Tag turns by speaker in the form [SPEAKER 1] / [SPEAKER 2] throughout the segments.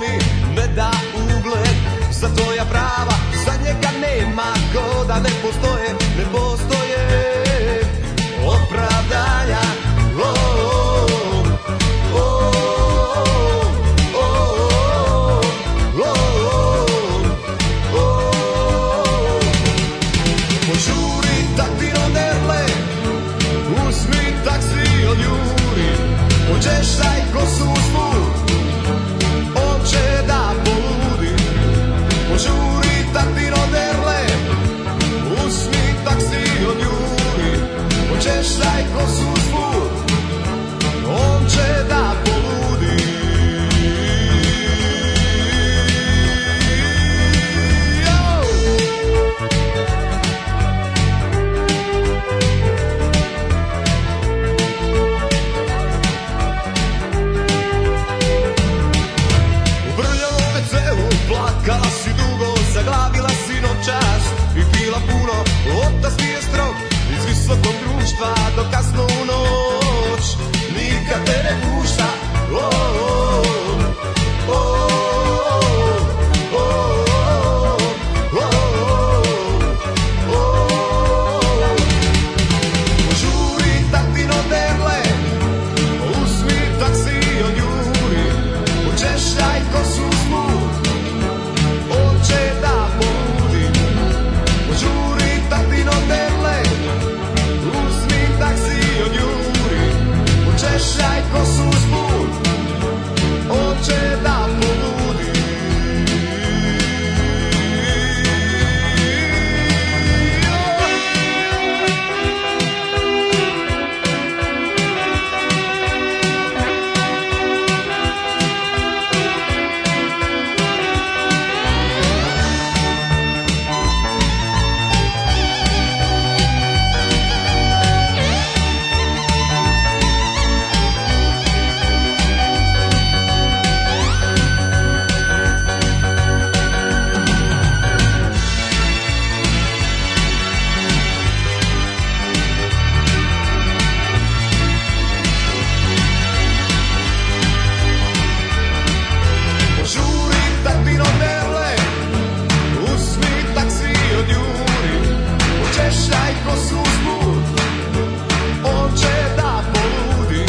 [SPEAKER 1] mi ne da ugled Za tvoja prava, za njega nema ko da ne postoje Ne postoje opravdanja o, o, o, o, o, o, o, o. Požuri taktino derle, uzmi taksi od juri, pođeš taj ko suzbu, on će da poludi. Požuri taktino derle, uzmi taksi od juri, pođeš taj ko suzbu, on će da poludi. Yo! U brljavom veceu plakala si dugo, zaglavila si noćas i pila puno. Otac ti je strog iz visokog društva do kasno u noć. Nikad te ne pušta. O, o, o, o, o, o, o, o, o, o. Žuri taktino derle, Uzmi taksi od Juri, učešljaj kosu smut, on će da poludi. Požuri tatino derle, uzmi taksi od Juri, učešljaj kosu smut, on će da poludi. Oh, Žuri tatino derle, uzmi taksi od Juri, učešljaj ko suzbu, on će da poludi.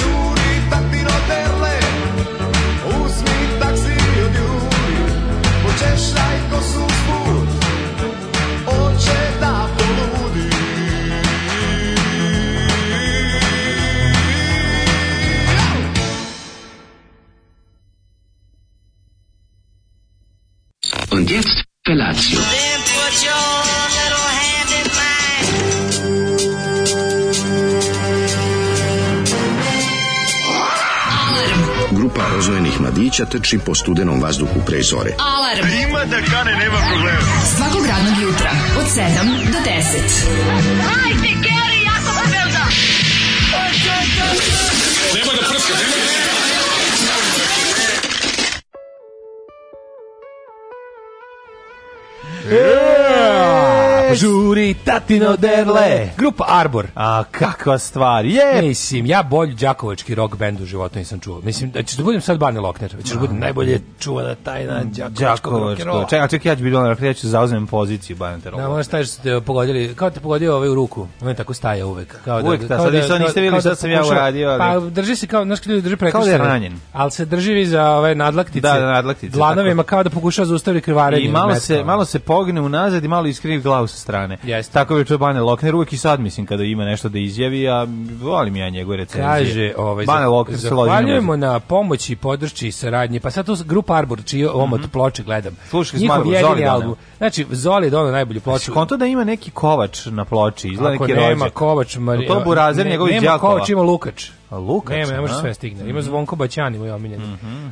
[SPEAKER 1] Žuri tatino derle, uzmi taksi od Juri, učešljaj ko suzbu, on će da poludi.
[SPEAKER 2] Und jetzt Felatio.
[SPEAKER 3] Then put your little hand in mine.
[SPEAKER 4] Grupa rozvojenih mladića teči po studenom vazduhu pre zore.
[SPEAKER 5] Alarm. Ima da kane, nema problema. Svakog radnog jutra, od 7 do 10.
[SPEAKER 6] Hajde, Geri, ja sam pobelda.
[SPEAKER 7] Žuri, tatino derle.
[SPEAKER 8] Grupa Arbor.
[SPEAKER 7] A kakva stvar. Je,
[SPEAKER 8] Mislim, ja bolji đakovački rock band u životu nisam čuo. Mislim, da ćeš da budem sad Bane Lokner. Hoćeš da budem Mm, najbolje čuvana tajna đakovačkog
[SPEAKER 7] Đakovačko.
[SPEAKER 8] rock'n'rolla.
[SPEAKER 7] Čekaj, a čekaj, ja ću biti donar, ja ću zauzmem poziciju Bajanterova.
[SPEAKER 8] Da, možeš taj što ste pogodili, kao te pogodio ovaj u ruku, on tako staje uvek. Kao
[SPEAKER 7] Uvek da,
[SPEAKER 8] kao
[SPEAKER 7] sad vi sad niste
[SPEAKER 8] kao
[SPEAKER 7] vidjeli,
[SPEAKER 8] da
[SPEAKER 7] sad sam ja
[SPEAKER 8] pokušava-
[SPEAKER 7] uradio, ali-
[SPEAKER 8] Pa drži se kao, znaš kad ljudi drži prekršaj.
[SPEAKER 7] je ranjen.
[SPEAKER 8] Ali se drži vi za ove nadlaktice.
[SPEAKER 7] Da, da, nadlaktice,
[SPEAKER 8] Dlanovima kao da pokušava zaustaviti krvarenje.
[SPEAKER 7] I malo
[SPEAKER 8] metka.
[SPEAKER 7] se, malo se pogne unazad i malo iskrivi glavu sa strane.
[SPEAKER 8] ono. Jeste.
[SPEAKER 7] Tako je čuo Bane Lokner, uvek i sad mislim kada ima nešto da izjavi, a volim ja njegove recenzije.
[SPEAKER 8] Kaže, ovaj,
[SPEAKER 7] Bane Lokner se loži na
[SPEAKER 8] zahvaljujemo
[SPEAKER 7] muziku.
[SPEAKER 8] na pomoći, podršči i saradnji. Pa sad to s- grupa Arbor, čiji omot ploče gledam.
[SPEAKER 7] Slušali smo
[SPEAKER 8] Njihov
[SPEAKER 7] Arbor,
[SPEAKER 8] jedini
[SPEAKER 7] Mhm. Zoli doneo.
[SPEAKER 8] album. Znači, Zoli je donao najbolju
[SPEAKER 7] Znači,
[SPEAKER 8] ploču.
[SPEAKER 7] konto da ima neki kovač na ploči, izgleda
[SPEAKER 8] Ako
[SPEAKER 7] neki
[SPEAKER 8] nema
[SPEAKER 7] rođak.
[SPEAKER 8] Kovač, Mari...
[SPEAKER 7] To Burazer
[SPEAKER 8] ne-
[SPEAKER 7] njegovih
[SPEAKER 8] Nema
[SPEAKER 7] đakova.
[SPEAKER 8] Kovač, ima Lukač.
[SPEAKER 7] A Lukač,
[SPEAKER 8] Nema, ne može
[SPEAKER 7] aha. Mhm,
[SPEAKER 8] sve stigne. Ima Zvonko Baćani, moj omiljeni.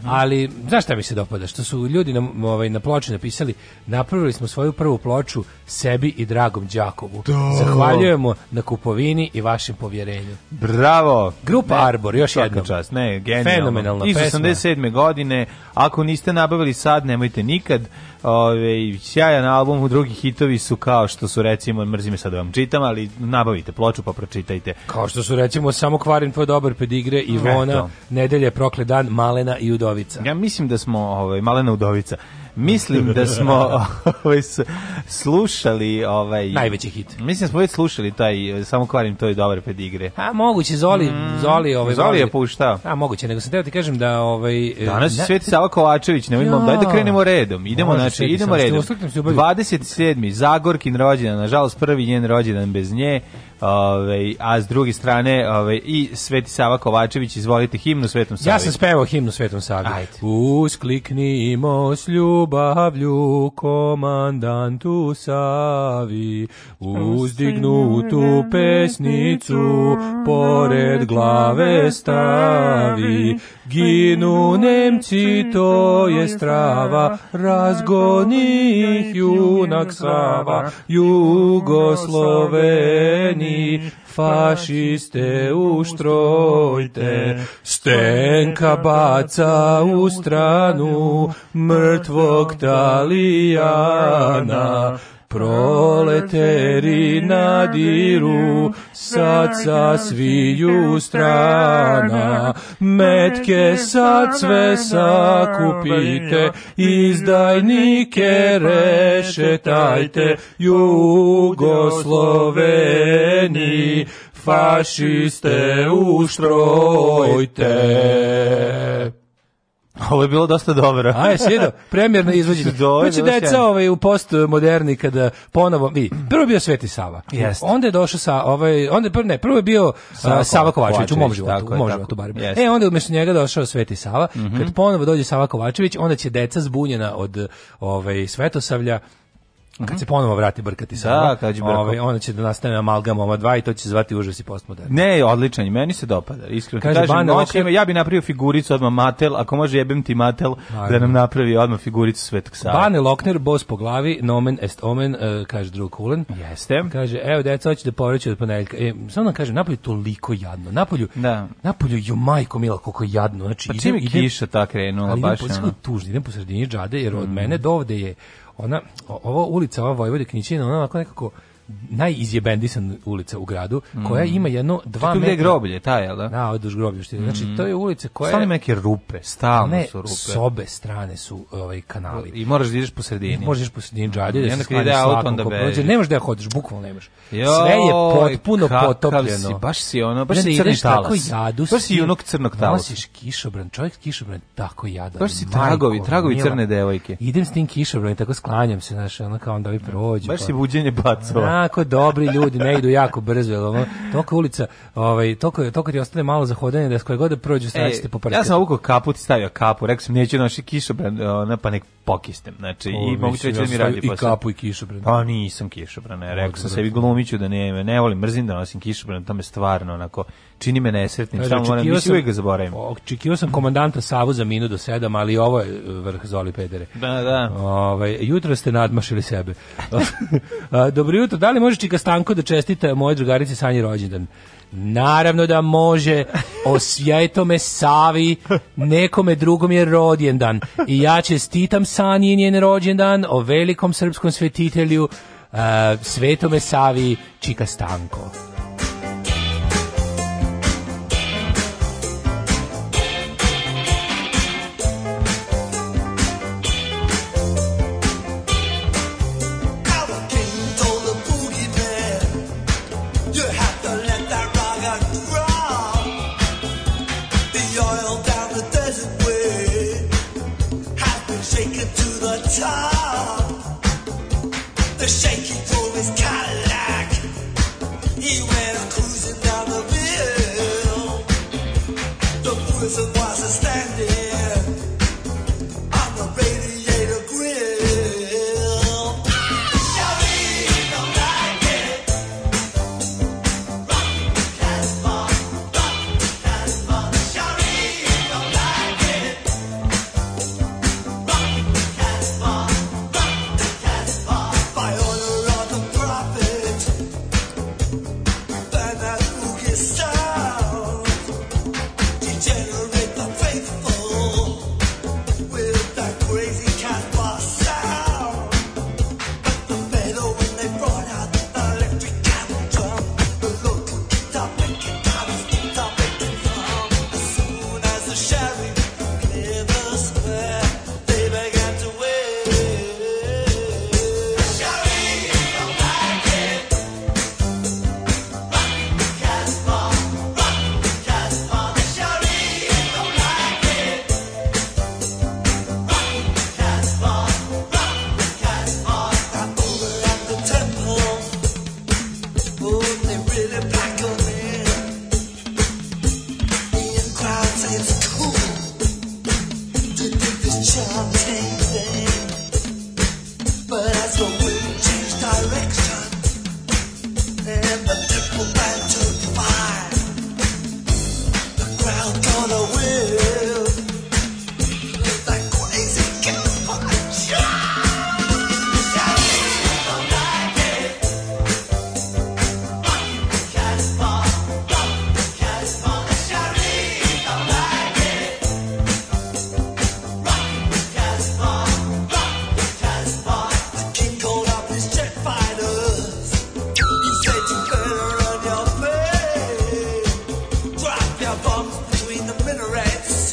[SPEAKER 8] Ali, znaš šta mi se dopada? Što su ljudi na, ovaj, na ploči napisali, napravili smo svoju prvu ploču sebi i dragom Đakovu. Zahvaljujemo na kupovini i vašem povjerenju.
[SPEAKER 7] Bravo.
[SPEAKER 8] Grupa
[SPEAKER 7] Ne,
[SPEAKER 8] Arbor, još
[SPEAKER 7] svaka
[SPEAKER 8] jednom.
[SPEAKER 7] čast, ne, genijalno.
[SPEAKER 8] Fenomenalna
[SPEAKER 7] Iz
[SPEAKER 8] pesma.
[SPEAKER 7] 87. godine, ako niste nabavili sad, nemojte nikad. Ove, sjajan album, drugi hitovi su kao što su recimo, mrzime sad da vam čitam, ali nabavite ploču pa pročitajte.
[SPEAKER 8] Kao što su recimo samo kvarim tvoj dobar pedigre, Ivona,
[SPEAKER 7] Eto.
[SPEAKER 8] Nedelje, Prokle dan, Malena i Udovica.
[SPEAKER 7] Ja mislim da smo, ovaj, malena udovica, mislim da smo ovaj, s- slušali... Ovaj,
[SPEAKER 8] Najveći hit.
[SPEAKER 7] Mislim da smo već slušali taj, eh, samo kvarim, to je dobar pedigre.
[SPEAKER 8] A moguće Zoli, Zoli, ovaj
[SPEAKER 7] Mm. Zoli
[SPEAKER 8] voli-
[SPEAKER 7] je puštao.
[SPEAKER 8] A moguće, nego sam teo ti kažem da ovaj e,
[SPEAKER 7] Danas je
[SPEAKER 8] ne-
[SPEAKER 7] Sveti Sava Kovačević, ne vidimo,
[SPEAKER 8] Ja.
[SPEAKER 7] daj da krenemo redom. Idemo,
[SPEAKER 8] Može,
[SPEAKER 7] znači,
[SPEAKER 8] Sveti
[SPEAKER 7] idemo
[SPEAKER 8] Sava,
[SPEAKER 7] redom.
[SPEAKER 8] ste- osliknem se u Belju.
[SPEAKER 7] 27. Zagorkin rođendan, nažalost prvi njen rođendan bez nje. Ovaj, a s druge strane, ovaj i Sveti Sava Kovačević, izvolite himnu Svetom Savi.
[SPEAKER 8] Ja sam spevao himnu Svetom Savi.
[SPEAKER 7] Ajde.
[SPEAKER 8] Uskliknimo s ljubavlju komandantu Savi, uzdignu tu pesnicu, pored glave stavi. Ginu Nemci, to je strava, razgoni ih junak Sava, Jugosloveni, fašiste uštrojte, Stenka baca u stranu mrtvog Talijana, proleteri nadiru, sad sa sviju strana, metke sad sve sakupite, izdajnike rešetajte, Jugosloveni, fašiste uštrojte.
[SPEAKER 7] Ovo je bilo dosta dobro.
[SPEAKER 8] A je sjedo, premjerno izvođenje.
[SPEAKER 7] Dobro,
[SPEAKER 8] Znači,
[SPEAKER 7] dobro,
[SPEAKER 8] deca
[SPEAKER 7] sjajno.
[SPEAKER 8] ovaj, u postmoderni kada ponovo, vidi, prvo je bio Sveti Sava.
[SPEAKER 7] Jeste.
[SPEAKER 8] Onda je došao sa, ovaj, onda, je prvo, ne, prvo je bio
[SPEAKER 7] Sava
[SPEAKER 8] a, Sava Kovačević, u mom
[SPEAKER 7] Kovačević,
[SPEAKER 8] životu,
[SPEAKER 7] tako
[SPEAKER 8] u
[SPEAKER 7] je,
[SPEAKER 8] mom
[SPEAKER 7] tako.
[SPEAKER 8] životu barem.
[SPEAKER 7] Jeste. Mhm.
[SPEAKER 8] E, onda je umjesto njega došao Sveti Sava. Kad ponovo dođe Sava Kovačević, onda će deca zbunjena od ovaj, Svetosavlja, kad se ponovo vrati brkati Sava,
[SPEAKER 7] Mhm. kad će brko.
[SPEAKER 8] ovaj, onda će da nastane amalgam ova dva i to će se zvati užas i postmoderni.
[SPEAKER 7] Ne, odličan, je, meni se dopada, iskreno. ti
[SPEAKER 8] Kaže,
[SPEAKER 7] Kažem,
[SPEAKER 8] Bane
[SPEAKER 7] noć
[SPEAKER 8] Lokar-
[SPEAKER 7] ima- ja bi napravio figuricu odmah Matel, ako može jebem ti Matel, da nam napravi odmah figuricu Svetog Sava.
[SPEAKER 8] Bane Lokner, bos po glavi, nomen est omen, e, kaže drug Kulen.
[SPEAKER 7] Jeste.
[SPEAKER 8] Kaže, evo deca, hoće da povraćaju od ponedjeljka. E, samo nam kaže, napolju je toliko jadno. Napolju,
[SPEAKER 7] Da.
[SPEAKER 8] napolju, jo majko mila, koliko je jadno. Znači,
[SPEAKER 7] Pa čim je kiša ta krenula,
[SPEAKER 8] ali
[SPEAKER 7] baš
[SPEAKER 8] idem,
[SPEAKER 7] ono. Mm.
[SPEAKER 8] ono. tužno, idem po sredini džade, jer od mene do ovde je ona, o- ova ulica, ova Vojvode Knićina, ona onako nekako najizjebendisana ulica u gradu, koja ima jedno dva
[SPEAKER 7] Tu Mm. gde je
[SPEAKER 8] metra-
[SPEAKER 7] groblje, Mm. taj, jel da?
[SPEAKER 8] Da, od duž groblja što je. Znači, to je ulica koja...
[SPEAKER 7] Stalno ima neke rupe, stalno
[SPEAKER 8] Ne,
[SPEAKER 7] su rupe.
[SPEAKER 8] s obe strane su ovaj, kanali.
[SPEAKER 7] I moraš da ideš po sredini.
[SPEAKER 8] Možeš po sredini džade
[SPEAKER 7] I
[SPEAKER 8] da
[SPEAKER 7] onda
[SPEAKER 8] se
[SPEAKER 7] kad ide
[SPEAKER 8] sklanjaš
[SPEAKER 7] auto,
[SPEAKER 8] svakom
[SPEAKER 7] onda
[SPEAKER 8] ko
[SPEAKER 7] bežiš.
[SPEAKER 8] prođe. Ne možeš da ja hodiš, bukvalno ne možeš. Sve je
[SPEAKER 7] Joj,
[SPEAKER 8] potpuno
[SPEAKER 7] kakav
[SPEAKER 8] potopljeno.
[SPEAKER 7] si, baš si ono, baš
[SPEAKER 8] I
[SPEAKER 7] si
[SPEAKER 8] onda
[SPEAKER 7] crni
[SPEAKER 8] ideš
[SPEAKER 7] talas.
[SPEAKER 8] tako jadu,
[SPEAKER 7] Baš si
[SPEAKER 8] svi-
[SPEAKER 7] junak crnog talasa.
[SPEAKER 8] Nosiš kišobran, čovjek kišobran je tako jadan.
[SPEAKER 7] Baš si
[SPEAKER 8] majko
[SPEAKER 7] tragovi, tragovi
[SPEAKER 8] mila.
[SPEAKER 7] crne devojke.
[SPEAKER 8] Idem s tim kišobranom i tako sklanjam se, znaš, ono kao onda ovi prođu.
[SPEAKER 7] Baš
[SPEAKER 8] pa-
[SPEAKER 7] si buđenje bacova.
[SPEAKER 8] Onako dobri ljudi ne idu jako brzo, jel ono, toliko je ulica, ovaj, toliko, je- toliko ti ostane malo za hodanje da s koje god da prođu
[SPEAKER 7] Ej,
[SPEAKER 8] straćete po parketu.
[SPEAKER 7] E, ja sam ovukao kaput i stavio kapu, rekao sam neću noši kišobran, ona pa nek pokistem, znači i
[SPEAKER 8] O,
[SPEAKER 7] mogu
[SPEAKER 8] mislim,
[SPEAKER 7] treći da mi
[SPEAKER 8] stavio
[SPEAKER 7] radi
[SPEAKER 8] I
[SPEAKER 7] posao.
[SPEAKER 8] kapu i kišobran.
[SPEAKER 7] Pa nisam kišobran, ne, rekao sam
[SPEAKER 8] Odvratno.
[SPEAKER 7] sebi glumiću da ne, ne volim, mrzim da nosim kišobran, to me stvarno onako, čini me nesretnim,
[SPEAKER 8] Kaže,
[SPEAKER 7] samo moram,
[SPEAKER 8] očekivao
[SPEAKER 7] mislim
[SPEAKER 8] sam-
[SPEAKER 7] uvijek ga zaboravim.
[SPEAKER 8] Očekivao sam komandanta Savu za minu do sedam, ali ovo je vrh Zoli Pedere.
[SPEAKER 7] Da, da.
[SPEAKER 8] Ovaj, jutro ste nadmašili sebe. A, Dobro jutro, da li može Čika Stanko da čestita moje drugarici Sanji rođendan? Naravno da može, o svijetome Savi, nekome drugom je rođendan. I ja čestitam Sanji njen rođendan o velikom srpskom svetitelju, a, svetome Savi Čika Stanko.
[SPEAKER 1] The shaky through his Cadillac. He went cruising down the hill. The prison was a standing on the radiator grill. By order of the Oh, Charms came today, but I still will change direction. And the temple back to fire. The crowd gonna will. Like crazy cat King called up his jet fighters. You said you better run your plane. Drop your bombs between the minarets.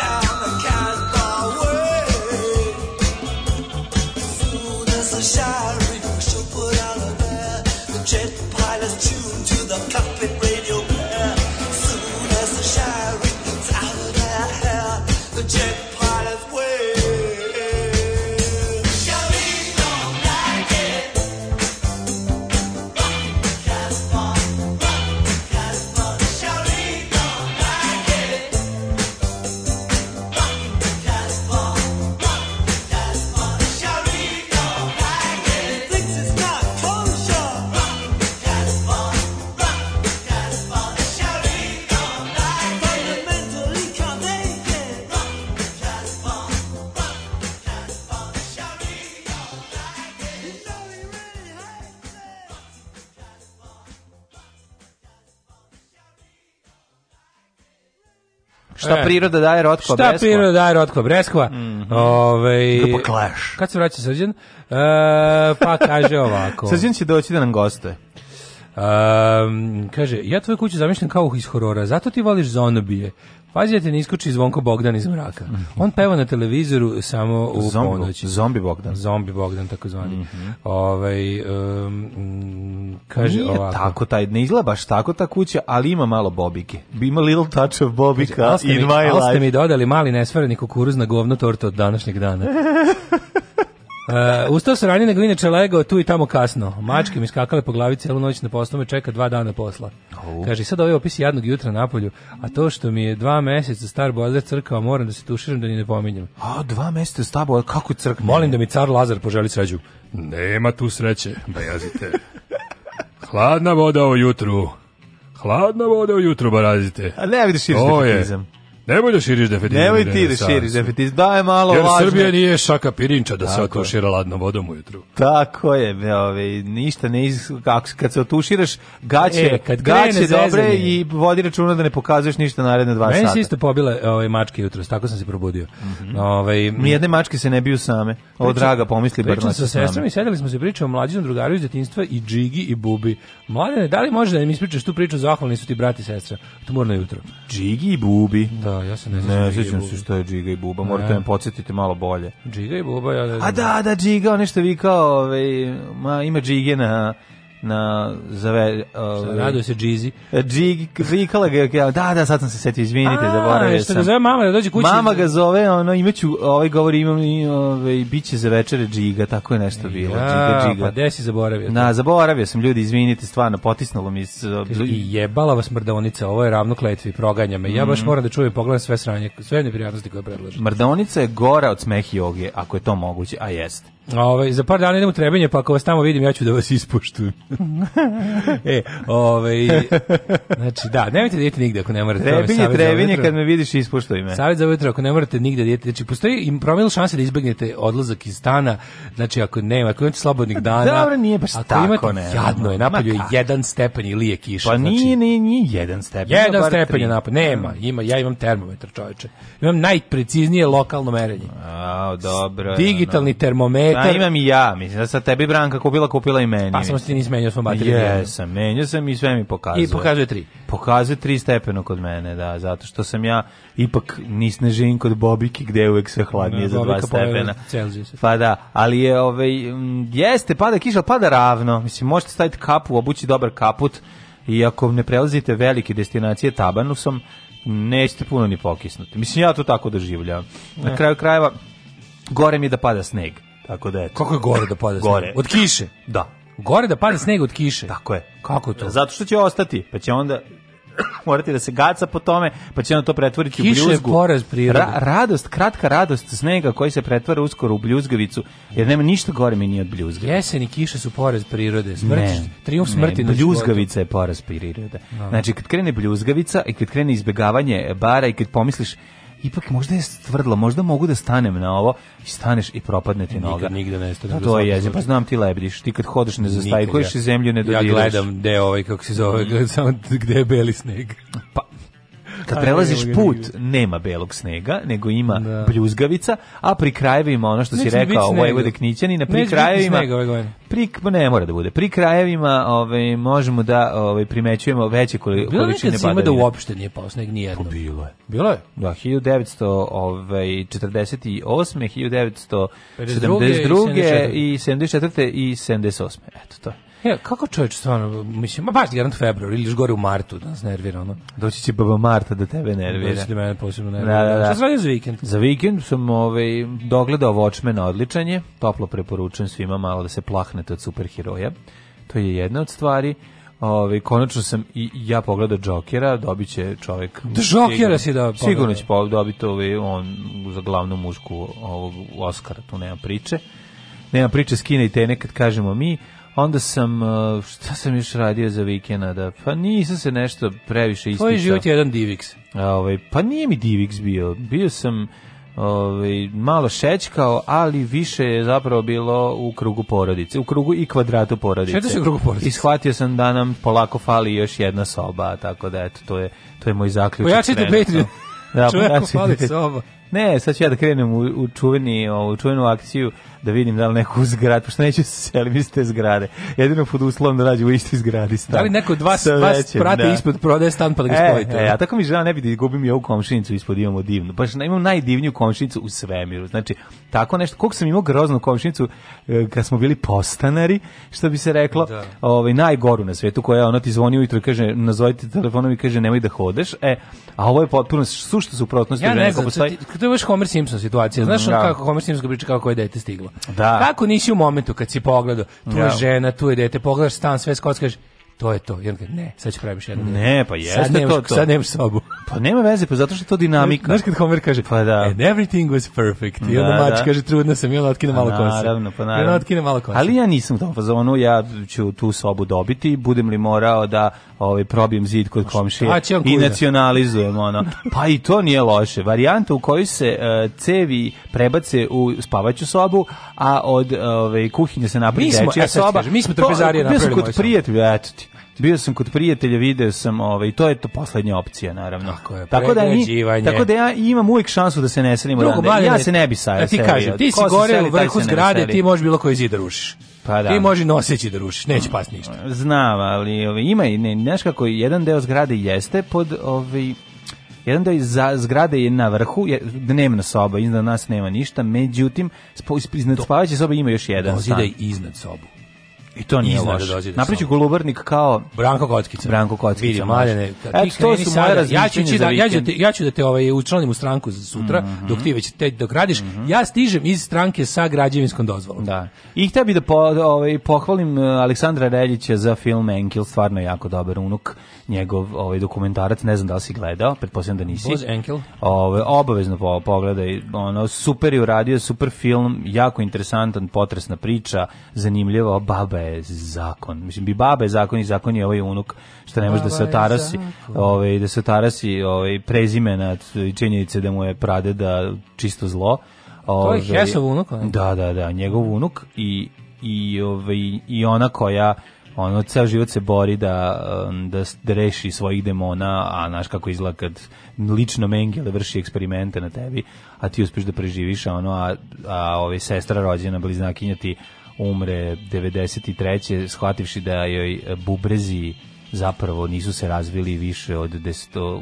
[SPEAKER 1] Down the Casbah way. Soon as the Shari shall put out of air, the jet pilots tune to the cockpit radio player. Soon as the Shari gets out of their hair, the jet pilots wave. Shari don't like it.
[SPEAKER 7] Šta
[SPEAKER 8] E.
[SPEAKER 7] priroda daje rotko Mhm.
[SPEAKER 8] Šta
[SPEAKER 7] beskva?
[SPEAKER 8] priroda daje Rotkva Breskva? Ovaj
[SPEAKER 7] Grupa Clash.
[SPEAKER 8] Kad se vraća Srđan? E, pa kaže ovako.
[SPEAKER 7] Srđan će doći da nam gostuje.
[SPEAKER 8] Um, kaže, ja tvoju kuću zamišljam kao iz horora, zato ti voliš zonobije. Pazi da te ne iskoči zvonko Bogdan iz mraka. On peva na televizoru samo u
[SPEAKER 7] Mhm. Zombo- Mhm.
[SPEAKER 8] ponoći.
[SPEAKER 7] Zombi Bogdan.
[SPEAKER 8] Zombi Bogdan, tako zvani. Ovaj, um, mm, kaže
[SPEAKER 7] Nije
[SPEAKER 8] ovako.
[SPEAKER 7] tako taj, ne izgleda baš tako ta kuća, ali ima malo bobike. Ima little touch of bobika
[SPEAKER 8] Ali ste,
[SPEAKER 7] in
[SPEAKER 8] mi,
[SPEAKER 7] my
[SPEAKER 8] ali ste
[SPEAKER 7] life.
[SPEAKER 8] mi dodali mali nesvareni kukuruz na govno tortu od današnjeg dana. Uh, ustao sam ranije nego inače legao tu i tamo kasno. Mačke mi skakale po glavi celu noć na poslu, me čeka dva dana posla. Kaže, sad ovaj opis jadnog jutra na polju, a to što mi je dva meseca star boiler crkao, moram da se tuširam da ni ne pominjem.
[SPEAKER 7] A, dva mjeseca s tabo, kako je crkne?
[SPEAKER 8] Molim da mi car Lazar poželi sreću.
[SPEAKER 9] Nema tu sreće, bajazite. Hladna voda ujutru. Hladna voda ujutru, barazite.
[SPEAKER 7] A ne, vidiš, širiš
[SPEAKER 9] To je.
[SPEAKER 7] defetizam.
[SPEAKER 9] Nemoj da širiš defetizam.
[SPEAKER 7] Nemoj ti da
[SPEAKER 9] renesansu.
[SPEAKER 7] širiš defetizam, daj malo
[SPEAKER 9] Jer
[SPEAKER 7] lažne.
[SPEAKER 9] Srbija nije šaka pirinča da se
[SPEAKER 7] Tako je.
[SPEAKER 9] otušira hladnom vodom ujutru.
[SPEAKER 7] Tako je, be, ove, ništa ne iz, kako, kad se otuširaš, gaće,
[SPEAKER 8] E, kad krene
[SPEAKER 7] gaće dobre
[SPEAKER 8] zezanje.
[SPEAKER 7] i vodi računa da ne pokazuješ ništa naredne dva
[SPEAKER 8] Meni
[SPEAKER 7] sata.
[SPEAKER 8] se isto pobile ovaj, mačke jutros, tako sam se probudio.
[SPEAKER 7] Mhm.
[SPEAKER 8] ovaj,
[SPEAKER 7] Nijedne mačke se ne biju same. O,
[SPEAKER 8] Pričam-
[SPEAKER 7] draga, pomisli bar
[SPEAKER 8] Pričam
[SPEAKER 7] mačke
[SPEAKER 8] sa
[SPEAKER 7] same.
[SPEAKER 8] sestrom i sedeli smo se pričali o mlađinom drugaru iz djetinjstva i Džigi i Bubi. Mladene, da li možeš da mi ispričaš tu priču, zahvalni su ti brati i sestra. To mora na jutro.
[SPEAKER 7] Džigi i Bubi.
[SPEAKER 8] Da, ja se ne znam.
[SPEAKER 7] Ne, sjećam se što je Džiga i Buba, morate me podsjetiti malo bolje.
[SPEAKER 8] Džiga i Buba, ja ne znam.
[SPEAKER 7] A da, da, Džiga, on nešto vikao, ovaj, ma, ima Džige na, na, zove, ovaj,
[SPEAKER 8] Raduje se Džizi.
[SPEAKER 7] Džigi, vikala ga, je, da, da, sad sam se setio, izvinite, zaboravio
[SPEAKER 8] što ga
[SPEAKER 7] sam.
[SPEAKER 8] zove mama da dođe kući.
[SPEAKER 7] Mama ga zove, ono, imaću, ovaj govor imam i ovaj, bit će za večere džiga, tako je nešto bilo,
[SPEAKER 8] Ja,
[SPEAKER 7] džiga, džiga.
[SPEAKER 8] Pa gde si zaboravio?
[SPEAKER 7] Na, zaboravio sam, ljudi, izvinite, stvarno, potisnulo mi se...
[SPEAKER 8] Kaže, I jebala vas mrdavonica, ovo je ravno kletvi, proganja me. Ja baš
[SPEAKER 7] Mm.
[SPEAKER 8] moram da čujem i pogledam sve sranje, sve neprijatnosti koje predlažem.
[SPEAKER 7] Mrdonica je gora od smeh i oge, ako je to moguće, a jeste.
[SPEAKER 8] Ove, ovaj, za par dana idem u Trebinje, pa ako vas tamo vidim, ja ću da vas ispuštujem. e, ove, znači, da, nemojte da idete nigde ako ne morate. To je
[SPEAKER 7] Trebinje,
[SPEAKER 8] savjet za
[SPEAKER 7] trebinje,
[SPEAKER 8] ujutro.
[SPEAKER 7] kad me vidiš, ispuštuj me.
[SPEAKER 8] Savjet za ujutro, ako ne morate nigde da idete, znači, postoji im promil šanse da izbegnete odlazak iz stana, znači, ako nema, ako imate slobodnih dana.
[SPEAKER 7] Pa Dobro, nije baš
[SPEAKER 8] ako
[SPEAKER 7] tako,
[SPEAKER 8] imate,
[SPEAKER 7] ne.
[SPEAKER 8] Jadno je,
[SPEAKER 7] Ma
[SPEAKER 8] napolju je
[SPEAKER 7] kako?
[SPEAKER 8] jedan stepen ili je kiša.
[SPEAKER 7] Pa
[SPEAKER 8] znači,
[SPEAKER 7] nije, nije, nije jedan stepen. ima
[SPEAKER 8] Jedan
[SPEAKER 7] bar
[SPEAKER 8] stepen
[SPEAKER 7] tri.
[SPEAKER 8] je napolju, nema, ima, ja imam termometar, čoveče. Imam najpreciznije lokalno merenje.
[SPEAKER 7] A, dobro. ono.
[SPEAKER 8] Digitalni
[SPEAKER 7] A,
[SPEAKER 8] termometar.
[SPEAKER 7] imam i ja, mislim, da sad tebi Branka kupila, kupila i meni.
[SPEAKER 8] Pa samo se ti nisi menjao svom bateriju.
[SPEAKER 7] Jesam, menio sam i sve mi pokazuje.
[SPEAKER 8] I pokazuje tri.
[SPEAKER 7] Pokazuje tri stepeno kod mene, da, zato što sam ja ipak nis ne živim kod Bobiki gde je uvek sve hladnije
[SPEAKER 8] Da,
[SPEAKER 7] za dva
[SPEAKER 8] Bobika pojede
[SPEAKER 7] stepena.
[SPEAKER 8] Celzijus.
[SPEAKER 7] Pa da, ali je, ovaj, m, jeste, pada kiša, ali pada ravno. Mislim, možete staviti kapu, obući dobar kaput i ako ne prelazite velike destinacije tabanusom, nećete puno ni pokisnuti. Mislim, ja to tako doživljam. Na kraju krajeva, gore mi je da pada sneg. Tako da, eto.
[SPEAKER 8] Kako je gore da pada
[SPEAKER 7] Gore.
[SPEAKER 8] sneg? Od kiše.
[SPEAKER 7] Da,
[SPEAKER 8] Gore da pada sneg od kiše.
[SPEAKER 7] tako je.
[SPEAKER 8] Kako to?
[SPEAKER 7] Zato što će ostati, pa će onda morati da se gaca po tome, pa će onda to pretvoriti
[SPEAKER 8] Kiša
[SPEAKER 7] u
[SPEAKER 8] je
[SPEAKER 7] bljuzgu.
[SPEAKER 8] poraz prirode.
[SPEAKER 7] Ra- radost, kratka radost snega koji se pretvara uskoro u bljuzgavicu, jer nema ništa gore meni od bljuzgavice.
[SPEAKER 8] Jesen i kiša su poraz prirode. Smrt, triumf smrti
[SPEAKER 7] ne,
[SPEAKER 8] na
[SPEAKER 7] bljuzgavica je poraz prirode. Znači, kad krene bljuzgavica i kad krene izbegavanje bara i kad pomisliš ipak možda je stvrdlo, možda mogu da stanem na ovo i staneš i propadne ti
[SPEAKER 8] Nikad
[SPEAKER 7] noga.
[SPEAKER 8] nigde ne stanem,
[SPEAKER 7] To,
[SPEAKER 8] do svakog
[SPEAKER 7] je jezio,
[SPEAKER 8] slučaja.
[SPEAKER 7] pa znam ti lebdiš, ti kad hodeš ne
[SPEAKER 8] života. Nikad
[SPEAKER 7] zastajkuješ i zemlju ne dodiraš. Mm.
[SPEAKER 8] Ja gledam gde ovaj, kako se zove, gledam samo gde je beli sneg.
[SPEAKER 7] Pa, kad
[SPEAKER 8] A,
[SPEAKER 7] prelaziš
[SPEAKER 8] nema ga
[SPEAKER 7] put,
[SPEAKER 8] nigde.
[SPEAKER 7] nema belog snega, nego ima
[SPEAKER 8] Da.
[SPEAKER 7] bljuzgavica, a pri krajevima, ono što si
[SPEAKER 8] Neće ni biti
[SPEAKER 7] rekao,
[SPEAKER 8] snega.
[SPEAKER 7] Vojvode Knićanina,
[SPEAKER 8] Neće
[SPEAKER 7] pri
[SPEAKER 8] biti
[SPEAKER 7] krajevima...
[SPEAKER 8] snega ove godine.
[SPEAKER 7] Pri, pa ne mora da bude. Pri krajevima ovaj, možemo da ovaj, primećujemo veće koli,
[SPEAKER 8] Bilo je
[SPEAKER 7] količine
[SPEAKER 8] nekad zima da
[SPEAKER 7] padavina. Pa
[SPEAKER 8] uopšte nije pao sneg, nijedno.
[SPEAKER 7] Bilo je.
[SPEAKER 8] Bilo je.
[SPEAKER 7] Da, ovaj, 1948. 1972.
[SPEAKER 8] 52.
[SPEAKER 7] i 74. i 78. Eto to. je.
[SPEAKER 8] E, kako čovječ stvarno, mislim, ma baš ti garant februar ili još gore u martu da nas nervira, ono.
[SPEAKER 7] Doći će baba Marta da tebe
[SPEAKER 8] Nervira.
[SPEAKER 7] nervira.
[SPEAKER 8] Da mene posebno
[SPEAKER 7] Da, da,
[SPEAKER 8] nervira.
[SPEAKER 7] da.
[SPEAKER 8] Šta se radi za vikend?
[SPEAKER 7] Za vikend sam ovaj, dogledao Watchmena odličan je, toplo preporučujem svima malo da se plahnete od superheroja. To je jedna od stvari. Ovaj, konačno sam i ja pogledao Jokera, dobit će čovjek...
[SPEAKER 8] Da, Jokera
[SPEAKER 7] sigurno-
[SPEAKER 8] si da pogledao.
[SPEAKER 7] Sigurno će po- dobiti ovaj, on za glavnu mušku ovog Oscara, tu nema priče. Nema priče skine i tene kad kažemo mi. Onda sam, eh, šta sam još radio za vikenda? Da, pa nisam se nešto previše isticao.
[SPEAKER 8] Tvoj život je jedan diviks.
[SPEAKER 7] A, Ovaj, pa nije mi Divix bio. Bio sam ovaj, malo šećkao, ali više je zapravo bilo u krugu porodice. U krugu i kvadratu porodice.
[SPEAKER 8] Šetao si u krugu porodice?
[SPEAKER 7] I shvatio sam da nam polako fali još jedna soba, tako da eto, to je, to je moj zaključak.
[SPEAKER 8] Pojačajte
[SPEAKER 7] trenutno.
[SPEAKER 8] Patreon.
[SPEAKER 7] Da,
[SPEAKER 8] Čoveku
[SPEAKER 7] pojačajte
[SPEAKER 8] fali
[SPEAKER 7] Patreon.
[SPEAKER 8] soba.
[SPEAKER 7] Ne, sad ću ja da krenem u, u, čuveni, u čuvenu akciju da vidim da li neko u zgrad, pošto neću se selim iz te zgrade. Jedino pod uslovom da rađu u istoj zgradi stan.
[SPEAKER 8] Da li neko od vas,
[SPEAKER 7] Sa
[SPEAKER 8] vas
[SPEAKER 7] većem,
[SPEAKER 8] prate
[SPEAKER 7] da.
[SPEAKER 8] ispod prodaje stan pa da ga
[SPEAKER 7] E,
[SPEAKER 8] spojite?
[SPEAKER 7] e, a tako mi žena ne bi da gubim i ovu komšinicu ispod imamo divnu. Baš na- imam najdivniju komšinicu u svemiru. Znači, tako nešto, koliko sam imao groznu komšinicu e, kad smo bili postanari, što bi se reklo, ovaj, najgoru na svetu, koja ona ti zvoni ujutro i kaže, nazovite telefonom i kaže, nemoj da hodeš. E, a ovo je potpuno sušta suprotnost.
[SPEAKER 8] Ja
[SPEAKER 7] žene
[SPEAKER 8] ne
[SPEAKER 7] koja
[SPEAKER 8] znam,
[SPEAKER 7] postoji.
[SPEAKER 8] sad ti- to je baš Homer Simpson situacija. Znaš ono
[SPEAKER 7] Da.
[SPEAKER 8] kako Homer Simpson priča kako je dete stiglo.
[SPEAKER 7] Da.
[SPEAKER 8] Kako nisi u momentu kad si pogledao, tu
[SPEAKER 7] Da.
[SPEAKER 8] je žena, tu je dete, pogledaš stan, sve skocka, kažeš, to je to. I on kaže, ne, sad ću praviš jedno.
[SPEAKER 7] Ne, pa jeste
[SPEAKER 8] sad nemaš,
[SPEAKER 7] to to.
[SPEAKER 8] Sad nemaš sobu.
[SPEAKER 7] Pa nema veze, pa zato što je to dinamika.
[SPEAKER 8] Znaš kad Homer kaže,
[SPEAKER 7] Pa da.
[SPEAKER 8] and everything was perfect. I onda
[SPEAKER 7] Da,
[SPEAKER 8] mač
[SPEAKER 7] da.
[SPEAKER 8] kaže, trudna sam, i ona otkine malo kose.
[SPEAKER 7] Naravno, pa naravno.
[SPEAKER 8] I ona otkine malo kose.
[SPEAKER 7] Ali ja nisam u tom fazonu, ja ću tu sobu dobiti, budem li morao da ovaj, probijem zid kod komšije
[SPEAKER 8] šta će on
[SPEAKER 7] i
[SPEAKER 8] kuda?
[SPEAKER 7] nacionalizujem ono. Pa i to nije loše. Varijanta u kojoj se e, cevi prebace u spavaću sobu, a od ovaj, kuhinje se napravi
[SPEAKER 8] Mi smo-
[SPEAKER 7] dečija
[SPEAKER 8] e, sad ti
[SPEAKER 7] soba.
[SPEAKER 8] kažem, mi smo
[SPEAKER 7] To-
[SPEAKER 8] trpezarije
[SPEAKER 7] Bio sam
[SPEAKER 8] napravili moju
[SPEAKER 7] kod
[SPEAKER 8] sobu.
[SPEAKER 7] prijatelja, eto ti. Bio sam kod prijatelja, video sam, ovaj, to je to poslednja opcija, naravno.
[SPEAKER 8] Tako je,
[SPEAKER 7] tako, da mi,
[SPEAKER 8] pregrađivanje.
[SPEAKER 7] tako da ja imam uvijek šansu da se ne selimo.
[SPEAKER 8] Drugo,
[SPEAKER 7] odande.
[SPEAKER 8] mladine,
[SPEAKER 7] ja se ne bi sajao.
[SPEAKER 8] Da ti
[SPEAKER 7] selio.
[SPEAKER 8] kažem, ti si
[SPEAKER 7] Ko se
[SPEAKER 8] gore
[SPEAKER 7] seli,
[SPEAKER 8] u
[SPEAKER 7] taj
[SPEAKER 8] vrhu
[SPEAKER 7] se ne
[SPEAKER 8] zgrade,
[SPEAKER 7] seli.
[SPEAKER 8] ti možeš bilo koji zid da rušiš.
[SPEAKER 7] Pa da.
[SPEAKER 8] Ti možeš noseći da rušiš, neće pas ništa.
[SPEAKER 7] Znam, ali ovaj, ima i ne, znaš kako jedan deo zgrade jeste pod ovaj jedan deo za, zgrade je na vrhu, je dnevna soba, iznad nas nema ništa, međutim spo, is- iznad spavaće sobe ima još jedan
[SPEAKER 8] Dozida
[SPEAKER 7] stan.
[SPEAKER 8] i iznad sobu.
[SPEAKER 7] I to nije
[SPEAKER 8] iznad
[SPEAKER 7] loše.
[SPEAKER 8] dozide
[SPEAKER 7] Napraviću
[SPEAKER 8] soba.
[SPEAKER 7] golubarnik kao
[SPEAKER 8] Branko Kockica.
[SPEAKER 7] Branko Kockica,
[SPEAKER 8] Vidi,
[SPEAKER 7] može.
[SPEAKER 8] mladene,
[SPEAKER 7] Eto,
[SPEAKER 8] ti
[SPEAKER 7] to
[SPEAKER 8] kreni
[SPEAKER 7] su
[SPEAKER 8] sada.
[SPEAKER 7] moja
[SPEAKER 8] ja ću,
[SPEAKER 7] razmišljanja
[SPEAKER 8] ići
[SPEAKER 7] za
[SPEAKER 8] da, ja, ću
[SPEAKER 7] vikend. Mhm.
[SPEAKER 8] te, ja ću da te ovaj, učlanim u stranku za sutra, dok ti već te, dok radiš. Ja stižem iz stranke sa građevinskom dozvolom.
[SPEAKER 7] Da. I htio bi da po, ovaj, pohvalim eh, Aleksandra Reljića za film Enkel, stvarno je jako dobar unuk, njegov ovaj, dokumentarac, ne znam da li si gledao, pretpostavljam da nisi.
[SPEAKER 8] Voz Enkel.
[SPEAKER 7] Ove, obavezno po, pogledaj, ono, super je uradio, super film, jako interesantan, potresna priča, zanimljivo, baba je zakon. Mislim, bi baba je zakon i zakon je ovaj unuk, što ne može da se
[SPEAKER 8] Baba je
[SPEAKER 7] otarasi, ovaj, da se otarasi ovaj, prezimena i činjenice da mu je prade da čisto zlo.
[SPEAKER 8] je
[SPEAKER 7] Ovaj,
[SPEAKER 8] Hesov unuk, ne?
[SPEAKER 7] Da, da, da, njegov unuk i, i, ovaj, i ona koja ono ceo život se bori da em, da, s- da reši svojih demona, a znaš kako izgleda kad lično Mengele vrši eksperimente na tebi, a ti uspeš da preživiš, a ono a, a ovaj sestra rođena bliznakinja ti umre 93. shvativši da joj e, bubrezi zapravo nisu se razvili više od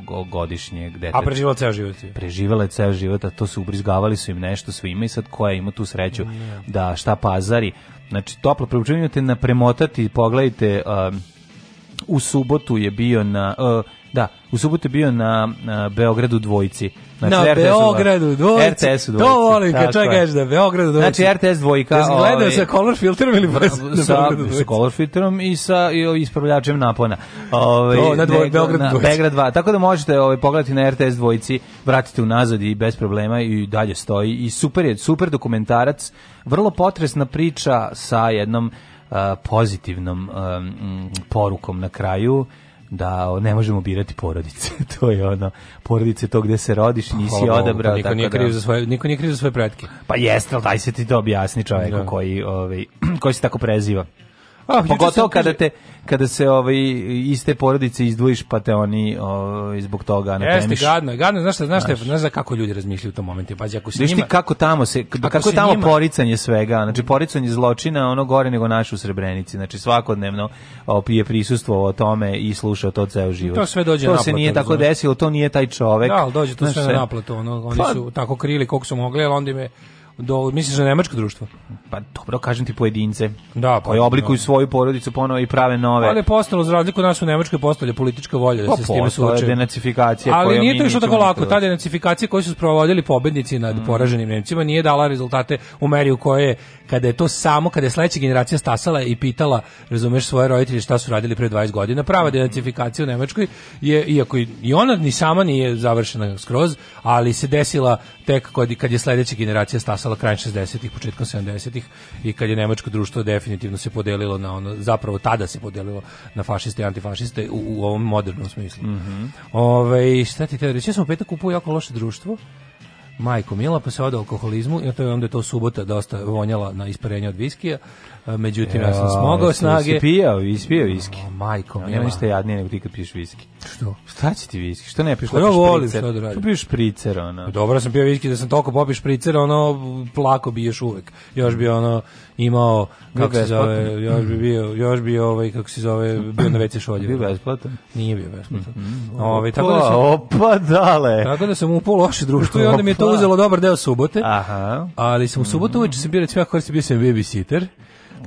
[SPEAKER 7] desetogodišnjeg deteta
[SPEAKER 8] A preživao ceo život. je.
[SPEAKER 7] preživela je ceo život, a to su ubrizgavali su im nešto svima i sad koja ima tu sreću da šta pazari. Znači, toplo preučenju te na premotati, pogledajte, um, u subotu je bio na, uh, da, u subotu je bio na, na Beogradu dvojci Znači,
[SPEAKER 8] na
[SPEAKER 7] RTS-u dva.
[SPEAKER 8] Beogradu dvojici.
[SPEAKER 7] RTS-u dvojici.
[SPEAKER 8] To volim kad
[SPEAKER 7] Tako
[SPEAKER 8] čovjek
[SPEAKER 7] je.
[SPEAKER 8] kaže da Beogradu dvojici.
[SPEAKER 7] Znači, RTS dvojka.
[SPEAKER 8] Jesi gledao
[SPEAKER 7] ovaj,
[SPEAKER 8] sa color filterom ili bez? na
[SPEAKER 7] sa,
[SPEAKER 8] Beogradu
[SPEAKER 7] sa
[SPEAKER 8] dvojici?
[SPEAKER 7] color filterom i sa i ispravljačem napona. Ovaj
[SPEAKER 8] To, na dvoj-
[SPEAKER 7] nego-
[SPEAKER 8] Beograd
[SPEAKER 7] na
[SPEAKER 8] dvojici.
[SPEAKER 7] Beograd 2. Tako da možete ovaj pogledati na RTS dvojici, vratite unazad i bez problema i dalje stoji i super je, super dokumentarac, vrlo potresna priča sa jednom eh, pozitivnom eh, mm, porukom na kraju da ne možemo birati porodice. to je ono, porodice to gde se rodiš, nisi
[SPEAKER 8] Hvala Bogu,
[SPEAKER 7] odabrao.
[SPEAKER 8] Pa, Niko
[SPEAKER 7] tako
[SPEAKER 8] nije
[SPEAKER 7] da-
[SPEAKER 8] kriv za svoje, niko nije kriv za svoje pretke.
[SPEAKER 7] Pa jeste, ali daj se ti to objasni čoveku
[SPEAKER 8] Da.
[SPEAKER 7] koji, ovaj, koji se tako preziva.
[SPEAKER 8] A, Pa, juče
[SPEAKER 7] Pogotovo
[SPEAKER 8] sam kaže-
[SPEAKER 7] kada te kada se ovaj iz te porodice izdvojiš pa te oni ovaj, zbog toga ne
[SPEAKER 8] Jeste,
[SPEAKER 7] temiš.
[SPEAKER 8] gadno, je, gadno, je. znaš šta, znaš, šta, je- znaš za kako ljudi razmišljaju u tom momentu, pazi, ako se
[SPEAKER 7] Viš ti
[SPEAKER 8] njima...
[SPEAKER 7] kako tamo se pa kako,
[SPEAKER 8] Ako
[SPEAKER 7] je
[SPEAKER 8] se
[SPEAKER 7] tamo
[SPEAKER 8] njima-
[SPEAKER 7] poricanje svega, znači poricanje zločina ono gore nego naš u Srebrenici, znači svakodnevno o, je prisustvovao o tome i slušao to ceo život.
[SPEAKER 8] To sve dođe
[SPEAKER 7] To
[SPEAKER 8] na
[SPEAKER 7] se
[SPEAKER 8] naplatu,
[SPEAKER 7] nije tako
[SPEAKER 8] razumeš?
[SPEAKER 7] desilo, to nije taj čovek.
[SPEAKER 8] Da, ali dođe to
[SPEAKER 7] Znaš,
[SPEAKER 8] sve na naplatu, ono, oni
[SPEAKER 7] Pa-
[SPEAKER 8] su tako krili koliko su mogli, ali onda im je, do, misliš na nemačko društvo?
[SPEAKER 7] Pa dobro, kažem ti pojedince.
[SPEAKER 8] Da, pa-
[SPEAKER 7] koji oblikuju svoju porodicu ponovo i prave nove.
[SPEAKER 8] Ali je postalo, za razliku od nas u Nemačkoj, postala politička volja da
[SPEAKER 7] Pa
[SPEAKER 8] se s time
[SPEAKER 7] postala je
[SPEAKER 8] suoče.
[SPEAKER 7] denacifikacija
[SPEAKER 8] Ali
[SPEAKER 7] kojom
[SPEAKER 8] nije
[SPEAKER 7] mi
[SPEAKER 8] to išlo
[SPEAKER 7] nećemo Mm.
[SPEAKER 8] tako lako.
[SPEAKER 7] nikada
[SPEAKER 8] Ta denacifikacija koju su sprovodili pobednici nad poraženim Nemcima nije dala rezultate u meri u kojoj je, kada je to samo, kada je sledeća generacija stasala i pitala, razumeš, svoje roditelje šta su radili pre 20 godina, prava
[SPEAKER 7] Mm.
[SPEAKER 8] denacifikacija u Nemačkoj je, iako i, i ona ni sama nije završena skroz, ali se desila tek kod, kad je sledeća generacija stasala krajem 60-ih, početkom 70-ih i kad je nemačko društvo definitivno se podelilo na ono, zapravo tada se podelilo na fašiste i antifašiste u, u ovom modernom smislu.
[SPEAKER 7] Mhm.
[SPEAKER 8] Ove, šta ti te reći, ja sam u petak kupio jako loše društvo, majko Mila, pa se odao alkoholizmu, jer to je onda je to subota dosta vonjala na isparenje od viskija, A, međutim ja, sam smogao
[SPEAKER 7] jesi-
[SPEAKER 8] snage.
[SPEAKER 7] jesi pijao, ispio viski.
[SPEAKER 8] O, majko
[SPEAKER 7] Ja,
[SPEAKER 8] Mila.
[SPEAKER 7] nema ništa jadnije nego ti kad piješ viski.
[SPEAKER 8] Što?
[SPEAKER 7] Šta će ti viski? Što ne piješ
[SPEAKER 8] Pa ja
[SPEAKER 7] lepo
[SPEAKER 8] volim
[SPEAKER 7] špricer?
[SPEAKER 8] šta da radim.
[SPEAKER 7] Što piješ špricer, ono?
[SPEAKER 8] Pa Dobro sam pio viski da sam toliko popio špricer, ono, plako bi još uvek. Još bi ono imao, kako se
[SPEAKER 7] besplatan.
[SPEAKER 8] zove, još bi bio, još bi ovaj, kako se zove, bio na WC šolje.
[SPEAKER 7] Bio Mhm, besplatan.
[SPEAKER 8] Nije bio besplatan. Ovaj, tako, da
[SPEAKER 7] Pa,
[SPEAKER 8] sam,
[SPEAKER 7] opa, dale.
[SPEAKER 8] tako da sam upao u loše društvo i onda mi je to
[SPEAKER 7] Opa.
[SPEAKER 8] uzelo dobar deo subote.
[SPEAKER 7] Aha.
[SPEAKER 8] Ali sam u
[SPEAKER 7] Mhm.
[SPEAKER 8] subotu uveče sam bio, recimo, ja koristim, bio sam babysitter.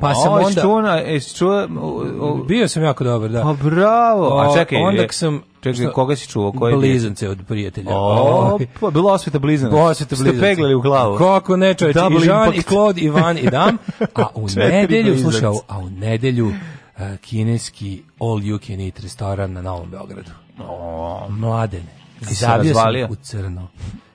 [SPEAKER 8] Pa sam
[SPEAKER 7] O,
[SPEAKER 8] onda...
[SPEAKER 7] jesi čuo na- jesi čuo- o, o,
[SPEAKER 8] Bio sam jako dobar, da.
[SPEAKER 7] pa bravo. A
[SPEAKER 8] O,
[SPEAKER 7] čekaj,
[SPEAKER 8] onda
[SPEAKER 7] je-
[SPEAKER 8] sam-
[SPEAKER 7] čekaj,
[SPEAKER 8] šta?
[SPEAKER 7] koga si čuo? Koji je bio?
[SPEAKER 8] Blizance od prijatelja.
[SPEAKER 7] O,
[SPEAKER 8] Ovaj.
[SPEAKER 7] pa, bila osveta blizana.
[SPEAKER 8] Posjeta
[SPEAKER 7] Ste
[SPEAKER 8] blizanci.
[SPEAKER 7] peglali u glavu.
[SPEAKER 8] Kako ne, čoveče,
[SPEAKER 7] Double
[SPEAKER 8] i Žan,
[SPEAKER 7] impact.
[SPEAKER 8] i Claude, i Van, i Dam. A u
[SPEAKER 7] Četiri
[SPEAKER 8] nedelju,
[SPEAKER 7] blizanci.
[SPEAKER 8] slušaj, a u- a u nedelju e, kineski all you can eat restoran na Novom Beogradu. Mladene.
[SPEAKER 7] se
[SPEAKER 8] Zabio sam
[SPEAKER 7] razvalio?
[SPEAKER 8] ih u crno.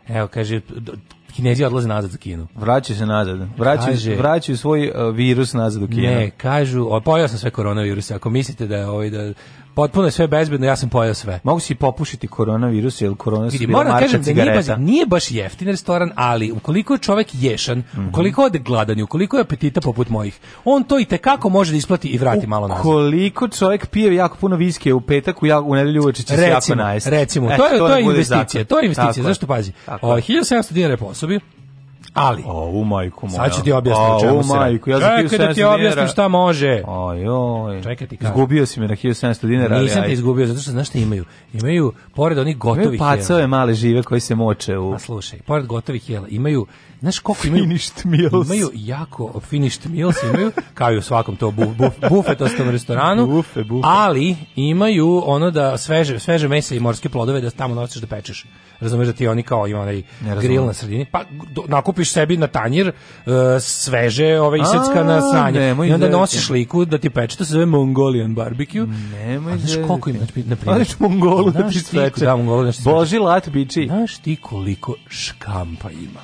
[SPEAKER 8] Evo, kaže, d- kinezi odlaze nazad za Kinu.
[SPEAKER 7] Vraćaju se nazad. Vraćaju-
[SPEAKER 8] Kaže-
[SPEAKER 7] vraćaju svoj, e, virus nazad u Kinu.
[SPEAKER 8] Ne, kažu, o, pojao sam sve koronaviruse. Ako mislite da je ovaj, da potpuno je sve bezbedno, ja sam pojao sve.
[SPEAKER 7] Mogu si i popušiti koronavirus, jer korona su
[SPEAKER 8] Vidi,
[SPEAKER 7] bila
[SPEAKER 8] moram
[SPEAKER 7] marka
[SPEAKER 8] kažem da nije,
[SPEAKER 7] cigareta.
[SPEAKER 8] baš, nije baš jeftin restoran, ali ukoliko je čovek ješan,
[SPEAKER 7] Mhm.
[SPEAKER 8] ukoliko je gladan i ukoliko je apetita poput mojih, on to i tekako može da isplati i vrati malo nazad.
[SPEAKER 7] Koliko čovjek pije jako puno viskija u petak, u, ja- u nedelju uveče će se jako
[SPEAKER 8] Recimo,
[SPEAKER 7] najesti.
[SPEAKER 8] recimo,
[SPEAKER 7] E,
[SPEAKER 8] to je, to
[SPEAKER 7] nek
[SPEAKER 8] je
[SPEAKER 7] bude
[SPEAKER 8] investicija,
[SPEAKER 7] zakon.
[SPEAKER 8] to je investicija,
[SPEAKER 7] Tako
[SPEAKER 8] zašto pazi?
[SPEAKER 7] Tako
[SPEAKER 8] O,
[SPEAKER 7] je.
[SPEAKER 8] 1700 dinara po osobi, ali,
[SPEAKER 7] O, u majku moja.
[SPEAKER 8] sad ću ti objasniti
[SPEAKER 7] O,
[SPEAKER 8] o čemu
[SPEAKER 7] u
[SPEAKER 8] se radi.
[SPEAKER 7] majku, ja za
[SPEAKER 8] Čekaj da ti
[SPEAKER 7] 1700
[SPEAKER 8] objasnim
[SPEAKER 7] dinara-
[SPEAKER 8] šta može.
[SPEAKER 7] Ajoj.
[SPEAKER 8] Čekaj ti kažem.
[SPEAKER 7] Izgubio si me na 1700 dinara. ali
[SPEAKER 8] Nisam te
[SPEAKER 7] ajde.
[SPEAKER 8] izgubio, zato što znaš šta imaju? Imaju, pored onih
[SPEAKER 7] Imaju
[SPEAKER 8] gotovih
[SPEAKER 7] pacove male žive koji se moče u...
[SPEAKER 8] A slušaj, pored gotovih jela imaju, znaš koliko imaju?
[SPEAKER 7] Finished meals.
[SPEAKER 8] Imaju jako finished meals, imaju, kao i u svakom to bu, bu, bufetostom restoranu.
[SPEAKER 7] Bufe, bufe.
[SPEAKER 8] Ali imaju ono da sveže, sveže mese i morske plodove da tamo nosiš da pečeš. Razumeš da ti oni kao ima onaj
[SPEAKER 7] razumem.
[SPEAKER 8] grill na sredini, pa do- nakupiš sebi na tanjir e, sveže ove isecka
[SPEAKER 7] A,
[SPEAKER 8] na sranje.
[SPEAKER 7] nemoj
[SPEAKER 8] I onda
[SPEAKER 7] zezati.
[SPEAKER 8] nosiš liku da ti peče, to se zove Mongolian barbecue.
[SPEAKER 7] Nemoj
[SPEAKER 8] A znaš
[SPEAKER 7] zezati.
[SPEAKER 8] koliko ima, znači, na primjer.
[SPEAKER 7] Odeš Mongolu da
[SPEAKER 8] Znaš
[SPEAKER 7] ti
[SPEAKER 8] ti- Da, Mongolu da ti sveče.
[SPEAKER 7] Boži lat biči.
[SPEAKER 8] Znaš ti koliko škampa ima?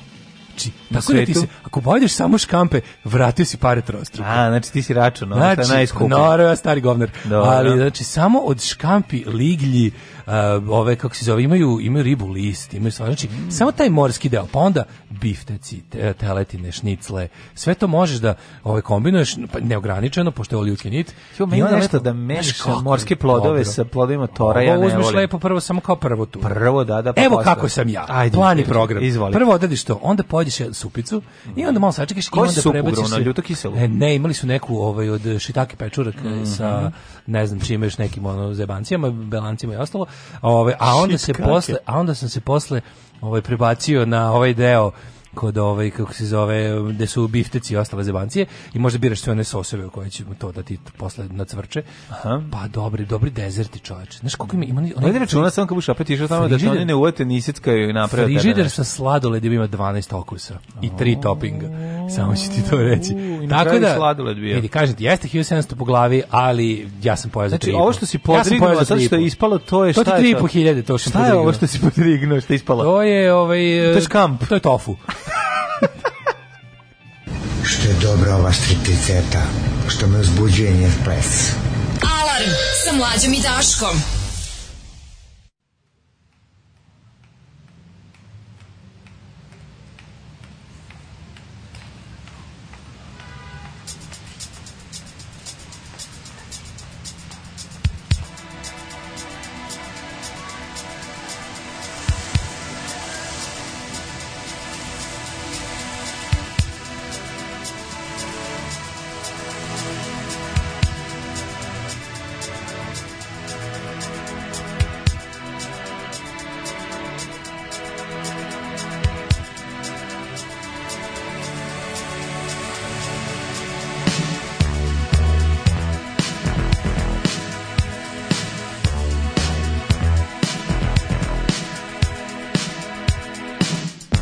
[SPEAKER 8] Znači,
[SPEAKER 7] Na
[SPEAKER 8] tako da ti
[SPEAKER 7] svetu?
[SPEAKER 8] se, ako pojedeš samo škampe, vratio si pare trostruko.
[SPEAKER 7] A, znači ti si račun, ono što je najskuplje.
[SPEAKER 8] noro, ja stari govner.
[SPEAKER 7] Dobro.
[SPEAKER 8] Ali, znači, samo od škampi, liglji, uh, ove, kako se zove, imaju, imaju ribu list, imaju stvar, znači,
[SPEAKER 7] Mm.
[SPEAKER 8] samo taj morski deo, pa onda bifteci, te- teletine, šnicle, sve to možeš da ove, kombinuješ, pa neograničeno, pošto je all you can eat.
[SPEAKER 7] Jo, meni
[SPEAKER 8] I onda
[SPEAKER 7] nešto
[SPEAKER 8] lepo-
[SPEAKER 7] da
[SPEAKER 8] znaš
[SPEAKER 7] meniš
[SPEAKER 8] kako
[SPEAKER 7] morske
[SPEAKER 8] je
[SPEAKER 7] plodove
[SPEAKER 8] dobro.
[SPEAKER 7] sa plodovima tora, ja
[SPEAKER 8] Ovo
[SPEAKER 7] ne
[SPEAKER 8] uzmeš
[SPEAKER 7] volim.
[SPEAKER 8] lepo prvo, samo kao prvo tu.
[SPEAKER 7] Prvo da, da. pa
[SPEAKER 8] Evo
[SPEAKER 7] posle.
[SPEAKER 8] kako sam ja.
[SPEAKER 7] Ajde,
[SPEAKER 8] Plan i
[SPEAKER 7] izvoli.
[SPEAKER 8] program.
[SPEAKER 7] Izvoli.
[SPEAKER 8] Prvo odradiš to, onda pođeš jednu supicu i onda malo sačekaš i
[SPEAKER 7] Koju
[SPEAKER 8] onda
[SPEAKER 7] supu,
[SPEAKER 8] prebaciš
[SPEAKER 7] Bruno?
[SPEAKER 8] sve-
[SPEAKER 7] ono, Ljuto kiselu?
[SPEAKER 8] E, ne, imali su neku ovaj od šitake pečurak e,
[SPEAKER 7] Mhm.
[SPEAKER 8] sa ne znam čime još nekim ono zebancijama, belancima i ostalo. Ovaj a onda se
[SPEAKER 7] Šitkake.
[SPEAKER 8] posle, a onda sam se posle ovaj prebacio na ovaj deo kod ovaj kako se zove gde su bifteci i ostale zebancije i možda biraš sve one soseve u koje će to da ti posle nacvrče.
[SPEAKER 7] Aha.
[SPEAKER 8] Pa dobri, dobri dezerti čoveče. Znaš koliko ima ima oni-
[SPEAKER 7] Ajde računa samo kad budeš opet išao tamo da te
[SPEAKER 8] Frižider.
[SPEAKER 7] oni ne uvete nisickaju i naprave tebe
[SPEAKER 8] Frižider sa
[SPEAKER 7] nešto.
[SPEAKER 8] sladoledima ima 12 okusa i tri toppinga. Samo ću ti to reći.
[SPEAKER 7] Oh. i na
[SPEAKER 8] Tako
[SPEAKER 7] kraju
[SPEAKER 8] da
[SPEAKER 7] sladoled bio.
[SPEAKER 8] Vidi, kažete, jeste 1700 po glavi, ali ja sam pojeo za
[SPEAKER 7] Znači,
[SPEAKER 8] tri.
[SPEAKER 7] ovo što si podrignuo,
[SPEAKER 8] ja
[SPEAKER 7] sad što je ispalo, to je
[SPEAKER 8] To ti
[SPEAKER 7] šta je
[SPEAKER 8] tri i po hiljade, to što sam
[SPEAKER 7] Šta je ovo
[SPEAKER 8] podrignuo.
[SPEAKER 7] što si podrignuo, što je ispalo?
[SPEAKER 8] To je ovaj
[SPEAKER 7] To je
[SPEAKER 8] eh,
[SPEAKER 7] škamp.
[SPEAKER 8] To je tofu.
[SPEAKER 2] Što je dobra ova stripticeta, što me uzbuđuje njen ples.
[SPEAKER 10] Alarm sa mlađom i Daškom.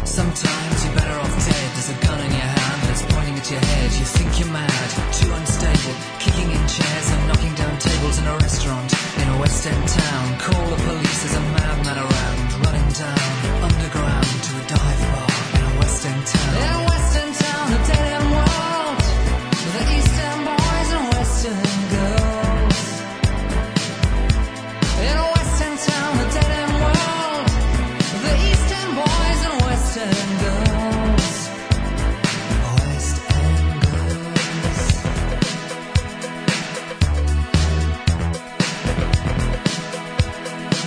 [SPEAKER 11] Sometimes you're better off dead. There's a gun in your hand that's pointing at your head. You think you're mad, too unstable. Kicking in chairs and knocking down tables in a restaurant in a West End town. Call the police, there's a madman around. Running down underground to a dive bar in a West End town. In a West End town, a dead end world. The East End boys and Western girls. In a West End town, a dead end world. The Eastern boys and Western girls. West End girls.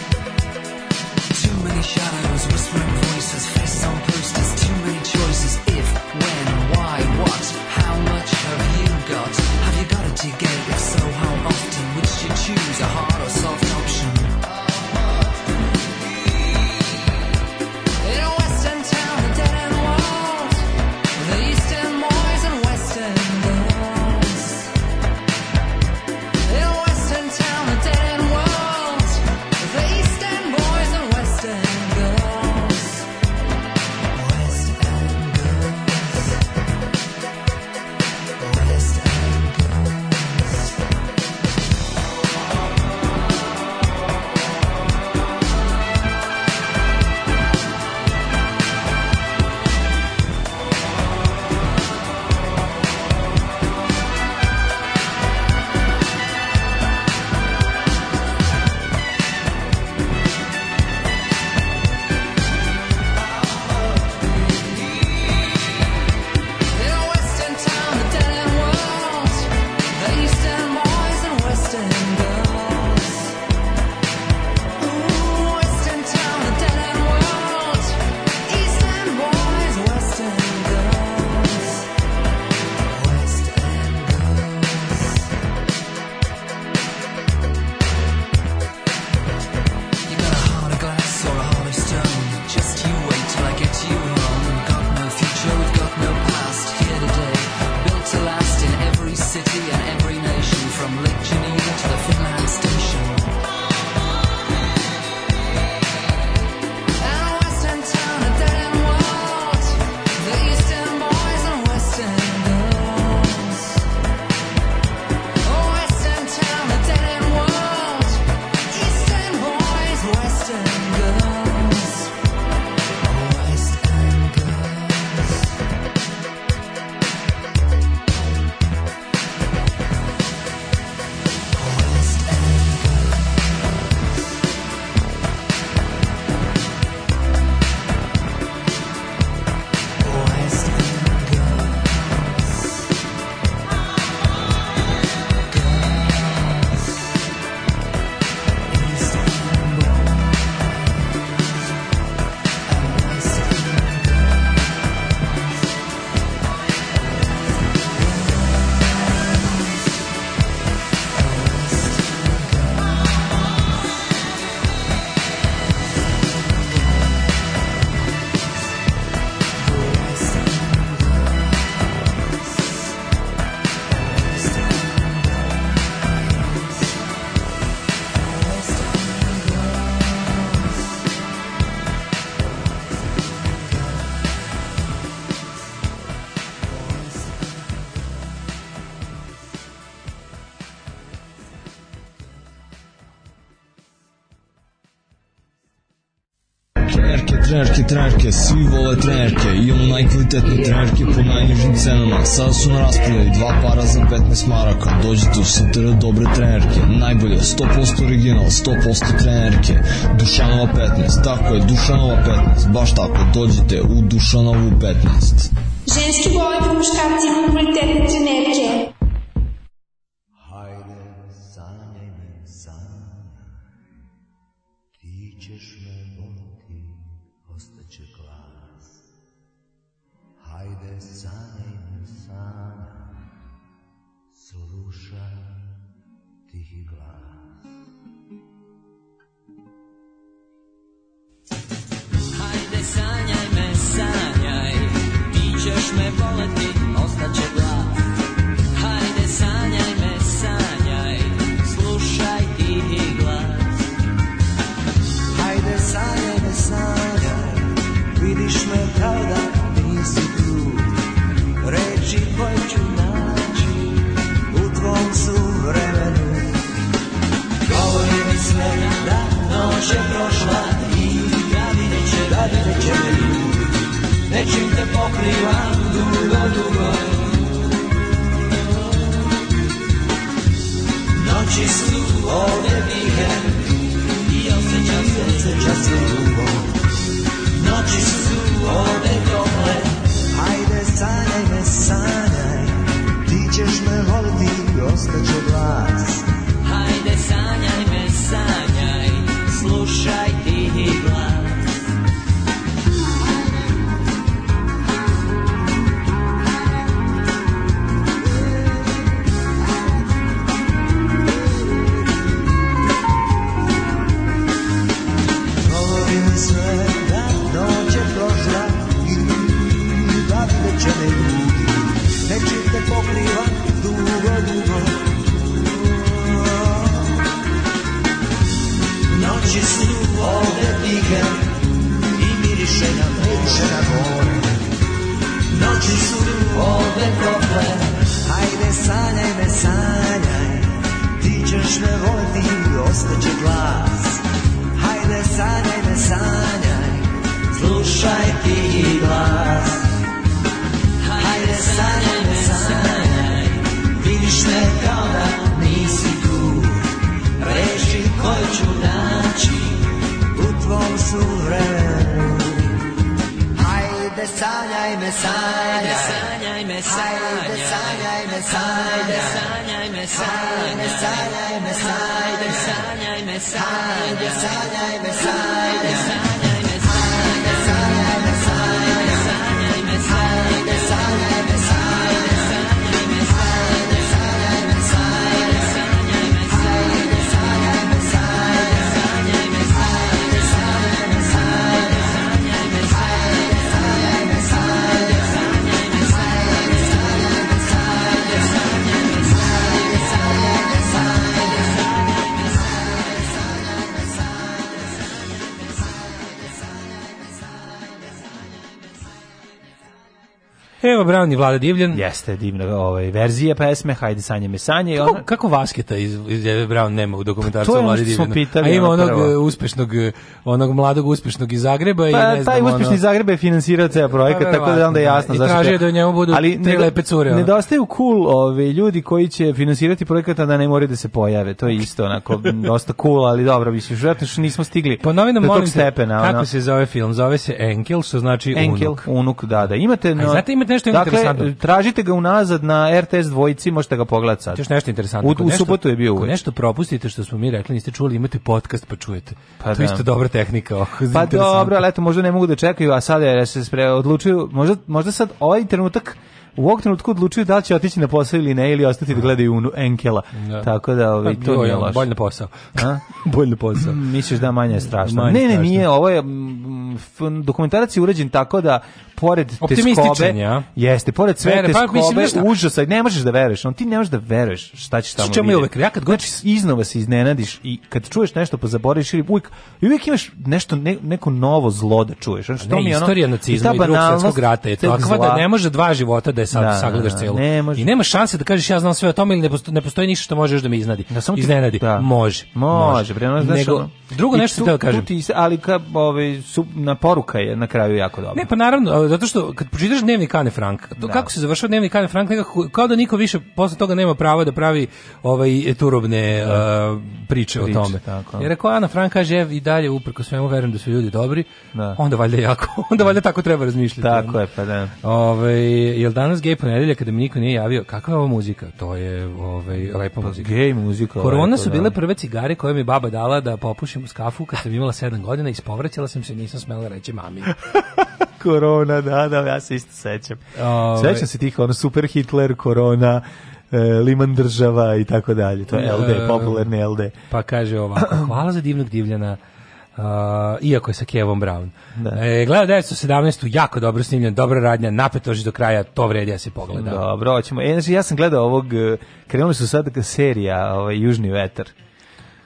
[SPEAKER 11] Too many shadows, whispering voices, face on posters, too many choices.
[SPEAKER 12] trenerke, trenerke, svi vole trenerke, imamo najkvalitetne trenerke po najnižim cenama. Sada su na raspodaju dva para za 15 maraka. Dođite u Sutera dobre trenerke, najbolje, 100% original, 100% trenerke. Dušanova 15, tako je, Dušanova 15, baš tako, dođite u Dušanovu 15.
[SPEAKER 13] Ženski vole po muškarci imaju kvalitetne
[SPEAKER 11] е
[SPEAKER 13] trenerke.
[SPEAKER 1] Hajde sanjaj sanja, slušaj tihi glas.
[SPEAKER 11] Hajde sanjaj me, sanjaj, ti ćeš me voleti, ostaće glas. Hajde sanjaj me, sanjaj, slušaj tihi glas.
[SPEAKER 1] Hajde sanjaj me sanjaj, vidiš me kao da nisi tu. Reči koje ću naći u tvom suvremenu. Govori mi sve da noć je prošla i da vidjet će, da vidjet će me ljudi. Nečim te pokrivam dugo, dugo. Noći su ovdje vihe i osjećam se, osjećam se dugo. Noći su ovdje tople, hajde sanjaj me, sanjaj, ti ćeš me voliti, ostaće glas.
[SPEAKER 11] Hajde sanjaj me, sanjaj, slušaj tihi glas.
[SPEAKER 1] Govori mi sve da noć je prošla i da vidjet će me ljudi. Nečim te pokriva dugo, dugo. Noći su ovdje tihe i miriše na miriše na more. Noći su ovdje tople, hajde sanjaj me, sanjaj. Ti ćeš me voliti, ostaće glas. Hajde sanjaj me, sanjaj, slušaj ti glas. Hajde sanjaj me, sanjaj, vidiš me kao da nisi tu. Reši koju ću naći u tvom suvremenu. Hajde sanjaj me, sanjaj,
[SPEAKER 11] sanjaj me,
[SPEAKER 1] hajde sanjaj me, sanjaj,
[SPEAKER 11] sanjaj me, sanjaj,
[SPEAKER 1] hajde sanjaj me, sanjaj,
[SPEAKER 11] sanjaj me,
[SPEAKER 1] hajde
[SPEAKER 11] sanjaj,
[SPEAKER 1] sanjaj me, sanjaj.
[SPEAKER 8] Evo Brown i Vlada Divljan.
[SPEAKER 7] Jeste divna ovaj, verzija pesme, hajde sanje me sanje. ono, i
[SPEAKER 8] Kako,
[SPEAKER 7] ona-
[SPEAKER 8] kako Vasketa iz, iz Eve Brown nema u dokumentarcu
[SPEAKER 7] Pa to je
[SPEAKER 8] o
[SPEAKER 7] ono
[SPEAKER 8] Vladi
[SPEAKER 7] što smo
[SPEAKER 8] Divljanu?
[SPEAKER 7] pitali,
[SPEAKER 8] A ima
[SPEAKER 7] ono
[SPEAKER 8] onog
[SPEAKER 7] prvo.
[SPEAKER 8] e, uspešnog, e, onog mladog uspešnog iz Zagreba i
[SPEAKER 7] Pa,
[SPEAKER 8] ne znam,
[SPEAKER 7] taj uspješni
[SPEAKER 8] ono,
[SPEAKER 7] Zagreb je finansirao ceo projekat,
[SPEAKER 8] Pa,
[SPEAKER 7] tako da je onda jasno.
[SPEAKER 8] verovatno, da. I
[SPEAKER 7] zašto
[SPEAKER 8] tražio
[SPEAKER 7] je-
[SPEAKER 8] da u njemu budu tri
[SPEAKER 7] nedo-
[SPEAKER 8] lepe cure, ono.
[SPEAKER 7] Nedostaju cool ovi, ljudi koji će finansirati projekat, a da ne moraju da se pojave. To je isto onako m, dosta cool, ali dobro, mislim, vjerojatno što nismo stigli
[SPEAKER 8] Po novinom
[SPEAKER 7] do
[SPEAKER 8] molim
[SPEAKER 7] tog
[SPEAKER 8] te,
[SPEAKER 7] stepena. ono.
[SPEAKER 8] kako se zove film? Zove se Enkel, što znači
[SPEAKER 7] Enkel,
[SPEAKER 8] unuk.
[SPEAKER 7] unuk. da, da. Imate, no,
[SPEAKER 8] znate, imate nešto interesantno?
[SPEAKER 7] Dakle, tražite ga unazad na RTS dvojici, možete ga pogledati sad.
[SPEAKER 8] Još nešto interesantno.
[SPEAKER 7] U,
[SPEAKER 8] Ako
[SPEAKER 7] u
[SPEAKER 8] nešto-
[SPEAKER 7] subotu je bio
[SPEAKER 8] ako
[SPEAKER 7] uveč.
[SPEAKER 8] nešto propustite što smo mi rekli, niste čuli, imate podcast pa čujete.
[SPEAKER 7] Pa
[SPEAKER 8] to je
[SPEAKER 7] da.
[SPEAKER 8] isto dobra tehnika. oh,
[SPEAKER 7] Pa
[SPEAKER 8] interesantno.
[SPEAKER 7] dobro, ali eto, možda ne mogu da čekaju, a sada je se spre odlučuju, možda, možda sad ovaj trenutak u ovog trenutku odlučuju da li će otići na posao ili ne, ili ostati da gledaju unu Enkela.
[SPEAKER 8] Da.
[SPEAKER 7] Tako da, ovaj,
[SPEAKER 8] Pa,
[SPEAKER 7] to
[SPEAKER 8] joj,
[SPEAKER 7] nije
[SPEAKER 8] ono,
[SPEAKER 7] loše.
[SPEAKER 8] Bolj na posao.
[SPEAKER 7] A? Mm,
[SPEAKER 8] bolj na posao.
[SPEAKER 7] Misliš da manje je strašno?
[SPEAKER 8] Manje
[SPEAKER 7] ne, ne,
[SPEAKER 8] strašno.
[SPEAKER 7] nije. Ovo je mm, f- dokumentarac je urađen tako da pored
[SPEAKER 8] Optimističan
[SPEAKER 7] teskobe,
[SPEAKER 8] je, a?
[SPEAKER 7] jeste, pored sve
[SPEAKER 8] Vere,
[SPEAKER 7] teskobe,
[SPEAKER 8] pa, mislim, znaš šta?
[SPEAKER 7] užasa, ne možeš da veruješ, on ti ne možeš da veruješ šta ćeš tamo
[SPEAKER 8] Znaš čemu je
[SPEAKER 7] vidjeti.
[SPEAKER 8] uvek? Ja kad god-
[SPEAKER 7] znači, iznova se iznenadiš i kad čuješ nešto pozaboraviš ili uvijek, i uvijek imaš nešto, ne- neko novo zlo da čuješ. Znači, to
[SPEAKER 8] Ne,
[SPEAKER 7] mi je ono,
[SPEAKER 8] istorija nacizma
[SPEAKER 7] ta
[SPEAKER 8] i drugog
[SPEAKER 7] banalnost
[SPEAKER 8] svetskog rata je
[SPEAKER 7] tog
[SPEAKER 8] takva da
[SPEAKER 7] zla.
[SPEAKER 8] ne može dva života da je sad
[SPEAKER 7] Da,
[SPEAKER 8] sagledaš
[SPEAKER 7] da,
[SPEAKER 8] celu.
[SPEAKER 7] ne može.
[SPEAKER 8] I nema šanse da kažeš ja znam sve o tome ili ne postoji, ne postoji ništa što može još da me iznadi.
[SPEAKER 7] Da, samo ti-
[SPEAKER 8] Iznenadi.
[SPEAKER 7] da.
[SPEAKER 8] Može.
[SPEAKER 7] Može, bre, ono, znaš,
[SPEAKER 8] Nego,
[SPEAKER 7] ono-
[SPEAKER 8] drugo
[SPEAKER 7] I
[SPEAKER 8] nešto
[SPEAKER 7] tu-
[SPEAKER 8] da
[SPEAKER 7] tu
[SPEAKER 8] kažem.
[SPEAKER 7] ti se- ali ka, ovaj, su, na poruka je na kraju jako dobra.
[SPEAKER 8] Ne, pa naravno, ali zato što kad pročitaš dnevnik Ane Frank, to kako se završava dnevnik Ane Frank, nekako, kao da niko više posle toga nema prava da pravi ovaj turobne uh, priče,
[SPEAKER 7] Priče,
[SPEAKER 8] o tome.
[SPEAKER 7] tako.
[SPEAKER 8] Jer ako Ana Frank kaže, ev, i dalje uprko svemu verujem da su ljudi dobri,
[SPEAKER 7] Da.
[SPEAKER 8] onda valjda jako, onda valjda tako treba razmišljati.
[SPEAKER 7] Tako je, pa da.
[SPEAKER 8] Ove, jel danas gej ponedelja kada mi niko nije javio, kakva je ova muzika? To je ovaj, lepa muzika.
[SPEAKER 7] Pa, gej muzika,
[SPEAKER 8] Korona
[SPEAKER 7] lepo,
[SPEAKER 8] su
[SPEAKER 7] da.
[SPEAKER 8] bile prve cigare koje mi je baba dala da popušim uz kafu kad sam imala 7 godina, ispovraćala sam se i nisam smela reći mami.
[SPEAKER 7] korona, da, da, ja se isto sećam.
[SPEAKER 8] Ovaj.
[SPEAKER 7] Sećam se tih ono super Hitler, korona, e, liman država i tako dalje. To je LD,
[SPEAKER 8] E,
[SPEAKER 7] popularni LD.
[SPEAKER 8] Pa kaže ovako, hvala za divnog divljana, uh, iako je sa Kevom Brown. E, gleda 917. jako dobro snimljen, dobra radnja, napetoži do kraja, to vredi ja se pogleda.
[SPEAKER 7] Dobro, hoćemo. E, znači, ja sam gledao ovog, e, krenuli su sad serija, ovaj, Južni vetar.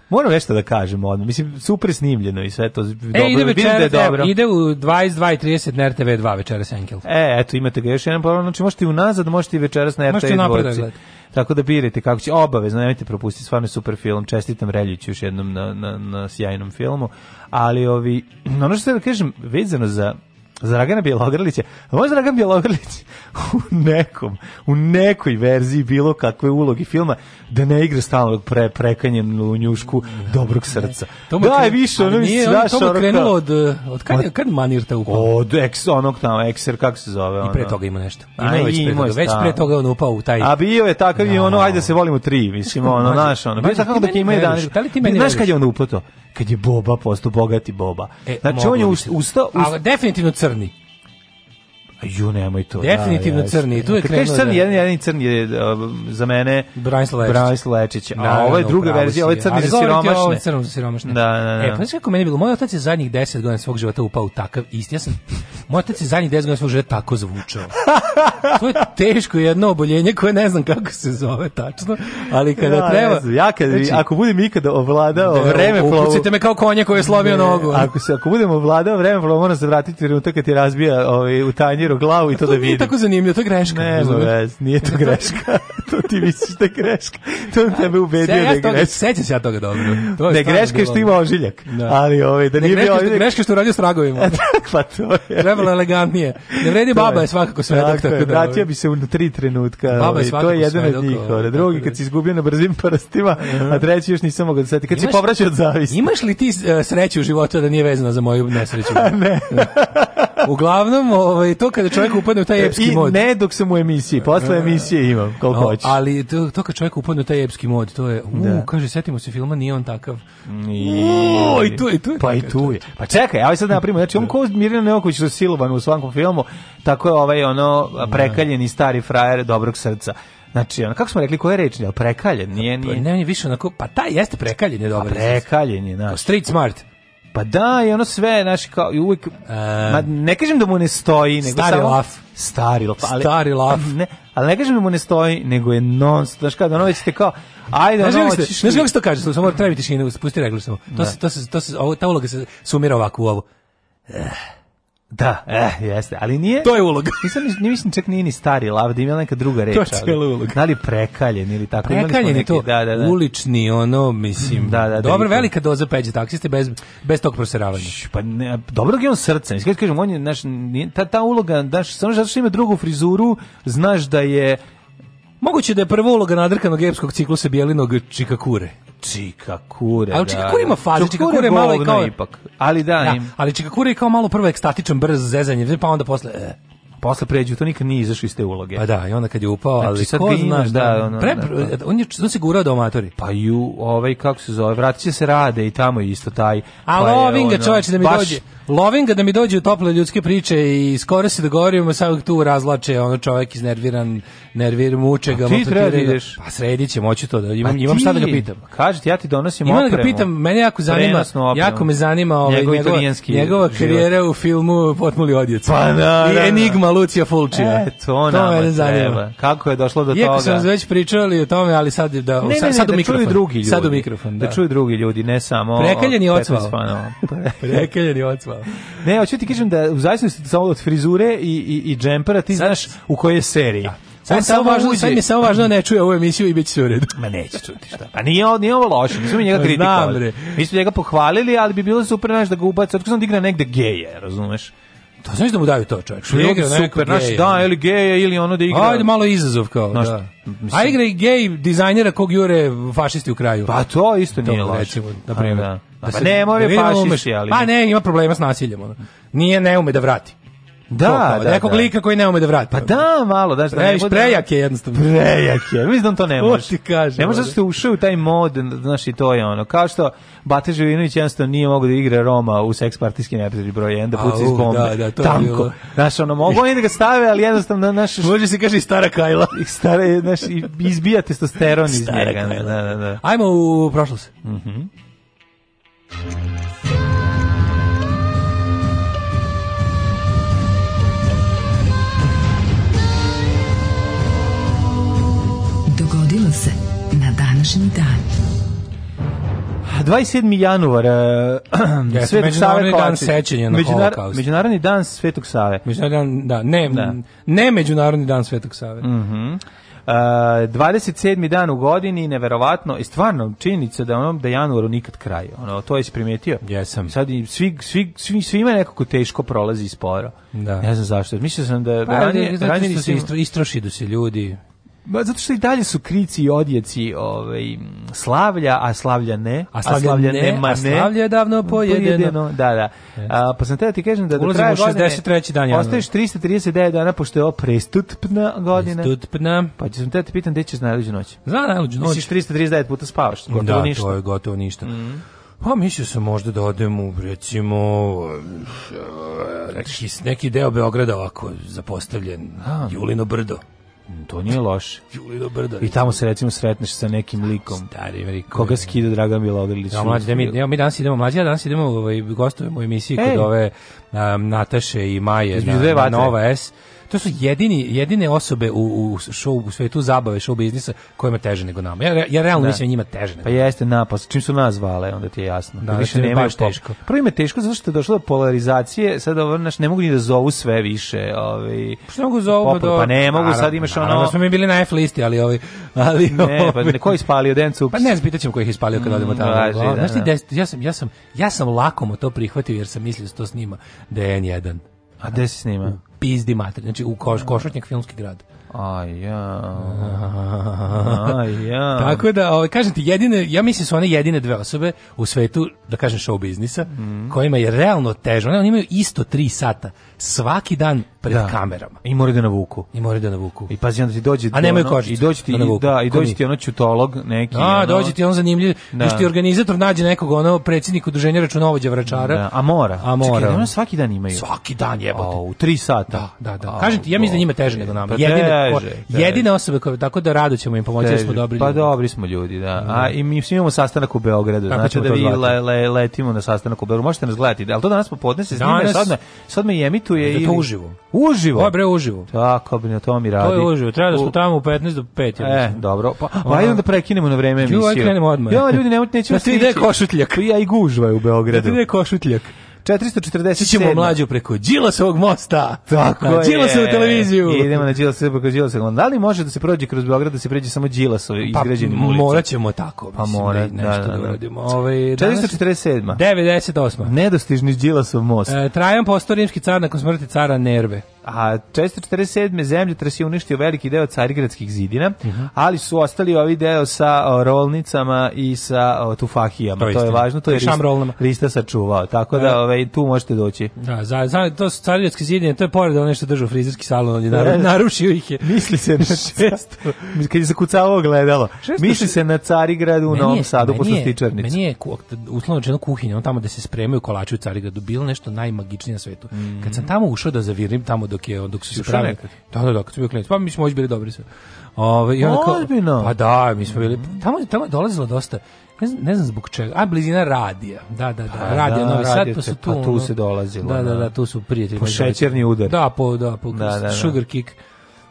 [SPEAKER 7] Moram nešto da kažem odmah. Mislim, super snimljeno i sve to.
[SPEAKER 8] E, ide
[SPEAKER 7] vidim da je
[SPEAKER 8] večeras,
[SPEAKER 7] dobro.
[SPEAKER 8] evo, ide u 22.30 na RTV 2 večeras Enkel.
[SPEAKER 7] E, eto, imate ga još jedan program, znači možete i unazad, možete i večeras na
[SPEAKER 8] Možete
[SPEAKER 7] RTI
[SPEAKER 8] i napredak
[SPEAKER 7] dvorci.
[SPEAKER 8] gledati.
[SPEAKER 7] Tako da birajte kako će, obavezno, nemojte propustiti, stvarno je super film, čestitam Reljiću još jednom na, na, na sjajnom filmu, ali ovi, ono što da kažem, vezano za za Dragana Bjelogrlića, a možda Dragan Bjelogrlić u nekom, u nekoj verziji bilo kakve ulogi filma, da ne igra stalno pre, prekanjen u njušku dobrog srca.
[SPEAKER 8] To mu je
[SPEAKER 7] Daj
[SPEAKER 8] kren-
[SPEAKER 7] više, ono
[SPEAKER 8] ali nije,
[SPEAKER 7] mislim,
[SPEAKER 8] on-
[SPEAKER 7] daš
[SPEAKER 8] to mu je
[SPEAKER 7] ono kao-
[SPEAKER 8] krenulo od, uh, od kad je- kad je Manirta upao?
[SPEAKER 7] Od ex, onog tamo, ekser, kako se zove? Ono?
[SPEAKER 8] I pre toga ima nešto.
[SPEAKER 7] A,
[SPEAKER 8] Ima već, pre
[SPEAKER 7] imao je
[SPEAKER 8] toga. već
[SPEAKER 7] stalno.
[SPEAKER 8] pre toga je on upao u taj...
[SPEAKER 7] A bio je takav i ono, ajde se volimo tri, mislim, ono,
[SPEAKER 8] Mlađe,
[SPEAKER 7] naš, ono. Bio je
[SPEAKER 8] mlađe,
[SPEAKER 7] takav
[SPEAKER 8] ti
[SPEAKER 7] dok je
[SPEAKER 8] meni
[SPEAKER 7] imao
[SPEAKER 8] veruješ?
[SPEAKER 7] 11.
[SPEAKER 8] Da li ti meni
[SPEAKER 7] Znaš kad
[SPEAKER 8] veruješ?
[SPEAKER 7] je on uplato? Kad je Boba postao bogati Boba.
[SPEAKER 8] E,
[SPEAKER 7] znači, on je
[SPEAKER 8] moglo bi
[SPEAKER 7] ust-
[SPEAKER 8] se.
[SPEAKER 7] ustao... ust-
[SPEAKER 8] Ali definitivno crni.
[SPEAKER 7] Ju, nemoj to.
[SPEAKER 8] Definitivno
[SPEAKER 7] jeste.
[SPEAKER 8] crni, tu je
[SPEAKER 7] Kad kažeš
[SPEAKER 8] krenuo,
[SPEAKER 7] crni,
[SPEAKER 8] da.
[SPEAKER 7] jedan, jedan crni je uh, za mene...
[SPEAKER 8] Branislav Lečić.
[SPEAKER 7] Branislav Lečić. A
[SPEAKER 8] Naravno,
[SPEAKER 7] ovo je druga
[SPEAKER 8] u pravu
[SPEAKER 7] verzija, ovo je
[SPEAKER 8] si.
[SPEAKER 7] crni
[SPEAKER 8] Ali
[SPEAKER 7] za
[SPEAKER 8] govorim ti o ovom
[SPEAKER 7] siromašne.
[SPEAKER 8] crnom za siromašne.
[SPEAKER 7] Da, da, da.
[SPEAKER 8] E, pa znaš kako je meni bilo? Moj otac je zadnjih 10 godina svog života upao u takav isti. Ja sam, moj otac je zadnjih 10 godina svog života tako zvučao. To je teško jedno oboljenje koje ne znam kako se zove tačno, ali kada
[SPEAKER 7] Da,
[SPEAKER 8] treba...
[SPEAKER 7] ne znam, ja kad,
[SPEAKER 8] Znači,
[SPEAKER 7] ako budem ikada ovladao
[SPEAKER 8] da,
[SPEAKER 7] vreme
[SPEAKER 8] Upucite me kao konja koji je slomio nogu.
[SPEAKER 7] Ako se ako budemo vladao vreme, plovu, moram se vratiti u trenutak kad ti razbija ovaj u tanjiru glavu i to da
[SPEAKER 8] Nije
[SPEAKER 7] vidim.
[SPEAKER 8] tako zanimljivo, to je greška.
[SPEAKER 7] Nema
[SPEAKER 8] razumeš?
[SPEAKER 7] vez, nije to greška. to ti misliš da je greška. To je tebe ubedio da
[SPEAKER 8] Se, ja
[SPEAKER 7] je
[SPEAKER 8] toga,
[SPEAKER 7] greška.
[SPEAKER 8] sećam se ja toga dobro. To
[SPEAKER 7] Da je
[SPEAKER 8] stvarno
[SPEAKER 7] greška je što
[SPEAKER 8] bilo-
[SPEAKER 7] ima ožiljak.
[SPEAKER 8] Da.
[SPEAKER 7] Ali ovaj, da
[SPEAKER 8] Ne,
[SPEAKER 7] nije bio
[SPEAKER 8] greška, što,
[SPEAKER 7] ožiljak.
[SPEAKER 8] greška što je uradio s tragovima.
[SPEAKER 7] pa to je.
[SPEAKER 8] Trebalo je elegantnije. Ne vredi
[SPEAKER 7] To
[SPEAKER 8] baba je svakako svedok. ovaj.
[SPEAKER 7] Tako je, vratio bi se u tri trenutka.
[SPEAKER 8] Baba je
[SPEAKER 7] ovaj, to
[SPEAKER 8] svakako
[SPEAKER 7] je jedan od
[SPEAKER 8] svedok,
[SPEAKER 7] njih.
[SPEAKER 8] ovaj,
[SPEAKER 7] ovaj,
[SPEAKER 8] tako
[SPEAKER 7] Drugi
[SPEAKER 8] da.
[SPEAKER 7] kad si izgubio na brzim prstima, a treći još nisam mogao da seti. Kad si
[SPEAKER 8] Imaš-
[SPEAKER 7] povraćao od zavisti.
[SPEAKER 8] Imaš li ti e, sreću u životu da nije vezana za moju nesreću?
[SPEAKER 7] Ne.
[SPEAKER 8] Uglavnom, ovaj, to kada čovjek upadne u taj epski
[SPEAKER 7] E, I
[SPEAKER 8] mod.
[SPEAKER 7] ne dok sam u emisiji, posle emisije imam, koliko
[SPEAKER 8] O,
[SPEAKER 7] hoćeš.
[SPEAKER 8] ali to, to kad čovjek upadne u taj epski mod, to je, u,
[SPEAKER 7] Da.
[SPEAKER 8] kaže, setimo se filma, nije on takav.
[SPEAKER 7] I,
[SPEAKER 8] O, i tu je, i tu je.
[SPEAKER 7] Pa i tu je. Pa čekaj, aj sad napravimo, znači on ko Mirjana Neoković što je silovan u svakom filmu, tako je ovaj ono prekaljeni stari frajer dobrog srca. Znači, ono, kako smo rekli, koja je reč? Jel Prekaljen, nije,
[SPEAKER 8] Pa,
[SPEAKER 7] nije.
[SPEAKER 8] ne, on je više onako, pa taj jeste prekaljen je dobar.
[SPEAKER 7] Prekaljen je, znaš.
[SPEAKER 8] Street smart.
[SPEAKER 7] Pa da, i ono sve, znaš, kao, i uvijek, ma, ne kažem da mu ne stoji, nego
[SPEAKER 8] Stari
[SPEAKER 7] samo...
[SPEAKER 8] laf.
[SPEAKER 7] Stari laf. Ali, pa
[SPEAKER 8] Stari laf.
[SPEAKER 7] Ne, ali ne kažem da mu ne stoji, nego je non, znaš kada, ono već te kao, ajde,
[SPEAKER 8] Znaš
[SPEAKER 7] ono,
[SPEAKER 8] kako se,
[SPEAKER 7] hoćeš
[SPEAKER 8] znaš
[SPEAKER 7] li-
[SPEAKER 8] kako se to kaže, slušaj, mora treba biti tišina, pusti reglu samo. To se, to se, to se, ovo, ta uloga se sumira ovako u ovo.
[SPEAKER 7] Da, eh, jeste, ali nije...
[SPEAKER 8] To je uloga.
[SPEAKER 7] Nisam, ni- mislim, čak nije ni stari lav, da ima neka druga reč.
[SPEAKER 8] To je cijela
[SPEAKER 7] ali-
[SPEAKER 8] uloga.
[SPEAKER 7] Da li prekaljen ili tako. imali smo
[SPEAKER 8] Prekaljen je
[SPEAKER 7] neke-
[SPEAKER 8] to
[SPEAKER 7] Da, da, da.
[SPEAKER 8] ulični, ono, mislim,
[SPEAKER 7] Da, da, da,
[SPEAKER 8] dobro,
[SPEAKER 7] i to.
[SPEAKER 8] velika doza peđe taksiste bez, bez tog proseravanja.
[SPEAKER 7] Pa ne, dobro da je on srce. Mislim, kad kažem, on je, znaš, nije- ta, ta uloga, znaš, samo zato što ima drugu frizuru, znaš da je
[SPEAKER 8] Moguće da je prva uloga nadrkanog epskog ciklusa bijelinog Čikakure.
[SPEAKER 7] Čikakure.
[SPEAKER 8] Ali
[SPEAKER 7] da,
[SPEAKER 8] Čikakure ima
[SPEAKER 7] da.
[SPEAKER 8] faze, Čikakure je malo i
[SPEAKER 7] govno
[SPEAKER 8] kao-
[SPEAKER 7] Ipak. Ali da,
[SPEAKER 8] Da,
[SPEAKER 7] im,
[SPEAKER 8] ali Čikakure je kao malo prvo ekstatičan, brz, zezanje, pa onda posle... E.
[SPEAKER 7] posle pređu, to nikad nije izašao iz te uloge.
[SPEAKER 8] Pa da, i onda kad je upao,
[SPEAKER 7] Znači,
[SPEAKER 8] ali
[SPEAKER 7] sad
[SPEAKER 8] ko
[SPEAKER 7] gineš,
[SPEAKER 8] znaš da...
[SPEAKER 7] da, ono,
[SPEAKER 8] pre,
[SPEAKER 7] da,
[SPEAKER 8] on, je, on se gurao do amatori.
[SPEAKER 7] Pa ju, ovaj, kako se zove, vratit će se rade i tamo je isto taj.
[SPEAKER 8] A
[SPEAKER 7] pa je,
[SPEAKER 8] lovim ga
[SPEAKER 7] ono,
[SPEAKER 8] čoveče da mi
[SPEAKER 7] baš-
[SPEAKER 8] dođe. Lovim ga da mi dođe u tople ljudske priče i skoro se dogovorimo sad tu razlače ono čovjek iznerviran, nervir muče ga.
[SPEAKER 7] A ti
[SPEAKER 8] maltretira
[SPEAKER 7] treba da
[SPEAKER 8] ga.
[SPEAKER 7] ideš.
[SPEAKER 8] Pa sredit ćemo, hoću to da imam,
[SPEAKER 7] Pa
[SPEAKER 8] imam
[SPEAKER 7] ti,
[SPEAKER 8] šta da ga pitam.
[SPEAKER 7] Kaži ti, ja ti donosim
[SPEAKER 8] Ima da ga
[SPEAKER 7] opremu.
[SPEAKER 8] pitam, mene jako zanima,
[SPEAKER 7] Prenosnu opremu.
[SPEAKER 8] jako me zanima ovaj,
[SPEAKER 7] Njegov
[SPEAKER 8] njegova,
[SPEAKER 7] italijanski
[SPEAKER 8] njegova
[SPEAKER 7] život.
[SPEAKER 8] karijera u filmu Potmuli odjec.
[SPEAKER 7] Pa naravno.
[SPEAKER 8] I Enigma Lucija Fulčina.
[SPEAKER 7] E, to, nama
[SPEAKER 8] mene zanima.
[SPEAKER 7] treba. Kako je došlo do
[SPEAKER 8] Iako
[SPEAKER 7] toga?
[SPEAKER 8] sam već pričali o tome, ali sad, da,
[SPEAKER 7] Ne, ne,
[SPEAKER 8] sad,
[SPEAKER 7] ne,
[SPEAKER 8] sad u
[SPEAKER 7] da
[SPEAKER 8] mikrofon.
[SPEAKER 7] čuju drugi ljudi.
[SPEAKER 8] Sad u mikrofon, da.
[SPEAKER 7] Da čuju drugi ljudi, ne samo...
[SPEAKER 8] Prekaljen je
[SPEAKER 7] 15
[SPEAKER 8] ocvao. Pa
[SPEAKER 7] fanova.
[SPEAKER 8] Prekaljeni ocvao.
[SPEAKER 7] ne, hoću ti kažem da u zavisnosti samo od frizure i, i, i džempera ti znaš u kojoj je seriji.
[SPEAKER 8] Sad, samo
[SPEAKER 7] On samo
[SPEAKER 8] važno,
[SPEAKER 7] uđe.
[SPEAKER 8] sad mi je samo važno da ne čuje ovu emisiju i bit će sve u redu.
[SPEAKER 7] Ma neće čuti šta. Pa nije, ovo- nije ovo loše, nismo mi njega
[SPEAKER 8] Znam,
[SPEAKER 7] kritikovali.
[SPEAKER 8] bre.
[SPEAKER 7] Mi smo njega pohvalili, ali bi bilo super znaš, da ga ubaci. Otko sam da igra negde geje, razumeš?
[SPEAKER 8] To znaš da mu daju to čovjek.
[SPEAKER 7] Što je
[SPEAKER 8] Igra
[SPEAKER 7] super,
[SPEAKER 8] nekog
[SPEAKER 7] znaš,
[SPEAKER 8] geja.
[SPEAKER 7] da, ili geja, ili ono da igra...
[SPEAKER 8] Ajde, malo izazov kao,
[SPEAKER 7] Znaš,
[SPEAKER 8] da.
[SPEAKER 7] mislim-
[SPEAKER 8] A igra i gej dizajnera kog jure fašisti u kraju.
[SPEAKER 7] Pa to isto nije loše.
[SPEAKER 8] Recimo, na
[SPEAKER 7] A,
[SPEAKER 8] primjer.
[SPEAKER 7] da. A pa
[SPEAKER 8] se-
[SPEAKER 7] ne, moj je
[SPEAKER 8] vidimo
[SPEAKER 7] fašisti,
[SPEAKER 8] umeš.
[SPEAKER 7] ali-
[SPEAKER 8] Pa ne, ima problema s nasiljem. Ono. Nije, ne ume da vrati.
[SPEAKER 7] Da,
[SPEAKER 8] To kao,
[SPEAKER 7] da,
[SPEAKER 8] Nekog
[SPEAKER 7] da.
[SPEAKER 8] lika koji ne ume da vrati.
[SPEAKER 7] Pa da, malo, daš da ne
[SPEAKER 8] Previš
[SPEAKER 7] bude...
[SPEAKER 8] prejak je jednostavno.
[SPEAKER 7] Prejak je, mislim da on to ne
[SPEAKER 8] To
[SPEAKER 7] može.
[SPEAKER 8] ti kažem, ono.
[SPEAKER 7] Ne može da
[SPEAKER 8] ali.
[SPEAKER 7] ste ušli u taj mod, znaš i to je ono. Kao što Bate Živinović jednostavno nije mogao da igra Roma u seks partijski neprijatelj broj 1, da puca
[SPEAKER 8] Au,
[SPEAKER 7] iz bombe.
[SPEAKER 8] uh, da, da, to je
[SPEAKER 7] Tanko.
[SPEAKER 8] bilo.
[SPEAKER 7] Znaš, ono, mogu oni da ga stave, ali jednostavno, naš... Može se kaže i stara kajla. I stara, je, znaš, i izbija testosteron iz
[SPEAKER 8] Stara
[SPEAKER 7] njega.
[SPEAKER 8] kajla.
[SPEAKER 7] Da, da, da.
[SPEAKER 8] Ajmo u prošlost.
[SPEAKER 7] Mhm.
[SPEAKER 5] Dogodilo se na današnji dan.
[SPEAKER 7] 27. januar, eh,
[SPEAKER 8] Jeste,
[SPEAKER 7] Svetog Save
[SPEAKER 8] Međunarodni dan
[SPEAKER 7] Kovačić.
[SPEAKER 8] sećanja na
[SPEAKER 7] Međunar-
[SPEAKER 8] Holokaust.
[SPEAKER 7] Međunarodni dan Svetog Save.
[SPEAKER 8] Međunarodni dan, da, ne,
[SPEAKER 7] Da.
[SPEAKER 8] ne Međunarodni dan Svetog Save.
[SPEAKER 7] Mhm. Uh, 27. dan u godini, neverovatno, i stvarno činjenica da onom da januaru nikad kraj. Ono, to je primetio.
[SPEAKER 8] Jesam.
[SPEAKER 7] Sad i svi, svi, svi, svima je nekako teško prolazi sporo.
[SPEAKER 8] Da.
[SPEAKER 7] Ne znam zašto. Mislio sam da,
[SPEAKER 8] Pa,
[SPEAKER 7] da ranije,
[SPEAKER 8] ali, zato
[SPEAKER 7] ranije
[SPEAKER 8] što se
[SPEAKER 7] nisam-
[SPEAKER 8] istro- istrošidu se ljudi.
[SPEAKER 7] Ba, zato što i dalje su krici i odjeci ovaj, slavlja, a slavlja ne.
[SPEAKER 8] A slavlja ne,
[SPEAKER 7] ma
[SPEAKER 8] a slavlja je davno pojedeno.
[SPEAKER 7] Da, da. A, pa sam teo ti kažem da do
[SPEAKER 8] Ulazimo
[SPEAKER 7] kraja
[SPEAKER 8] u 63. dan januara.
[SPEAKER 7] Ostaješ 339 dana, pošto je ovo prestupna godina.
[SPEAKER 8] Prestupna.
[SPEAKER 7] Pa ću sam teo ti pitan gde ćeš najluđu noć.
[SPEAKER 8] Zna, najluđu noć.
[SPEAKER 7] Misliš 339 puta spavaš, gotovo
[SPEAKER 8] da,
[SPEAKER 7] ništa. Mhm.
[SPEAKER 8] to je gotovo ništa. Pa mislio sam možda da odem u, recimo, eh, neki, neki deo Beograda ovako zapostavljen, Julino brdo.
[SPEAKER 7] To nije loše.
[SPEAKER 8] Julino brdo.
[SPEAKER 7] I tamo se recimo sretneš sa nekim likom.
[SPEAKER 8] Stari Ameriko.
[SPEAKER 7] Koga skida Dragan Bjelogrlić?
[SPEAKER 8] Ja, mlađi, da mi, ja, mi danas idemo, mlađi, ja danas idemo ovaj, gostujemo u emisiji
[SPEAKER 7] Ej.
[SPEAKER 8] kod ove um, Nataše i Maje
[SPEAKER 7] Između
[SPEAKER 8] na,
[SPEAKER 7] dve
[SPEAKER 8] na
[SPEAKER 7] vatre.
[SPEAKER 8] Nova S. To su jedini, jedine osobe u, u, show, u svetu zabave, show biznisa kojima je teže nego nama. Ja, re- ja realno
[SPEAKER 7] Da.
[SPEAKER 8] mislim da njima je teže nego
[SPEAKER 7] Pa jeste napas, čim su nas zvale, onda ti je jasno.
[SPEAKER 8] Da,
[SPEAKER 7] Da, više
[SPEAKER 8] znači,
[SPEAKER 7] nemaju
[SPEAKER 8] baš
[SPEAKER 7] pop-
[SPEAKER 8] teško.
[SPEAKER 7] Prvo im je teško zato što je došlo do polarizacije, sad ovo, znaš, ne mogu ni da zovu sve više. Ovaj,
[SPEAKER 8] Što mogu za ovo
[SPEAKER 7] popul- Pa ne mogu, sad imaš ono...
[SPEAKER 8] Da smo mi bili na F listi, ali ovi ali
[SPEAKER 7] Ne, pa
[SPEAKER 8] ovi-
[SPEAKER 7] ne, ko je ispalio Dencu?
[SPEAKER 8] Pa ne, znam, pitaćemo koji ih ispalio kad odemo tamo.
[SPEAKER 7] važi,
[SPEAKER 8] Uglavnom,
[SPEAKER 7] da,
[SPEAKER 8] Znaš ti,
[SPEAKER 7] da.
[SPEAKER 8] des- ja sam ja sam ja sam lakomo to prihvatio jer sam mislio da se to snima da je N1.
[SPEAKER 7] A gde se snima?
[SPEAKER 8] Pizdi mater, znači u
[SPEAKER 7] Mm.
[SPEAKER 8] koš, Košutnjak filmski grad.
[SPEAKER 7] A ja... A ja...
[SPEAKER 8] Tako da, ovaj, kažem ti, jedine, ja mislim su one jedine dve osobe u svetu, da kažem, show biznisa,
[SPEAKER 7] Mm.
[SPEAKER 8] kojima je realno težo. One, oni imaju isto tri sata, svaki dan pred
[SPEAKER 7] Da.
[SPEAKER 8] kamerama.
[SPEAKER 7] I moraju da navuku.
[SPEAKER 8] I moraju da navuku.
[SPEAKER 7] I pazi, onda ti dođe...
[SPEAKER 8] A nemaju
[SPEAKER 7] ono-
[SPEAKER 8] kožicu
[SPEAKER 7] I dođe ti,
[SPEAKER 8] da navuku.
[SPEAKER 7] da, i
[SPEAKER 8] Ko
[SPEAKER 7] dođe
[SPEAKER 8] njih?
[SPEAKER 7] ti ono čutolog neki.
[SPEAKER 8] A,
[SPEAKER 7] ono-
[SPEAKER 8] dođe ti on zanimljiv.
[SPEAKER 7] Da.
[SPEAKER 8] Da. Još ti organizator nađe nekog ono predsjednik udruženja računovođa vračara.
[SPEAKER 7] Da, a mora.
[SPEAKER 8] A mora.
[SPEAKER 7] Čekaj, ono svaki dan imaju.
[SPEAKER 8] Svaki dan jebote.
[SPEAKER 7] O, u tri sata.
[SPEAKER 8] Da, da, da.
[SPEAKER 7] A,
[SPEAKER 8] Kažem ti, ja mislim da njima teže
[SPEAKER 7] Bože.
[SPEAKER 8] nego nama.
[SPEAKER 7] Pa
[SPEAKER 8] jedine, ko-
[SPEAKER 7] teže, teže.
[SPEAKER 8] jedine osobe koje, tako da rado ćemo im pomoći, jer smo
[SPEAKER 7] Teže.
[SPEAKER 8] dobri
[SPEAKER 7] Pa
[SPEAKER 8] ljudi.
[SPEAKER 7] dobri smo ljudi, da. A i mi svi imamo sastanak u Beogradu.
[SPEAKER 8] Tako
[SPEAKER 7] znači
[SPEAKER 8] ćemo
[SPEAKER 7] da
[SPEAKER 8] to
[SPEAKER 7] vi
[SPEAKER 8] zvati.
[SPEAKER 7] le, le- letimo na sastanak u Beogradu. Možete nas gledati, da, ali to danas popodne se snima,
[SPEAKER 8] Danas-
[SPEAKER 7] sad me, sad me i emituje.
[SPEAKER 8] Da to
[SPEAKER 7] ili-
[SPEAKER 8] uživo.
[SPEAKER 7] Uživo?
[SPEAKER 8] Ovo je bre uživo.
[SPEAKER 7] Tako bi na to mi radi.
[SPEAKER 8] To je uživo, treba da smo
[SPEAKER 7] U-
[SPEAKER 8] tamo u 15 do 5. ja
[SPEAKER 7] E,
[SPEAKER 8] mislim.
[SPEAKER 7] dobro. Pa, pa
[SPEAKER 8] Ono-
[SPEAKER 7] ajde da prekinemo na vreme
[SPEAKER 8] Ju,
[SPEAKER 7] emisiju.
[SPEAKER 8] ajde krenemo odmah.
[SPEAKER 7] Ja, ljudi, nemojte, nećemo
[SPEAKER 8] Da ti ide
[SPEAKER 7] stići.
[SPEAKER 8] košutljak.
[SPEAKER 7] Ja i gužva je u Beogradu.
[SPEAKER 8] Da ti ide košutljak.
[SPEAKER 7] 447.
[SPEAKER 8] Ti ćemo mlađu preko Đilasovog mosta.
[SPEAKER 7] Tako
[SPEAKER 8] Na
[SPEAKER 7] je.
[SPEAKER 8] Đilasovu televiziju.
[SPEAKER 7] Idemo na Đilasovu, preko Đilasovu. Da li može da se prođe kroz Beograd, da se pređe samo Đilasovi
[SPEAKER 8] Pa,
[SPEAKER 7] izgrađenim ulicama?
[SPEAKER 8] morat ćemo tako.
[SPEAKER 7] Pa
[SPEAKER 8] mislim,
[SPEAKER 7] mora,
[SPEAKER 8] da i nešto
[SPEAKER 7] da, da, da.
[SPEAKER 8] uradimo. Ovaj, danas-
[SPEAKER 7] 447.
[SPEAKER 8] 98.
[SPEAKER 7] Nedostižni Đilasov most.
[SPEAKER 8] E, Trajan postao rimski car nakon smrti cara Nerve.
[SPEAKER 7] A 447. zemljotres je uništio veliki deo carigradskih zidina,
[SPEAKER 8] Mhm.
[SPEAKER 7] ali su ostali ovi deo sa o, rolnicama i sa o, tufahijama.
[SPEAKER 8] To
[SPEAKER 7] To
[SPEAKER 8] je
[SPEAKER 7] je,
[SPEAKER 8] istina.
[SPEAKER 7] važno, to je
[SPEAKER 8] I šamrolnama.
[SPEAKER 7] Rista, Rista sačuvao. Tako
[SPEAKER 8] E.
[SPEAKER 7] da ovaj, tu možete doći.
[SPEAKER 8] Da, za, za, to su carigradski zidine, to je pored one što držu frizerski salon, on je naru-
[SPEAKER 7] E.
[SPEAKER 8] narušio ih je.
[SPEAKER 7] Misli se na
[SPEAKER 8] Šesto.
[SPEAKER 7] Kad je zakucavao gledalo.
[SPEAKER 8] Šesto-
[SPEAKER 7] Misli se na Carigrad u
[SPEAKER 8] Meni
[SPEAKER 7] Novom
[SPEAKER 8] je-
[SPEAKER 7] Sadu,
[SPEAKER 8] meni
[SPEAKER 7] pošto
[SPEAKER 8] je-
[SPEAKER 7] stičarnicu.
[SPEAKER 8] Meni je, ku- uslovno rečeno, kuhinja, on tamo da se spremaju kolači u Carigradu, bilo nešto najmagičnije na svetu. Kad sam tamo ušao da zavirim tamo dok, je, dok su se
[SPEAKER 7] Mhm. ušao
[SPEAKER 8] pravili.
[SPEAKER 7] nekad?
[SPEAKER 8] Da, da, da, kad su bio klinic. Pa mi smo ođe bili dobri sve. Ove, i onda kao-
[SPEAKER 7] Ozbiljno? Mhm.
[SPEAKER 8] Pa da, mi smo bili, tamo, tamo je dolazilo dosta, ne znam, ne znam zbog čega, a blizina radija, da, da, da,
[SPEAKER 7] Pa
[SPEAKER 8] radija,
[SPEAKER 7] da,
[SPEAKER 8] Novi Sad,
[SPEAKER 7] radija
[SPEAKER 8] pa
[SPEAKER 7] se-
[SPEAKER 8] su tu,
[SPEAKER 7] pa tu
[SPEAKER 8] ono-
[SPEAKER 7] se dolazilo,
[SPEAKER 8] da, da,
[SPEAKER 7] da.
[SPEAKER 8] da, tu su prijatelji.
[SPEAKER 7] Po šećerni udar.
[SPEAKER 8] Da, po, da, po
[SPEAKER 7] Da, da, da.
[SPEAKER 8] sugar kick.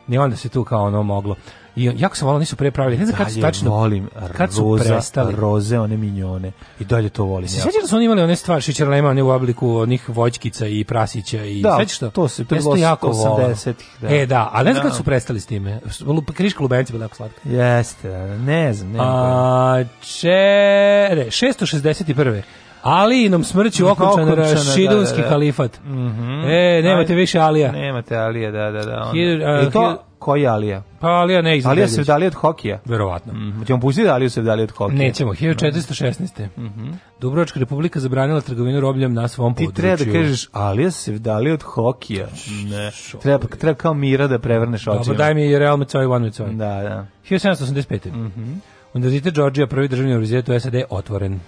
[SPEAKER 8] I onda se tu kao ono moglo. I jako sam volao, nisu pre pravili. Ne znam kad su
[SPEAKER 7] Dalje
[SPEAKER 8] tačno...
[SPEAKER 7] volim
[SPEAKER 8] kad su
[SPEAKER 7] roza,
[SPEAKER 8] prestali.
[SPEAKER 7] roze, one minjone. I dalje to volim.
[SPEAKER 8] Se
[SPEAKER 7] ja.
[SPEAKER 8] sjećaš da su oni imali one stvari šećerlema, one u obliku onih voćkica i prasića i
[SPEAKER 7] Da,
[SPEAKER 8] sećaš to?
[SPEAKER 7] to se- to je
[SPEAKER 8] Ja sam
[SPEAKER 7] bilo
[SPEAKER 8] jako volao.
[SPEAKER 7] 80-ih, da.
[SPEAKER 8] E, da, ali ne znam
[SPEAKER 7] Da.
[SPEAKER 8] kad su prestali s time. Lu- Kriška lubenica bila jako slatka.
[SPEAKER 7] Jeste, da, ne znam, ne znam.
[SPEAKER 8] A, čere, 661. Ali nam smrću okončan
[SPEAKER 7] Okončana, da,
[SPEAKER 8] Rašidunski
[SPEAKER 7] da, da.
[SPEAKER 8] kalifat.
[SPEAKER 7] Mhm.
[SPEAKER 8] E, nemate
[SPEAKER 7] Ajde.
[SPEAKER 8] više Alija.
[SPEAKER 7] Nemate Alija, da, da, da. onda.
[SPEAKER 8] Hiljadu- a,
[SPEAKER 7] I to,
[SPEAKER 8] hiljadu-
[SPEAKER 7] koji Alija?
[SPEAKER 8] Pa Alija ne izgleda.
[SPEAKER 7] Alija se vdali od hokija.
[SPEAKER 8] Verovatno.
[SPEAKER 7] Mm, ćemo pustiti Aliju se vdali od hokija.
[SPEAKER 8] Nećemo, 1416. Dubrovačka republika zabranila trgovinu robljem na svom
[SPEAKER 7] Mhm. Ti
[SPEAKER 8] području.
[SPEAKER 7] treba da kažeš Alija se vdali od hokija. Ne. Treba, treba kao mira da prevrneš očima.
[SPEAKER 8] Dobro, daj mi i Real Mecoj, One Mecoj.
[SPEAKER 7] Da, da.
[SPEAKER 8] 1785. Univerzitet Georgia, prvi državni univerzitet u SAD, otvoren.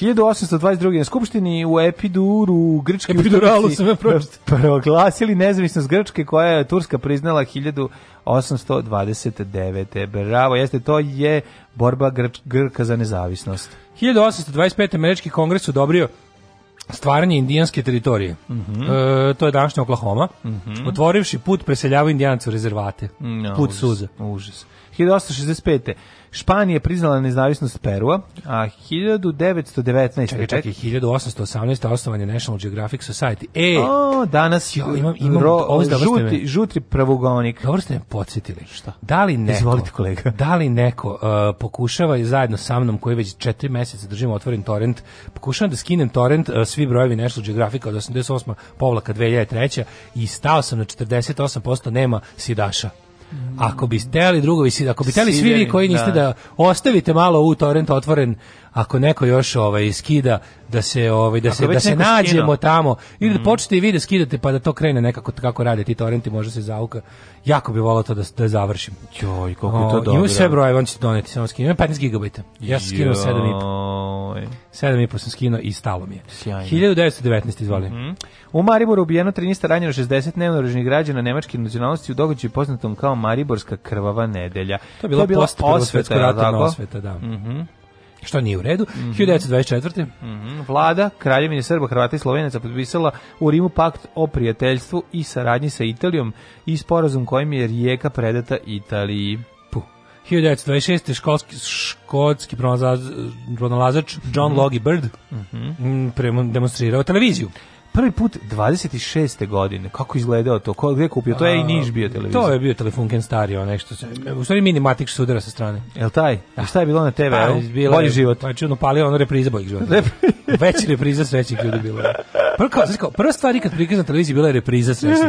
[SPEAKER 7] 1822. na Skupštini u Epiduru grčki
[SPEAKER 8] Epiduralu
[SPEAKER 7] ustavnici
[SPEAKER 8] sam ja pročitao.
[SPEAKER 7] proglasili nezavisnost Grčke koja je Turska priznala 1829. Bravo, jeste, to je borba Grč- Grka za nezavisnost.
[SPEAKER 8] 1825. američki kongres odobrio stvaranje indijanske teritorije. E, to je današnja Oklahoma. Otvorivši put preseljavu indijancu rezervate.
[SPEAKER 7] No,
[SPEAKER 8] put
[SPEAKER 7] užas,
[SPEAKER 8] suza.
[SPEAKER 7] Užas. 1865. Španija je priznala nezavisnost Perua, a 1919.
[SPEAKER 8] Čekaj, čekaj, 1818. osnovan je National Geographic Society. E,
[SPEAKER 7] O, danas
[SPEAKER 8] Jo, imam- imam-
[SPEAKER 7] ro-
[SPEAKER 8] ovo ste- dobro ste me-
[SPEAKER 7] žuti, žuti pravougaonik.
[SPEAKER 8] Dobro ste me podsjetili. Šta? Da li neko,
[SPEAKER 7] Izvolite, kolega.
[SPEAKER 8] Da li neko uh, pokušava i zajedno sa mnom, koji već četiri meseca držimo otvoren torrent, pokušavam da skinem torrent uh, svi brojevi National Geographic od 88. povlaka 2003. i stao sam na 48% nema sidaša. Ako bi hteli drugovi, sid- ako bi hteli svi vi
[SPEAKER 7] Sideri,
[SPEAKER 8] koji niste da.
[SPEAKER 7] Mm. da.
[SPEAKER 8] ostavite malo u torrent otvoren, ako neko još ovaj skida da se ovaj da
[SPEAKER 7] Ako
[SPEAKER 8] se
[SPEAKER 7] već
[SPEAKER 8] da se
[SPEAKER 7] neko
[SPEAKER 8] nađemo
[SPEAKER 7] skinuo.
[SPEAKER 8] tamo ili
[SPEAKER 7] Mhm.
[SPEAKER 8] da počnete i vi da skidate pa da to krene nekako kako rade ti torrenti može se zauka jako bi volao to da, da završim
[SPEAKER 7] Joj, koliko je to
[SPEAKER 8] O,
[SPEAKER 7] dobro.
[SPEAKER 8] imam sve brojeve on će ti doneti samo skinem 15 GB ja sam skinuo 7,5
[SPEAKER 7] Joj.
[SPEAKER 8] 7,5 sam skinuo i stalo mi je
[SPEAKER 7] Sjajno. Mhm.
[SPEAKER 8] 1919 izvoli
[SPEAKER 7] U Mariboru ubijeno 13 ranjeno 60 neoružanih građana nemačke nacionalnosti u događaju poznatom kao Mariborska krvava nedelja.
[SPEAKER 8] to je bila, bila post prvog svetskog
[SPEAKER 7] jel
[SPEAKER 8] rata na
[SPEAKER 7] tako?
[SPEAKER 8] osveta da što nije u redu 1924
[SPEAKER 7] Mhm. Vlada Kraljevine Srba, Hrvata i Slovenaca potpisala u Rimu pakt o prijateljstvu i saradnji sa Italijom i sporazum kojim je rijeka predata Italiji.
[SPEAKER 8] Puh. 1926. školski, škotski pronalazač, pronalazač
[SPEAKER 7] Mhm.
[SPEAKER 8] John Logie Bird mm, premo- demonstrirao televiziju.
[SPEAKER 7] Prvi put 26. godine. Kako izgledao to? Ko gde kupio? To je i Niš bio televizor.
[SPEAKER 8] To je bio telefunken stari, onaj što se... U stvari minimatik što se udara sa strane. Pa,
[SPEAKER 7] Jel taj? I Šta je bilo na TV-u?
[SPEAKER 8] bila
[SPEAKER 7] Bolji
[SPEAKER 8] je-
[SPEAKER 7] život.
[SPEAKER 8] Pa čudno palio ono repriza bojih života. Već repriza srećnih ljudi bilo. Prvo, kao, znaš kao, prva stvar kad prikaz na televiziji bila je repriza srećnih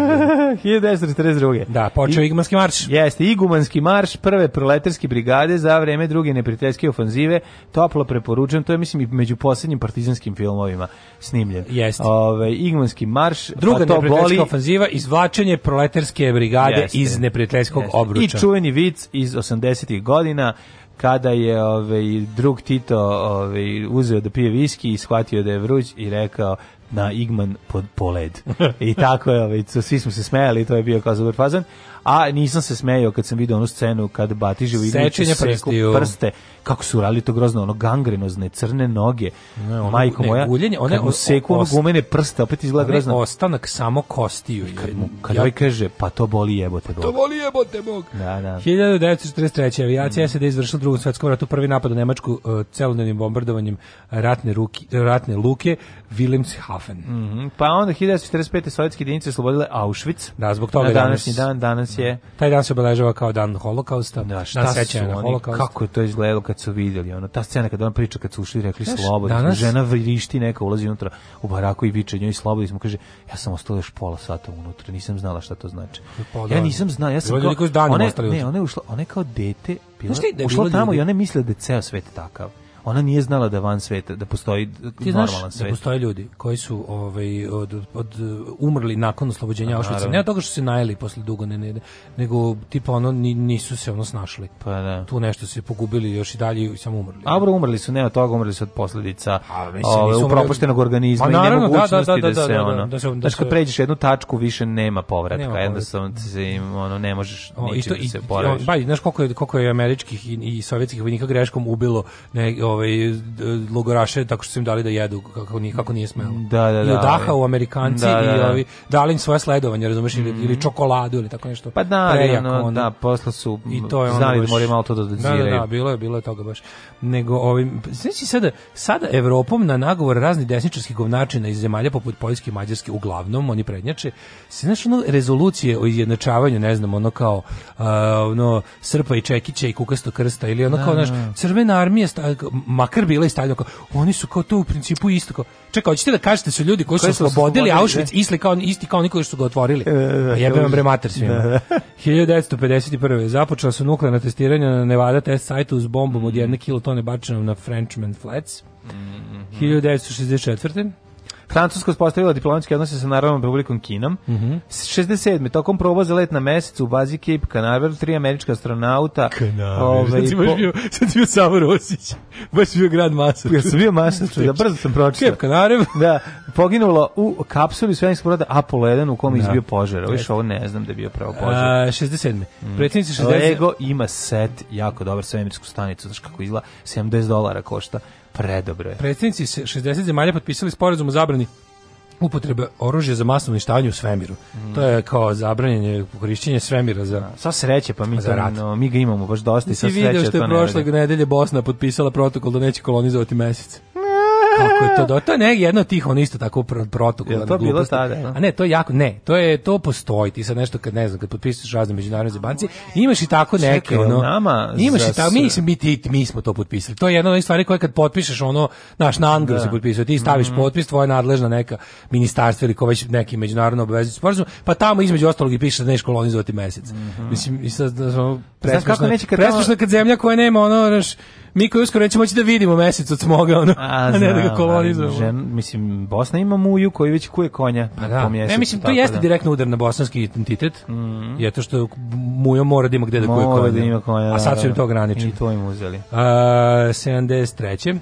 [SPEAKER 8] ljudi.
[SPEAKER 7] 1942.
[SPEAKER 8] Da, počeo je igmanski marš.
[SPEAKER 7] Jeste, igumanski marš prve proletarske brigade za vreme druge neprijateljske ofanzive, toplo preporučujem, to je mislim i među posljednjim partizanskim filmovima snimljen.
[SPEAKER 8] Jeste.
[SPEAKER 7] Ovaj igumanski marš,
[SPEAKER 8] Druga
[SPEAKER 7] pa to
[SPEAKER 8] neprijateljska
[SPEAKER 7] boli.
[SPEAKER 8] ofanziva, izvlačenje proletarske brigade
[SPEAKER 7] Jeste.
[SPEAKER 8] iz neprijateljskog
[SPEAKER 7] Jeste.
[SPEAKER 8] obruča.
[SPEAKER 7] I čuveni vic iz 80-ih godina kada je ovaj drug Tito ovaj uzeo da pije viski i shvatio da je vruć i rekao na Igman pod poled. I tako je, ovaj, svi smo se smejali, to je bio kao super fazan. A nisam se smejao kad sam vidio onu scenu kad Batiže u
[SPEAKER 8] Sečenje prstiju.
[SPEAKER 7] prste, kako su urali to grozno, ono gangrenozne crne noge.
[SPEAKER 8] ono-
[SPEAKER 7] Majko
[SPEAKER 8] ne,
[SPEAKER 7] moja,
[SPEAKER 8] guljenje, one-
[SPEAKER 7] kad mu seku ono
[SPEAKER 8] os-
[SPEAKER 7] gumene prste, opet izgleda
[SPEAKER 8] Onaj
[SPEAKER 7] grozno.
[SPEAKER 8] ostanak samo kostiju.
[SPEAKER 7] Kad, mu, kad ovaj kaže, pa to boli jebote. Bog.
[SPEAKER 8] voli jebote mog.
[SPEAKER 7] Da, da.
[SPEAKER 8] 1943. avijacija
[SPEAKER 7] Mhm.
[SPEAKER 8] SED izvršila u drugom svetskom ratu prvi napad na Nemačku uh, celodnevnim bombardovanjem ratne, ruki, e, ratne luke Wilhelmshaven.
[SPEAKER 7] Mhm, Pa onda 1945. sovjetske jedinice oslobodile Auschwitz.
[SPEAKER 8] Da, zbog toga
[SPEAKER 7] Na
[SPEAKER 8] je danas-
[SPEAKER 7] današnji dan, danas je...
[SPEAKER 8] Taj dan se obeležava kao dan holokausta.
[SPEAKER 7] Da,
[SPEAKER 8] dan
[SPEAKER 7] šta su
[SPEAKER 8] sećanja na
[SPEAKER 7] oni,
[SPEAKER 8] holokaust.
[SPEAKER 7] kako je to izgledalo kad su vidjeli, ono, ta scena kada ona priča kad su ušli i rekli
[SPEAKER 8] Znaš,
[SPEAKER 7] slobodni, smo.
[SPEAKER 8] danas-
[SPEAKER 7] žena vrišti neka, ulazi unutra u baraku i viče njoj slobodni smo, kaže, ja sam ostala još pola sata unutra, nisam znala šta to znači.
[SPEAKER 8] Pa da.
[SPEAKER 7] ja nisam znala, ja
[SPEAKER 8] Bilo
[SPEAKER 7] sam
[SPEAKER 8] je ljudi koji su danima
[SPEAKER 7] ona, je-
[SPEAKER 8] ostali
[SPEAKER 7] ne,
[SPEAKER 8] unutra.
[SPEAKER 7] ona je ušla, ona je kao dete, bila,
[SPEAKER 8] Znaš ti da je
[SPEAKER 7] ušla
[SPEAKER 8] bilo
[SPEAKER 7] tamo
[SPEAKER 8] ljudi-
[SPEAKER 7] i ona je mislila da je ceo svet takav. Ona nije znala da van sveta, da postoji
[SPEAKER 8] Ti
[SPEAKER 7] normalan
[SPEAKER 8] znaš da
[SPEAKER 7] svet.
[SPEAKER 8] postoje ljudi koji su ovaj, od, od, umrli nakon oslobođenja Auschwitza.
[SPEAKER 7] naravno.
[SPEAKER 8] Ne od toga što se najeli posle dugo, ne, ne, nego tipa ono ni- nisu se ono snašli.
[SPEAKER 7] Pa da.
[SPEAKER 8] Tu nešto se pogubili još i dalje i samo umrli.
[SPEAKER 7] A bro, umrli su ne od toga, umrli su od posledica
[SPEAKER 8] A, mislim,
[SPEAKER 7] ove,
[SPEAKER 8] nisu umrli-
[SPEAKER 7] upropoštenog organizma
[SPEAKER 8] Ma,
[SPEAKER 7] i
[SPEAKER 8] naravno, da,
[SPEAKER 7] nemogućnosti
[SPEAKER 8] da, da,
[SPEAKER 7] da
[SPEAKER 8] da,
[SPEAKER 7] se
[SPEAKER 8] da,
[SPEAKER 7] ono...
[SPEAKER 8] da se- da
[SPEAKER 7] Znaš, kad
[SPEAKER 8] se-
[SPEAKER 7] pređeš jednu tačku, više nema povratka,
[SPEAKER 8] Nema
[SPEAKER 7] jednostavno se im, ono, ne možeš
[SPEAKER 8] O, i
[SPEAKER 7] ničim
[SPEAKER 8] to
[SPEAKER 7] da
[SPEAKER 8] i
[SPEAKER 7] se boraviš.
[SPEAKER 8] ba, znaš koliko je koliko je američkih i, i sovjetskih vojnika greškom ubilo ne, ovaj, logoraše tako što su im dali da jedu kako, nije, kako nije smelo.
[SPEAKER 7] Da, da,
[SPEAKER 8] I
[SPEAKER 7] da,
[SPEAKER 8] odaha
[SPEAKER 7] ovaj.
[SPEAKER 8] u Amerikanci
[SPEAKER 7] Da, da,
[SPEAKER 8] i
[SPEAKER 7] da.
[SPEAKER 8] ovi, dali im svoje sledovanje, razumeš, ili,
[SPEAKER 7] Mhm.
[SPEAKER 8] ili čokoladu ili tako nešto.
[SPEAKER 7] Pa da, ali
[SPEAKER 8] Prejako,
[SPEAKER 7] ono,
[SPEAKER 8] ono.
[SPEAKER 7] da, posle su
[SPEAKER 8] I to je ono
[SPEAKER 7] znali da
[SPEAKER 8] baš-
[SPEAKER 7] moraju malo to da
[SPEAKER 8] Da, da,
[SPEAKER 7] doziraju.
[SPEAKER 8] da, bilo je, bilo je toga baš. Nego, ovim, znači sada, sada Evropom na nagovor raznih desničarskih govnačina iz zemalja poput Poljske i Mađarske, uglavnom, oni prednjače, se, znaš, ono, rezolucije o izjednačavanju, ne znam, ono kao, a, ono, Srpa i Čekića i Kukasto Krsta, ili ono
[SPEAKER 7] Da,
[SPEAKER 8] kao, znaš,
[SPEAKER 7] da.
[SPEAKER 8] crvena armija, sta, makar bila i stavljena, kao, oni su kao to u principu isto, kao, čekaj, hoćete da kažete da su ljudi koji su
[SPEAKER 7] Koji su
[SPEAKER 8] oslobodili
[SPEAKER 7] oslobodili,
[SPEAKER 8] Auschwitz, isti kao, isti kao oni koji su ga otvorili,
[SPEAKER 7] da,
[SPEAKER 8] pa jebe vam
[SPEAKER 7] to-
[SPEAKER 8] bre mater svima.
[SPEAKER 7] Da, da.
[SPEAKER 8] 1951. započela su nuklearna testiranja na Nevada test sajtu s bombom od jedne kilotone bačenom na Frenchman Flats. Mm-hmm. 1964.
[SPEAKER 7] Francuska uspostavila diplomatske odnose sa Narodnom republikom Kinom.
[SPEAKER 8] Mhm.
[SPEAKER 7] 67. Tokom provoza let na mesec u bazi Cape Canaveral, tri američka astronauta. ovaj,
[SPEAKER 8] Sad si znači baš bio- sad si bio samo Rosić. Baš si bio grad Masa.
[SPEAKER 7] Ja sam bio masač, da brzo sam pročitao.
[SPEAKER 8] Cape Canaveral.
[SPEAKER 7] Da, poginulo u kapsuli svemirskog broda Apollo 1 u kom je
[SPEAKER 8] Da.
[SPEAKER 7] izbio požar. Ovo
[SPEAKER 8] Jeste.
[SPEAKER 7] ovo ne znam da je bio pravo
[SPEAKER 8] A,
[SPEAKER 7] požar.
[SPEAKER 8] 67.
[SPEAKER 7] Mm.
[SPEAKER 8] Predsjednici 60.
[SPEAKER 7] Lego ima set jako dobar svemirsku stanicu, znaš kako izgleda, 70 dolara košta, predobro je.
[SPEAKER 8] Predsjednici se- 60 zemalja potpisali sporazum o zabrani upotrebe oružja za masno uništavanje u svemiru. To je kao zabranjenje korišćenje svemira za
[SPEAKER 7] Sa sreće, pa mi,
[SPEAKER 8] za
[SPEAKER 7] to,
[SPEAKER 8] rat.
[SPEAKER 7] no, mi ga imamo baš dosta i sa
[SPEAKER 8] Ti
[SPEAKER 7] sreće.
[SPEAKER 8] video što
[SPEAKER 7] to
[SPEAKER 8] je
[SPEAKER 7] ne
[SPEAKER 8] prošle
[SPEAKER 7] vredi.
[SPEAKER 8] nedelje Bosna potpisala protokol da neće kolonizovati mesec. Kako je to do... To je ne, jedno od tih, ono isto tako pro- protokolarna
[SPEAKER 7] Jel to bilo
[SPEAKER 8] gluposti.
[SPEAKER 7] tada, no?
[SPEAKER 8] A ne, to je jako, ne, to je, to postoji, ti sad nešto kad ne znam, kad potpisuješ razne međunarodne zebanci, imaš i tako neke,
[SPEAKER 7] Čekaj,
[SPEAKER 8] ono,
[SPEAKER 7] nama
[SPEAKER 8] imaš
[SPEAKER 7] za
[SPEAKER 8] i tako, mi, smo- mi, ti, mi smo to potpisali. To je jedna od onih stvari koje kad potpišeš, ono, naš na Anglu
[SPEAKER 7] Da.
[SPEAKER 8] se potpisuje, ti staviš
[SPEAKER 7] Mhm.
[SPEAKER 8] potpis, tvoja nadležna neka ministarstva ili ko već neki međunarodno obavezujući sporazum, pa tamo između ostalog i piše da nećeš kolonizovati mesec. Mislim, i sad, ono,
[SPEAKER 7] Mhm. Pa Znaš kako
[SPEAKER 8] Presmešno,
[SPEAKER 7] neće kad
[SPEAKER 8] presmešno
[SPEAKER 7] tamo-
[SPEAKER 8] kad zemlja koja nema ono, znaš, mi koji uskoro nećemo moći da vidimo mesec od smoga, ono, a, ne da
[SPEAKER 7] znam,
[SPEAKER 8] ga
[SPEAKER 7] ali
[SPEAKER 8] kolonizujemo.
[SPEAKER 7] Žen, mislim, Bosna ima muju koji već kuje konja
[SPEAKER 8] Pa
[SPEAKER 7] po
[SPEAKER 8] da.
[SPEAKER 7] mjesecu.
[SPEAKER 8] Ne, mislim, to
[SPEAKER 7] tako
[SPEAKER 8] jeste
[SPEAKER 7] da. Mhm.
[SPEAKER 8] direktno udar na bosanski identitet, mm. je to što mujo mora da ima gde da kuje
[SPEAKER 7] Mora
[SPEAKER 8] konja.
[SPEAKER 7] da ima konja,
[SPEAKER 8] a sad su im
[SPEAKER 7] naravno.
[SPEAKER 8] to ograničili.
[SPEAKER 7] I to im uzeli.
[SPEAKER 8] A, 73.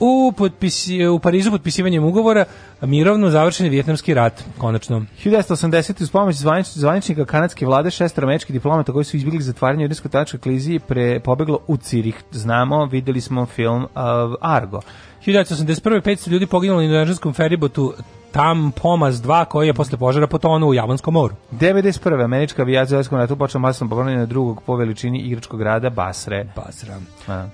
[SPEAKER 8] U, potpisi, u Parizu potpisivanjem ugovora mirovno završen je vjetnamski rat, konačno.
[SPEAKER 7] 1980. uz pomoć zvanič- zvaničnika kanadske vlade šestero američkih diplomata koji su izbjegli zatvaranje u rimskoj tačkoj kliziji pre pobeglo u Cirih. Znamo, videli smo film uh, Argo.
[SPEAKER 8] 1981. 500 ljudi poginulo na indonežanskom feribotu Tam Pomas 2 koji je posle požara potonuo u Javonskom moru.
[SPEAKER 7] 91. američka avijacija u Evropskom ratu počela masno povrnjenje drugog po veličini igračkog grada Basre.
[SPEAKER 8] Basra.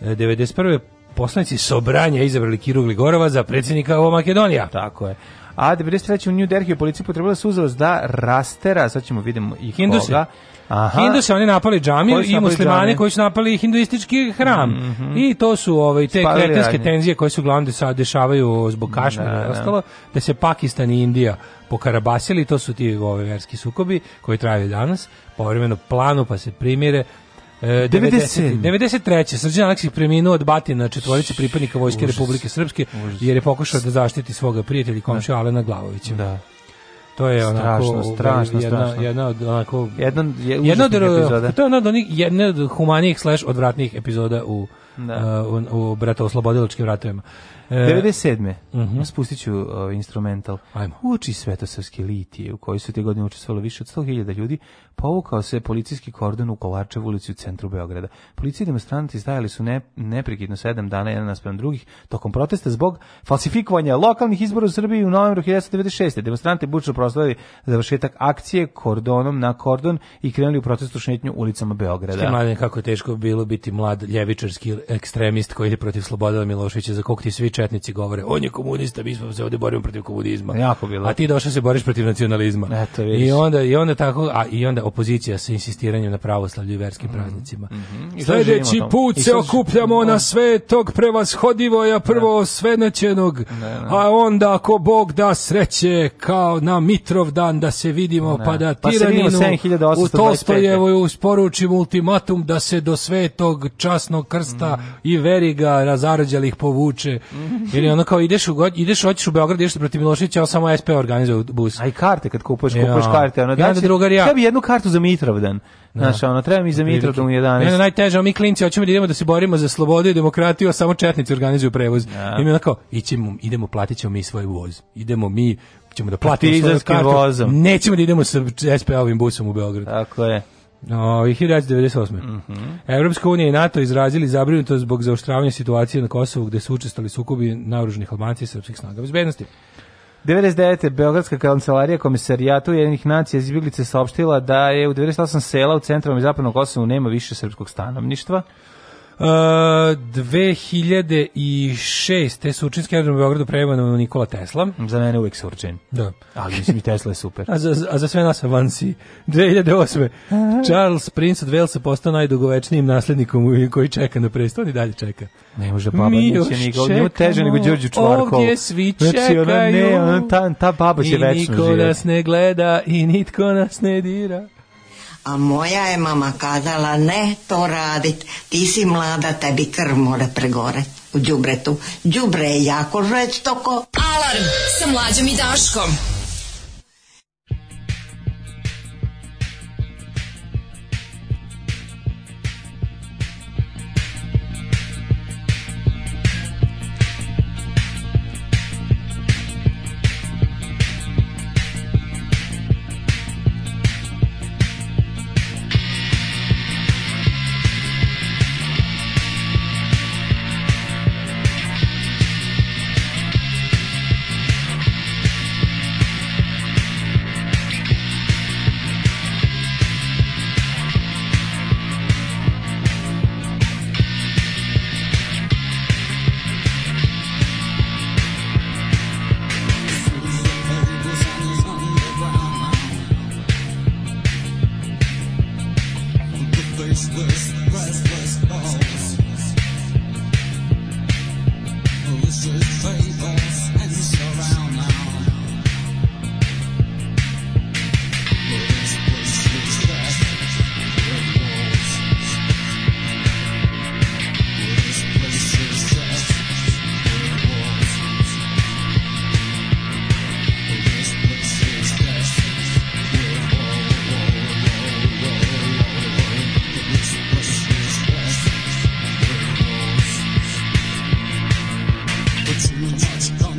[SPEAKER 8] E, 91. poslanici Sobranja izabrali Kiru Gligorova za predsjednika ovo Makedonija.
[SPEAKER 7] Tako je. A 93. u New Delhiju policija potrebala suzovost da rastera, sad ćemo vidimo i
[SPEAKER 8] Hinduse.
[SPEAKER 7] koga. Aha.
[SPEAKER 8] Hinduse oni napali džamiju
[SPEAKER 7] Koji su
[SPEAKER 8] i
[SPEAKER 7] napali
[SPEAKER 8] muslimane
[SPEAKER 7] džamije?
[SPEAKER 8] koji su napali hinduistički hram. I to su ovaj, te
[SPEAKER 7] Spalili
[SPEAKER 8] kretenske
[SPEAKER 7] radnje.
[SPEAKER 8] tenzije koje se uglavnom sad dešavaju zbog
[SPEAKER 7] Da,
[SPEAKER 8] Kašmira i
[SPEAKER 7] da.
[SPEAKER 8] ostalo, da se Pakistan i Indija pokarabasili, to su ti ovaj, verski sukobi koji traju i danas, povremeno planu pa se primire. E, 90.
[SPEAKER 7] 97.
[SPEAKER 8] 93. Srđan Aleksić preminuo od batina četvorice pripadnika Vojske
[SPEAKER 7] Užas.
[SPEAKER 8] Republike Srpske
[SPEAKER 7] Užas.
[SPEAKER 8] jer je pokušao da zaštiti svoga prijatelja i komšija Alena Glavovića.
[SPEAKER 7] Da.
[SPEAKER 8] To je onako
[SPEAKER 7] Strašno, strašno,
[SPEAKER 8] jedna,
[SPEAKER 7] strašno.
[SPEAKER 8] jedna od onako
[SPEAKER 7] Jedan je
[SPEAKER 8] jedna od
[SPEAKER 7] užasnih epizoda.
[SPEAKER 8] to je jedna od onih jedna od humanijih slash odvratnih epizoda u
[SPEAKER 7] Da.
[SPEAKER 8] uh, u, u brato oslobodilačkim ratovima. E,
[SPEAKER 7] 97.
[SPEAKER 8] Mhm.
[SPEAKER 7] Spustit ću uh, instrumental.
[SPEAKER 8] Ajmo.
[SPEAKER 7] Uči svetosavske litije, u kojoj su te godine učestvovalo više od 100.000 ljudi, povukao se policijski kordon u Kolarčevu ulici u centru Beograda. Policije i demonstranti stajali su ne, neprekidno sedam dana jedan naspram drugih tokom protesta zbog falsifikovanja lokalnih izbora u Srbiji u novembru 1996. Demonstranti bučno proslavili završetak akcije kordonom na kordon i krenuli u protestu šetnju ulicama
[SPEAKER 8] Ste
[SPEAKER 7] Beograda.
[SPEAKER 8] mladen, kako je teško bilo biti mlad ljevičarski ekstremist koji ide protiv Slobodana Miloševića, za kog ti svi četnici govore, on je komunista, mi smo se ovdje borimo protiv komunizma.
[SPEAKER 7] Jako bilo.
[SPEAKER 8] A ti došao se boriš protiv nacionalizma.
[SPEAKER 7] Eto, vidiš.
[SPEAKER 8] I onda, I onda tako, a i onda opozicija sa insistiranjem na pravoslavlju i verskim praznicima.
[SPEAKER 7] Mhm, I sad
[SPEAKER 8] Sljedeći
[SPEAKER 7] živimo tamo.
[SPEAKER 8] put
[SPEAKER 7] I
[SPEAKER 8] se
[SPEAKER 7] sad-
[SPEAKER 8] okupljamo na svetog prevashodivoja prvo svenaćenog, a onda ako Bog da sreće kao na Mitrov dan da se vidimo
[SPEAKER 7] Ne.
[SPEAKER 8] pa da
[SPEAKER 7] Pa se vidimo
[SPEAKER 8] tiraninu u
[SPEAKER 7] 7825.
[SPEAKER 8] Tolstojevoj usporučim ultimatum da se do svetog časnog krsta i veriga razarđalih povuče. Ili ono kao ideš u, god- ideš, hoćeš u Beograd, ideš protiv Miloševića, ali samo SP organizuje bus.
[SPEAKER 7] A i karte kad kupuješ,
[SPEAKER 8] Ja.
[SPEAKER 7] kupuješ karte, ono
[SPEAKER 8] I onda
[SPEAKER 7] daće-
[SPEAKER 8] drugar ja.
[SPEAKER 7] treba jednu kartu za Mitrovdan. Znaš, ono treba mi za Mitrovdan u 11.
[SPEAKER 8] Mene najteže, a mi klinci hoćemo da idemo da se borimo za slobodu i demokratiju, a samo četnici organizuju prevoz. I mi onako, ićemo, idemo, platit ćemo mi svoj voz. Idemo mi, ćemo da platimo svoju
[SPEAKER 7] Partizanskim
[SPEAKER 8] kartu.
[SPEAKER 7] vozom.
[SPEAKER 8] Nećemo da idemo sa SP-ovim busom u Beograd.
[SPEAKER 7] Tako je.
[SPEAKER 8] O, i 1998. Evropska unija i NATO izrazili zabrinutost zbog zaoštravanja situacije na Kosovu gde su učestvali sukobi naoružanih Albanci i srpskih snaga bezbednosti. E,
[SPEAKER 7] 99. Beogradska kancelarija komisarijatu jednih nacija iz Ibilice saopštila da je u 98 sela u centralnom i zapadnom Kosovu nema više srpskog stanovništva.
[SPEAKER 8] Uh, 2006. te Surčinski aerodrom u Beogradu preimenovao Nikola Tesla.
[SPEAKER 7] Za mene uvijek Surčin.
[SPEAKER 8] Da.
[SPEAKER 7] Ali mislim i Tesla je super.
[SPEAKER 8] A za, a za sve nas avansi. 2008. Charles Prince od Walesa postao najdugovečnijim naslednikom u- koji čeka na presto. On i dalje čeka.
[SPEAKER 7] Ne može baba
[SPEAKER 8] Mi
[SPEAKER 7] Mića
[SPEAKER 8] još
[SPEAKER 7] nego, njemu teže
[SPEAKER 8] čekamo.
[SPEAKER 7] nego Đorđu Čvarkovu.
[SPEAKER 8] Ovdje svi
[SPEAKER 7] Znači, ona, ne,
[SPEAKER 8] čekaju.
[SPEAKER 7] ona, ta, ta baba će
[SPEAKER 8] I
[SPEAKER 7] večno
[SPEAKER 8] niko
[SPEAKER 7] živjeti.
[SPEAKER 8] nas ne gleda i nitko nas ne dira.
[SPEAKER 14] A moja je mama kazala, ne to radit, ti si mlada, tebi krv mora pregore u džubretu. Džubre je jako žestoko.
[SPEAKER 5] Alarm sa mlađom i Daškom.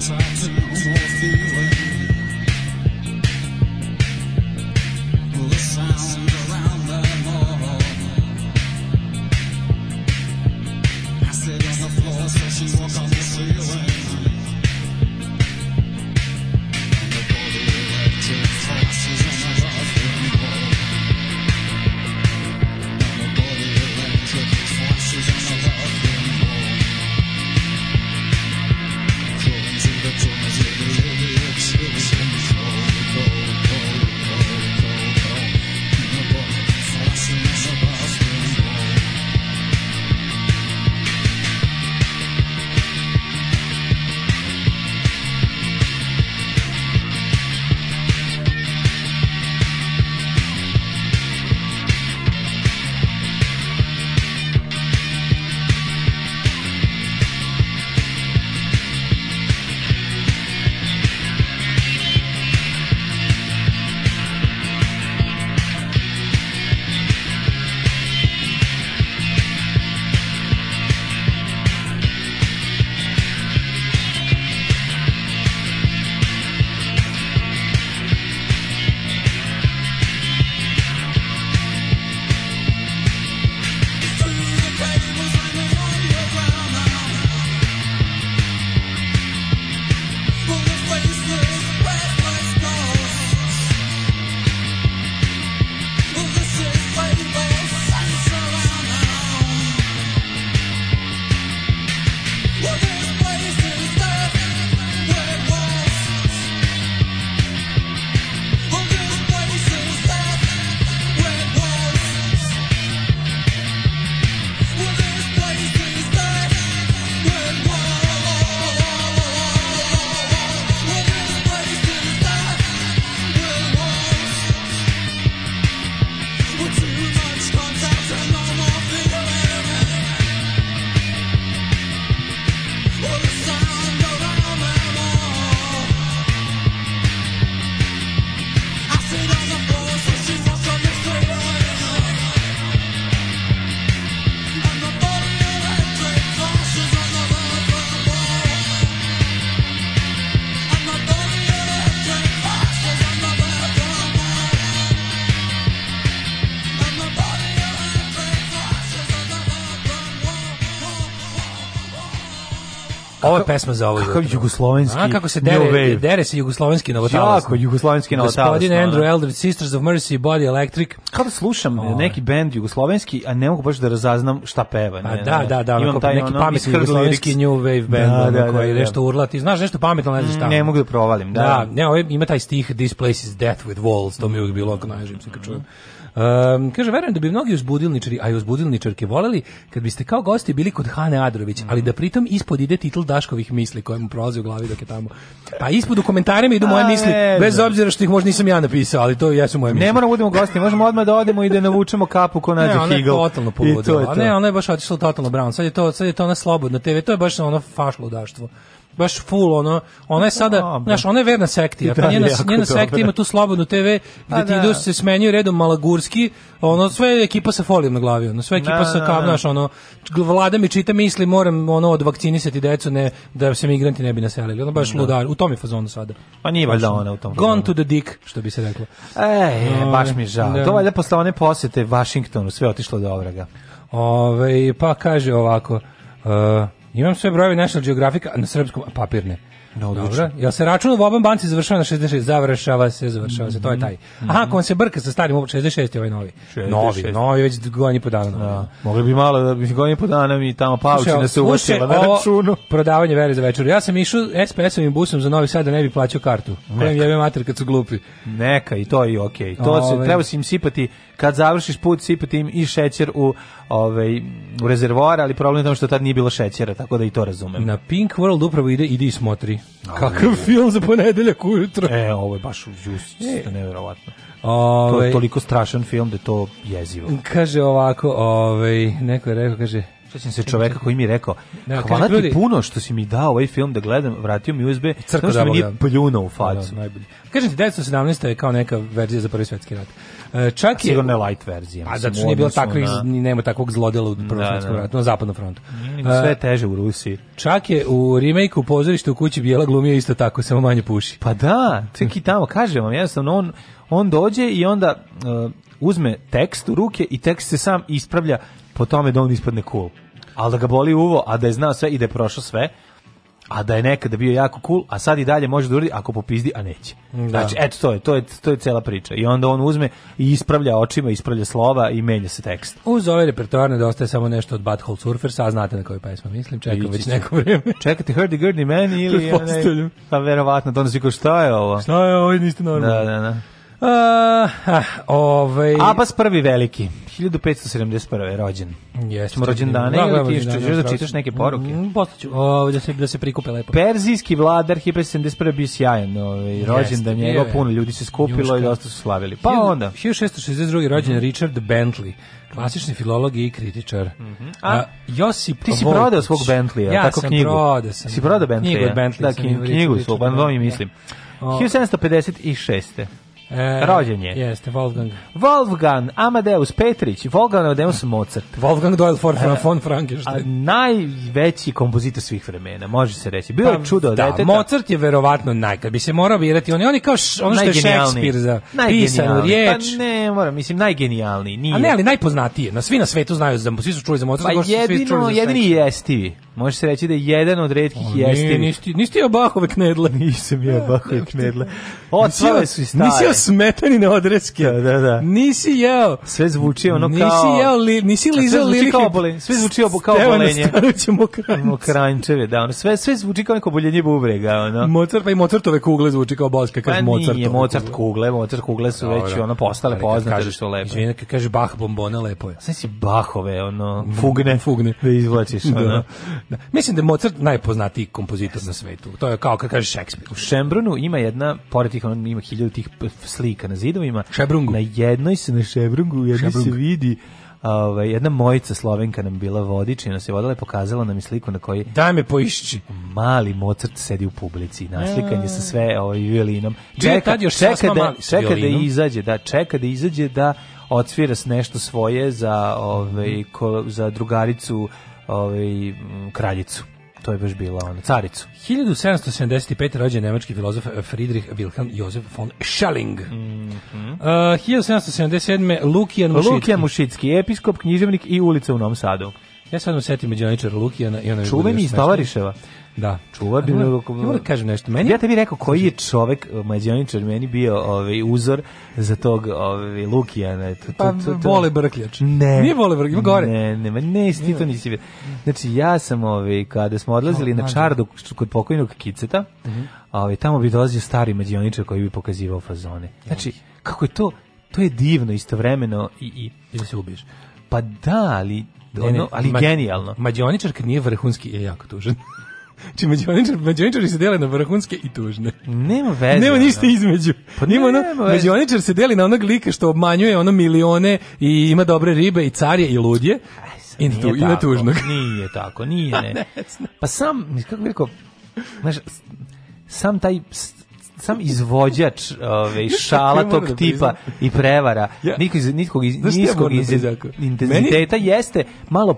[SPEAKER 1] Thank you.
[SPEAKER 8] Ovo je pesma za ovo.
[SPEAKER 7] Kakav
[SPEAKER 8] jutro.
[SPEAKER 7] jugoslovenski
[SPEAKER 8] A, kako se
[SPEAKER 7] new
[SPEAKER 8] dere,
[SPEAKER 7] wave.
[SPEAKER 8] dere se jugoslovenski novotalac.
[SPEAKER 7] Jako jugoslovenski novotalac,
[SPEAKER 8] Gospodin
[SPEAKER 7] ono.
[SPEAKER 8] Andrew Elder, Sisters of Mercy, Body Electric.
[SPEAKER 7] Kao da slušam neki bend jugoslovenski, a ne mogu baš da razaznam šta peva.
[SPEAKER 8] Pa
[SPEAKER 7] Ne,
[SPEAKER 8] da,
[SPEAKER 7] ne.
[SPEAKER 8] da, da,
[SPEAKER 7] Imam
[SPEAKER 8] onako
[SPEAKER 7] taj
[SPEAKER 8] neki
[SPEAKER 7] ono
[SPEAKER 8] pametni
[SPEAKER 7] iskrdli
[SPEAKER 8] jugoslovenski
[SPEAKER 7] riks.
[SPEAKER 8] new wave band
[SPEAKER 7] Da,
[SPEAKER 8] ono
[SPEAKER 7] da,
[SPEAKER 8] koji
[SPEAKER 7] da, da.
[SPEAKER 8] nešto urla, ti znaš nešto pametno, ne znaš šta.
[SPEAKER 7] Ne mogu da provalim, da.
[SPEAKER 8] Da, ne, ovo ima taj stih This place is death with walls, to mi je uvijek bilo ako naježim se kad čujem. Um, kaže, verujem da bi mnogi uzbudilničari, a i uzbudilničarke voleli kad biste kao gosti bili kod Hane Adrović, ali da pritom ispod ide titl Daškovih misli koje mu prolaze u glavi dok je tamo. Pa ispod u komentarima idu moje
[SPEAKER 7] A,
[SPEAKER 8] misli,
[SPEAKER 7] ne
[SPEAKER 8] bez
[SPEAKER 7] znam.
[SPEAKER 8] obzira što ih možda nisam ja napisao, ali to jesu moje misli.
[SPEAKER 7] Ne moramo da budemo gosti, možemo odmah da odemo i da navučemo kapu ko nađe
[SPEAKER 8] Ne, ona je
[SPEAKER 7] Higel.
[SPEAKER 8] totalno
[SPEAKER 7] I to je
[SPEAKER 8] poludila.
[SPEAKER 7] to.
[SPEAKER 8] A Ne, ona je baš otišla u totalno brown. Sad je to, sad je to ona slobodna TV. To je baš ono fašlo udaštvo. Baš full ono. Ona je sada, znaš, ona je verna sekti.
[SPEAKER 7] I
[SPEAKER 8] a
[SPEAKER 7] dalje
[SPEAKER 8] njena,
[SPEAKER 7] jako
[SPEAKER 8] njena
[SPEAKER 7] dobra.
[SPEAKER 8] sekta ima tu slobodnu TV gde
[SPEAKER 7] Pa
[SPEAKER 8] ti
[SPEAKER 7] da.
[SPEAKER 8] idu se smenjuju redom Malagurski, ono sve je ekipa sa folijom na glavi, ono sve ekipa
[SPEAKER 7] Da,
[SPEAKER 8] sa
[SPEAKER 7] da,
[SPEAKER 8] kao,
[SPEAKER 7] da.
[SPEAKER 8] znaš, ono vlada mi čita misli, moram ono odvakcinisati decu ne da se migranti ne bi naselili. Ono baš ludar, u tom je fazonu sada.
[SPEAKER 7] Pa nije valjda ona u tom
[SPEAKER 8] Gone to the dick, što bi se reklo.
[SPEAKER 7] Ej, baš mi je žao.
[SPEAKER 8] Da.
[SPEAKER 7] To valjda posle one posete Vašingtonu, sve otišlo do ovraga.
[SPEAKER 8] Ove, pa kaže ovako, uh, imam sve brojeve National Geographic a na srpskom, a papirne.
[SPEAKER 7] No,
[SPEAKER 8] Dobro, jel se račun u oban banci završava na 66? Završava se, završava se, to je taj.
[SPEAKER 7] Mhm.
[SPEAKER 8] Aha, ako vam se brka sa starim, ovo 66 je ovaj novi.
[SPEAKER 7] 66.
[SPEAKER 8] Novi, novi, već godin i po dana. Da.
[SPEAKER 7] Mogli bi malo da bi godin i po dana mi tamo paučina se uvačila na
[SPEAKER 8] ovo
[SPEAKER 7] računu.
[SPEAKER 8] prodavanje vere za večer. Ja sam išao SPS-ovim busom za Novi Sad da ne bi plaćao kartu. Kojem
[SPEAKER 7] Neka.
[SPEAKER 8] jebe mater kad su glupi.
[SPEAKER 7] Neka, i to je okej. To
[SPEAKER 8] Ovaj.
[SPEAKER 7] se, treba si im sipati, kad završiš put, sipati im i šećer u, ovaj, u rezervoar, ali problem je tamo što tad nije bilo šećera, tako da i to razumem.
[SPEAKER 8] Na Pink World upravo ide, ide i smotri. Kakav film za ponedeljak ujutro.
[SPEAKER 7] E, ovo je baš
[SPEAKER 8] E.
[SPEAKER 7] uživo, nevjerovatno. To
[SPEAKER 8] Ovaj,
[SPEAKER 7] je toliko strašan film da je to jezivo.
[SPEAKER 8] Kaže ovako, ovaj, neko je rekao, kaže...
[SPEAKER 7] Sećam se čoveka koji mi je rekao,
[SPEAKER 8] Da, kaže,
[SPEAKER 7] hvala ti
[SPEAKER 8] ljudi-
[SPEAKER 7] puno što si mi dao ovaj film da gledam, vratio mi USB,
[SPEAKER 8] Crko
[SPEAKER 7] samo što mi nije
[SPEAKER 8] zabavlja.
[SPEAKER 7] pljunuo u facu.
[SPEAKER 8] Da, pa, najbolje. Kažem ti, 1917. je kao neka verzija za prvi svetski rat. E, Čak je...
[SPEAKER 7] Sigurno je light verzija.
[SPEAKER 8] A
[SPEAKER 7] mislim,
[SPEAKER 8] Pa zato što
[SPEAKER 7] u
[SPEAKER 8] nije bilo
[SPEAKER 7] odnosu
[SPEAKER 8] takvih,
[SPEAKER 7] na-
[SPEAKER 8] ni nema takvog zlodela u prvom
[SPEAKER 7] Da,
[SPEAKER 8] svetskom
[SPEAKER 7] da.
[SPEAKER 8] ratu, na zapadnom frontu.
[SPEAKER 7] Nije nego Sve
[SPEAKER 8] E,
[SPEAKER 7] je teže u Rusiji.
[SPEAKER 8] Čak je u remake-u pozorište u kući Bijela glumio isto tako, samo manje puši.
[SPEAKER 7] Pa da, čak i tamo, kažem vam, jednostavno, on, on dođe i onda uh, uzme tekst u ruke i tekst se sam ispravlja po tome da on ispadne cool. Ali da ga boli uvo, a da je znao sve i da je prošao sve, a da je nekada bio jako cool, a sad i dalje može da uradi ako popizdi, a neće.
[SPEAKER 8] Da.
[SPEAKER 7] Znači, eto to je, to je, to je cela priča. I onda on uzme i ispravlja očima, ispravlja slova i menja se tekst.
[SPEAKER 8] Uz ove repertoar nedostaje samo nešto od Butthole Surfers, a znate na koju pesmu mislim, čekam
[SPEAKER 7] Ići
[SPEAKER 8] već
[SPEAKER 7] ću.
[SPEAKER 8] neko vrijeme.
[SPEAKER 7] Čekate Hurdy Gurdy Man ili... onaj-
[SPEAKER 8] Pretpostavljam.
[SPEAKER 7] Pa verovatno, to onda svi kao, šta je ovo?
[SPEAKER 8] Šta je, ovo niste
[SPEAKER 7] Da, pa
[SPEAKER 8] normalni.
[SPEAKER 7] da, da.
[SPEAKER 8] A, ah, ovaj...
[SPEAKER 7] Abbas prvi veliki, 1571. je rođen.
[SPEAKER 8] Jeste.
[SPEAKER 7] Ćemo rođendane ili
[SPEAKER 8] gledamo
[SPEAKER 7] ti
[SPEAKER 8] rođendane,
[SPEAKER 7] ćeš da
[SPEAKER 8] pravo
[SPEAKER 7] čitaš
[SPEAKER 8] si.
[SPEAKER 7] neke poruke?
[SPEAKER 8] Mm, posle ću, o, da se, da se prikupe lepo.
[SPEAKER 7] Perzijski vladar 1571. je bio sjajan, ovaj, rođen da
[SPEAKER 8] bio
[SPEAKER 7] njega
[SPEAKER 8] je.
[SPEAKER 7] puno ljudi se skupilo
[SPEAKER 8] Njuška.
[SPEAKER 7] i dosta su slavili. Pa onda, Mhm.
[SPEAKER 8] 1662. rođen je Richard Bentley, klasični filolog i kritičar.
[SPEAKER 7] Mhm. A,
[SPEAKER 8] Josip
[SPEAKER 7] ti si
[SPEAKER 8] Voltić.
[SPEAKER 7] prodao svog Bentleya,
[SPEAKER 8] ja
[SPEAKER 7] tako
[SPEAKER 8] sam
[SPEAKER 7] knjigu.
[SPEAKER 8] prodao sam.
[SPEAKER 7] Si prodao Bentley?
[SPEAKER 8] Knjigu od Bentley.
[SPEAKER 7] Da,
[SPEAKER 8] sam
[SPEAKER 7] knji-
[SPEAKER 8] imao
[SPEAKER 7] knjigu
[SPEAKER 8] Richard
[SPEAKER 7] svog, pa na to mi
[SPEAKER 8] Richard
[SPEAKER 7] mislim.
[SPEAKER 8] O.
[SPEAKER 7] 1756.
[SPEAKER 8] Bentley. E,
[SPEAKER 7] Rođen je.
[SPEAKER 8] Jeste, Wolfgang.
[SPEAKER 7] Wolfgang Amadeus Petrić, Wolfgang Amadeus Mozart.
[SPEAKER 8] Wolfgang Doyle for, von Frankenstein.
[SPEAKER 7] A najveći kompozitor svih vremena, može se reći. Bio je čudo
[SPEAKER 8] Pa, da,
[SPEAKER 7] deteta.
[SPEAKER 8] Mozart je verovatno naj, kad bi se morao birati, on je, on je kao š- ono što je
[SPEAKER 7] Najgenijalniji.
[SPEAKER 8] Šekspir za
[SPEAKER 7] Najgenijalniji.
[SPEAKER 8] pisanu riječ.
[SPEAKER 7] Pa ne, moram, mislim, najgenijalniji. Nije.
[SPEAKER 8] A ne, ali najpoznatije. Na svi na svetu znaju za svi su čuli za Mozarta,
[SPEAKER 7] Pa
[SPEAKER 8] kao što su svi čuli
[SPEAKER 7] jedino,
[SPEAKER 8] za
[SPEAKER 7] jedini
[SPEAKER 8] Shakespeare.
[SPEAKER 7] jestivi. Može se reći da je jedan od redkih
[SPEAKER 8] Nije,
[SPEAKER 7] jestivi.
[SPEAKER 8] nisi ti- nisi ti ja bahove knedle.
[SPEAKER 7] Nisam ja bako i knedle.
[SPEAKER 8] Nisi jeo-
[SPEAKER 7] Otvale su i stare.
[SPEAKER 8] Nisi jeo smetanine odreske.
[SPEAKER 7] Da, da, da.
[SPEAKER 8] Nisi jeo.
[SPEAKER 7] Sve zvuči ono kao...
[SPEAKER 8] Nisi jeo, li, nisi
[SPEAKER 7] sve
[SPEAKER 8] lizao
[SPEAKER 7] zvuči
[SPEAKER 8] lili.
[SPEAKER 7] kao obolenje. Sve zvuči obo- kao obolenje. Mokrančeve, da, ono, sve, sve zvuči kao neko boljenje bubrega, ono.
[SPEAKER 8] Mozart pa i Mozartove kugle zvuči kao boske,
[SPEAKER 7] Pa
[SPEAKER 8] kaže Mozart.
[SPEAKER 7] nije, Mozart kugle, Mozart kugle su već ono postale poznate što lepo.
[SPEAKER 8] Izvini, kad kaže Bach bombone lepo je.
[SPEAKER 7] Sve si bahove, ono, fugne,
[SPEAKER 8] Fugne.
[SPEAKER 7] da izvlačiš, ono.
[SPEAKER 8] Da. Da. Mislim da je Mozart najpoznatiji kompozitor na svetu. To je kao kad kaže Šekspir.
[SPEAKER 7] U Šembrunu ima jedna, pored tih, on ima hiljadu tih p- slika na zidovima.
[SPEAKER 8] Šebrungu.
[SPEAKER 7] Na jednoj se, na Šebrungu, u jednoj
[SPEAKER 8] Šebrung.
[SPEAKER 7] se vidi ovaj, jedna mojica slovenka nam bila vodič i nas je vodila i pokazala nam je sliku na kojoj
[SPEAKER 8] Daj me poišći.
[SPEAKER 7] mali Mozart sedi u publici, naslikan je sa sve ovaj, violinom.
[SPEAKER 8] Bio je tad još
[SPEAKER 7] čeka,
[SPEAKER 8] sasma
[SPEAKER 7] da,
[SPEAKER 8] mali s
[SPEAKER 7] čeka da
[SPEAKER 8] violinom.
[SPEAKER 7] izađe, da, čeka da izađe da odsvira s nešto svoje za, ovaj, ko- za drugaricu ovaj, m, kraljicu. To je baš bila ona, caricu.
[SPEAKER 8] 1775. rođen je nemački filozof eh, Friedrich Wilhelm Josef von Schelling. Uh, 1777. Lukijan Mušitski.
[SPEAKER 7] Lukijan Mušitski, episkop, književnik i ulica u Novom Sadu.
[SPEAKER 8] Ja sad usetim međaničar Lukijana i ona mi bude još
[SPEAKER 7] Čuveni iz
[SPEAKER 8] smešnija.
[SPEAKER 7] Tovariševa.
[SPEAKER 8] Da.
[SPEAKER 7] Čuva bi
[SPEAKER 8] A moram-
[SPEAKER 7] me
[SPEAKER 8] ja moram da kažem nešto. Meni-
[SPEAKER 7] Ja tebi rekao koji je čovek e, mađioničar meni bio ovaj uzor za tog ovaj Lukijana. To,
[SPEAKER 8] Pa, Bole Brkljač.
[SPEAKER 7] Ne.
[SPEAKER 8] Nije Bole Brkljač, ima gore.
[SPEAKER 7] Ne, ne, ma ne, ti to nisi vidio. Znači ja sam ovaj kada smo odlazili
[SPEAKER 8] Kao
[SPEAKER 7] na
[SPEAKER 8] mlađi.
[SPEAKER 7] Čardu kod pokojnog Kiceta,
[SPEAKER 8] Mhm.
[SPEAKER 7] ovaj tamo bi dolazio stari mađioničar koji bi pokazivao fazone. Znači kako je to to je divno istovremeno i i
[SPEAKER 8] I da se ubiješ.
[SPEAKER 7] Pa da, ali
[SPEAKER 8] Ne, ne,
[SPEAKER 7] ono, ali
[SPEAKER 8] ma-
[SPEAKER 7] genijalno.
[SPEAKER 8] Mađioničar kad nije vrhunski je jako tužan. Znači, mađioničar, mađioničari se dele na vrhunske i tužne.
[SPEAKER 7] Nema veze.
[SPEAKER 8] Nema ništa
[SPEAKER 7] ono.
[SPEAKER 8] između.
[SPEAKER 7] Pa
[SPEAKER 8] Nema ono,
[SPEAKER 7] nema veze.
[SPEAKER 8] mađioničar se deli na onog lika što obmanjuje ono milione i ima dobre ribe i carje i ludje. I na, tu,
[SPEAKER 7] Nije
[SPEAKER 8] i na
[SPEAKER 7] tako,
[SPEAKER 8] tužnog.
[SPEAKER 7] Nije tako, nije.
[SPEAKER 8] Pa
[SPEAKER 7] Ne.
[SPEAKER 8] ne
[SPEAKER 7] Pa sam, kako bih rekao, znaš, s- sam taj s- sam izvođač ove, šala
[SPEAKER 8] Ja moram
[SPEAKER 7] tog
[SPEAKER 8] da
[SPEAKER 7] tipa
[SPEAKER 8] priznam.
[SPEAKER 7] i prevara
[SPEAKER 8] Ja-
[SPEAKER 7] nikog iz, nikog iz,
[SPEAKER 8] Znaš šta ja
[SPEAKER 7] niskog
[SPEAKER 8] moram da
[SPEAKER 7] iz-
[SPEAKER 8] priznam?
[SPEAKER 7] intenziteta jeste malo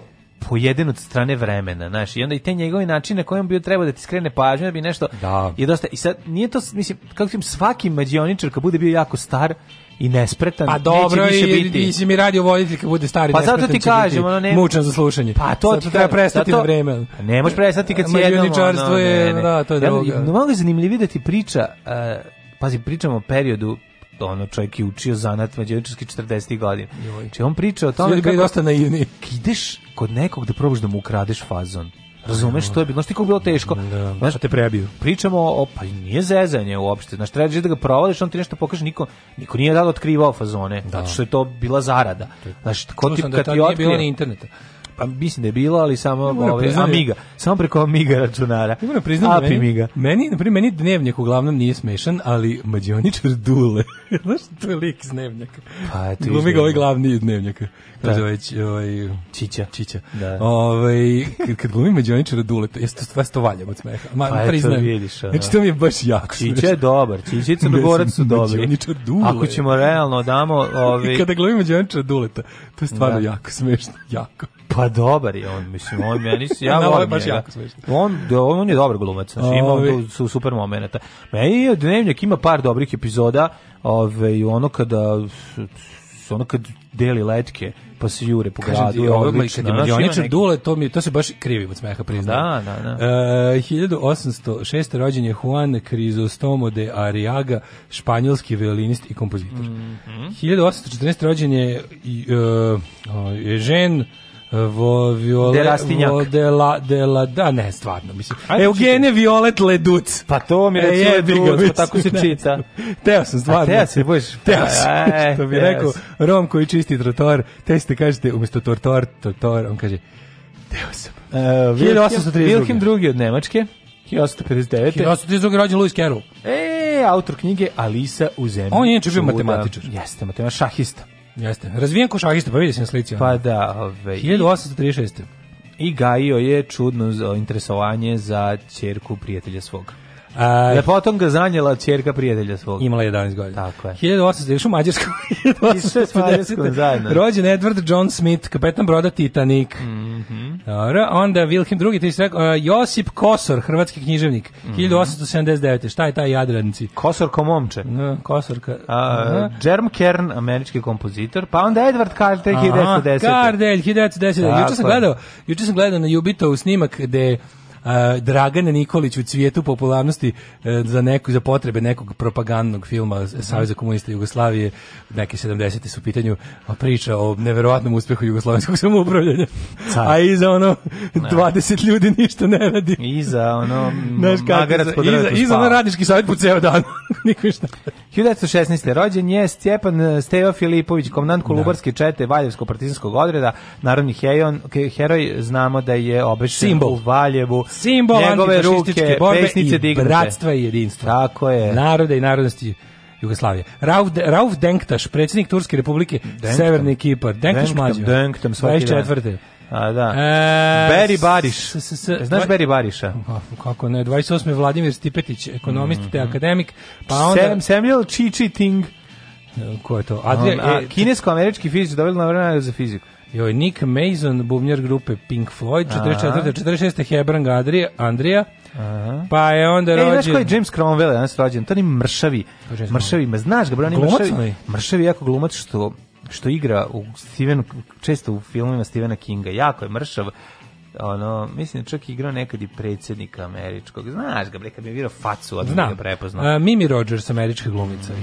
[SPEAKER 7] pojeden od strane vremena, znaš, i onda i te njegove načine kojem bi trebao da ti skrene pažnju, da bi nešto
[SPEAKER 8] Da.
[SPEAKER 7] je dosta, i sad nije to, mislim, kako ti svaki mađioničar kad bude bio jako star i nespretan,
[SPEAKER 8] Pa dobro,
[SPEAKER 7] neće više
[SPEAKER 8] i,
[SPEAKER 7] biti.
[SPEAKER 8] i si mi radio voditelj kad bude stari
[SPEAKER 7] Pa zato
[SPEAKER 8] nespretan
[SPEAKER 7] ti
[SPEAKER 8] će biti
[SPEAKER 7] kažem, ono, ne-
[SPEAKER 8] Mučan za slušanje.
[SPEAKER 7] Pa to
[SPEAKER 8] Zato
[SPEAKER 7] ti
[SPEAKER 8] treba
[SPEAKER 7] kažem,
[SPEAKER 8] prestati
[SPEAKER 7] zato- Pa
[SPEAKER 8] na vreme.
[SPEAKER 7] Ne možeš prestati kad si jednom.
[SPEAKER 8] Mađioničarstvo
[SPEAKER 7] ono,
[SPEAKER 8] je,
[SPEAKER 7] ne, ne.
[SPEAKER 8] da, to je
[SPEAKER 7] Ja,
[SPEAKER 8] droga.
[SPEAKER 7] no, Mnogo je zanimljivije da ti priča, eh, pazi, pričamo o periodu ono čovjek je učio zanat mađioničarski 40. godina.
[SPEAKER 8] Joj.
[SPEAKER 7] Znači on priča o
[SPEAKER 8] Su
[SPEAKER 7] tome
[SPEAKER 8] ljudi bili
[SPEAKER 7] kako
[SPEAKER 8] dosta naivni.
[SPEAKER 7] ideš kod nekog da probaš da mu ukradeš fazon. Razumeš što je bilo, znaš ti kako je bilo teško. Da, znaš,
[SPEAKER 8] te prebiju.
[SPEAKER 7] Pričamo o, pa nije zezanje uopšte, znaš, trebaš da ga provališ, on ti nešto pokaže, niko, niko nije rado otkrivao fazone, zato što je to bila zarada. Znaš, ko ti,
[SPEAKER 8] Slušam da
[SPEAKER 7] kad
[SPEAKER 8] tad
[SPEAKER 7] ti
[SPEAKER 8] nije
[SPEAKER 7] otkrije,
[SPEAKER 8] bilo ni interneta.
[SPEAKER 7] pa mislim da je bilo, ali samo
[SPEAKER 8] moram
[SPEAKER 7] ove,
[SPEAKER 8] priznati-
[SPEAKER 7] Amiga. Samo preko Amiga računara.
[SPEAKER 8] Ja moram priznati da
[SPEAKER 7] Api
[SPEAKER 8] meni,
[SPEAKER 7] Miga.
[SPEAKER 8] meni, na primjer, meni dnevnjak uglavnom nije smešan, ali mađioničar Dule. Znaš, to je lik iz dnevnjaka.
[SPEAKER 7] Pa, eto, iz
[SPEAKER 8] Glumi
[SPEAKER 7] Dnevnjaka.
[SPEAKER 8] ga ovaj glavni iz dnevnjaka. Kaže
[SPEAKER 7] Da.
[SPEAKER 8] ovaj, ć- ovaj,
[SPEAKER 7] Čića.
[SPEAKER 8] Čića.
[SPEAKER 7] Da.
[SPEAKER 8] Ovaj, kad, kad glumi mađioničara Dule, to, jesu, to, to valjam od smeha. Ma,
[SPEAKER 7] Pa eto,
[SPEAKER 8] priznajem.
[SPEAKER 7] vidiš, ono.
[SPEAKER 8] Znači, to mi je baš jako
[SPEAKER 7] Čića je dobar, Čića i Crnogorac su dobri.
[SPEAKER 8] Mađioničar Dule.
[SPEAKER 7] Ako ćemo realno damo... Ove,
[SPEAKER 8] Kada glumi mađioničara Duleta, to je stvarno
[SPEAKER 7] ovaj- Da.
[SPEAKER 8] jako smešno, jako.
[SPEAKER 7] Pa dobar je on, mislim, on meni se,
[SPEAKER 8] Na,
[SPEAKER 7] ja
[SPEAKER 8] ovo je
[SPEAKER 7] volim
[SPEAKER 8] baš
[SPEAKER 7] njega.
[SPEAKER 8] jako smešno.
[SPEAKER 7] On, da, on je dobar glumac, znači ima
[SPEAKER 8] Ovi.
[SPEAKER 7] tu su super momenata. Meni je Dnevnjak ima par dobrih epizoda, ove, i ono kada s- ono kad deli letke, pa se jure po
[SPEAKER 8] Kažem
[SPEAKER 7] gradu,
[SPEAKER 8] ti,
[SPEAKER 7] je
[SPEAKER 8] ovo
[SPEAKER 7] odlično.
[SPEAKER 8] kad je
[SPEAKER 7] Znaš, ima
[SPEAKER 8] mađioničar
[SPEAKER 7] neki-
[SPEAKER 8] Dule, to, mi, to se baš krivim od smeha, priznajem.
[SPEAKER 7] Da, da, da.
[SPEAKER 8] E, 1806. rođen je Juan Crisostomo de Arriaga, španjolski violinist i kompozitor.
[SPEAKER 7] Mhm.
[SPEAKER 8] 1814. rođen je i, e, o, Eugene Vo, Viole,
[SPEAKER 7] De Rastinjak.
[SPEAKER 8] Vo- de la, de la, da, ne, stvarno, mislim.
[SPEAKER 7] Ajde,
[SPEAKER 8] Eugene Violet Leduc.
[SPEAKER 7] Pa to mi
[SPEAKER 8] E,
[SPEAKER 7] recimo
[SPEAKER 8] jebi ga,
[SPEAKER 7] Duc, pa
[SPEAKER 8] mislim,
[SPEAKER 7] tako se
[SPEAKER 8] ne
[SPEAKER 7] čita.
[SPEAKER 8] znam. Teo sam, stvarno.
[SPEAKER 7] A teo si, budeš-
[SPEAKER 8] Teo sam,
[SPEAKER 7] E,
[SPEAKER 8] što bi
[SPEAKER 7] teo
[SPEAKER 8] rekao,
[SPEAKER 7] si.
[SPEAKER 8] Rom koji čisti trotor, te ste kažete, umjesto tortor, tortor, on kaže, teo sam.
[SPEAKER 7] E, Wilhelm-
[SPEAKER 8] 1832.
[SPEAKER 7] Wilhelm II od Nemačke, 1859.
[SPEAKER 8] 1832. rođen Lewis Carroll.
[SPEAKER 7] E, autor knjige Alisa u zemlji.
[SPEAKER 8] On je inače bio
[SPEAKER 7] čuda.
[SPEAKER 8] matematičar.
[SPEAKER 7] Jeste, matematičar, šahista.
[SPEAKER 8] Jeste. Razvijen ko šahista, pa vidi se na slici. ono.
[SPEAKER 7] Pa da, ove, i,
[SPEAKER 8] 1836.
[SPEAKER 7] i gajio je čudno z- interesovanje za ćerku prijatelja svog.
[SPEAKER 8] A,
[SPEAKER 7] Lepotom ga zanjela ćerka prijatelja svog.
[SPEAKER 8] Imala je 11 godina.
[SPEAKER 7] Tako je.
[SPEAKER 8] 1800, još u Mađarskom.
[SPEAKER 7] sve s Mađarskom zajedno.
[SPEAKER 8] 1850. Rođen Edward John Smith, kapetan broda Titanic. Mhm. Dobro, onda Wilhelm II, ti si rekao, a, Josip Kosor, hrvatski književnik, 1879. Šta je taj Jadranci? E,
[SPEAKER 7] Kosor Komomče.
[SPEAKER 8] N, Kosorka.
[SPEAKER 7] A,
[SPEAKER 8] Aha.
[SPEAKER 7] Jerm Kern, američki kompozitor, pa onda Edward Carter,
[SPEAKER 8] Aha,
[SPEAKER 7] 1910.
[SPEAKER 8] Kardelj, 1910.
[SPEAKER 7] Tako
[SPEAKER 8] Juče sam
[SPEAKER 7] je.
[SPEAKER 8] gledao, juče sam gledao na Jubitov snimak gde Uh, Dragan Nikolić u cvijetu popularnosti e, za neku za potrebe nekog propagandnog filma Saveza komunista Jugoslavije neke 70 su u pitanju a priča o neverovatnom uspehu jugoslovenskog samoupravljanja a iza ono 20 ljudi ništa ne radi
[SPEAKER 7] I za ono
[SPEAKER 8] Znaš kako,
[SPEAKER 7] magarac
[SPEAKER 8] iza-
[SPEAKER 7] pod
[SPEAKER 8] iza,
[SPEAKER 7] drvetom
[SPEAKER 8] iza
[SPEAKER 7] spava.
[SPEAKER 8] ono radnički savjet po ceo dan niko ništa
[SPEAKER 7] 1916. rođen je Stjepan eh, Stevo Filipović, komandant Kolubarske čete Valjevsko-partizanskog odreda, narodni hejon, ke- heroj, znamo da je obešen
[SPEAKER 8] Simbol.
[SPEAKER 7] u Valjevu.
[SPEAKER 8] simbol
[SPEAKER 7] njegove
[SPEAKER 8] antifašističke
[SPEAKER 7] ruke,
[SPEAKER 8] borbe
[SPEAKER 7] pesnice
[SPEAKER 8] i
[SPEAKER 7] dignute.
[SPEAKER 8] bratstva i jedinstva.
[SPEAKER 7] Tako je.
[SPEAKER 8] Naroda i narodnosti Jugoslavije. Rauf, Rauf Denktaš, predsjednik Turske republike, Severni Kipar. Denktaš
[SPEAKER 7] Denktam,
[SPEAKER 8] mlađo.
[SPEAKER 7] Denktam svaki dan.
[SPEAKER 8] 24.
[SPEAKER 7] A, da.
[SPEAKER 8] E,
[SPEAKER 7] Beri
[SPEAKER 8] s-
[SPEAKER 7] Bariš. E,
[SPEAKER 8] s- s- s-
[SPEAKER 7] Znaš
[SPEAKER 8] dva-
[SPEAKER 7] Beri Bariša?
[SPEAKER 8] Pa, Kako ne, 28. Vladimir Stipetić, ekonomist
[SPEAKER 7] Mhm.
[SPEAKER 8] te akademik, pa onda...
[SPEAKER 7] Sam, Samuel Chi Chi Ting.
[SPEAKER 8] Ko je to?
[SPEAKER 7] Um,
[SPEAKER 8] Adria,
[SPEAKER 7] a,
[SPEAKER 8] e,
[SPEAKER 7] kinesko-američki fizičar dovoljno na vremena za fiziku.
[SPEAKER 8] joj, Nick Mason, bubnjar grupe Pink Floyd, 44. 46. Hebrang Adria, Andrija, pa je onda
[SPEAKER 7] E, znaš
[SPEAKER 8] rođen...
[SPEAKER 7] koji je James Cromwell danas rođen? To ni mršavi.
[SPEAKER 8] Ko je James
[SPEAKER 7] Mršavi, ma znaš ga, bro, oni
[SPEAKER 8] Glumac
[SPEAKER 7] mršavi.
[SPEAKER 8] onaj?
[SPEAKER 7] Mršavi je jako glumac što što igra u Stevenu, često u filmima Stevena Kinga, jako je mršav, ono, mislim da čak je igrao nekad i predsjednika američkog, znaš ga, bre, kad mi je virao facu, odmah
[SPEAKER 8] Znam. E.
[SPEAKER 7] ga prepoznao. Mhm.
[SPEAKER 8] A, Mimi Rogers, američka glumica,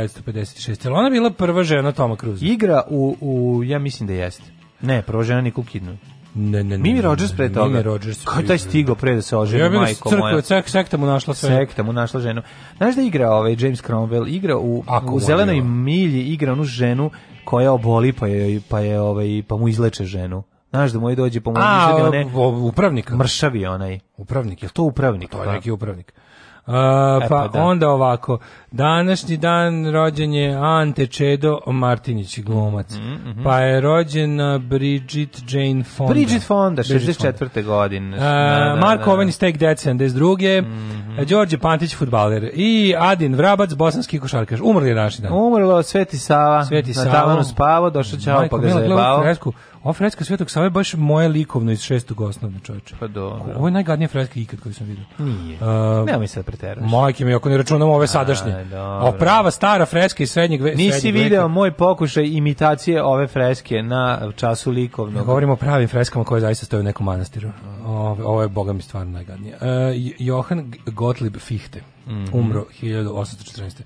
[SPEAKER 8] 1956. Jel Ona bila prva žena Toma Cruise.
[SPEAKER 7] Igra u, u ja mislim da jeste. Ne, prva žena Nicole Kidman.
[SPEAKER 8] Ne, ne,
[SPEAKER 7] Mimi Rogers pre
[SPEAKER 8] ne,
[SPEAKER 7] toga.
[SPEAKER 8] Mimi Rodgers
[SPEAKER 7] Kako je
[SPEAKER 8] pre-
[SPEAKER 7] taj stigo pre da se oženi,
[SPEAKER 8] Ja bih da
[SPEAKER 7] majko
[SPEAKER 8] crkva,
[SPEAKER 7] moja.
[SPEAKER 8] cek- sekta mu našla sve.
[SPEAKER 7] Sekta mu našla ženu. Znaš da igra ovaj James Cromwell, igra u, u zelenoj milji, igra onu ženu koja oboli pa je, pa je ovaj, pa mu izleče ženu. Znaš da mu je dođe pa mu
[SPEAKER 8] A,
[SPEAKER 7] izleče one...
[SPEAKER 8] o- upravnika.
[SPEAKER 7] Mršavi je onaj.
[SPEAKER 8] Upravnik,
[SPEAKER 7] je to upravnik?
[SPEAKER 8] To je
[SPEAKER 7] Pa.
[SPEAKER 8] neki upravnik. Uh,
[SPEAKER 7] E,
[SPEAKER 8] pa
[SPEAKER 7] pa da.
[SPEAKER 8] onda ovako, današnji dan rođen je Ante Čedo Martinić, glumac.
[SPEAKER 7] mhm.
[SPEAKER 8] Pa je rođena Bridget Jane Fonda.
[SPEAKER 7] Bridget Fonda,
[SPEAKER 8] Bridget Fonda.
[SPEAKER 7] 64. godine.
[SPEAKER 8] Uh, Marko Oven iz Take That 72.
[SPEAKER 7] Mhm.
[SPEAKER 8] E, Đorđe Pantić, futbaler. I Adin Vrabac, bosanski košarkaš. Umrli naši dan.
[SPEAKER 7] Umrlo Sveti Sava,
[SPEAKER 8] Sveti
[SPEAKER 7] na
[SPEAKER 8] Sava.
[SPEAKER 7] tavanu spavao, došao ćao
[SPEAKER 8] Majko
[SPEAKER 7] pa ga
[SPEAKER 8] mila, gledaj ovu
[SPEAKER 7] zajebao.
[SPEAKER 8] fresku. Ova freska Svetog Save je baš moje likovno iz šestog osnovne čoveče.
[SPEAKER 7] Pa dobro.
[SPEAKER 8] Ovo je najgadnija freska ikad koju sam vidio.
[SPEAKER 7] Nije.
[SPEAKER 8] Uh,
[SPEAKER 7] Nemoj mi sad preteraš.
[SPEAKER 8] Majke mi, ako ne računamo ove sadašnje.
[SPEAKER 7] dobro.
[SPEAKER 8] A prava stara freska iz srednjeg, ve,
[SPEAKER 7] Nisi
[SPEAKER 8] srednjeg veka.
[SPEAKER 7] video moj pokušaj imitacije ove freske na času
[SPEAKER 8] Ne
[SPEAKER 7] likovnog.
[SPEAKER 8] Govorimo o pravim freskama koje zaista stoje u nekom manastiru.
[SPEAKER 7] Mm.
[SPEAKER 8] Ovo, ovo je, boga mi, stvarno najgadnije. Uh, Johan G- Gottlieb Fichte,
[SPEAKER 7] Mhm.
[SPEAKER 8] umro 1814.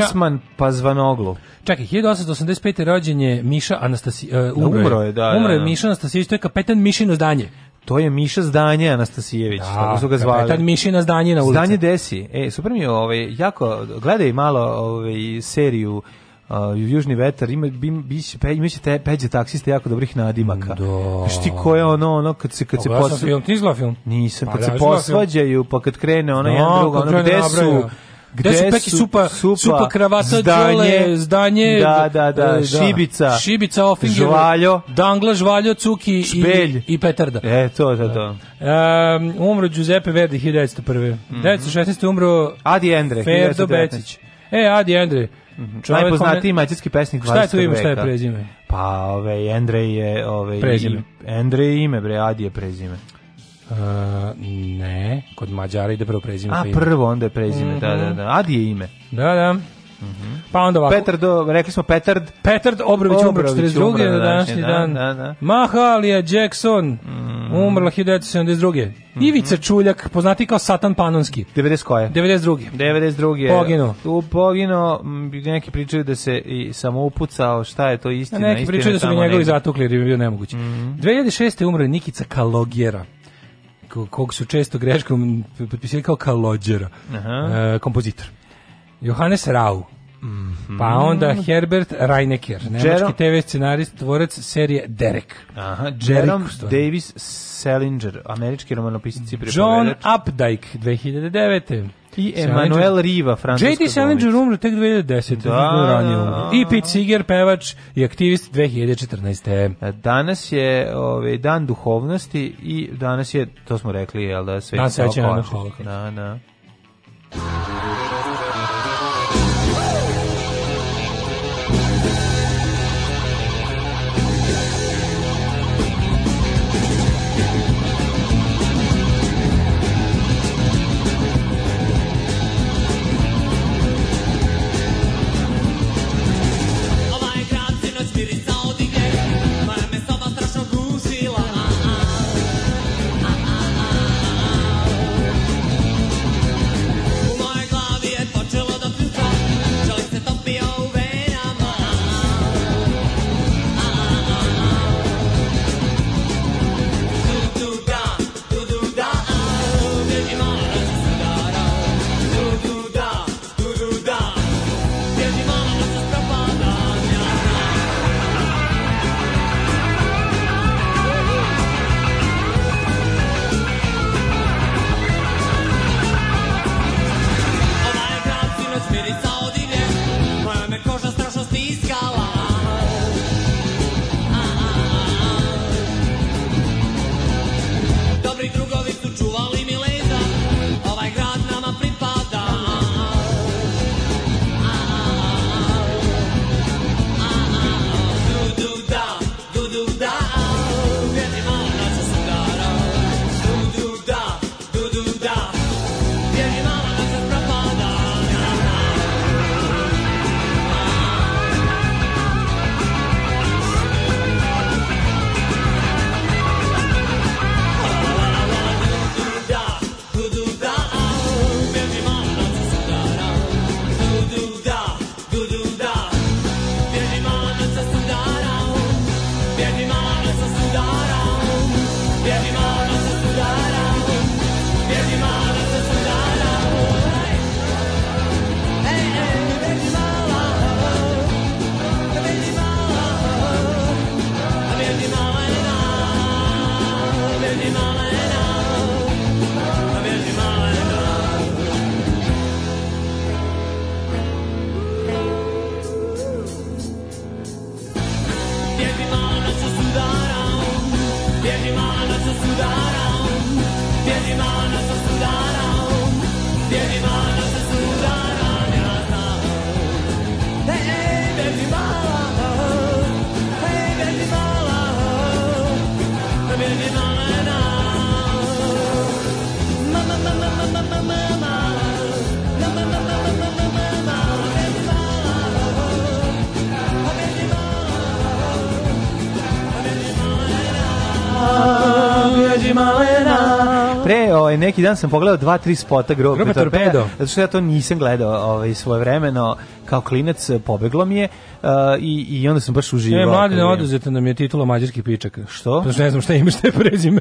[SPEAKER 7] Osman Pazvanoglu.
[SPEAKER 8] Čekaj, 1885. rođen je Miša Anastasi... e, umro,
[SPEAKER 7] umro je, da,
[SPEAKER 8] Umro je
[SPEAKER 7] da, da.
[SPEAKER 8] Miša Anastasijević, to je kapetan Mišino zdanje.
[SPEAKER 7] To je Miša Zdanje Anastasijević,
[SPEAKER 8] Da,
[SPEAKER 7] tako su ga zvali.
[SPEAKER 8] kapetan Mišina Zdanje na ulici.
[SPEAKER 7] Zdanje desi. E, super mi je, ovaj, jako, gledaj malo ovaj, seriju Uh, Južni vetar ima bim biće pe imaće te peđe taksiste jako dobrih nadimaka. Do. Šti ko je ono ono kad se kad se
[SPEAKER 8] Pogledao sam
[SPEAKER 7] posva-
[SPEAKER 8] film, ti izgleda film?
[SPEAKER 7] Nisam,
[SPEAKER 8] Pa
[SPEAKER 7] kad
[SPEAKER 8] da,
[SPEAKER 7] se
[SPEAKER 8] izgleda film.
[SPEAKER 7] posvađaju, pa kad krene ono jedan
[SPEAKER 8] Znam,
[SPEAKER 7] drugo,
[SPEAKER 8] kad
[SPEAKER 7] ono
[SPEAKER 8] krene
[SPEAKER 7] gde su
[SPEAKER 8] nabraja. Gde su peki supa, supa, kravata, đole, zdanje,
[SPEAKER 7] da, da, da,
[SPEAKER 8] e,
[SPEAKER 7] šibica,
[SPEAKER 8] šibica, ofinger,
[SPEAKER 7] žvaljo,
[SPEAKER 8] dangla, žvaljo, cuki
[SPEAKER 7] Špelj.
[SPEAKER 8] i, i petarda.
[SPEAKER 7] e, to, to, to.
[SPEAKER 8] Um, umro Giuseppe Verdi 1901.
[SPEAKER 7] Mhm.
[SPEAKER 8] 1916. umro
[SPEAKER 7] Adi Endre,
[SPEAKER 8] Ferdo
[SPEAKER 7] 1919.
[SPEAKER 8] Becić. E, Adi Endre. čovjek
[SPEAKER 7] Mhm. Najpoznatiji
[SPEAKER 8] kome-
[SPEAKER 7] mađarski pesnik 20.
[SPEAKER 8] Znači, ovaj Šta je tu ime, šta je
[SPEAKER 7] veka.
[SPEAKER 8] prezime?
[SPEAKER 7] Pa, ove, Endrej je... Ove,
[SPEAKER 8] Prezime.
[SPEAKER 7] i- Endrej je ime, bre, Adi je prezime.
[SPEAKER 8] Uh, ne, kod Mađara ide prvo prezime.
[SPEAKER 7] A
[SPEAKER 8] pa ime.
[SPEAKER 7] prvo onda je prezime, da,
[SPEAKER 8] Mhm.
[SPEAKER 7] da, da. Adi je ime.
[SPEAKER 8] Da, da. Pa onda ovako.
[SPEAKER 7] Petar, do, rekli smo Petard.
[SPEAKER 8] Petard Obrović umro
[SPEAKER 7] Obrović,
[SPEAKER 8] 42.
[SPEAKER 7] umro
[SPEAKER 8] na današnji
[SPEAKER 7] današnji
[SPEAKER 8] dan. Mhm.
[SPEAKER 7] dan, da, da.
[SPEAKER 8] Mahalija Jackson umrla 1972. Ivica Čuljak, poznati kao Satan Panonski.
[SPEAKER 7] 90 koje?
[SPEAKER 8] 92.
[SPEAKER 7] 92.
[SPEAKER 8] Poginuo.
[SPEAKER 7] Tu poginuo, m, neki pričaju da se i samoupucao, šta je to
[SPEAKER 8] A
[SPEAKER 7] istina?
[SPEAKER 8] neki
[SPEAKER 7] istina
[SPEAKER 8] pričaju da su ga
[SPEAKER 7] tamo Mhm.
[SPEAKER 8] njegovi
[SPEAKER 7] negde.
[SPEAKER 8] zatukli jer je bio nemoguće. 2006. umro je Nikica Kalogjera ko- kog su često greškom p- potpisali kao Kalođera,
[SPEAKER 7] Aha.
[SPEAKER 8] e, kompozitor. Johannes Rau,
[SPEAKER 7] Mhm.
[SPEAKER 8] pa onda Herbert Reinecker, nemački
[SPEAKER 7] Jerome-
[SPEAKER 8] TV scenarist, tvorac serije Derek.
[SPEAKER 7] Aha, Jerome
[SPEAKER 8] Derek, stvarno.
[SPEAKER 7] Davis Salinger, američki romanopisac i
[SPEAKER 8] John
[SPEAKER 7] pripovedač.
[SPEAKER 8] Updike, 2009.
[SPEAKER 7] I Emanuel Riva, francuska
[SPEAKER 8] J.D. Salinger umro tek 2010.
[SPEAKER 7] Da,
[SPEAKER 8] Da, ranije
[SPEAKER 7] da,
[SPEAKER 8] umro.
[SPEAKER 7] da.
[SPEAKER 8] I Pete Seeger, pevač i aktivist 2014.
[SPEAKER 7] E, Danas je ovaj, dan duhovnosti i danas je, to smo rekli, jel da, sveti
[SPEAKER 8] Dan sećanja na
[SPEAKER 7] Sava Kovačić.
[SPEAKER 8] Holokaust.
[SPEAKER 7] Da, da.
[SPEAKER 1] Ova je Ovaj grad sinoć mirisao odihe, para me soba strašno gužila. A, a, a, a, a, a, a.
[SPEAKER 2] Ovaj
[SPEAKER 7] Pre, ovaj, neki dan sam pogledao dva, tri spota grobe,
[SPEAKER 8] Grupe Torpedo.
[SPEAKER 7] Zato što ja to nisam gledao ovaj, svoje vremeno, kao klinac e, pobeglo mi je uh, i, i onda sam baš uživao.
[SPEAKER 8] E, mladine,
[SPEAKER 7] kad je-
[SPEAKER 8] oduzeta nam je titula mađarskih pičaka.
[SPEAKER 7] Što?
[SPEAKER 8] Zato što ne znam šta ima, šta je prezime.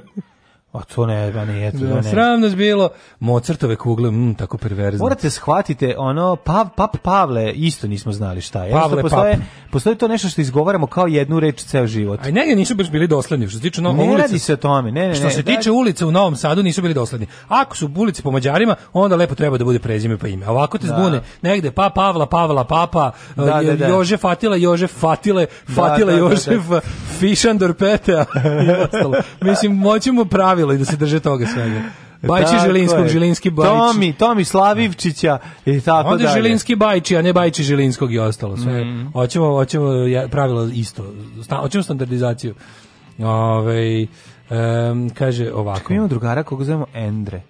[SPEAKER 7] A to ne, ba nije, to
[SPEAKER 8] Da,
[SPEAKER 7] ne.
[SPEAKER 8] Sram nas bilo. Mozartove kugle, mm, tako perverzno.
[SPEAKER 7] Morate shvatite, ono, pav, pap Pavle isto nismo znali šta je.
[SPEAKER 8] Pavle
[SPEAKER 7] Jednostavno postoje, postoji to nešto što izgovaramo kao jednu reč ceo život.
[SPEAKER 8] A i njega nisu baš bili dosledni. Što se tiče no,
[SPEAKER 7] Ne
[SPEAKER 8] ulice-
[SPEAKER 7] radi se o tome, ne, ne,
[SPEAKER 8] Što
[SPEAKER 7] ne,
[SPEAKER 8] se
[SPEAKER 7] da-
[SPEAKER 8] tiče ulice u Novom Sadu nisu bili dosledni. Ako su ulice po Mađarima, onda lepo treba da bude prezime pa ime. A Ovako te
[SPEAKER 7] Da.
[SPEAKER 8] zbune. Negde pa Pavla, Pavla, Papa, eh,
[SPEAKER 7] Da,
[SPEAKER 8] da,
[SPEAKER 7] da, da.
[SPEAKER 8] Jože Fatila, Jože Fatile, Fatile,
[SPEAKER 7] da, da,
[SPEAKER 8] Jožef, eh, Fišandor Petea i ostalo. Mislim, moćemo pravilo i da se drže toga svega.
[SPEAKER 7] E,
[SPEAKER 8] Bajči
[SPEAKER 7] Tako
[SPEAKER 8] Žilinskog,
[SPEAKER 7] je.
[SPEAKER 8] Žilinski Bajči.
[SPEAKER 7] Tomi, Tomi Slavivčića i tako
[SPEAKER 8] Onda je
[SPEAKER 7] pa dalje. Mm.
[SPEAKER 8] Žilinski Bajči, a ne Bajči Žilinskog i ostalo. Sve. Hoćemo, hoćemo ja- pravilo isto. Sta, hoćemo standardizaciju. Ove, em, kaže ovako.
[SPEAKER 7] Ako imamo drugara koga zovemo Endre.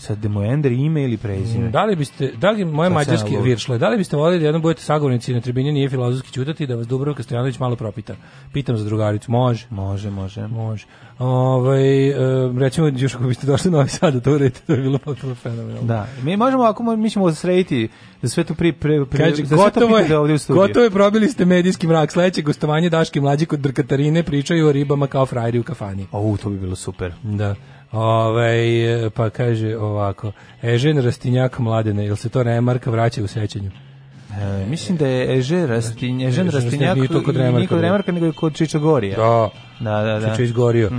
[SPEAKER 7] Sad da mu je Endre ime ili prezime.
[SPEAKER 8] Da li biste, da li moje
[SPEAKER 7] Sad sam
[SPEAKER 8] mađarski
[SPEAKER 7] ja lud.
[SPEAKER 8] viršle, da li biste voljeli da jednom budete sagovornici na tribini nije filozofski ćutati da vas Dubrovka Stojanović malo propita? Pitam za drugaricu, može?
[SPEAKER 7] Može, može.
[SPEAKER 8] Može. Ovaj, em, recimo, još ako biste došli na Novi Sad da to uredite, to bi bilo potpuno fenomenalno.
[SPEAKER 7] Da, mi možemo ako mo- mi ćemo srediti za sve to pri pre, pre
[SPEAKER 8] Kaže,
[SPEAKER 7] za sve to
[SPEAKER 8] gotovo je,
[SPEAKER 7] pripreme ovdje u studiju.
[SPEAKER 8] gotovo je probili ste medijski mrak. Sledeće gostovanje Daške mlađe kod Drkatarine pričaju o ribama kao frajeri u kafani.
[SPEAKER 7] O, to bi bilo super.
[SPEAKER 8] Da. Ovaj, e, pa kaže ovako, Ežen Rastinjak mladene, jel se to remarka vraća u sećanju?
[SPEAKER 7] E, mislim da je Eže Rastinj, Ežen
[SPEAKER 8] Ežen
[SPEAKER 7] Rastinjak
[SPEAKER 8] Rastinjak i to kod
[SPEAKER 7] i
[SPEAKER 8] Remarka
[SPEAKER 7] nije kod
[SPEAKER 8] bio.
[SPEAKER 7] Remarka, nego je kod Čičagorija.
[SPEAKER 8] Da.
[SPEAKER 7] Da, da, da.
[SPEAKER 8] Čiče izgorio.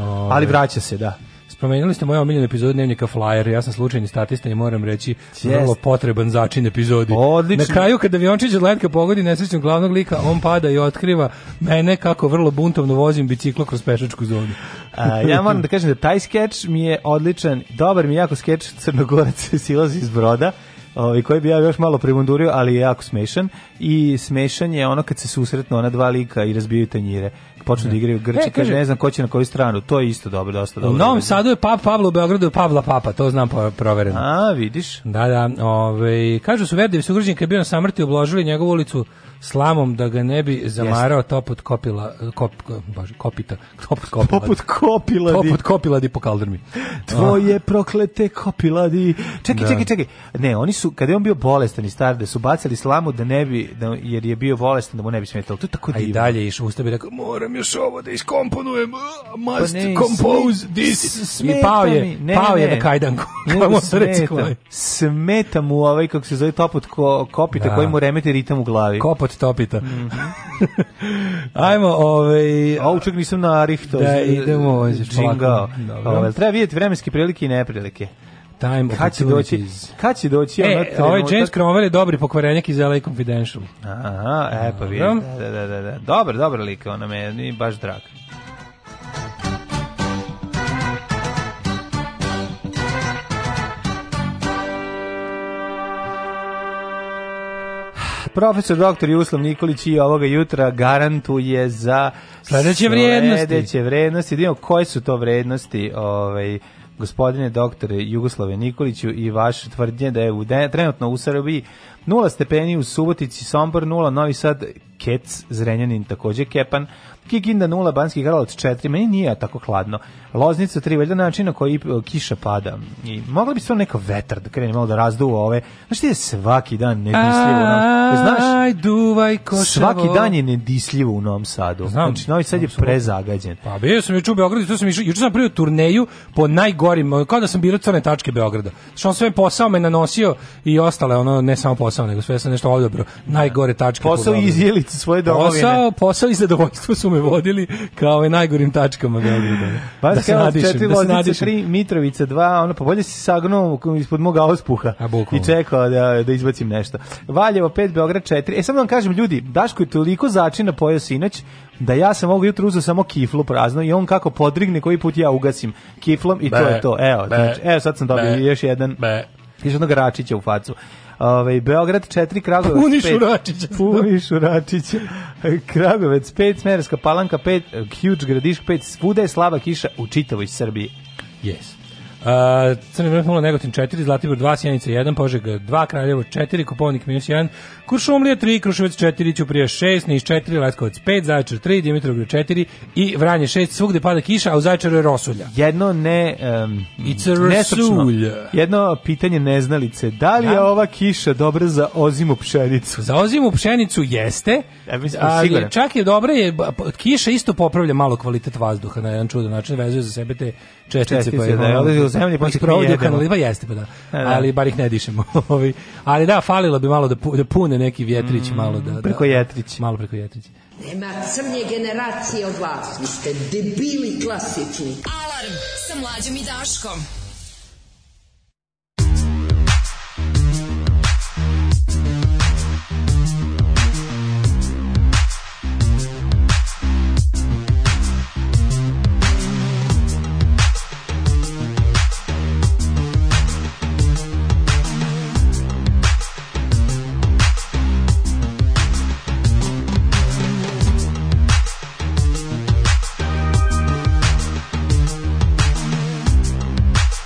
[SPEAKER 8] Ovaj.
[SPEAKER 7] Ali vraća se, da.
[SPEAKER 8] Spomenuli ste moju omiljenu epizodu dnevnika Flyer, ja sam slučajni statista i moram reći vrlo
[SPEAKER 7] Jeste.
[SPEAKER 8] potreban začin epizodi.
[SPEAKER 7] Odlično.
[SPEAKER 8] Na kraju kada Viončić od letka pogodi nesrećnog glavnog lika, on pada i otkriva mene kako vrlo buntovno vozim biciklo kroz pešačku zonu.
[SPEAKER 7] A, ja moram da kažem da taj skeč mi je odličan, dobar mi je jako skeč Crnogorac silazi iz broda, ovaj, koji bi ja još malo primundurio, ali je jako smešan i smešan je ono kad se susretnu ona dva lika i razbijaju tanjire. Počnu da igraju grče,
[SPEAKER 8] E,
[SPEAKER 7] kaže,
[SPEAKER 8] kaže-
[SPEAKER 7] ne znam ko će na koju stranu, to je isto dobro, dosta
[SPEAKER 8] U
[SPEAKER 7] dobro.
[SPEAKER 8] Novom Sadu je Pap Pavlo, u Beogradu je Pavla Papa, to znam po- provereno.
[SPEAKER 7] A, vidiš.
[SPEAKER 8] Da, da, ovaj, kažu su Verdijev sugrađen kad je bio na samrti obložili njegovu ulicu slamom da ga ne bi zamarao toput kopila, kop, bože, kopita, toput kopila.
[SPEAKER 7] Poput kopiladi.
[SPEAKER 8] Poput kopiladi po kaldrmi.
[SPEAKER 7] Tvoje proklete kopiladi. Čekaj,
[SPEAKER 8] Da.
[SPEAKER 7] čekaj, čekaj. Ne, oni su, kada je on bio bolestan i star, da su bacali slamu da ne bi, da, jer je bio bolestan, da mu ne bi smetalo. To je tako
[SPEAKER 8] A i
[SPEAKER 7] divno.
[SPEAKER 8] dalje išao, usta bi rekao, moram još ovo da iskomponujem, uh, must
[SPEAKER 7] Pa ne,
[SPEAKER 8] compose
[SPEAKER 7] sme-
[SPEAKER 8] this.
[SPEAKER 7] s-
[SPEAKER 8] I pao je,
[SPEAKER 7] smeta mi. Ne,
[SPEAKER 8] pao je
[SPEAKER 7] ne.
[SPEAKER 8] na kajdanku.
[SPEAKER 7] Ne,
[SPEAKER 8] Kamo se reći
[SPEAKER 7] smeta, smeta mu ovaj, kako se zove, topot ko, kopita
[SPEAKER 8] Da.
[SPEAKER 7] koji mu remete ritam u glavi.
[SPEAKER 8] Kopot topita.
[SPEAKER 7] Mhm.
[SPEAKER 8] Ajmo, ovaj...
[SPEAKER 7] A učak nisam na Rihto.
[SPEAKER 8] Da, idemo, ovo je
[SPEAKER 7] Čingao.
[SPEAKER 8] polako. Dobro.
[SPEAKER 7] Ovaj, treba vidjeti vremenske prilike i neprilike.
[SPEAKER 8] Time
[SPEAKER 7] Kad će doći?
[SPEAKER 8] opportunities.
[SPEAKER 7] Kad će doći? ono
[SPEAKER 8] E, ovaj
[SPEAKER 7] trenutak-
[SPEAKER 8] James Cromwell je dobri pokvarenjak iz LA Confidential.
[SPEAKER 7] Aha, e, pa vidim.
[SPEAKER 8] Dobro.
[SPEAKER 7] Da, da, da, da. Dobar, dobar lik, ono me je baš drag. Profesor dr. Juslav Nikolić i ovoga jutra garantuje za
[SPEAKER 8] Sledeće vrijednosti.
[SPEAKER 7] Sledeće vrednosti. Da vidimo koje su to vrednosti ovaj, gospodine doktore Jugoslave Nikoliću i vaše tvrdnje da je u de, trenutno u Srbiji 0 stepeni u Subotici, Sombor 0, Novi Sad, Kec, Zrenjanin takođe Kepan, Kikinda 0, Banski Karlovac 4, meni nije tako hladno. Loznica 3, valjda način na koji e, kiša pada. I mogla bi stvarno neka vetar da krene malo da razduva ove. Znaš ti je svaki dan nedislivo. ono, e, Znaš,
[SPEAKER 8] Aj, duvaj koševo.
[SPEAKER 7] svaki dan je nedislivo u Novom Sadu.
[SPEAKER 8] Znam,
[SPEAKER 7] znači, Novi Sad je
[SPEAKER 8] apsolutno.
[SPEAKER 7] prezagađen.
[SPEAKER 8] Pa bio sam juče u Beogradu, i tu sam išao, juče sam prvi turneju po najgorim, kao da sam birao crne tačke Beograda. Što on sve posao me nanosio i ostale, ono ne samo posao, nego sve sam nešto odabrao. Najgore tačke. po
[SPEAKER 7] Posao i
[SPEAKER 8] Beogradu.
[SPEAKER 7] izjelicu svoje domovine.
[SPEAKER 8] Posao, posao i zadovoljstvo su me me vodili kao ovaj najgorim tačkama Beograda. da se
[SPEAKER 7] Banska Jelac
[SPEAKER 8] nadišem,
[SPEAKER 7] 4,
[SPEAKER 8] da se
[SPEAKER 7] Loznica
[SPEAKER 8] nadišem.
[SPEAKER 7] 3, Mitrovica 2, ono, pa bolje si sagnuo ispod moga auspuha i čekao da, da izbacim nešto. Valjevo 5, Beograd 4. E, samo da vam kažem, ljudi, Daško je toliko začina pojao sinoć da ja sam ovog jutra uzeo samo kiflu prazno i on kako podrigne koji put ja ugasim kiflom i to
[SPEAKER 8] Be,
[SPEAKER 7] je to. Evo,
[SPEAKER 8] be,
[SPEAKER 7] znači, evo sad sam dobio
[SPEAKER 8] be,
[SPEAKER 7] još jedan još jednog račića u facu. Ove, Beograd 4, Kragujevac 5.
[SPEAKER 8] Puni šuračića.
[SPEAKER 7] Puni šuračića. Kragovec 5, Smerska palanka 5, Huge gradiš 5, svuda je slaba kiša u čitavoj Srbiji.
[SPEAKER 8] Yes. Uh, Crni vrh 0, Negotin 4, Zlatibor 2, Sjenica 1, Požega 2, Kraljevo 4, Kupovnik minus 1, Kuršumlija 3, Kruševac 4, Ćuprija 6, Niš 4, Leskovac 5, Zaječar 3, Dimitrovgrad 4 i Vranje 6, svugde pada kiša, a u Zaječaru je Rosulja.
[SPEAKER 7] Jedno ne... Um,
[SPEAKER 8] It's a
[SPEAKER 7] Nestručno.
[SPEAKER 8] Rosulja.
[SPEAKER 7] Jedno pitanje neznalice. Da li je
[SPEAKER 8] Da.
[SPEAKER 7] ova kiša dobra za ozimu pšenicu?
[SPEAKER 8] Za ozimu pšenicu jeste,
[SPEAKER 7] Ja mislim,
[SPEAKER 8] ali
[SPEAKER 7] siguran.
[SPEAKER 8] čak je dobra je, ba- pa- kiša isto popravlja malo kvalitet vazduha na jedan čudan način, vezuje za sebe te čestice,
[SPEAKER 7] Čestice,
[SPEAKER 8] pa je
[SPEAKER 7] da,
[SPEAKER 8] ono-
[SPEAKER 7] odlazi u zemlju, pa
[SPEAKER 8] ih
[SPEAKER 7] ih mi
[SPEAKER 8] provodi u
[SPEAKER 7] jedemo.
[SPEAKER 8] kanali, pa jeste, pa da.
[SPEAKER 7] Da, da.
[SPEAKER 8] ali bar ih ne dišemo. Ovaj. ali da, falilo bi malo da, pu- da pune neki vjetrić malo da, da-
[SPEAKER 7] Mm, preko jetrić.
[SPEAKER 8] Malo preko jetrić.
[SPEAKER 15] Nema crnje generacije od vas. Vi ste debili klasični.
[SPEAKER 5] Alarm sa mlađom i Daškom.
[SPEAKER 1] Thank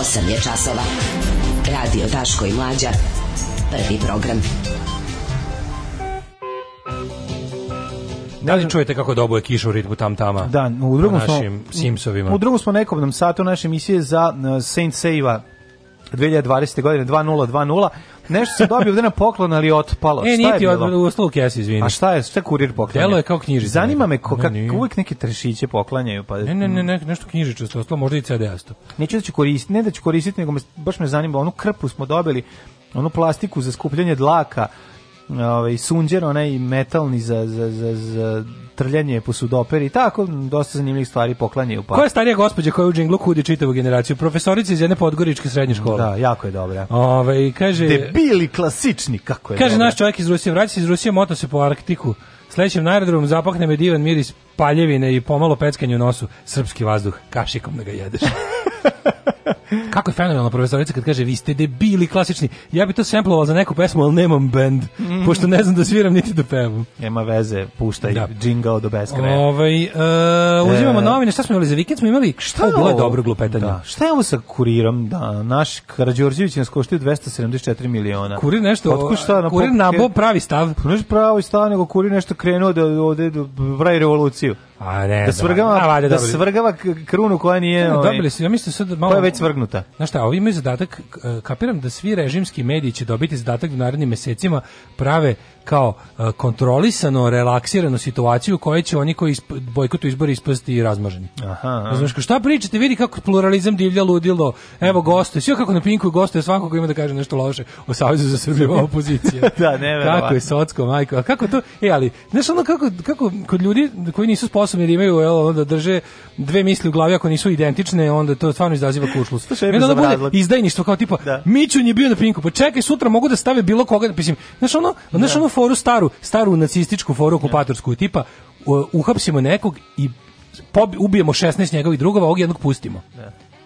[SPEAKER 16] Osam je časova. Radio Daško i Mlađa. Prvi program.
[SPEAKER 8] Da li čujete kako dobuje kiša u ritmu E, tam tama?
[SPEAKER 7] Pa Da, u drugom
[SPEAKER 8] po
[SPEAKER 7] smo-
[SPEAKER 8] našim Simsovima.
[SPEAKER 7] U drugom smo nekobnom satu naše emisije za uh, Saint Seiva 2020. godine 2020. Nešto se dobio ovde na poklon, ali
[SPEAKER 8] E,
[SPEAKER 7] otpalo. šta je
[SPEAKER 8] niti
[SPEAKER 7] bilo?
[SPEAKER 8] od, u osnovu kesi, izvini.
[SPEAKER 7] A šta je, šta kurir poklanja?
[SPEAKER 8] Delo je kao knjižica.
[SPEAKER 7] Zanima me ko,
[SPEAKER 8] Ne,
[SPEAKER 7] kak,
[SPEAKER 8] nije.
[SPEAKER 7] uvek neke trešiće poklanjaju. Pa,
[SPEAKER 8] Ne, ne, ne, ne, nešto knjižičasto, ostalo možda i CD-asto.
[SPEAKER 7] Neću da ću koristiti, ne da ću koristiti, nego me, baš me zanima, onu krpu smo dobili, onu plastiku za skupljanje dlaka, ovaj, sunđer, onaj metalni za, za, za, za trljanje po sudoperi i tako, dosta zanimljivih stvari poklanjaju. Pa.
[SPEAKER 8] Koja je starija gospođa koja u džinglu kudi čitavu generaciju? Profesorica iz jedne podgoričke srednje škole.
[SPEAKER 7] Da, jako je dobra.
[SPEAKER 8] Ove, i kaže,
[SPEAKER 7] Debili klasični, kako je
[SPEAKER 8] kaže
[SPEAKER 7] dobra.
[SPEAKER 8] naš čovjek iz Rusije, vraća se iz Rusije, moto se po Arktiku. Sledećem na aerodromu zapahne me divan miris paljevine i pomalo peckanje u nosu. Srpski vazduh, kašikom da ga jedeš. Kako je fenomenalna profesorica kad kaže vi ste debili klasični. Ja bi to semplovao za neku pesmu, ali nemam bend, pošto ne znam da sviram niti da pevam.
[SPEAKER 7] Nema veze, puštaj
[SPEAKER 8] Da.
[SPEAKER 7] da. džingao do beskraja.
[SPEAKER 8] Ovaj, e, uzimamo
[SPEAKER 7] E.
[SPEAKER 8] novine, šta smo imali za vikend? Smo imali, šta je
[SPEAKER 7] ovo?
[SPEAKER 8] bilo je dobro glupetanje?
[SPEAKER 7] Da. Šta je ovo sa kurirom? Da, naš Karađorđević nas koštio 274 miliona. Pa
[SPEAKER 8] Kurir nešto,
[SPEAKER 7] Otkud šta, na
[SPEAKER 8] kurir
[SPEAKER 7] pop-
[SPEAKER 8] nabao pravi stav.
[SPEAKER 7] Pa Znaš pravi stav, nego kurir nešto krenuo da ovde da pravi revoluciju.
[SPEAKER 8] A ne,
[SPEAKER 7] da
[SPEAKER 8] znam.
[SPEAKER 7] svrgava,
[SPEAKER 8] E, A, valjda
[SPEAKER 7] da
[SPEAKER 8] dobili. E,
[SPEAKER 7] svrgava k- krunu koja nije... ovaj,
[SPEAKER 8] Dobili su, ja mislim sad malo...
[SPEAKER 7] Koja je već svrgnuta.
[SPEAKER 8] Znaš šta, ovi imaju zadatak, e, kapiram da svi režimski mediji će dobiti zadatak da u narednim mesecima prave kao e, kontrolisano, relaksiranu situaciju u kojoj će oni koji isp- bojkotu izbori ispasti razmaženi.
[SPEAKER 7] Aha.
[SPEAKER 8] Razumeš, kao, šta pričate, vidi kako pluralizam divlja ludilo, evo
[SPEAKER 7] Mhm.
[SPEAKER 8] goste, sve kako na pinku gostuje svako ko ima da kaže nešto loše o Savezu za Srbiju ova opozicija.
[SPEAKER 7] Da, neverovatno.
[SPEAKER 8] Kako je socko, majko, a kako to, e, ali, znaš ono kako, kako kod ljudi koji nisu sposobni jer imaju, jel, ono da drže dve misli u glavi ako nisu identične, onda to stvarno izaziva kušlus.
[SPEAKER 7] Šta je
[SPEAKER 8] I onda ono
[SPEAKER 7] bez
[SPEAKER 8] bude
[SPEAKER 7] obrazlog?
[SPEAKER 8] izdajništvo kao tipa, Mićun je bio na pinku, pa čekaj, sutra mogu da stave bilo koga, mislim, znaš ono, znaš onu foru staru, staru nacističku foru okupatorsku, tipa, u- uhapsimo nekog i pobi- ubijemo 16 njegovih drugova, ovog jednog pustimo.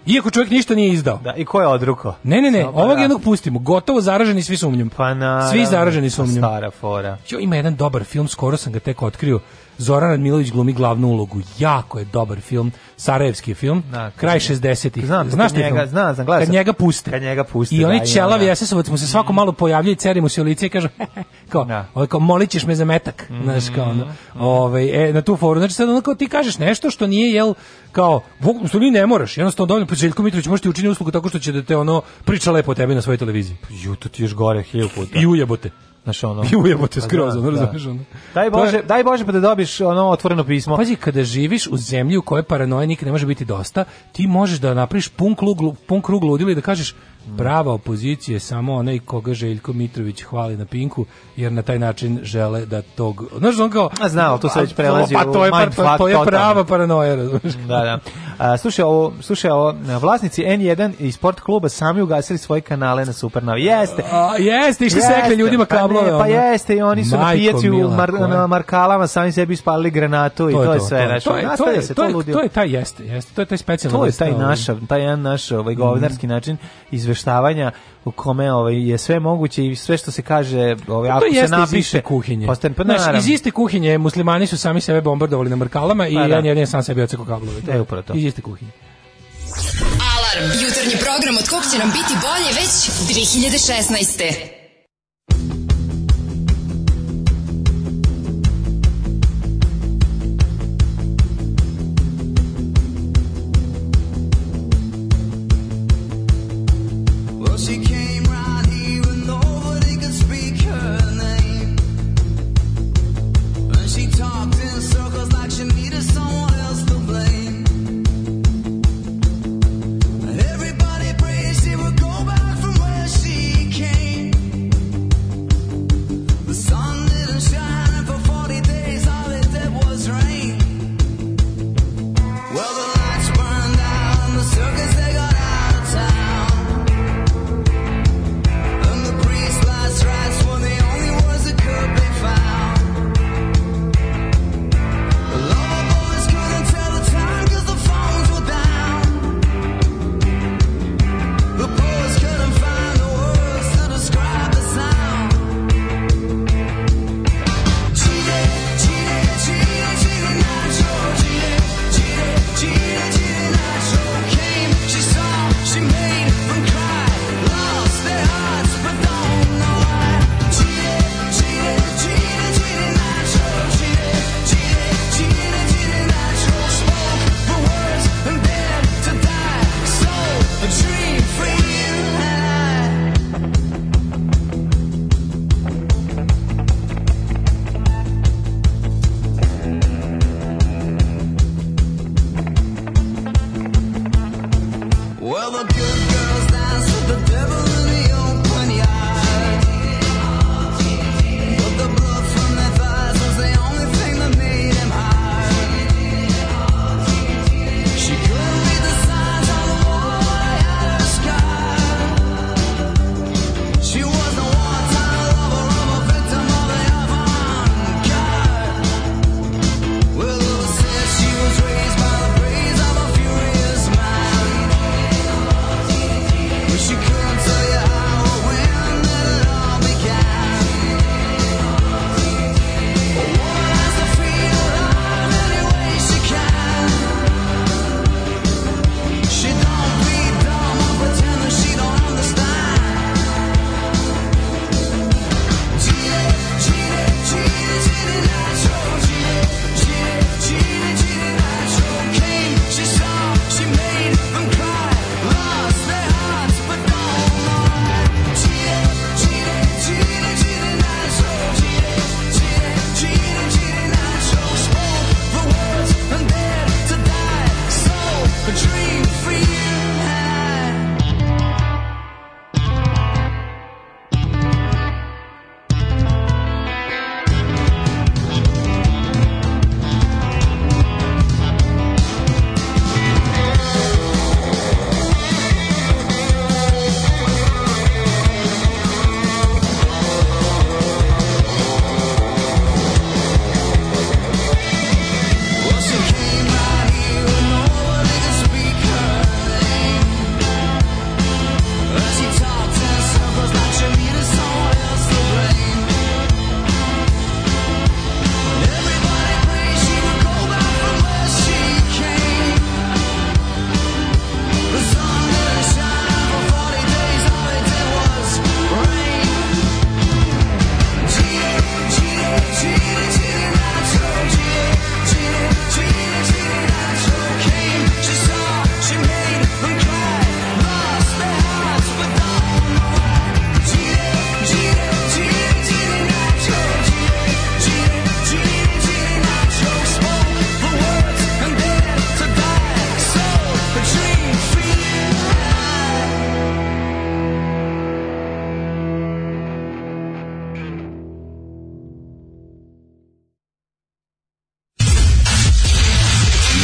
[SPEAKER 8] Iako čovjek ništa nije izdao.
[SPEAKER 7] Da, i ko je odruko?
[SPEAKER 8] Ne, ne, ne,
[SPEAKER 7] Samo,
[SPEAKER 8] ovog
[SPEAKER 7] da.
[SPEAKER 8] jednog pustimo. Gotovo zaraženi svi sumnjom.
[SPEAKER 7] Pa naravno,
[SPEAKER 8] svi zaraženi sumnjom.
[SPEAKER 7] Stara fora.
[SPEAKER 8] Jo, ima jedan dobar film, skoro sam ga tek otkrio. Zoran Radmilović glumi glavnu ulogu. Jako je dobar film, sarajevski je film,
[SPEAKER 7] Da,
[SPEAKER 8] kraj
[SPEAKER 7] kad-
[SPEAKER 8] 60-ih.
[SPEAKER 7] Znam,
[SPEAKER 8] Znaš
[SPEAKER 7] kad
[SPEAKER 8] taj
[SPEAKER 7] njega,
[SPEAKER 8] film?
[SPEAKER 7] znam, znam, gledao
[SPEAKER 8] Kad
[SPEAKER 7] sam.
[SPEAKER 8] njega puste.
[SPEAKER 7] Kad njega puste,
[SPEAKER 8] I
[SPEAKER 7] da,
[SPEAKER 8] oni
[SPEAKER 7] ima,
[SPEAKER 8] ćelavi
[SPEAKER 7] da.
[SPEAKER 8] SS-ovac mu se svako
[SPEAKER 7] Mhm.
[SPEAKER 8] malo pojavlja i ceri mu se u lice i kažu kao, ovaj, kao molit ćeš me za metak.
[SPEAKER 7] Mhm,
[SPEAKER 8] Znaš, kao, ono. ovaj, e, na tu foru. Znači, sad ono kao ti kažeš nešto što nije, jel, kao, Bog, što ni ne moraš. Jednostavno dovoljno, pa Željko Mitrović može ti učiniti uslugu tako što će da te ono priča lepo o tebi na svojoj televiziji.
[SPEAKER 7] Ju, to ti još gore hilju puta.
[SPEAKER 8] I ujebote.
[SPEAKER 7] Znaš ono...
[SPEAKER 8] I ujebote
[SPEAKER 7] Pa
[SPEAKER 8] skroz,
[SPEAKER 7] da,
[SPEAKER 8] ono,
[SPEAKER 7] da.
[SPEAKER 8] razumeš, ono.
[SPEAKER 7] Daj
[SPEAKER 8] To je- Pa-
[SPEAKER 7] Bože, daj Bože pa da dobiš ono otvoreno pismo.
[SPEAKER 8] Pazi, kada živiš u zemlji u kojoj paranoje nikad ne može biti dosta, ti možeš da napraviš pun krug, lu- pun krug ludila i da kažeš prava opozicija je samo onaj koga Željko Mitrović hvali na pinku, jer na taj način žele da tog... Znaš, on kao...
[SPEAKER 7] A znam, ali to se već
[SPEAKER 8] Pa,
[SPEAKER 7] prelazi
[SPEAKER 8] pa,
[SPEAKER 7] u
[SPEAKER 8] to je, pa,
[SPEAKER 7] mindfuck
[SPEAKER 8] to, to je
[SPEAKER 7] totalno.
[SPEAKER 8] prava paranoja, razumeš?
[SPEAKER 7] Da, da. A, slušaj ovo, slušaj ovo, vlasnici N1 i sport kluba sami ugasili svoje kanale na Supernovi. Jeste.
[SPEAKER 8] A, jeste, išli sekli ljudima
[SPEAKER 7] Pa ne,
[SPEAKER 8] kablove.
[SPEAKER 7] Pa,
[SPEAKER 8] ono.
[SPEAKER 7] jeste, i oni su na
[SPEAKER 8] Majko
[SPEAKER 7] pijaci u
[SPEAKER 8] mila,
[SPEAKER 7] mar,
[SPEAKER 8] koja-
[SPEAKER 7] na markalama sami sebi ispalili granatu i to, je sve. znači,
[SPEAKER 8] To je, to
[SPEAKER 7] nastavlja
[SPEAKER 8] je,
[SPEAKER 7] se
[SPEAKER 8] to je,
[SPEAKER 7] ludilo.
[SPEAKER 8] to je taj jeste, jeste, to je taj specijalni.
[SPEAKER 7] To je
[SPEAKER 8] list,
[SPEAKER 7] taj
[SPEAKER 8] ovaj.
[SPEAKER 7] naš, taj jedan naš ovaj
[SPEAKER 8] Mhm.
[SPEAKER 7] govnarski način izveštavanja u kome ovaj je sve moguće i sve što se kaže, ovaj
[SPEAKER 8] Pa
[SPEAKER 7] ako
[SPEAKER 8] to
[SPEAKER 7] se
[SPEAKER 8] jeste iz
[SPEAKER 7] napiše
[SPEAKER 8] iste kuhinje.
[SPEAKER 7] postane- pa
[SPEAKER 8] Znaš,
[SPEAKER 7] naravno.
[SPEAKER 8] iz iste kuhinje muslimani su sami sebe bombardovali na mrkalama i
[SPEAKER 7] Pa da.
[SPEAKER 8] jedan jedan je sam sebi oceko kablove.
[SPEAKER 7] E, upravo to.
[SPEAKER 8] Iz iste kuhinje.
[SPEAKER 5] Alarm. Jutarnji program od kog će nam biti bolje već 2016.
[SPEAKER 1] Well, she came right here and nobody could speak her name. And she talked in circles like she needed someone else to blame. And everybody prayed she would go back from where she came. The sun didn't shine and for 40 days all it did was rain. Well, the lights burned out and the circus they got out of town.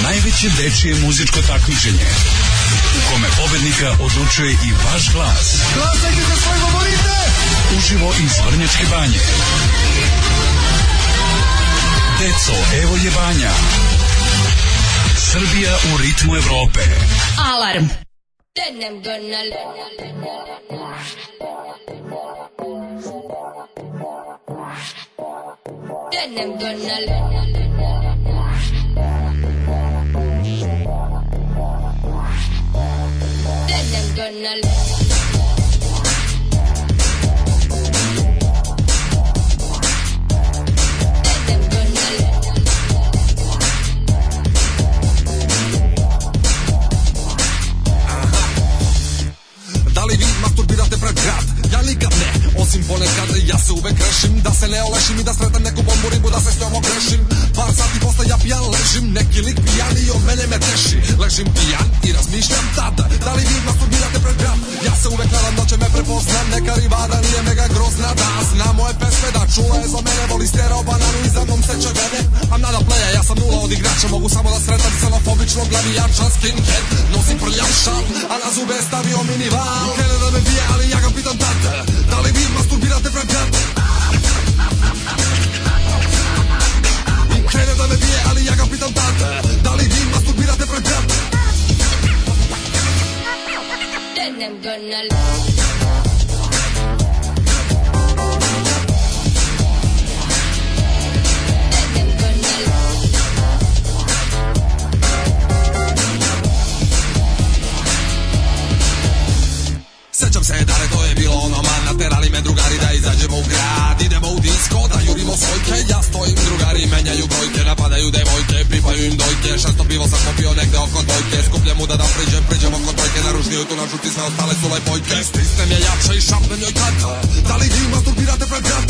[SPEAKER 17] Sledeće dečije muzičko takmičenje u kome pobednika odlučuje i vaš glas.
[SPEAKER 1] Glasajte za svoje favorite!
[SPEAKER 17] Uživo iz Vrnjačke banje. Deco, evo je banja. Srbija u ritmu Evrope.
[SPEAKER 5] Alarm.
[SPEAKER 6] Then I'm gonna Then I'm gonna
[SPEAKER 18] Da li vi masturbirate pred grad? Ja nikad ne, osim ponekad ja se uvek rešim Da se ne olešim i da sretam neku bombu ribu da se s njom ogrešim Par sati posle ja pijan ležim, neki lik pijan i od mene me teši Ležim pijan i razmišljam tada, da li vi masturbirate pred grad? Ja se uvek nadam da će me prepozna, neka rivada nije mega grozna Da zna moje pesme, da čula je za mene, voli stereo bananu i za mnom seče vene A nada pleja, ja sam nula od igrača, mogu samo da sretam Xenofobičnog glavijača, skinhead, nosim prljav šal A na zube je stavio minival I krene da me bije, ali ja ga pitam tata Da li vi masturbirate pred grad? I krene da me bije, ali ja ga pitam tata Da li vi masturbirate pred grad?
[SPEAKER 6] Then I'm gonna
[SPEAKER 18] Sećam se dare, to je bilo ono man Naterali me drugari da izađemo u grad Idemo u disko, da jurimo svojke Ja stojim, drugari menjaju brojke Napadaju devojke, pipaju im dojke Šesto pivo sam popio negde oko dojke Skupljam mu da da priđem, priđem oko dojke Naružniju tu našuti sve ostale su lajbojke Stisnem je jače i šapnem njoj tata Da li vi masturbirate pred brat?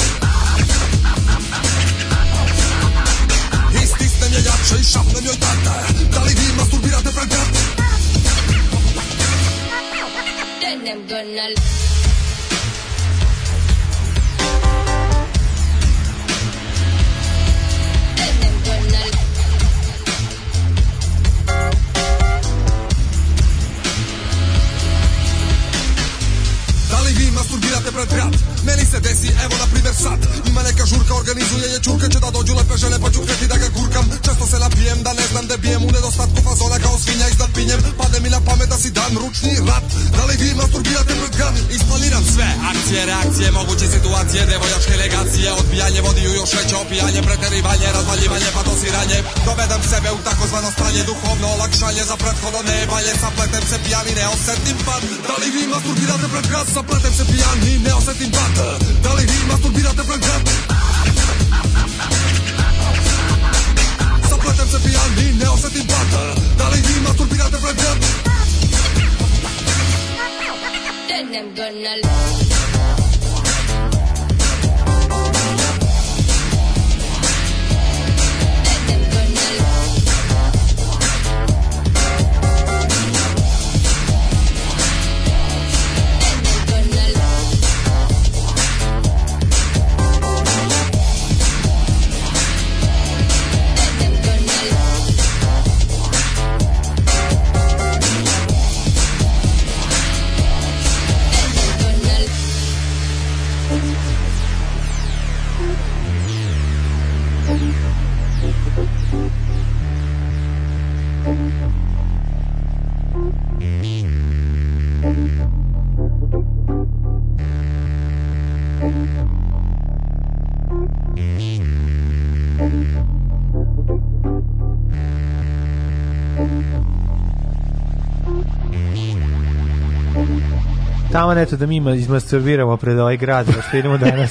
[SPEAKER 18] I stisnem je jače i šapnem joj tata Da li vi masturbirate pred brat?
[SPEAKER 6] Then I'm gonna Then I'm gonna
[SPEAKER 18] Da li vi masturbirate pred grad? Meni se desi, evo na primjer sad Ima neka žurka, organizuje je čurka Će da dođu lepe žene, pa ću kreti da ga gurkam Često se napijem, da ne znam da bijem U nedostatku fazona kao svinja iznad pinjem Pade mi na pamet da si dan ručni rat Da li vi masturbirate pred grad? Isplaniram sve, akcije, reakcije, moguće situacije Devojačke legacije, odbijanje Vodiju još veće opijanje, preterivanje Razvaljivanje, pa dosiranje Dovedam sebe u takozvano stanje Duhovno olakšanje za prethodno nevalje Zapletem se pijan i ne osetim pad Da li vi masturbirate pred grad? Zapletem se pijan i ne osetim pad Da li vi masturbirate pred grad? Zapletem se pijan i ne osetim pad Da li vi masturbirate pred grad?
[SPEAKER 6] Then I'm gonna
[SPEAKER 7] Tamo neto da mi ima- izmasturbiramo pred ovaj grad, da što idemo danas.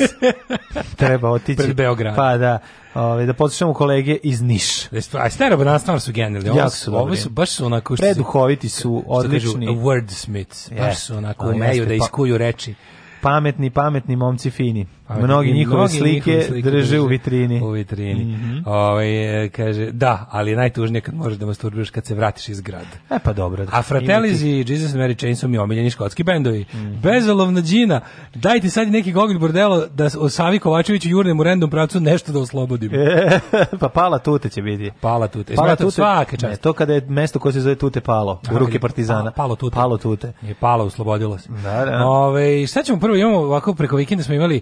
[SPEAKER 7] Treba otići.
[SPEAKER 8] Pred Beograd.
[SPEAKER 7] Pa da, ovaj, da poslušamo kolege iz Niš.
[SPEAKER 8] A stara banana stvarno su genijalni. Ovo
[SPEAKER 7] Jako
[SPEAKER 8] su,
[SPEAKER 7] su
[SPEAKER 8] ovo
[SPEAKER 7] dobri.
[SPEAKER 8] su baš su onako...
[SPEAKER 7] Preduhoviti su,
[SPEAKER 8] što kažu,
[SPEAKER 7] odlični.
[SPEAKER 8] wordsmiths. Baš
[SPEAKER 7] Yes.
[SPEAKER 8] su onako
[SPEAKER 7] Ali
[SPEAKER 8] umeju
[SPEAKER 7] jeste,
[SPEAKER 8] da
[SPEAKER 7] pa-
[SPEAKER 8] iskuju reči.
[SPEAKER 7] Pametni, pametni momci fini.
[SPEAKER 8] Pametni
[SPEAKER 7] mnogi
[SPEAKER 8] Pa, i
[SPEAKER 7] njihove
[SPEAKER 8] mnogi
[SPEAKER 7] slike,
[SPEAKER 8] njihove slike
[SPEAKER 7] drže u
[SPEAKER 8] drže
[SPEAKER 7] vitrini.
[SPEAKER 8] u vitrini.
[SPEAKER 7] Mhm.
[SPEAKER 8] Ovaj, e, kaže, da, ali je najtužnije kad možeš da masturbiraš kad se vratiš iz grada.
[SPEAKER 7] E pa dobro.
[SPEAKER 8] A Fratellis i Jesus and Mary Chain su mi omiljeni škotski bendovi.
[SPEAKER 7] Mhm.
[SPEAKER 8] Bezolovna džina, dajte sad i neki gogolj bordelo da s- o Savi Kovačeviću jurnem u random pravcu nešto da oslobodim.
[SPEAKER 7] pa pala tute će biti.
[SPEAKER 8] Pala tute. Pala tute. Svaka
[SPEAKER 7] Ne,
[SPEAKER 8] čast.
[SPEAKER 7] to kada je mesto koje se zove tute palo, u
[SPEAKER 8] Kako
[SPEAKER 7] ruke
[SPEAKER 8] je?
[SPEAKER 7] partizana.
[SPEAKER 8] Palo- palo tute.
[SPEAKER 7] Palo tute.
[SPEAKER 8] Je pala, oslobodilo se.
[SPEAKER 7] Da, da.
[SPEAKER 8] Ove, šta ćemo prvo, imamo ovako preko vikenda smo imali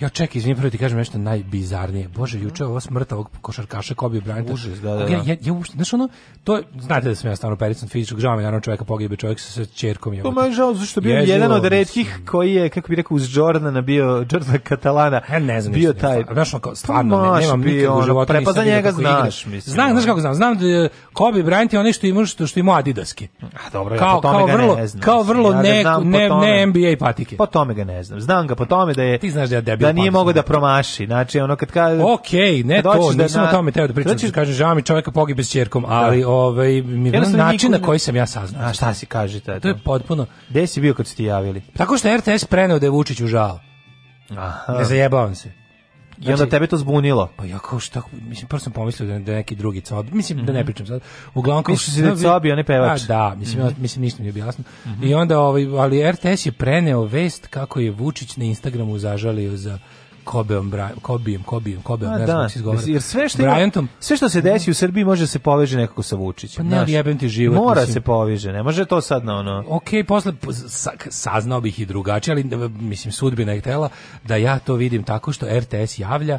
[SPEAKER 8] Ja čekaj, izvini, prvo ti kažem nešto najbizarnije. Bože, juče ova smrt ovog košarkaša Kobe Bryanta.
[SPEAKER 7] Užas, da, da,
[SPEAKER 8] Ja,
[SPEAKER 7] da.
[SPEAKER 8] ja, ja uopšte, znaš ono, to, je- znate da sam ja stvarno pericom fizičkog, žao mi je, naravno čoveka pogibio, čovjek sa, sa čerkom.
[SPEAKER 7] To
[SPEAKER 8] jebote.
[SPEAKER 7] me je žao, zašto bio
[SPEAKER 8] Jezivo,
[SPEAKER 7] jedan od
[SPEAKER 8] mislim.
[SPEAKER 7] retkih koji je, kako bi rekao, uz Jordana bio, Jordana Katalana,
[SPEAKER 8] Ja ne znam.
[SPEAKER 7] bio
[SPEAKER 8] ništa,
[SPEAKER 7] taj...
[SPEAKER 8] stvarno, Znaš, ono kao, stvarno,
[SPEAKER 7] Pa
[SPEAKER 8] ne,
[SPEAKER 7] maš
[SPEAKER 8] nemam
[SPEAKER 7] bio,
[SPEAKER 8] nikad u
[SPEAKER 7] ono,
[SPEAKER 8] životu.
[SPEAKER 7] pre- pa
[SPEAKER 8] nisam
[SPEAKER 7] za
[SPEAKER 8] vidio
[SPEAKER 7] njega
[SPEAKER 8] kako igra.
[SPEAKER 7] znaš, mislim,
[SPEAKER 8] Znam, znaš
[SPEAKER 7] ono.
[SPEAKER 8] kako znam. Znam da je Kobe Bryant je onaj što ima, što, što ima adidaske.
[SPEAKER 7] A dobro, ja
[SPEAKER 8] Kao,
[SPEAKER 7] po tome
[SPEAKER 8] kao
[SPEAKER 7] ga
[SPEAKER 8] vrlo,
[SPEAKER 7] ne znam.
[SPEAKER 8] kao vrlo
[SPEAKER 7] Ja ga
[SPEAKER 8] ne,
[SPEAKER 7] znam po
[SPEAKER 8] ne,
[SPEAKER 7] tome. Pa,
[SPEAKER 8] ne NBA patike.
[SPEAKER 7] Po tome ga ne znam. Znam ga po tome da je
[SPEAKER 8] Ti znaš da ja debil
[SPEAKER 7] da nije
[SPEAKER 8] pamet.
[SPEAKER 7] mogao da promaši. Znači, ono kad kaže...
[SPEAKER 8] Okej, ne
[SPEAKER 7] Kad
[SPEAKER 8] to,
[SPEAKER 7] hoćeš da
[SPEAKER 8] nisam
[SPEAKER 7] na-
[SPEAKER 8] o tome teo da pričam,
[SPEAKER 7] kad hoćeš-
[SPEAKER 8] da kažem, žao mi čovjeka pogibe s čerkom, ali ovaj, mi
[SPEAKER 7] Jednostavno
[SPEAKER 8] način
[SPEAKER 7] niko-
[SPEAKER 8] na koji sam ja saznao.
[SPEAKER 7] A šta si kažete?
[SPEAKER 8] To je potpuno...
[SPEAKER 7] Gde si bio kad su ti javili?
[SPEAKER 8] Tako što je RTS preneo da je Vučiću žao.
[SPEAKER 7] Aha.
[SPEAKER 8] Ne zajebavam se.
[SPEAKER 7] I onda
[SPEAKER 8] Znači-
[SPEAKER 7] tebe to zbunilo.
[SPEAKER 8] Pa ja kao šta, mislim, prvo sam pomislio da je da je neki drugi cob, mislim da ne pričam sad. Uglavnom kao
[SPEAKER 7] Mislio si Mhm. da je Cobi, onaj pevač?
[SPEAKER 8] A, da, mislim,
[SPEAKER 7] Mhm.
[SPEAKER 8] ja- mislim ništa mi je objasno. I onda, ovaj, ali RTS je preneo vest kako je Vučić na Instagramu zažalio za Kobeom, Bra- Kobijem, Kobijem, Kobeom,
[SPEAKER 7] A,
[SPEAKER 8] ne znam
[SPEAKER 7] da,
[SPEAKER 8] kako se izgovara.
[SPEAKER 7] jer sve što, ima,
[SPEAKER 8] Bryantom.
[SPEAKER 7] sve što se desi u Srbiji može da se poveže nekako sa Vučićem.
[SPEAKER 8] Pa ne, ali
[SPEAKER 7] znaš.
[SPEAKER 8] jebem ti život,
[SPEAKER 7] Mora
[SPEAKER 8] mislim.
[SPEAKER 7] se poveže, ne može to sad na ono...
[SPEAKER 8] Ok, posle po- sa- saznao bih i drugačije, ali da, mislim sudbina je htela da ja to vidim tako što RTS javlja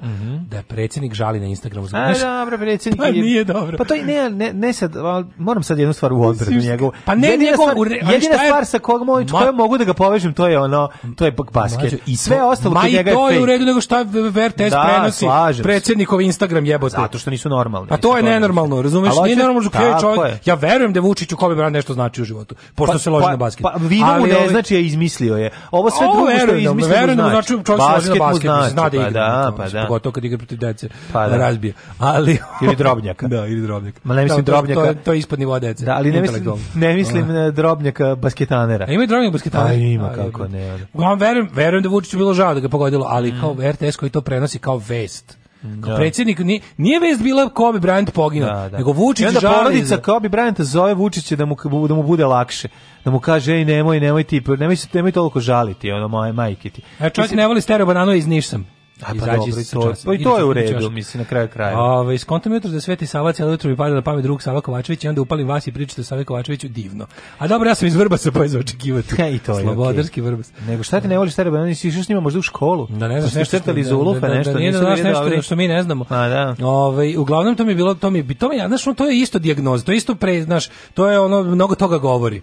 [SPEAKER 8] da je predsjednik žali na Instagramu.
[SPEAKER 7] Mhm. A,
[SPEAKER 8] Znaš,
[SPEAKER 7] dobro, predsjednik
[SPEAKER 8] Pa
[SPEAKER 7] je-
[SPEAKER 8] nije dobro.
[SPEAKER 7] Pa to i ne, ne, ne sad, al, moram sad jednu stvar u odbranu
[SPEAKER 8] Mislim,
[SPEAKER 7] njegovu.
[SPEAKER 8] pa ne
[SPEAKER 7] jedina
[SPEAKER 8] njegov-
[SPEAKER 7] stvar,
[SPEAKER 8] u re- ali
[SPEAKER 7] jedina
[SPEAKER 8] šta je-
[SPEAKER 7] stvar sa kog moj,
[SPEAKER 8] Ma-
[SPEAKER 7] kojom mogu da ga povežem, to je ono, to je bak- basket.
[SPEAKER 8] Mlađo,
[SPEAKER 7] I
[SPEAKER 8] i
[SPEAKER 7] sve
[SPEAKER 8] to-
[SPEAKER 7] ostalo
[SPEAKER 8] Ma
[SPEAKER 7] kod
[SPEAKER 8] i
[SPEAKER 7] njega
[SPEAKER 8] to je
[SPEAKER 7] fake.
[SPEAKER 8] u redu nego šta v- v- RTS
[SPEAKER 7] Da,
[SPEAKER 8] prenosi
[SPEAKER 7] slažem se.
[SPEAKER 8] predsjednikov Instagram jebote.
[SPEAKER 7] Zato što nisu normalni.
[SPEAKER 8] A Pa to je
[SPEAKER 7] Mislim,
[SPEAKER 8] nenormalno, razumeš?
[SPEAKER 7] Ali
[SPEAKER 8] Nije
[SPEAKER 7] hoću-
[SPEAKER 8] normalno što je
[SPEAKER 7] Tako
[SPEAKER 8] čovjek.
[SPEAKER 7] je.
[SPEAKER 8] Ja verujem da Vučiću Kobe Bryant nešto znači u životu, pošto se loži na basket.
[SPEAKER 7] Pa, pa vino mu
[SPEAKER 8] Ali
[SPEAKER 7] ne
[SPEAKER 8] ovaj-
[SPEAKER 7] znači je izmislio je. Ovo sve
[SPEAKER 8] Ovo
[SPEAKER 7] drugo što je
[SPEAKER 8] verujem da mu-
[SPEAKER 7] izmislio mu
[SPEAKER 8] verujem da mu
[SPEAKER 7] znači.
[SPEAKER 8] znači čovjek se loži na
[SPEAKER 7] mu
[SPEAKER 8] basket, mislim, zna da
[SPEAKER 7] pa
[SPEAKER 8] igra,
[SPEAKER 7] da,
[SPEAKER 8] ono,
[SPEAKER 7] pa
[SPEAKER 8] mislim,
[SPEAKER 7] da.
[SPEAKER 8] pogotovo kad igra protiv dece,
[SPEAKER 7] Pa da.
[SPEAKER 8] razbije. Ali
[SPEAKER 7] Ili drobnjaka.
[SPEAKER 8] da, ili drobnjaka.
[SPEAKER 7] Ma ne mislim
[SPEAKER 8] Da, to-
[SPEAKER 7] drobnjaka.
[SPEAKER 8] To, je, to je ispod nivoa dece.
[SPEAKER 7] Da, ali ne mislim,
[SPEAKER 8] intelektualno.
[SPEAKER 7] ne mislim na drobnjaka basketanera.
[SPEAKER 8] A ima i drobnjak basketana.
[SPEAKER 7] Pa ima, kako ne. ono.
[SPEAKER 8] Uglavnom, verujem, verujem da Vučiću bilo žao da ga pogodilo, ali kao RTS koji to prenosi kao vest. Kao
[SPEAKER 7] Da.
[SPEAKER 8] predsjednik, nije, nije vest bila Kobe Bryant poginuo,
[SPEAKER 7] Da, da.
[SPEAKER 8] nego Vučić
[SPEAKER 7] I onda
[SPEAKER 8] žali
[SPEAKER 7] porodica
[SPEAKER 8] za-
[SPEAKER 7] Kobe Bryanta zove Vučića da mu, da mu bude lakše. Da mu kaže, ej, nemoj, nemoj ti, pa nemoj, se, nemoj toliko žaliti, ono, maj, majke ti.
[SPEAKER 8] E, čovjek
[SPEAKER 7] Mislim,
[SPEAKER 8] ne voli stereo banano iz Nišsam.
[SPEAKER 7] A pa
[SPEAKER 8] Izađi
[SPEAKER 7] dobro, i
[SPEAKER 8] sa
[SPEAKER 7] to,
[SPEAKER 8] časa.
[SPEAKER 7] pa i to je u
[SPEAKER 8] Inače,
[SPEAKER 7] redu,
[SPEAKER 8] ćeš-
[SPEAKER 7] mislim, na kraju krajeva.
[SPEAKER 8] Ove, skontam jutro da Sveti Sava cijelo jutro mi pada na pamet drug Sava Kovačević i onda upalim vas i pričate o Save Kovačeviću divno. A dobro, ja sam iz Vrbasa pa je za očekivati.
[SPEAKER 7] E, I to je
[SPEAKER 8] Slobodarski
[SPEAKER 7] okej.
[SPEAKER 8] Vrbas.
[SPEAKER 7] Nego šta ti ne voliš stereo banane, nisi išao s njima možda u školu?
[SPEAKER 8] Da ne
[SPEAKER 7] Pa
[SPEAKER 8] znaš
[SPEAKER 7] ste
[SPEAKER 8] nešto
[SPEAKER 7] crtali iz
[SPEAKER 8] da- da-
[SPEAKER 7] ulufa
[SPEAKER 8] da-
[SPEAKER 7] nešto,
[SPEAKER 8] da, nije da
[SPEAKER 7] nisu
[SPEAKER 8] znaš
[SPEAKER 7] bili
[SPEAKER 8] nešto
[SPEAKER 7] dobri.
[SPEAKER 8] što mi ne znamo.
[SPEAKER 7] A, da.
[SPEAKER 8] Ovaj uglavnom to mi je bilo to mi je to mi je, znaš, ono, to je isto dijagnoza, to je isto pre, znaš, to je ono mnogo toga govori.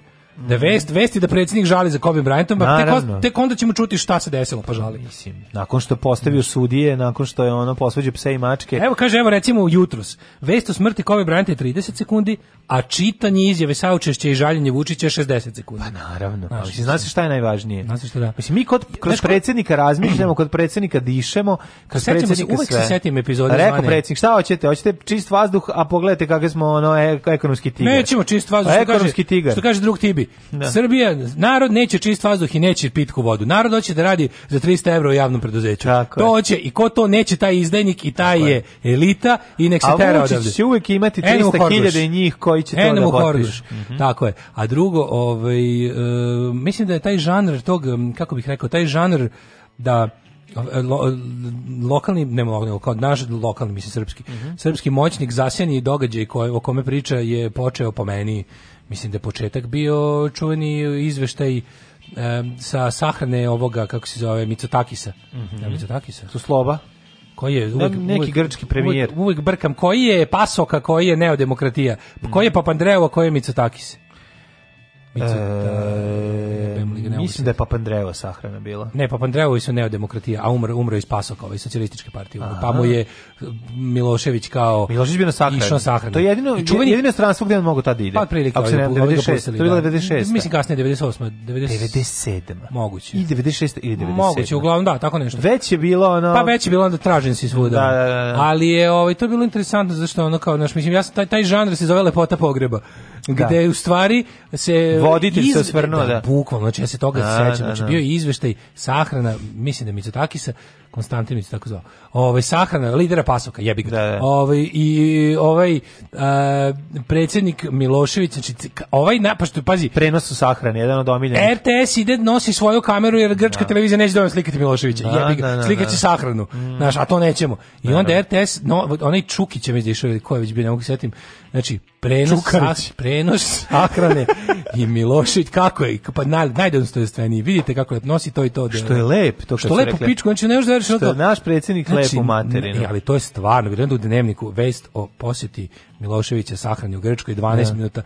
[SPEAKER 8] Da vest, vesti da predsjednik žali za Kobe Bryantom, pa tek,
[SPEAKER 7] Mm. Naravno.
[SPEAKER 8] on- tek onda ćemo čuti šta se desilo, pa žali.
[SPEAKER 7] Nakon što je postavio sudije, nakon što je ono posvađao pse i mačke.
[SPEAKER 8] Evo kaže, evo recimo jutros, vest o smrti Kobe Bryanta je 30 sekundi, a čitanje izjave saučešća i žaljenje Vučića je 60 sekundi. Pa
[SPEAKER 7] naravno. Ali si Pa, znaš šta je najvažnije?
[SPEAKER 8] Znaš šta da.
[SPEAKER 7] Mislim, mi kod, kroz
[SPEAKER 8] Znaš ko-
[SPEAKER 7] predsjednika razmišljamo, kod predsjednika dišemo, kroz
[SPEAKER 8] Sećamo se,
[SPEAKER 7] predsjednika
[SPEAKER 8] uvek se
[SPEAKER 7] sve.
[SPEAKER 8] setim epizode
[SPEAKER 7] Rekao
[SPEAKER 8] zvane-
[SPEAKER 7] predsjednik, šta hoćete? Hoćete čist vazduh, a pogledajte kakve smo ono, e- ekonomski tigar.
[SPEAKER 8] Nećemo čist vazduh,
[SPEAKER 7] A
[SPEAKER 8] što
[SPEAKER 7] Ekonomski
[SPEAKER 8] kaže,
[SPEAKER 7] tigar.
[SPEAKER 8] što kaže drug Tibi.
[SPEAKER 7] Da.
[SPEAKER 8] Srbija, narod neće čist vazduh i neće pitku vodu. Narod hoće da radi za 300 evra u javnom preduzeću.
[SPEAKER 7] Tako
[SPEAKER 8] to
[SPEAKER 7] je.
[SPEAKER 8] hoće i ko to neće, taj je izdajnik i taj je elita i nek se
[SPEAKER 7] A
[SPEAKER 8] tera odavde.
[SPEAKER 7] Vučić će uvijek imati
[SPEAKER 8] Enemo
[SPEAKER 7] 300.000
[SPEAKER 8] Horgoš.
[SPEAKER 7] njih koji će to
[SPEAKER 8] Enemo
[SPEAKER 7] da Mhm.
[SPEAKER 8] Horgoš.
[SPEAKER 7] potpišu.
[SPEAKER 8] Tako je. A drugo, ovaj, e, mislim da je taj žanr tog, m, kako bih rekao, taj žanr da e, lo- lokalni, ne lokalni, kao naš lokalni, mislim srpski,
[SPEAKER 7] Mhm.
[SPEAKER 8] srpski moćnik zasjeni događaj koje, o kome priča je počeo po meni, mislim da je početak bio čuveni izveštaj e, sa sahrane ovoga, kako se zove, Mitsotakisa.
[SPEAKER 7] Mhm.
[SPEAKER 8] Da, Mitsotakisa.
[SPEAKER 7] Su sloba.
[SPEAKER 8] Koji je uvek,
[SPEAKER 7] neki
[SPEAKER 8] uvek-
[SPEAKER 7] grčki premijer.
[SPEAKER 8] Uvek, uvek brkam koji je Pasoka, koji je Neodemokratija,
[SPEAKER 7] Mm.
[SPEAKER 8] koji je Papandreou, a koji je Mitsotakis.
[SPEAKER 7] E, mislim da je Papandreva sahrana bila.
[SPEAKER 8] Ne, Papandreou su Neodemokratija, a umro umro je iz Pasoka, ovaj socijalističke partije. umro. Pa mu je Milošević kao
[SPEAKER 7] Milošić bio na sahrani.
[SPEAKER 8] Išao na sahranu.
[SPEAKER 7] To je jedino,
[SPEAKER 8] I čuveni-
[SPEAKER 7] jedino stranstvo gde on mogu tad da ide.
[SPEAKER 8] Pa otprilike,
[SPEAKER 7] Ako se ne,
[SPEAKER 8] ovaj ga- ovaj ga
[SPEAKER 7] 96. To
[SPEAKER 8] pustili,
[SPEAKER 7] je bilo
[SPEAKER 8] da.
[SPEAKER 7] 96.
[SPEAKER 8] Mislim kasnije 98. 97.
[SPEAKER 7] 97.
[SPEAKER 8] Moguće.
[SPEAKER 7] I 96. ili 97.
[SPEAKER 8] Moguće, uglavnom da, tako nešto.
[SPEAKER 7] Već je bilo ono...
[SPEAKER 8] Pa već je bilo onda tražen si svuda.
[SPEAKER 7] Da, da, da, da.
[SPEAKER 8] Ali je ovaj to je bilo interesantno zašto ono kao naš mislim ja sam taj taj žanr se zove lepota pogreba.
[SPEAKER 7] Da.
[SPEAKER 8] gde u stvari se
[SPEAKER 7] Voditelj se
[SPEAKER 8] iz-
[SPEAKER 7] osvrnuo, da.
[SPEAKER 8] Bukvalno, znači ja se toga
[SPEAKER 7] Da,
[SPEAKER 8] sećam.
[SPEAKER 7] da,
[SPEAKER 8] Znači
[SPEAKER 7] da.
[SPEAKER 8] bio je izveštaj sahrana, mislim da je Mitsotakisa, Konstantin Mitsotaki tako zvao. Ovaj sahrana lidera Pasoka, jebi ga. Ovaj i ovaj a, predsjednik Milošević, znači c- ka- ovaj na, pa što pazi,
[SPEAKER 7] prenos u sahrani, jedan od omiljenih.
[SPEAKER 8] RTS ide nosi svoju kameru jer grčka televizija neće dovoljno slikati Miloševića.
[SPEAKER 7] Da,
[SPEAKER 8] Jebi ga,
[SPEAKER 7] da, Mm. da,
[SPEAKER 8] slikaće
[SPEAKER 7] da.
[SPEAKER 8] sahranu. Znaš, a to nećemo. I onda RTS, no, onaj Čukić je mi izašao, ili ko je već bio, ne mogu se setim. Znači, prenos,
[SPEAKER 7] Čukarić.
[SPEAKER 8] sah- prenos sahrane i Milošević, kako je, pa naj, najdostojanstveniji. Vidite kako je, nosi to i to. delo.
[SPEAKER 7] Što je lep, to
[SPEAKER 8] što
[SPEAKER 7] kad su
[SPEAKER 8] lepo
[SPEAKER 7] rekli.
[SPEAKER 8] pičku, znači ne možeš da veriš.
[SPEAKER 7] Što
[SPEAKER 8] ono kao-
[SPEAKER 7] je naš predsjednik lep u materinu.
[SPEAKER 8] Znači, ne, ali to je stvarno, vjerujem da u dnevniku vest o posjeti Miloševića sahrani u Grčkoj 12
[SPEAKER 7] Da.
[SPEAKER 8] minuta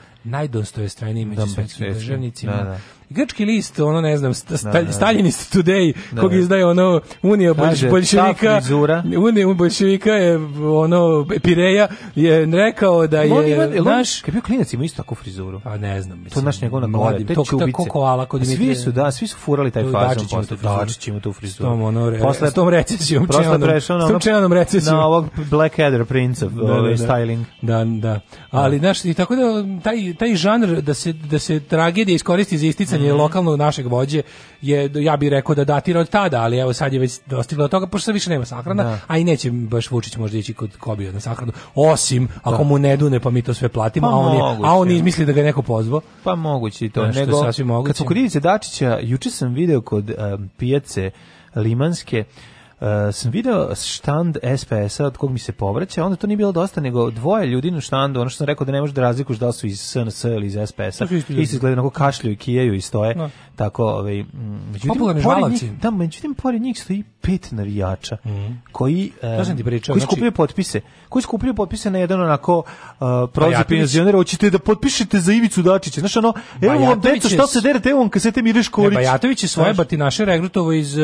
[SPEAKER 8] najdostojanstveniji među
[SPEAKER 7] Da,
[SPEAKER 8] svetskim
[SPEAKER 7] svetskim.
[SPEAKER 8] državnicima.
[SPEAKER 7] Da, da.
[SPEAKER 8] Grčki list, ono ne znam, sta,
[SPEAKER 7] Da,
[SPEAKER 8] sta,
[SPEAKER 7] da.
[SPEAKER 8] Staljinist Today,
[SPEAKER 7] Da,
[SPEAKER 8] kog
[SPEAKER 7] da.
[SPEAKER 8] izdaje ono Unija
[SPEAKER 7] Kaže,
[SPEAKER 8] bolš,
[SPEAKER 7] ta
[SPEAKER 8] bolševika,
[SPEAKER 7] frizura.
[SPEAKER 8] Unija bolševika je ono Pireja je rekao da
[SPEAKER 7] Jel on
[SPEAKER 8] je
[SPEAKER 7] ima- jel on-
[SPEAKER 8] naš
[SPEAKER 7] kad je bio klinac ima isto takvu frizuru.
[SPEAKER 8] Pa ne znam, mislim.
[SPEAKER 7] To je naš njegov na
[SPEAKER 8] mladi,
[SPEAKER 7] gore, te
[SPEAKER 8] to- to
[SPEAKER 7] čubice.
[SPEAKER 8] ko koala kod
[SPEAKER 7] A Svi
[SPEAKER 8] Dimitrija.
[SPEAKER 7] su, da, svi su furali taj
[SPEAKER 8] To je
[SPEAKER 7] fazon.
[SPEAKER 8] Dačić ima tu frizuru.
[SPEAKER 7] Dačić ima tu frizuru.
[SPEAKER 8] S tom, ono, re-
[SPEAKER 7] Posle-
[SPEAKER 8] s tom recesijom,
[SPEAKER 7] Posle
[SPEAKER 8] čelanom-
[SPEAKER 7] prešao na
[SPEAKER 8] s tom
[SPEAKER 7] ono-
[SPEAKER 8] čelanom recesijom.
[SPEAKER 7] Na ovog Blackadder Prince of ovaj, styling.
[SPEAKER 8] Da, da. Ali znaš, i tako da taj taj žanr da se da se tragedija iskoristi za isticanje
[SPEAKER 7] Mhm.
[SPEAKER 8] lokalnog našeg vođe je ja bih rekao da datira od tada, ali evo sad je već dostiglo do toga pošto sad više nema sahrana,
[SPEAKER 7] Da.
[SPEAKER 8] a i neće baš Vučić možda ići kod Kobija na sahranu, osim ako mu ne dune pa mi to sve platimo,
[SPEAKER 7] Pa
[SPEAKER 8] a on je,
[SPEAKER 7] moguće.
[SPEAKER 8] a on izmisli da ga je neko pozvao.
[SPEAKER 7] Pa moguće i to.
[SPEAKER 8] Znaš, što je
[SPEAKER 7] nego,
[SPEAKER 8] sasvim moguće.
[SPEAKER 7] Kad su kod Ivice Dačića, juče sam video kod um, pijace Limanske, Uh, sam video štand SPS-a od kog mi se povraća, onda to nije bilo dosta, nego dvoje ljudi na štandu, ono što sam rekao da ne možeš da razlikuš da li su iz SNS ili iz SPS-a,
[SPEAKER 8] To su isti ljudi.
[SPEAKER 7] isto gledaju, onako kašljuju, kijaju i stoje,
[SPEAKER 8] Da.
[SPEAKER 7] tako, ovaj, mm,
[SPEAKER 8] Popularni
[SPEAKER 7] pored
[SPEAKER 8] žvalavci.
[SPEAKER 7] njih- Da, međutim, pored njih stoji pet navijača, koji, um,
[SPEAKER 8] Mhm. To sam ti pričao,
[SPEAKER 7] koji
[SPEAKER 8] znači-
[SPEAKER 7] skupljaju potpise, koji skupljaju potpise na jedan onako uh, prozor
[SPEAKER 8] Bajatović.
[SPEAKER 7] penzionera, hoćete da potpišete za Ivicu Dačića, znaš ono, Evo vam,
[SPEAKER 8] Bajatović
[SPEAKER 7] deco,
[SPEAKER 8] je
[SPEAKER 7] šta
[SPEAKER 8] s-
[SPEAKER 7] se derete, evo vam kasete Mireš
[SPEAKER 8] Ne,
[SPEAKER 7] Korić.
[SPEAKER 8] Bajatović E, pa je svoje
[SPEAKER 7] Znaš,
[SPEAKER 8] batinaše regrutovo iz e,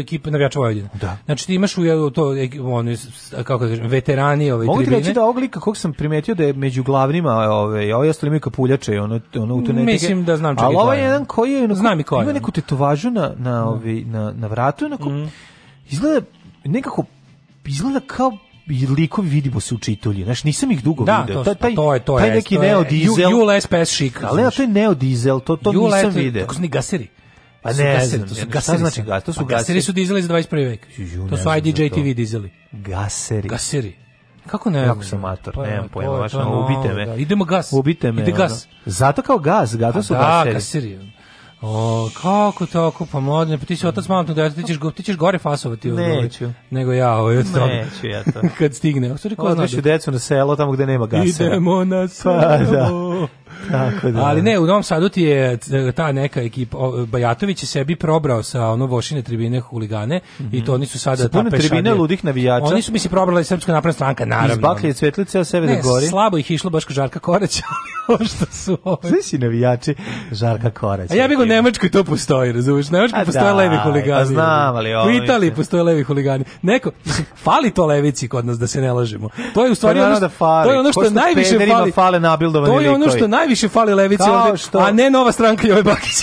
[SPEAKER 8] ekipe navijača Vojvodine. Da. Znači ti imaš u jel, to ek- oni s- kako da kažem veterani ove
[SPEAKER 7] Mogu ti
[SPEAKER 8] tribine.
[SPEAKER 7] reći da ovog lika kog sam primetio da je među glavnima, ovaj, ovaj ostali imaju kapuljače, ono, ono u te netike.
[SPEAKER 8] Mislim da znam čega
[SPEAKER 7] Ali
[SPEAKER 8] je
[SPEAKER 7] ovaj
[SPEAKER 8] Klajan.
[SPEAKER 7] jedan koji je, onako-
[SPEAKER 8] Znam i ko je,
[SPEAKER 7] ima
[SPEAKER 8] ono.
[SPEAKER 7] neku tetovažu na, na, ovi, na, na vratu, onako,
[SPEAKER 8] Mhm.
[SPEAKER 7] izgleda nekako, izgleda kao i likovi vidimo se u čitulji. Znaš, nisam ih dugo
[SPEAKER 8] Da,
[SPEAKER 7] video.
[SPEAKER 8] to, pa
[SPEAKER 7] Ta- taj,
[SPEAKER 8] to je, to je.
[SPEAKER 7] taj neki
[SPEAKER 8] to je
[SPEAKER 7] neodizel.
[SPEAKER 8] Ju- Jul SPS šik.
[SPEAKER 7] Ali ja, to je neodizel, to, to
[SPEAKER 8] Jul
[SPEAKER 7] nisam
[SPEAKER 8] SPS
[SPEAKER 7] video.
[SPEAKER 8] Tako su ni gaseri.
[SPEAKER 7] Pa
[SPEAKER 8] To su
[SPEAKER 7] ne
[SPEAKER 8] gaseri,
[SPEAKER 7] znam,
[SPEAKER 8] to su
[SPEAKER 7] ja, šta
[SPEAKER 8] gaseri
[SPEAKER 7] znači
[SPEAKER 8] sad.
[SPEAKER 7] gas? To su
[SPEAKER 8] Pa gaseri.
[SPEAKER 7] gaseri.
[SPEAKER 8] su dizeli za 21. vek.
[SPEAKER 7] Ju,
[SPEAKER 8] To
[SPEAKER 7] ne
[SPEAKER 8] su
[SPEAKER 7] znam
[SPEAKER 8] IDJ
[SPEAKER 7] za to.
[SPEAKER 8] TV dizeli.
[SPEAKER 7] Gaseri.
[SPEAKER 8] Gaseri. Kako ne?
[SPEAKER 7] Jako sam mator,
[SPEAKER 8] Pa,
[SPEAKER 7] nemam
[SPEAKER 8] to
[SPEAKER 7] pojma,
[SPEAKER 8] je-
[SPEAKER 7] baš
[SPEAKER 8] to je
[SPEAKER 7] ono,
[SPEAKER 8] novo,
[SPEAKER 7] ubite me.
[SPEAKER 8] da. Idemo gas.
[SPEAKER 7] Ubite me.
[SPEAKER 8] Ide
[SPEAKER 7] ono.
[SPEAKER 8] gas. Pa
[SPEAKER 7] Zato kao gas, zato su
[SPEAKER 8] da,
[SPEAKER 7] gaseri.
[SPEAKER 8] gaseri. O, kako tako, pa mladine, pa ti si otac malom djeteta, ti ćeš, go- ti ćeš gore fasovati. od-
[SPEAKER 7] Neću.
[SPEAKER 8] Nego ja, ovo je od toga.
[SPEAKER 7] Neću ja to.
[SPEAKER 8] Kad stigne. O, sorry, ko zna
[SPEAKER 7] Odnošu
[SPEAKER 8] da-
[SPEAKER 7] decu na selo tamo gde nema gasa.
[SPEAKER 8] Idemo na
[SPEAKER 7] Pa, da.
[SPEAKER 8] selo.
[SPEAKER 7] Tako da.
[SPEAKER 8] Ali ne, u Novom Sadu ti je c- ta neka ekipa, o, Bajatović je sebi probrao sa ono vošine tribine huligane i to oni su sada...
[SPEAKER 7] Mhm. Sa pune
[SPEAKER 8] ta pešadija.
[SPEAKER 7] tribine ludih navijača.
[SPEAKER 8] Oni su mi se probrala i Srpska napredna stranka, naravno. ono.
[SPEAKER 7] Iz baklje je cvetli ceo Severne
[SPEAKER 8] Ne,
[SPEAKER 7] gori.
[SPEAKER 8] slabo ih je išlo baš ko Žarka Korać, ali ovo što su ove...
[SPEAKER 7] Svi si navijači Žarka Korać.
[SPEAKER 8] A ja bih u Nemačkoj to postoji, razumiješ? U Nemačkoj
[SPEAKER 7] A
[SPEAKER 8] postoje
[SPEAKER 7] daj,
[SPEAKER 8] levi huligani. ono.
[SPEAKER 7] pa znam, ali ovo
[SPEAKER 8] U Italiji
[SPEAKER 7] mislim.
[SPEAKER 8] postoje levi huligani. Neko, fali to levici kod nas, da se ne lažemo. To je u stvari
[SPEAKER 7] Pa
[SPEAKER 8] ono,
[SPEAKER 7] naravno
[SPEAKER 8] što,
[SPEAKER 7] da fali.
[SPEAKER 8] to je ono što,
[SPEAKER 7] Ko što
[SPEAKER 8] najviše
[SPEAKER 7] pederima
[SPEAKER 8] fali.
[SPEAKER 7] fale nabildovani
[SPEAKER 8] to je ono
[SPEAKER 7] likovi.
[SPEAKER 8] što najviše fali levici
[SPEAKER 7] Kao
[SPEAKER 8] ovde,
[SPEAKER 7] što-
[SPEAKER 8] a ne nova stranka Jove Bakić.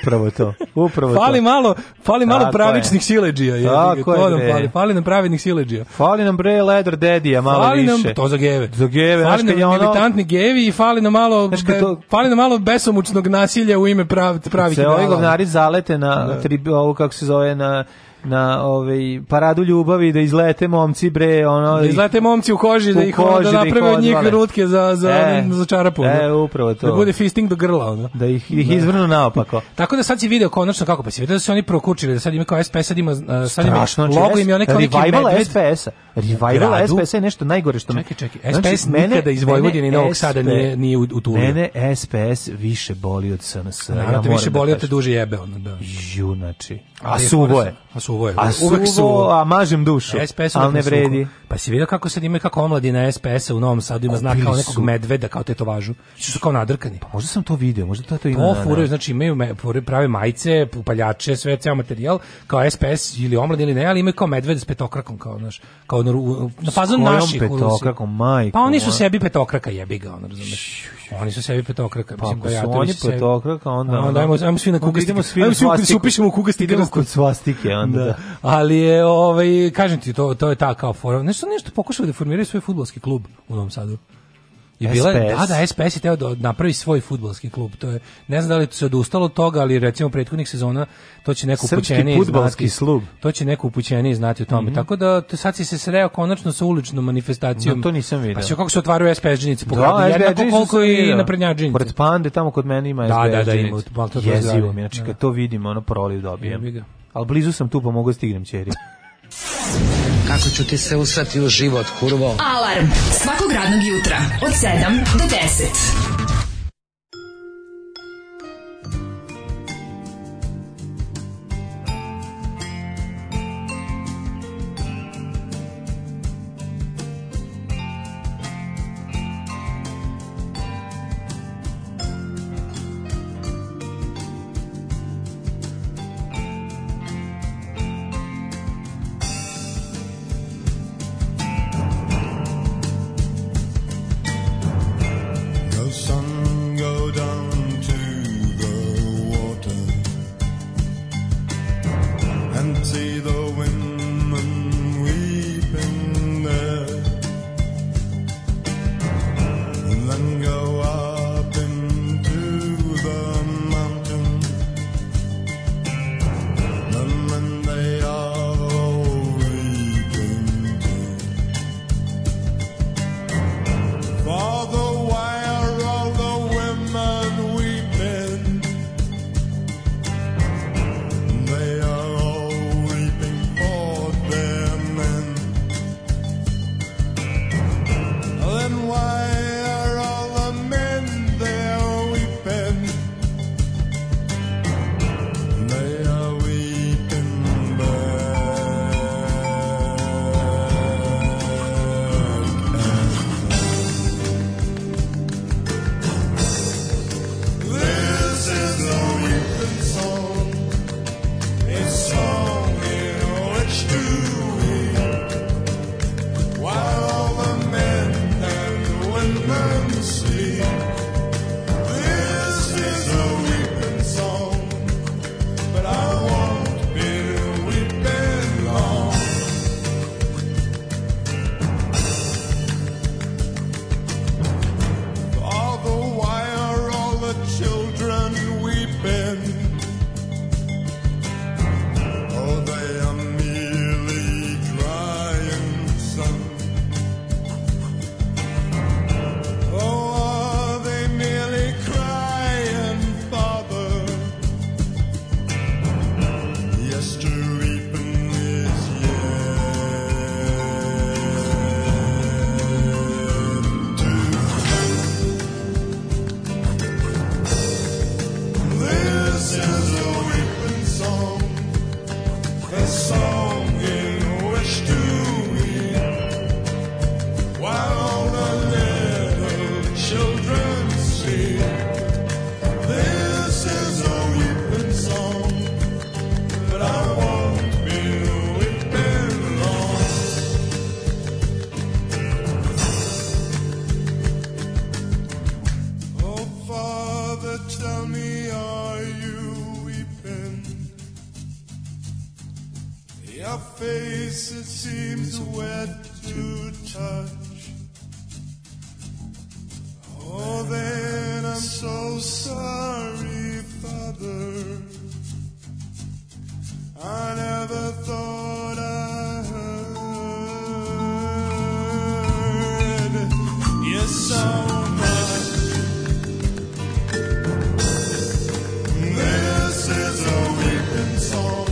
[SPEAKER 7] Upravo to, upravo
[SPEAKER 8] fali
[SPEAKER 7] to.
[SPEAKER 8] malo, fali malo
[SPEAKER 7] Tako
[SPEAKER 8] pravičnih
[SPEAKER 7] je.
[SPEAKER 8] sileđija. jebi ga,
[SPEAKER 7] Tako
[SPEAKER 8] to
[SPEAKER 7] je,
[SPEAKER 8] nam
[SPEAKER 7] bre.
[SPEAKER 8] fali, fali nam pravednih sileđija.
[SPEAKER 7] Fali nam bre Leder Dedija, malo
[SPEAKER 8] Fali nam,
[SPEAKER 7] više.
[SPEAKER 8] to za geve.
[SPEAKER 7] Za geve, znaš
[SPEAKER 8] Fali
[SPEAKER 7] kad je
[SPEAKER 8] nam
[SPEAKER 7] ono...
[SPEAKER 8] militantni gevi i fali nam malo,
[SPEAKER 7] Znaš kad
[SPEAKER 8] be-
[SPEAKER 7] to-
[SPEAKER 8] fali nam malo besomučnog nasilja u ime prav, pravih
[SPEAKER 7] Se ovi
[SPEAKER 8] ideala.
[SPEAKER 7] govnari zalete na tri, ovo kako se zove na na ovaj paradu ljubavi da izlete momci bre ono
[SPEAKER 8] Da izlete momci u koži, da
[SPEAKER 7] U
[SPEAKER 8] ih onda
[SPEAKER 7] koži, da ih
[SPEAKER 8] naprave od njih
[SPEAKER 7] odvale.
[SPEAKER 8] rutke za, za,
[SPEAKER 7] E,
[SPEAKER 8] za čarapu.
[SPEAKER 7] e,
[SPEAKER 8] ono.
[SPEAKER 7] upravo to.
[SPEAKER 8] Da bude fisting do grla. Ono.
[SPEAKER 7] da ih ih izvrnu naopako
[SPEAKER 8] Tako da sad si video konačno kako pa si video da su oni prokučili, da sad ima kao SPS, sad ima, uh, sad ima
[SPEAKER 7] Strašno, znači,
[SPEAKER 8] logo im je onaj kao neki
[SPEAKER 7] revival
[SPEAKER 8] medved.
[SPEAKER 7] SPS-a. Revival
[SPEAKER 8] Gradu.
[SPEAKER 7] SPS-a je nešto najgore što... Znači, Čekaj,
[SPEAKER 8] čekaj, SPS nikada iz Vojvodine i Novog Sada nije- nije u- utulio.
[SPEAKER 7] Mene SPS više boli od SNS.
[SPEAKER 8] Naravno, te više boli, te duže jebe. Ono, da.
[SPEAKER 7] Ju, znači. A
[SPEAKER 8] Ali je
[SPEAKER 7] suvo
[SPEAKER 8] fora
[SPEAKER 7] je.
[SPEAKER 8] sa- A suvo je.
[SPEAKER 7] A
[SPEAKER 8] uvek
[SPEAKER 7] suvo, a mažem dušu.
[SPEAKER 8] SPS
[SPEAKER 7] ali ne vredi.
[SPEAKER 8] Pa si vidio kako sad ima kako omladina SPS-a u Novom Sadu ima znak
[SPEAKER 7] Kupili
[SPEAKER 8] kao nekog
[SPEAKER 7] su.
[SPEAKER 8] medveda, kao tetovažu. Što su kao nadrkani.
[SPEAKER 7] Možda sam to video, možda to, to ima.
[SPEAKER 8] To
[SPEAKER 7] da, da.
[SPEAKER 8] furaju, znači imaju me, furaju prave majice, upaljače, sve, ceo materijal, kao SPS ili omlad ili ne, ali imaju kao medved s petokrakom, kao, znaš, kao na, ru- na fazon
[SPEAKER 7] kojom
[SPEAKER 8] naših u Rusiji.
[SPEAKER 7] petokrakom, majko
[SPEAKER 8] Pa oni su
[SPEAKER 7] moja?
[SPEAKER 8] sebi petokraka, jebi ga, ono, razumeš. Oni su sebi petokraka.
[SPEAKER 7] Pa
[SPEAKER 8] mislim,
[SPEAKER 7] ako su
[SPEAKER 8] Bajatović
[SPEAKER 7] oni
[SPEAKER 8] su sebi-
[SPEAKER 7] petokraka, onda- ono,
[SPEAKER 8] A, Onda ajmo, ajmo svi na
[SPEAKER 7] Onda
[SPEAKER 8] kugastike.
[SPEAKER 7] idemo svi na
[SPEAKER 8] Ajmo svi
[SPEAKER 7] svastiku.
[SPEAKER 8] se upišemo u kugastike.
[SPEAKER 7] Idemo kod svastike, onda.
[SPEAKER 8] Da.
[SPEAKER 7] da.
[SPEAKER 8] Ali je, ovaj, kažem ti, to, to je ta kao fora. Nešto, nešto pokušao da formiraju svoj futbolski klub u Novom Sadu. I bila, je-
[SPEAKER 7] SPS.
[SPEAKER 8] da, da, SPS je teo da napravi svoj futbalski klub. To je, ne znam da li se odustalo od toga, ali recimo prethodnih sezona to će neko
[SPEAKER 7] Srpski
[SPEAKER 8] upućeniji
[SPEAKER 7] fudbalski
[SPEAKER 8] znati.
[SPEAKER 7] klub.
[SPEAKER 8] To će neko upućeniji znati o tome.
[SPEAKER 7] Mhm.
[SPEAKER 8] Tako da to sad si se sreo konačno sa uličnom manifestacijom.
[SPEAKER 7] No, to nisam video.
[SPEAKER 8] Pa sve kako se otvaraju SPS džinice po gradu,
[SPEAKER 7] SBA
[SPEAKER 8] jednako
[SPEAKER 7] džinsu
[SPEAKER 8] koliko
[SPEAKER 7] sam
[SPEAKER 8] i
[SPEAKER 7] vidio.
[SPEAKER 8] naprednjačinice.
[SPEAKER 7] Pored pande tamo kod mene ima
[SPEAKER 8] Da,
[SPEAKER 7] SBA
[SPEAKER 8] da, da, ima,
[SPEAKER 7] džinice.
[SPEAKER 8] malo to
[SPEAKER 7] Jezivo
[SPEAKER 8] pozdravljam.
[SPEAKER 7] mi, znači
[SPEAKER 8] Da.
[SPEAKER 7] kad to vidim, ono proliv
[SPEAKER 8] Jebi
[SPEAKER 7] dobijem.
[SPEAKER 8] ga.
[SPEAKER 7] Ali blizu sam tu, pa mogu da stignem ćeri.
[SPEAKER 19] Kako ću ti se usrati u život, kurvo?
[SPEAKER 5] Alarm svakog radnog jutra od 7 do 10.
[SPEAKER 20] The sun go down to the water and see the women weeping there, and then go up into the mountain. The men they are all weeping too. For the wire all the women weeping. They are all weeping for their men. Then why are all the men there weeping? They are weeping back and This is the weeping song, a song in which to weep. While all the men and women sleep, this is the weeping song, but I won't be weeping long. All the while, all the children weeping. Oh, they are merely crying, son. Oh, are they merely crying, father? Yes, to weeping is yet to come. This is a weeping song, a song in which to weep. While the little children sleep, this is a weeping song, but I won't be weeping long. Oh, Father, tell me, are you weeping? Your face, it seems wet to touch. Oh, then I'm so sorry, Father. I never thought I heard you so much. This is a weeping song,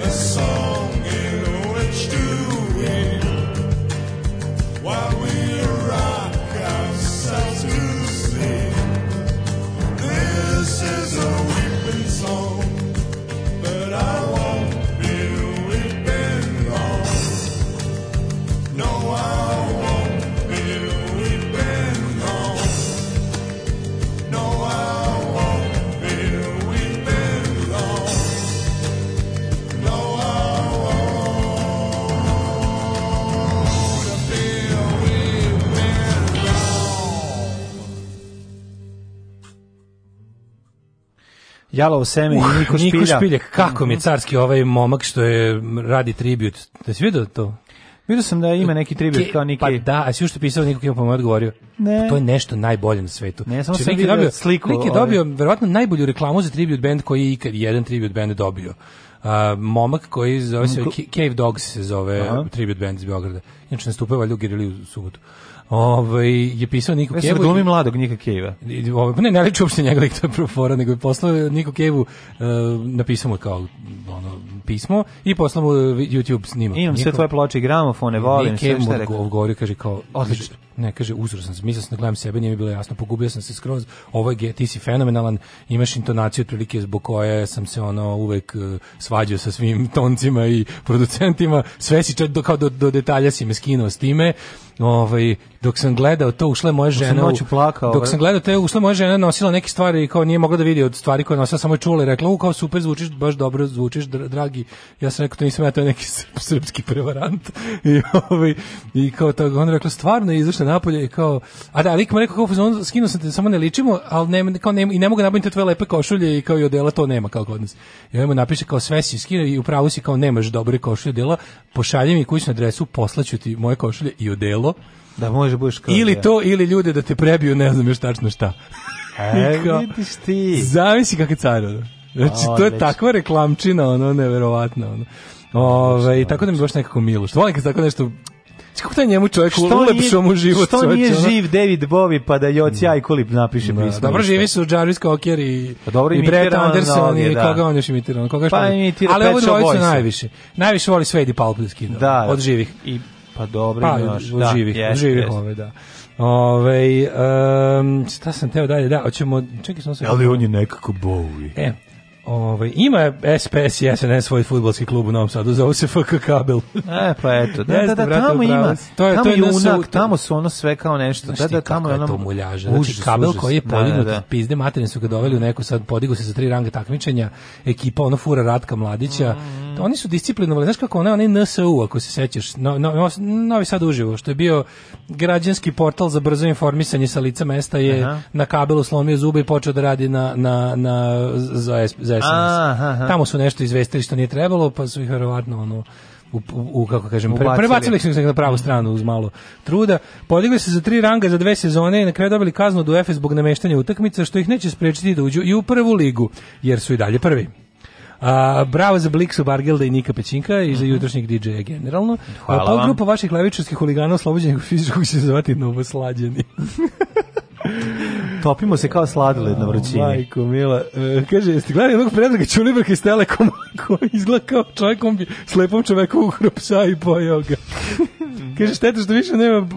[SPEAKER 20] a song in which to weep. While we rock ourselves to sleep. This is a weeping song, but I won't be weeping long. No, I won't be weeping long. No, I won't be weeping long. No, I won't be weeping long.
[SPEAKER 7] Jalovo seme
[SPEAKER 8] Uh,
[SPEAKER 7] i Niko Špiljak. Mhm.
[SPEAKER 8] Niko Špiljak, kako mi je carski ovaj momak što je radi tribut. Da si vidio to?
[SPEAKER 7] Mm. Vidio sam da ima neki tribut
[SPEAKER 8] Ke-
[SPEAKER 7] kao Niki.
[SPEAKER 8] Pa da, a si još pisao neko ima pa mu je odgovorio.
[SPEAKER 7] Ne.
[SPEAKER 8] Pa to je nešto najbolje na svetu.
[SPEAKER 7] Ne, samo
[SPEAKER 8] Znači,
[SPEAKER 7] sam
[SPEAKER 8] Nik je
[SPEAKER 7] vidio
[SPEAKER 8] dobio,
[SPEAKER 7] sliku,
[SPEAKER 8] Nik je
[SPEAKER 7] ovaj.
[SPEAKER 8] dobio verovatno najbolju reklamu za tribute band koji je ikad jedan tribute band dobio. A, momak koji zove se
[SPEAKER 7] Mm, ko-
[SPEAKER 8] Ca- Cave Dogs se zove
[SPEAKER 7] Aha.
[SPEAKER 8] tribute band iz Beograda. Inače nastupaju valjda u Girili u subotu. Ovaj je pisao Niku
[SPEAKER 7] Ja sam
[SPEAKER 8] Kevu.
[SPEAKER 7] glumi mladog Nika Kejva.
[SPEAKER 8] I- ovo- pa ne, ne liči uopšte njega lik, to je prvo fora, nego je poslao Niku Kevu, e, napisao mu je kao ono, pismo i poslao mu e, YouTube snimak.
[SPEAKER 7] Imam sve
[SPEAKER 8] Njihov-
[SPEAKER 7] tvoje ploče i gramofone, volim,
[SPEAKER 8] Nike
[SPEAKER 7] sve
[SPEAKER 8] mu
[SPEAKER 7] šta
[SPEAKER 8] odgo-
[SPEAKER 7] je rekao.
[SPEAKER 8] odgovorio, kaže kao,
[SPEAKER 7] Odlično.
[SPEAKER 8] Ne, kaže, uzro sam se, mislio sam da gledam sebe, nije mi bilo jasno, pogubio sam se skroz, ovo je, ge- ti si fenomenalan, imaš intonaciju otprilike zbog koje sam se ono uvek e, svađao sa svim toncima i producentima, sve si čak do, kao do, do detalja si me skinuo s time, ovaj, dok sam gledao to, ušla je moja
[SPEAKER 7] sam
[SPEAKER 8] žena, u-
[SPEAKER 7] noću plakao, ovaj.
[SPEAKER 8] dok
[SPEAKER 7] bre.
[SPEAKER 8] sam gledao to, ušla je moja žena, nosila neke stvari i kao nije mogla da vidi od stvari koje je nosila, samo je čula i rekla, u, kao super zvučiš, baš dobro zvučiš, dra- dragi, ja sam rekao, to nisam ja, to je neki srp- srpski prevarant, i ovaj i kao to on rekao stvarno je izašla napolje i kao a da lik mu je rekao kao on skinuo sam te samo ne ličimo al ne kao ne, i ne mogu nabaviti te tvoje lepe košulje i kao i odela to nema kao kod nas i on mu napiše kao sve si skinuo i upravo si kao nemaš dobre košulje i odela pošalji mi kućnu adresu poslaću ti moje košulje i odelo
[SPEAKER 7] Da može budeš kao
[SPEAKER 8] ili
[SPEAKER 7] ja.
[SPEAKER 8] to ili ljude da te prebiju ne znam još tačno šta
[SPEAKER 7] E,
[SPEAKER 8] I kao,
[SPEAKER 7] vidiš ti.
[SPEAKER 8] Zamisli kako je car, ono. Znači, to je
[SPEAKER 7] Odlično.
[SPEAKER 8] takva reklamčina, ono, neverovatna, ono. Ove, i tako da mi je baš nekako milo. Što volim kad se tako nešto... Znaš Kako to je njemu čovjek ulepšao mu život?
[SPEAKER 7] što
[SPEAKER 8] čoveče,
[SPEAKER 7] nije
[SPEAKER 8] ono?
[SPEAKER 7] živ David Bowie pa da Joci Ajkulip napiše pismo.
[SPEAKER 8] Dobro živi su Jarvis Cocker i,
[SPEAKER 7] Pa dobro
[SPEAKER 8] i
[SPEAKER 7] imitira
[SPEAKER 8] Brett
[SPEAKER 7] on
[SPEAKER 8] Anderson
[SPEAKER 7] mnoge,
[SPEAKER 8] i
[SPEAKER 7] da.
[SPEAKER 8] koga on još imitira. ono, Koga još
[SPEAKER 7] Pa
[SPEAKER 8] voli.
[SPEAKER 7] imitira
[SPEAKER 8] Ali
[SPEAKER 7] Pet
[SPEAKER 8] ovu
[SPEAKER 7] Shop
[SPEAKER 8] dvojicu
[SPEAKER 7] Boysa.
[SPEAKER 8] najviše. Najviše voli Svedi Palp da skida.
[SPEAKER 7] Da,
[SPEAKER 8] Od živih.
[SPEAKER 7] I, pa dobro
[SPEAKER 8] Pa,
[SPEAKER 7] imaš.
[SPEAKER 8] od živih, od
[SPEAKER 7] jest,
[SPEAKER 8] živih
[SPEAKER 7] jest.
[SPEAKER 8] ove, da. Ove, um, šta sam teo dalje, da, hoćemo, čekaj sam se...
[SPEAKER 7] Ali on je nekako Bowie.
[SPEAKER 8] E, ovaj, ima SPS i SNS svoj futbolski klub u Novom Sadu, zove se FK Kabel.
[SPEAKER 7] E, pa eto, da, da,
[SPEAKER 8] Jeste,
[SPEAKER 7] da,
[SPEAKER 8] brate,
[SPEAKER 7] tamo
[SPEAKER 8] u pravu
[SPEAKER 7] ima,
[SPEAKER 8] si.
[SPEAKER 7] to je, tamo je
[SPEAKER 8] jedna sa-
[SPEAKER 7] junak, tamo su ono sve kao nešto, da,
[SPEAKER 8] Znaš ti
[SPEAKER 7] da, tamo
[SPEAKER 8] kakva
[SPEAKER 7] je
[SPEAKER 8] je
[SPEAKER 7] ono,
[SPEAKER 8] to muljaža. Znači, kabel koji je podignut
[SPEAKER 7] da,
[SPEAKER 8] da,
[SPEAKER 7] da, da.
[SPEAKER 8] pizde materine su ga doveli u neku sad podigu se za tri ranga takmičenja ekipa ono fura Ratka Mladića
[SPEAKER 7] Mm.
[SPEAKER 8] oni su disciplinovali znaš kako onaj onaj NSU ako se sećaš no, no, no- Novi Sad uživo što je bio građanski portal za brzo informisanje sa lica mesta je
[SPEAKER 7] Aha.
[SPEAKER 8] na kabelu slomio zube i počeo da radi na, na, na za, S- za SNS
[SPEAKER 7] Aha, aha.
[SPEAKER 8] tamo su nešto izvestili što nije trebalo pa su ih verovatno ono u, u- u, kako kažem, pre-
[SPEAKER 7] Ubacili.
[SPEAKER 8] prebacili su ih na pravu stranu uz malo truda. Podigli se za tri ranga za dve sezone i na kraju dobili kaznu od UEFA zbog nameštanja utakmica što ih neće sprečiti da uđu i u prvu ligu, jer su i dalje prvi. A, bravo za Bliksu Bargelda i Nika Pećinka i za jutrošnjeg DJ-a generalno.
[SPEAKER 7] Mhm. Hvala
[SPEAKER 8] A, pol
[SPEAKER 7] vam.
[SPEAKER 8] grupa vaših levičarskih huligana oslobođenih fizičkog će se zvati Novoslađeni.
[SPEAKER 7] Topimo se kao
[SPEAKER 8] Oh
[SPEAKER 7] sladoled na vrućini.
[SPEAKER 8] Majko, mila. E, kaže, jeste gledali onog predraga Čulibrka iz Telekoma koji izgleda kao čovjek, on bi slepom čoveku uhro psa i pojao ga. kaže, šteta što više nema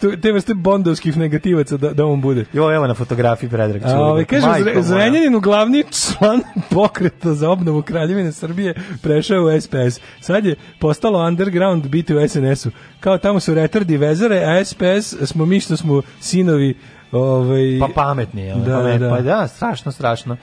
[SPEAKER 8] t- te vrste bondovskih negativaca da, da on bude.
[SPEAKER 7] Jo, evo na fotografiji Predrag Čulik.
[SPEAKER 8] A, ovaj, kaže,
[SPEAKER 7] Majko moja.
[SPEAKER 8] Zre- Zrenjanin, glavni član pokreta za obnovu Kraljevine Srbije, prešao u SPS. Sad je postalo underground biti u SNS-u. Kao tamo su retardi vezare, a SPS smo mi što smo sinovi ovaj,
[SPEAKER 7] Pa pametni, je,
[SPEAKER 8] Da,
[SPEAKER 7] pa, ne,
[SPEAKER 8] da.
[SPEAKER 7] pa da, strašno, strašno.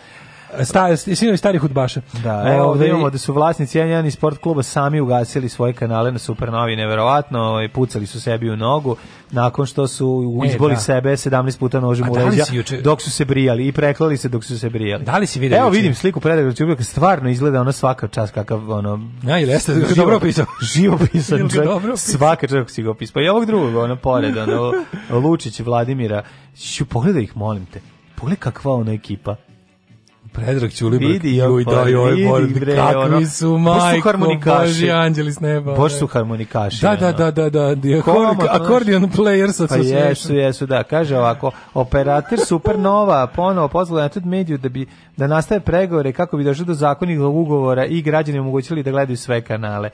[SPEAKER 8] Sta, sinovi starih hudbaša. Ovaj,
[SPEAKER 7] Da, evo ovde imamo da su vlasnici jedan i sport kluba sami ugasili svoje kanale na Supernovi, neverovatno, ovaj, pucali su sebi u nogu nakon što su
[SPEAKER 8] E,
[SPEAKER 7] izboli
[SPEAKER 8] da.
[SPEAKER 7] sebe 17 puta nožem
[SPEAKER 8] A
[SPEAKER 7] u
[SPEAKER 8] da li
[SPEAKER 7] leđa
[SPEAKER 8] si juče-
[SPEAKER 7] dok su se brijali i preklali se dok su se brijali.
[SPEAKER 8] Da li si vidio
[SPEAKER 7] Evo
[SPEAKER 8] juče?
[SPEAKER 7] vidim sliku predagra Čubljaka, stvarno izgleda ono svaka čas kakav ono...
[SPEAKER 8] Ja, ili jeste,
[SPEAKER 7] život-
[SPEAKER 8] dobro Ovaj, opisao.
[SPEAKER 7] živopisan
[SPEAKER 8] Jel ga
[SPEAKER 7] čovjek.
[SPEAKER 8] dobro opisao?
[SPEAKER 7] Svaka čovjek si ga opisao. Pa i ovog drugog, ono pored, ono Lučić, Vladimira. Ću, pogledaj ih, molim te. Pogledaj kakva ona ekipa.
[SPEAKER 8] Predrag Ćulibrk.
[SPEAKER 7] Vidi,
[SPEAKER 8] joj,
[SPEAKER 7] pa
[SPEAKER 8] da, joj,
[SPEAKER 7] vidi,
[SPEAKER 8] Boris,
[SPEAKER 7] bre,
[SPEAKER 8] kakvi
[SPEAKER 7] ono,
[SPEAKER 8] su,
[SPEAKER 7] baš su
[SPEAKER 8] majko,
[SPEAKER 7] harmonikaši.
[SPEAKER 8] Boži, anđeli s neba.
[SPEAKER 7] Bož
[SPEAKER 8] bre.
[SPEAKER 7] su harmonikaši.
[SPEAKER 8] ovaj. Da, da,
[SPEAKER 7] ono.
[SPEAKER 8] da, da, da, di-
[SPEAKER 7] Komotno,
[SPEAKER 8] akor-
[SPEAKER 7] znaš.
[SPEAKER 8] akordion player sa
[SPEAKER 7] Pa
[SPEAKER 8] su
[SPEAKER 7] jesu, jesu, da. Kaže ovako, operater Supernova ponovo pozvala na mediju da bi da nastave pregovore kako bi došlo do zakonnih ugovora i građani omogućili da gledaju sve kanale.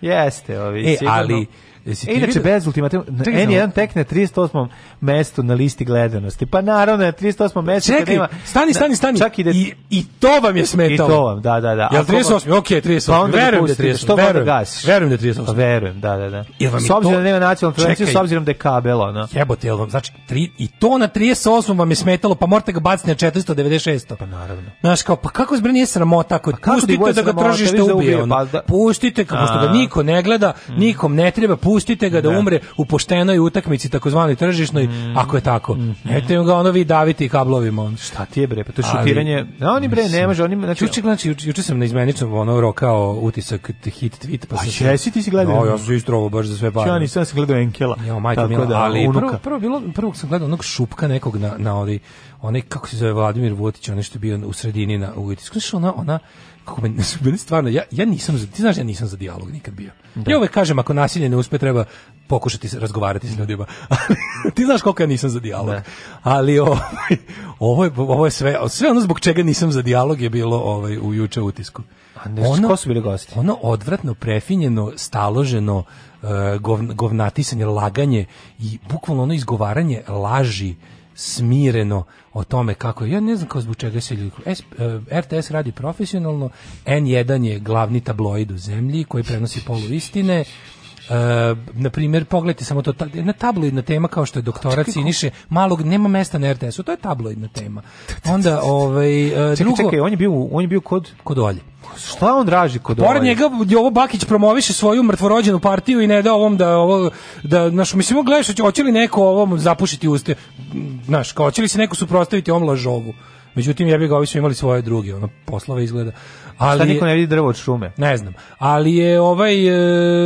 [SPEAKER 7] Jeste, ovi.
[SPEAKER 8] E,
[SPEAKER 7] sigurno.
[SPEAKER 8] ali, jesi
[SPEAKER 7] E,
[SPEAKER 8] ti
[SPEAKER 7] inače,
[SPEAKER 8] vidio-
[SPEAKER 7] bez ultimativa, na
[SPEAKER 8] Čekaj,
[SPEAKER 7] N1 tek na 38. mestu na listi gledanosti. Pa naravno, na 38. mestu kad
[SPEAKER 8] Čekaj,
[SPEAKER 7] nema-
[SPEAKER 8] stani, stani, stani.
[SPEAKER 7] Čak i da...
[SPEAKER 8] I, i to vam je
[SPEAKER 7] I
[SPEAKER 8] smetalo.
[SPEAKER 7] to vam, da, da, da.
[SPEAKER 8] Jel
[SPEAKER 7] Ako vam-
[SPEAKER 8] 38? Ok, 38.
[SPEAKER 7] Pa onda ga
[SPEAKER 8] verujem da je
[SPEAKER 7] pustite,
[SPEAKER 8] 38.
[SPEAKER 7] Što verujem,
[SPEAKER 8] verujem,
[SPEAKER 7] onda gasiš?
[SPEAKER 8] verujem da je 38.
[SPEAKER 7] Pa verujem, da, da, da.
[SPEAKER 8] Jel vam je
[SPEAKER 7] S obzirom
[SPEAKER 8] to-
[SPEAKER 7] da nema nacionalnu frekvenciju,
[SPEAKER 8] Čekaj.
[SPEAKER 7] s obzirom da je kabel, ono.
[SPEAKER 8] Jebote, jel vam, znači, tri, i to na 38 vam je smetalo, pa morate ga baciti na 496. Pa
[SPEAKER 7] naravno. Pa
[SPEAKER 8] Znaš, kao, pa kako zbrini je sramota ako
[SPEAKER 7] kako ti
[SPEAKER 8] pustite
[SPEAKER 7] bude
[SPEAKER 8] da ga
[SPEAKER 7] sramota,
[SPEAKER 8] tržište
[SPEAKER 7] vidiš da
[SPEAKER 8] ubije,
[SPEAKER 7] ubije,
[SPEAKER 8] ono.
[SPEAKER 7] pa da-
[SPEAKER 8] Pustite, kao, pošto
[SPEAKER 7] A. Mm.
[SPEAKER 8] ga niko ne gleda, nikom ne treba, pustite ga da,
[SPEAKER 7] Da.
[SPEAKER 8] umre u poštenoj utakmici, takozvani tržišnoj, ako je tako. Mm. Nemojte ga ono vi daviti kablovima. On.
[SPEAKER 7] Šta ti je bre, Mhm. pa to je šutiranje. A oni bre, ne može, oni... Znači,
[SPEAKER 8] Juče, znači, juče, juče sam na izmeničnom ono rokao utisak t- hit tweet. Pa
[SPEAKER 7] A
[SPEAKER 8] sam se-
[SPEAKER 7] jesi ti si gledao?
[SPEAKER 8] No, ja sam se istrovo baš za sve pare.
[SPEAKER 7] Ja nisam se gledao Enkela.
[SPEAKER 8] Jo, majko
[SPEAKER 7] Tako
[SPEAKER 8] mila,
[SPEAKER 7] da,
[SPEAKER 8] ali
[SPEAKER 7] unuka.
[SPEAKER 8] prvo, prvo, bilo, prvo sam gledao onog šupka nekog na, na ovaj, onaj, kako se zove, Vladimir Votić, onaj što je bio u sredini na u ulici. Znaš, ona, ona, kako meni, meni stvarno, ja, ja nisam, za, ti znaš, ja nisam za dijalog nikad bio. Ja uvek kažem, ako nasilje ne uspe, treba pokušati se razgovarati s ljudima. Ali, ti znaš koliko ja nisam za dijalog. Ali ovaj, ovo, je, ovo je sve, sve ono zbog čega nisam za dijalog je bilo ovaj, u juče utisku. A
[SPEAKER 7] ne, ko su bili gosti?
[SPEAKER 8] Ono odvratno, prefinjeno, staloženo, e, govn- govnatisanje, laganje i bukvalno ono izgovaranje laži smireno o tome kako je. ja ne znam kao zbog čega se ljudi S- e, RTS radi profesionalno N1 je glavni tabloid u zemlji koji prenosi poluistine E, na primjer, pogledajte samo to, ta, jedna tabloidna tema kao što je doktorat Siniše, malog, nema mesta na RTS-u, to je tabloidna tema. Onda, ovaj, e,
[SPEAKER 7] Čekaj,
[SPEAKER 8] drugo,
[SPEAKER 7] čekaj, on je bio, on je bio kod...
[SPEAKER 8] Kod Olje.
[SPEAKER 7] Šta on traži kod ovaj? Olje?
[SPEAKER 8] Pored njega Jovo Bakić promoviše svoju mrtvorođenu partiju i ne da ovom da ovo da naš mislimo gledaš hoće- hoće li neko ovom zapušiti uste znaš kao hoće li se neko suprotstaviti ovom lažovu. Međutim ja bih ga ovi su imali svoje druge ono poslove izgleda. Ali
[SPEAKER 7] Šta niko ne vidi drvo od šume?
[SPEAKER 8] ne znam. Ali je ovaj,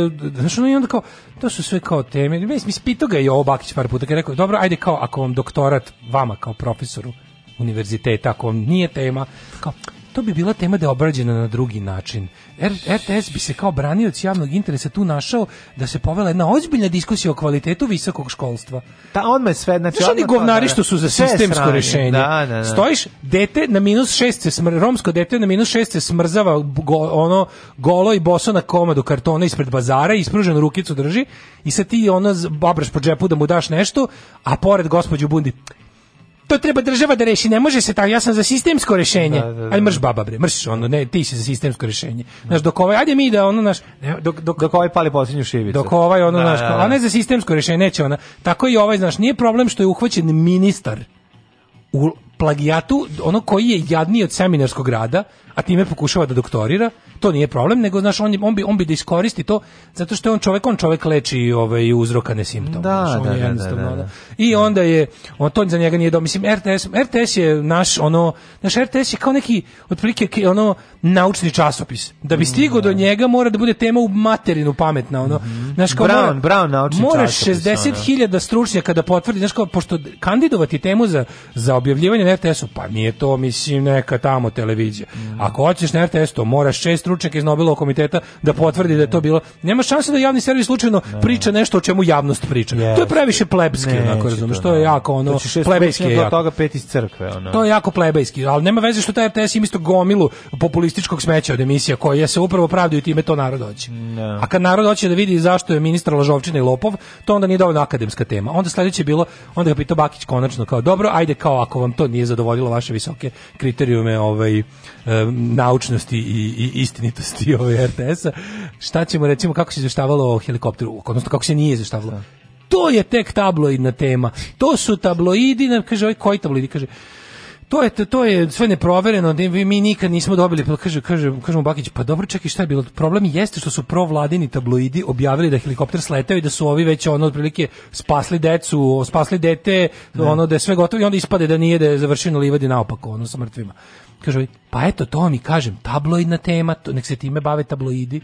[SPEAKER 8] e, znaš, ono i onda kao, to su sve kao teme. Mislim, mislim, pitao ga je ovo Bakić par puta, kad je rekao, dobro, ajde kao, ako vam doktorat, vama kao profesoru univerziteta, ako vam nije tema, kao, to bi bila tema da je obrađena na drugi način. R- RTS bi se kao branioc javnog interesa tu našao da se povela jedna ozbiljna diskusija o kvalitetu visokog školstva.
[SPEAKER 7] Ta, on me sve, znači...
[SPEAKER 8] Znaš oni
[SPEAKER 7] odmah to-
[SPEAKER 8] govnari
[SPEAKER 7] da,
[SPEAKER 8] što su za
[SPEAKER 7] sve je
[SPEAKER 8] sistemsko
[SPEAKER 7] sranje.
[SPEAKER 8] rešenje.
[SPEAKER 7] Da, da, da.
[SPEAKER 8] Stojiš, dete na minus šest se smr- romsko dete na minus šest se smrzava go, ono golo i boso na komadu kartona ispred bazara i ispruženu rukicu drži i sad ti ono z- babraš po džepu da mu daš nešto, a pored gospođu Bundi to treba država da reši, ne može se tako, ja sam za sistemsko rešenje.
[SPEAKER 7] Da, da, da.
[SPEAKER 8] Ajde mrš baba bre, mrš ono, ne, ti si za sistemsko rešenje. Znaš, dok ovaj, ajde mi da ono, naš, dok, dok,
[SPEAKER 7] Dok ovaj pali posljednju šivicu.
[SPEAKER 8] dok ovaj ono
[SPEAKER 7] Da,
[SPEAKER 8] znaš,
[SPEAKER 7] da,
[SPEAKER 8] kao,
[SPEAKER 7] da.
[SPEAKER 8] a ne za sistemsko rješenje neće ona. Tako i ovaj znaš, nije problem što je uhvaćen ministar u plagijatu, ono koji je jadniji od seminarskog rada, a time pokušava da doktorira, to nije problem, nego znaš on, je- on bi on bi da iskoristi to zato što je on čovjek, on čovjek leči ovaj uzrokane simptome.
[SPEAKER 7] Da,
[SPEAKER 8] znaš, on
[SPEAKER 7] da,
[SPEAKER 8] je
[SPEAKER 7] da, da,
[SPEAKER 8] jednostavno, ono.
[SPEAKER 7] da, da.
[SPEAKER 8] I onda je on to za njega nije dobro, mislim RTS, RTS je naš ono, naš RTS je kao neki otprilike ki- ono naučni časopis. Da bi stigao
[SPEAKER 7] Mm,
[SPEAKER 8] do njega mora da bude tema u materinu pametna, ono.
[SPEAKER 7] Mhm.
[SPEAKER 8] Znaš, kao
[SPEAKER 7] Brown-
[SPEAKER 8] mora-
[SPEAKER 7] Brown naučni
[SPEAKER 8] Moraš
[SPEAKER 7] časopis, ono.
[SPEAKER 8] 60.000 stručnjaka da potvrdi, znaš kao, pošto kandidovati temu za, za objavljivanje na RTS-u, pa nije to, mislim, neka tamo televizija.
[SPEAKER 7] Mm.
[SPEAKER 8] Ako hoćeš na RTS, to moraš šest stručnjaka iz Nobelovog komiteta da potvrdi da je to bilo. Nema šanse da javni servis slučajno priča nešto o čemu javnost priča. To je previše plebski,
[SPEAKER 7] Neće
[SPEAKER 8] onako razumeš,
[SPEAKER 7] to,
[SPEAKER 8] to je
[SPEAKER 7] da.
[SPEAKER 8] jako ono,
[SPEAKER 7] To će šest
[SPEAKER 8] plebejski je
[SPEAKER 7] stručnjaka, od
[SPEAKER 8] jako.
[SPEAKER 7] toga pet iz crkve, ono.
[SPEAKER 8] To je jako plebejski, ali nema veze što taj RTS ima isto gomilu populističkog smeća od emisija koje se upravo pravdaju time to narod hoće. A kad narod hoće da vidi zašto je ministar Lažovčina i Lopov, to onda nije dovoljno akademska tema. Onda sledeće je bilo, onda ga pitao Bakić konačno kao dobro, ajde kao ako vam to nije zadovoljilo vaše visoke kriterijume ovaj, em, naučnosti i, i istinitosti ovaj RTS-a, šta ćemo recimo kako se izveštavalo o helikopteru, odnosno kako se nije izveštavalo. To je tek tabloidna tema. To su tabloidi, ne, kaže, ovaj, koji tabloidi? Kaže, to je to je sve neprovereno, ne- mi nikad nismo dobili, pa kaže kaže kaže mu Bakić, pa dobro čekaj šta je bilo? Problem jeste što su provladini tabloidi objavili da je helikopter sleteo i da su ovi već ono otprilike spasli decu, spasli dete, ono da je sve gotovo i onda ispade da nije da je završeno livadi naopako, ono sa mrtvima. Kaže, ovaj, pa eto to vam i kažem, tabloidna tema, to, nek se time bave tabloidi.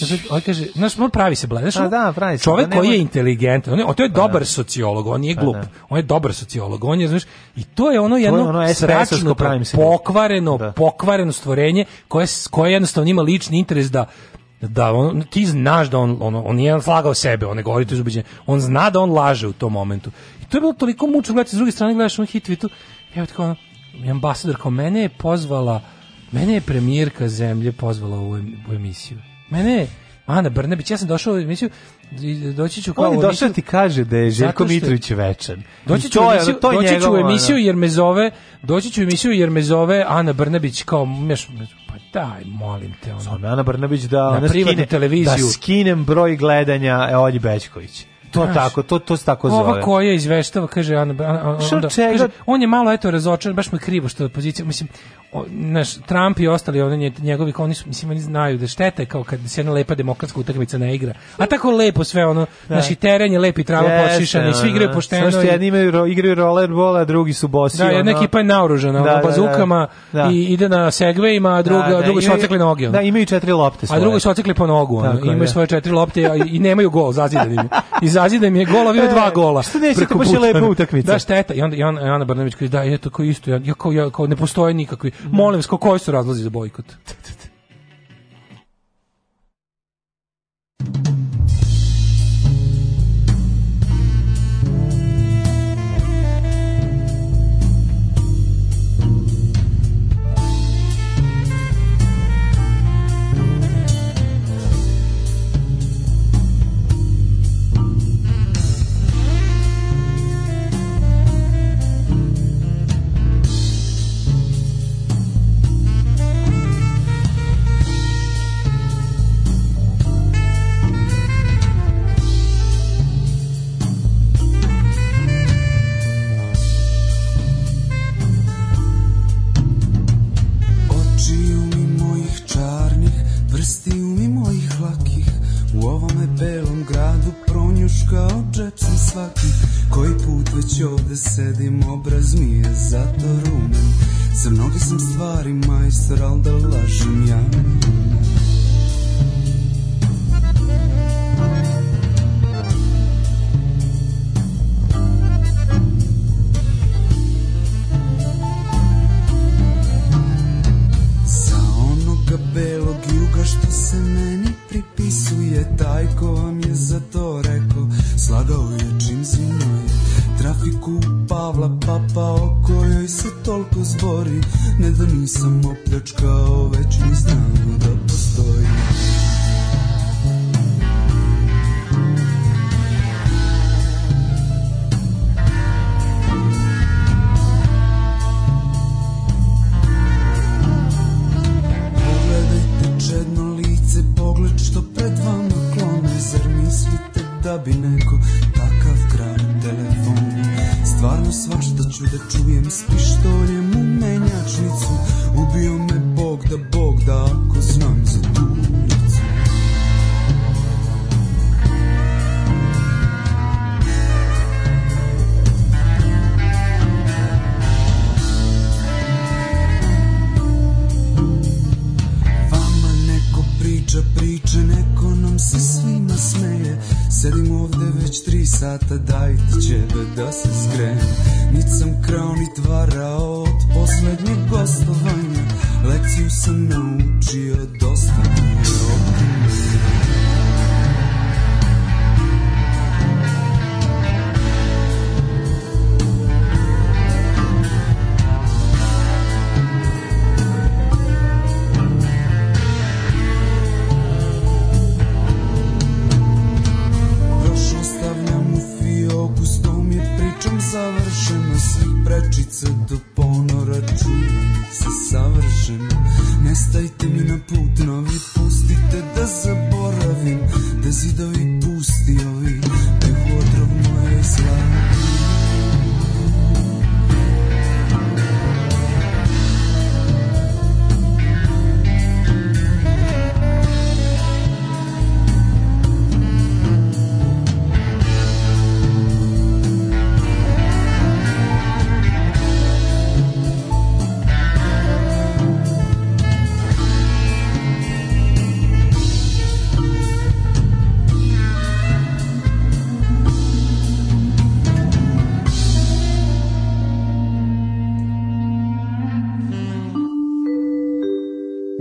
[SPEAKER 8] Kaže, ovaj kaže, znaš, on pravi se bled, znaš, ono,
[SPEAKER 7] A Pa da, pravi se,
[SPEAKER 8] čovek
[SPEAKER 7] da
[SPEAKER 8] koji je
[SPEAKER 7] nema- Pa
[SPEAKER 8] inteligentan, on je, on to je dobar sociolog, on nije glup,
[SPEAKER 7] da.
[SPEAKER 8] on je dobar sociolog, on je, znaš, i to je ono jedno
[SPEAKER 7] ono SRS-ovsko
[SPEAKER 8] sračno,
[SPEAKER 7] pravim se.
[SPEAKER 8] pokvareno, pokvareno stvorenje koje, s- koje jednostavno ima lični interes da da on, ti znaš da on, ono, on, on nije slagao sebe, on ne govori to iz ubeđenja. On zna da on laže u tom momentu. I to je bilo toliko mučno gledati, s druge strane gledaš on hit tweetu, evo tako ono, ambasador kao mene je pozvala, mene je premijerka zemlje pozvala u, em- u emisiju. Mene je Ana Brnebić, ja sam došao u emisiju, i doći ću kao
[SPEAKER 7] On je
[SPEAKER 8] u
[SPEAKER 7] došao
[SPEAKER 8] emisiju-
[SPEAKER 7] ti kaže da je Željko
[SPEAKER 8] Zato što je-
[SPEAKER 7] Mitrović večan.
[SPEAKER 8] Doći
[SPEAKER 7] I
[SPEAKER 8] ću,
[SPEAKER 7] to
[SPEAKER 8] u
[SPEAKER 7] je-
[SPEAKER 8] emisiju,
[SPEAKER 7] to je
[SPEAKER 8] doći ću u
[SPEAKER 7] njegovo, ono.
[SPEAKER 8] emisiju jer me zove, doći ću u emisiju jer me zove Ana Brnabić kao, meš, pa daj, molim te, ono.
[SPEAKER 7] Zove me Ana Brnabić da
[SPEAKER 8] Na
[SPEAKER 7] ona
[SPEAKER 8] privatnu
[SPEAKER 7] skine,
[SPEAKER 8] televiziju.
[SPEAKER 7] da skinem broj gledanja e, Olji Bećković. To tako, to, to se tako zove.
[SPEAKER 8] Ova koja izveštava, kaže Ana, Bra- a- a-
[SPEAKER 7] Šta,
[SPEAKER 8] onda-
[SPEAKER 7] čega?
[SPEAKER 8] kaže, on je malo eto razočaran, baš mu je krivo što je pozicija, mislim, o, znaš, Trump i ostali ovde nje- njegovi, kao oni su, mislim, oni znaju da štete kao kad se jedna lepa demokratska utakmica ne igra. A tako lepo sve ono, znaš, i teren je lep i trava
[SPEAKER 7] Jeste,
[SPEAKER 8] pošišana i svi
[SPEAKER 7] ono,
[SPEAKER 8] igraju pošteno.
[SPEAKER 7] Samo što
[SPEAKER 8] i-
[SPEAKER 7] jedni imaju, ro- igraju rollerball, a drugi su bosi.
[SPEAKER 8] Da, jedna
[SPEAKER 7] ono.
[SPEAKER 8] ekipa je naoružana,
[SPEAKER 7] Da,
[SPEAKER 8] ono,
[SPEAKER 7] da, da.
[SPEAKER 8] bazukama
[SPEAKER 7] Da.
[SPEAKER 8] i ide na segvejima, a druga,
[SPEAKER 7] Da, da,
[SPEAKER 8] drugo su
[SPEAKER 7] imaju-
[SPEAKER 8] otekli noge. ono.
[SPEAKER 7] Da, imaju četiri lopte svoje.
[SPEAKER 8] A drugo su otekli po nogu, ono.
[SPEAKER 7] Tako je,
[SPEAKER 8] imaju
[SPEAKER 7] da.
[SPEAKER 8] svoje četiri lopte a i, i nemaju gol, zazidan im. je. I zazidan im je gol, a imaju
[SPEAKER 7] E,
[SPEAKER 8] dva gola.
[SPEAKER 7] što nećete,
[SPEAKER 8] preko
[SPEAKER 7] baš je
[SPEAKER 8] puta.
[SPEAKER 7] lepa utakmica.
[SPEAKER 8] Da, šteta. I onda, i onda Ana Brnavić kaže, da, je to kao isto, ja, ja, kao, ja, kao ne postoje nikakvi. Molim vas, kao koji su razlozi za bojkot?
[SPEAKER 21] Očiju mi mojih čarnih, vrstiju mi mojih lakih U ovome belom gradu pronjuškao džep sam svaki Koji put već ovde sedim, obraz mi je zato rumen Za mnoge sam stvari majstor, al da lažem ja Za onoga belog juga što se meni pripisuje Taj ko vam je za to rekao Slagao je čim zimno je Trafiku Pavla Papa o kojoj se toliko zbori Ne da nisam opljačkao već mi znao da postoji Pogledajte čedno lice, pogled što pred vama klone Zar mislite da bi neko takav krao telefon? Stvarno svašta ću da čujem s pištoljem u menjačnicu Ubio me Bog da Bog da ako znam za tu ulicu Vama neko priča priče, neko nam se svima smeje Sedim ovde već tri sata, dajte ćebe da se skrenem Nit sam krao, nit varao od poslednjeg gostovanja Lekciju sam naučio, dosta mi je optimizam Još ostavljam u fioku, s tom je pričom završena Svih prečica do ponora čuvam se savršeno Nestajte mi na put novi, pustite da zaboravim Da zidovi pusti ovi, pehu otrovno je i slavno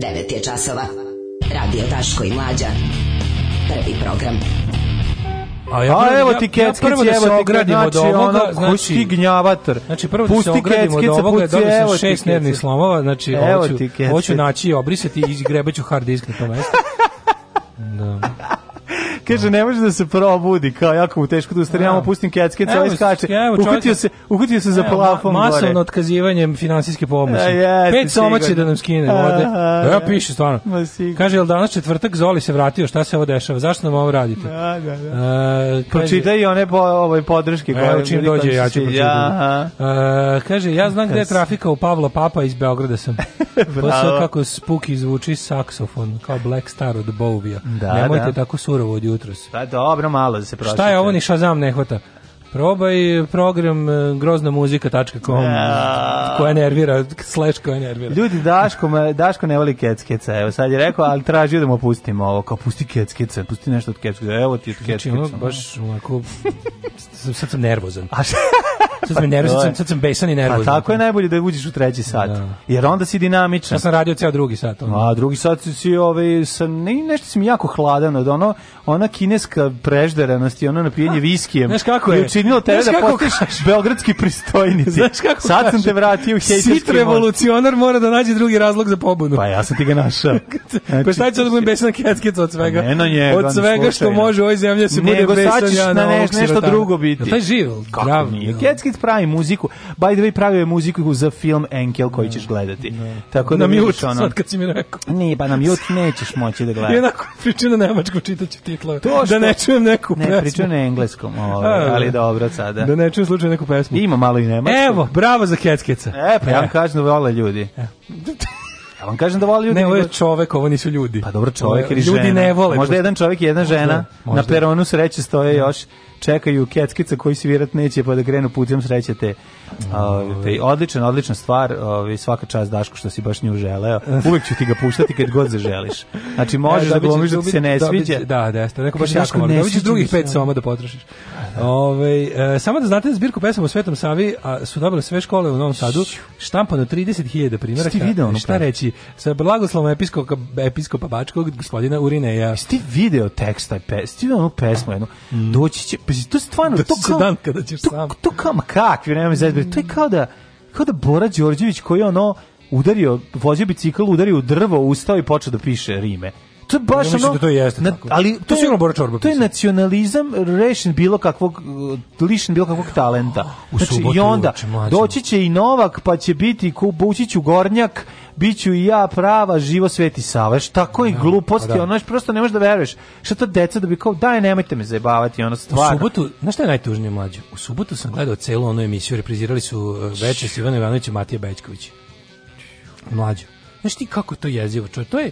[SPEAKER 16] Devet je časova. Radio Daško i Mlađa. Prvi program.
[SPEAKER 8] A,
[SPEAKER 7] A
[SPEAKER 8] prvo-
[SPEAKER 7] evo ti keckic,
[SPEAKER 8] prvo da
[SPEAKER 7] evo
[SPEAKER 8] se
[SPEAKER 7] ti
[SPEAKER 8] ogradimo
[SPEAKER 7] znači,
[SPEAKER 8] od ovoga,
[SPEAKER 7] ono, koji si ti gnjavator.
[SPEAKER 8] Znači prvo da
[SPEAKER 7] Pusti
[SPEAKER 8] se ogradimo od
[SPEAKER 7] keckica,
[SPEAKER 8] ovoga,
[SPEAKER 7] pusti,
[SPEAKER 8] dobio
[SPEAKER 7] evo
[SPEAKER 8] sam
[SPEAKER 7] ti
[SPEAKER 8] šest nervnih
[SPEAKER 7] keckica.
[SPEAKER 8] slomova, znači
[SPEAKER 7] Evo
[SPEAKER 8] ovo ću,
[SPEAKER 7] ti keckica.
[SPEAKER 8] ovo ću naći i obrisati i izgrebaću hard disk na to mesto. Da.
[SPEAKER 7] Kaže, ne može da se probudi, kao jako mu teško da ustane, ja mu pustim kecke,
[SPEAKER 8] Evo,
[SPEAKER 7] ceo iskače.
[SPEAKER 8] evo, čovjek-
[SPEAKER 7] Uhutio se, uhutio se za
[SPEAKER 8] Evo, ma-
[SPEAKER 7] plafon gore.
[SPEAKER 8] Masovno otkazivanje finansijske pomoći.
[SPEAKER 7] E, jeste,
[SPEAKER 8] Pet soma će
[SPEAKER 7] sigurno.
[SPEAKER 8] da nam skine.
[SPEAKER 7] A,
[SPEAKER 8] Vode.
[SPEAKER 7] a,
[SPEAKER 8] Ja
[SPEAKER 7] da.
[SPEAKER 8] piše stvarno.
[SPEAKER 7] Ma, sigurno.
[SPEAKER 8] Kaže, jel danas četvrtak Zoli se vratio, šta se ovo dešava? Zašto nam ovo radite?
[SPEAKER 7] Da, da, da.
[SPEAKER 8] E, kaže- "E,
[SPEAKER 7] Pročitaj i one po, ovaj podrške.
[SPEAKER 8] Evo čim dođe, ja ću pročitati.
[SPEAKER 7] Ja,
[SPEAKER 8] E, kaže, ja znam gde je trafika u Pavla Papa iz Beograda sam. Posao kako spooky zvuči saksofon, kao Black Star od Bovija.
[SPEAKER 7] Da,
[SPEAKER 8] Nemojte
[SPEAKER 7] da.
[SPEAKER 8] tako surovo od jutros.
[SPEAKER 7] Pa dobro, malo da se pročita.
[SPEAKER 8] Šta je ovo ni Shazam ne hvata? Probaj program e, groznamuzika.com
[SPEAKER 7] Ja.
[SPEAKER 8] koja nervira, slash koja nervira.
[SPEAKER 7] Ljudi, Daško, me- Daško ne voli keckeca, evo sad je rekao, ali tražio da mu pustimo ovo, kao pusti keckeca, pusti nešto od keckeca, evo ti od
[SPEAKER 8] Znači,
[SPEAKER 7] keckeca.
[SPEAKER 8] ono, baš onako, sad sad sam nervozan.
[SPEAKER 7] A
[SPEAKER 8] Sad sam, nervozan, sad sam, sad sam besan i nervozan.
[SPEAKER 7] Pa tako je najbolje da uđeš u treći sat, jer onda si dinamičan.
[SPEAKER 8] Ja sam radio ceo drugi sat. ono.
[SPEAKER 7] A drugi sat si- si ovaj sa ne, nešto si mi jako hladan od ono ona kineska prežderenost i ono napijenje viskijem.
[SPEAKER 8] Znaš kako je?
[SPEAKER 7] I učinilo tebe
[SPEAKER 8] Znaš
[SPEAKER 7] da
[SPEAKER 8] kako
[SPEAKER 7] postiš beogradski pristojnici.
[SPEAKER 8] Znaš kako
[SPEAKER 7] Sad sam
[SPEAKER 8] kaže?
[SPEAKER 7] te vratio u hejterski
[SPEAKER 8] Sit revolucionar mora da nađe drugi razlog za pobunu.
[SPEAKER 7] Pa ja sam ti ga našao. Znači,
[SPEAKER 8] Pa šta će da budem besan keckic od svega?
[SPEAKER 7] Pa Ne na njega,
[SPEAKER 8] od
[SPEAKER 7] ni
[SPEAKER 8] svega što
[SPEAKER 7] slučajno.
[SPEAKER 8] može u ovoj zemlji da se bude
[SPEAKER 7] Nego sad
[SPEAKER 8] besan
[SPEAKER 7] ćeš
[SPEAKER 8] ja
[SPEAKER 7] na
[SPEAKER 8] ovog
[SPEAKER 7] neš- nešto
[SPEAKER 8] sirotana.
[SPEAKER 7] drugo biti.
[SPEAKER 8] Jel Taj živ,
[SPEAKER 7] Kako
[SPEAKER 8] zdrav.
[SPEAKER 7] nije? Cats Kids pravi muziku. By the way, pravio je muziku za film Enkel koji ćeš gledati. Tako da
[SPEAKER 8] Na
[SPEAKER 7] vidiš
[SPEAKER 8] mute,
[SPEAKER 7] ono-
[SPEAKER 8] sad kad si mi rekao.
[SPEAKER 7] Nije, pa na mute nećeš moći da
[SPEAKER 8] I
[SPEAKER 7] gledaš.
[SPEAKER 8] onako pričam na nemačkom čitaću titlove.
[SPEAKER 7] To što-
[SPEAKER 8] Da ne čujem neku pesmu.
[SPEAKER 7] Ne, pričao na engleskom, ovaj,
[SPEAKER 8] A,
[SPEAKER 7] ali dobro sada.
[SPEAKER 8] Da ne čujem slučajno neku pesmu.
[SPEAKER 7] Ima malo i nemačko.
[SPEAKER 8] Evo, bravo za keckeca.
[SPEAKER 7] E, pa ja vam kažem da vole ljudi. Ja vam kažem da vole ljudi.
[SPEAKER 8] E. Ne, ovo je
[SPEAKER 7] nego-
[SPEAKER 8] čovek, ovo nisu ljudi. Pa
[SPEAKER 7] dobro, čovjek ili
[SPEAKER 8] ljudi
[SPEAKER 7] žena.
[SPEAKER 8] ne vole.
[SPEAKER 7] Možda jedan čovjek i jedna
[SPEAKER 8] Možda,
[SPEAKER 7] žena
[SPEAKER 8] možda.
[SPEAKER 7] na peronu sreće stoje još čekaju keckica koji svirat neće pa da krenu putem sreće te.
[SPEAKER 8] Mm.
[SPEAKER 7] Ovaj, odlična, odlična stvar. Ovaj, svaka čast Daško što si baš nju želeo. Uvek ću ti ga puštati kad god zaželiš. Znači možeš da
[SPEAKER 8] E, dobit ćeš-
[SPEAKER 7] glumiš da ti se ne
[SPEAKER 8] dobit-
[SPEAKER 7] sviđa.
[SPEAKER 8] Da, da, jeste, rekao baš
[SPEAKER 7] Kaže,
[SPEAKER 8] jako
[SPEAKER 7] Daško,
[SPEAKER 8] malo.
[SPEAKER 7] ne
[SPEAKER 8] Dobit ćeš
[SPEAKER 7] sviđa mi
[SPEAKER 8] drugih
[SPEAKER 7] se ono.
[SPEAKER 8] pet
[SPEAKER 7] ovo.
[SPEAKER 8] soma da potrošiš. Ove, e, samo da znate, zbirku pesama u Svetom Savi a, su dobile sve škole u Novom Sadu, štampano 30.000 primjeraka.
[SPEAKER 7] Jesi ti video ono onu
[SPEAKER 8] Šta
[SPEAKER 7] pesmu?
[SPEAKER 8] reći? Sa blagoslovom episkopa, episkopa Bačkog, gospodina Urineja.
[SPEAKER 7] Jesi ti video tekst taj pes, jesi ti video onu pesmu jednu,
[SPEAKER 8] Mm.
[SPEAKER 7] doći će, pa to je stvarno,
[SPEAKER 8] Doći
[SPEAKER 7] to
[SPEAKER 8] će
[SPEAKER 7] kao,
[SPEAKER 8] dan kada ćeš
[SPEAKER 7] to,
[SPEAKER 8] sam.
[SPEAKER 7] To kao, ma kakvi, nema mi zezbri, to je kao da, kao da Bora Đorđević koji je ono udario, vozio bicikl, udario u drvo, ustao i počeo da piše rime. To je baš
[SPEAKER 8] Ja mislim
[SPEAKER 7] ono,
[SPEAKER 8] da to jeste
[SPEAKER 7] na-
[SPEAKER 8] tako.
[SPEAKER 7] ali
[SPEAKER 8] To sigurno Bora Čorba
[SPEAKER 7] To je
[SPEAKER 8] pisao.
[SPEAKER 7] nacionalizam rešen bilo kakvog, uh, lišen bilo kakvog talenta. Znači,
[SPEAKER 8] U subotu
[SPEAKER 7] I onda,
[SPEAKER 8] uveče, mlađo.
[SPEAKER 7] doći će i Novak, pa će biti, ući ću Gornjak, bit ću i ja prava, živo Sveti Sava. Znaš, Tako i gluposti,
[SPEAKER 8] pa da.
[SPEAKER 7] ono, znaš, prosto ne možeš da veruješ. Šta to deca da bi kao, daj, nemojte me zajebavati, ono,
[SPEAKER 8] U
[SPEAKER 7] stvarno.
[SPEAKER 8] subotu, znaš šta je najtužnije mlađe? U subotu sam gledao celu onu emisiju, reprizirali su e, večer s Ivanom Ivanovićem Matija Bećković. Mlađo. Znaš ti kako je to jezivo, čo? To je,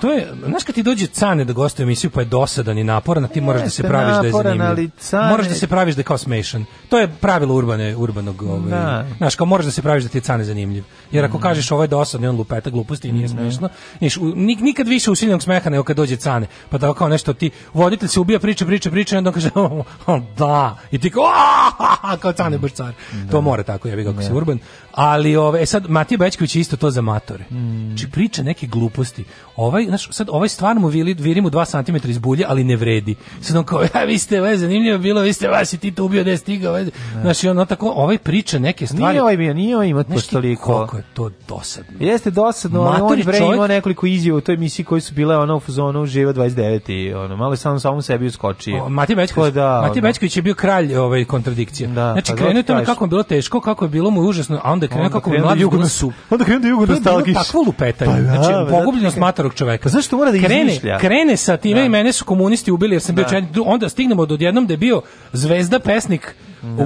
[SPEAKER 8] to je, znaš kad ti dođe cane da gostuje emisiju pa je dosadan i naporan, a ti moraš da se
[SPEAKER 7] Jeste,
[SPEAKER 8] praviš da je
[SPEAKER 7] naporan,
[SPEAKER 8] zanimljiv.
[SPEAKER 7] ali Cane-
[SPEAKER 8] Moraš da se praviš da je kao smešan. To je pravilo urbane, urbanog, ovaj,
[SPEAKER 7] Da.
[SPEAKER 8] znaš, kao moraš da se praviš da ti je cane zanimljiv. Jer ako kažeš ovo je dosadno i on lupeta gluposti i nije smešno, znaš, u- nik- nikad više usiljenog smeha nego kad dođe cane. Pa tako kao nešto ti, voditelj se ubija, priča, priča, priča i onda on kaže, "O, o, da, i ti kao, "A, kao cane baš car. To mora tako, ja bih kako si urban. Ali ove, e sad, Matija Bećković je isto to za matore. Či priča neke gluposti. Ovaj, znaš, sad ovaj stvarno mu vili, viri mu dva santimetra iz bulje, ali ne vredi. Sad on kao, ja, vi ste, ovaj, zanimljivo bilo, vi ste, vas i ti to ubio, da je stigao. Ovaj. Znaš, i ono tako, ovaj priča neke stvari.
[SPEAKER 7] Nije ovaj bio, nije ovaj imao
[SPEAKER 8] Znaš
[SPEAKER 7] baš
[SPEAKER 8] ti
[SPEAKER 7] toliko.
[SPEAKER 8] koliko je to dosadno.
[SPEAKER 7] Jeste dosadno, ali
[SPEAKER 8] Matori
[SPEAKER 7] on bre
[SPEAKER 8] čovjek-
[SPEAKER 7] imao nekoliko izjava u toj emisiji koji su bile ono u fazonu živa 29 i ono, malo je samo samom sebi uskočio.
[SPEAKER 8] O, Matija
[SPEAKER 7] Ko
[SPEAKER 8] Bećković,
[SPEAKER 7] da,
[SPEAKER 8] Matija
[SPEAKER 7] ono.
[SPEAKER 8] Bećković je bio kralj ovaj kontradikcija.
[SPEAKER 7] Da,
[SPEAKER 8] znači
[SPEAKER 7] pa
[SPEAKER 8] krenuo je
[SPEAKER 7] dobro
[SPEAKER 8] tome
[SPEAKER 7] kažeš.
[SPEAKER 8] kako je bilo teško, kako je bilo mu užasno, a onda je krenuo
[SPEAKER 7] Onda
[SPEAKER 8] kako mu je
[SPEAKER 7] krenu da
[SPEAKER 8] mladost
[SPEAKER 7] jugo
[SPEAKER 8] bila
[SPEAKER 7] na-
[SPEAKER 8] super.
[SPEAKER 7] onda krenu da jugo
[SPEAKER 8] To je bilo
[SPEAKER 7] nostalgiš.
[SPEAKER 8] takvo lupetanje.
[SPEAKER 7] Pa da,
[SPEAKER 8] znači,
[SPEAKER 7] bre,
[SPEAKER 8] pogubljenost
[SPEAKER 7] zato-
[SPEAKER 8] matorog čoveka.
[SPEAKER 7] Pa zašto mora da
[SPEAKER 8] krene,
[SPEAKER 7] izmišlja?
[SPEAKER 8] krene sa time i mene su komunisti ubili jer sam bio četnik. Du- Onda stignemo do jednom da je bio zvezda pesnik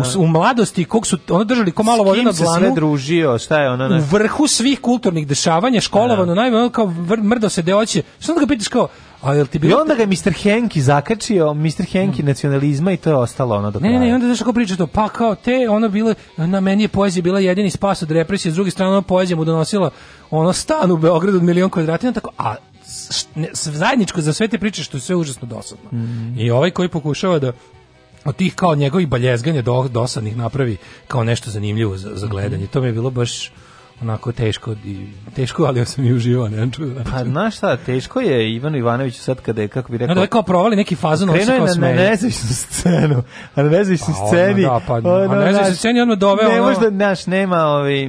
[SPEAKER 8] u, s- u mladosti kog su ono držali ko malo
[SPEAKER 7] S
[SPEAKER 8] vode na
[SPEAKER 7] kim se sve
[SPEAKER 8] dlanu
[SPEAKER 7] družio, šta je ono,
[SPEAKER 8] u
[SPEAKER 7] znaš,
[SPEAKER 8] vrhu svih kulturnih dešavanja, školovano, najme ono kao vr- mrdo se deoće. Što onda ga pitaš kao, a jel ti
[SPEAKER 7] I
[SPEAKER 8] bilo...
[SPEAKER 7] onda ga je Mr. Henki zakačio, Mr. Henki nacionalizma i to je ostalo ono do
[SPEAKER 8] Mm. Ne,
[SPEAKER 7] kraja.
[SPEAKER 8] ne, ne, i onda znaš kako priča to, pa kao te, ono bilo, na meni je poezija bila jedini spas od represije, s druge strane ona poezija mu donosila ono stan u Beogradu od milion kvadrata, i onda tako, a s- ne, s- zajedničko za sve te priče što je sve užasno dosadno. I ovaj koji pokušava da od tih kao njegovih baljezganja do, dosadnih napravi kao nešto zanimljivo za, za gledanje. To mi je bilo baš onako teško, i, teško ali ja sam i uživao, ne čuo.
[SPEAKER 7] Pa znaš šta, teško je Ivanu Ivanoviću sad kada je, kako bi
[SPEAKER 8] Onda
[SPEAKER 7] rekao,
[SPEAKER 8] ovaj kao provali neki fazon, on se kao
[SPEAKER 7] krenuo je na, na
[SPEAKER 8] smeje.
[SPEAKER 7] nezavisnu scenu, a na nezavisnu
[SPEAKER 8] Pa, ono,
[SPEAKER 7] sceni,
[SPEAKER 8] da, pa, a na nezavisnoj
[SPEAKER 7] znaš,
[SPEAKER 8] sceni odmah doveo
[SPEAKER 7] Ne
[SPEAKER 8] ono-
[SPEAKER 7] možda, znaš, nema, ovaj,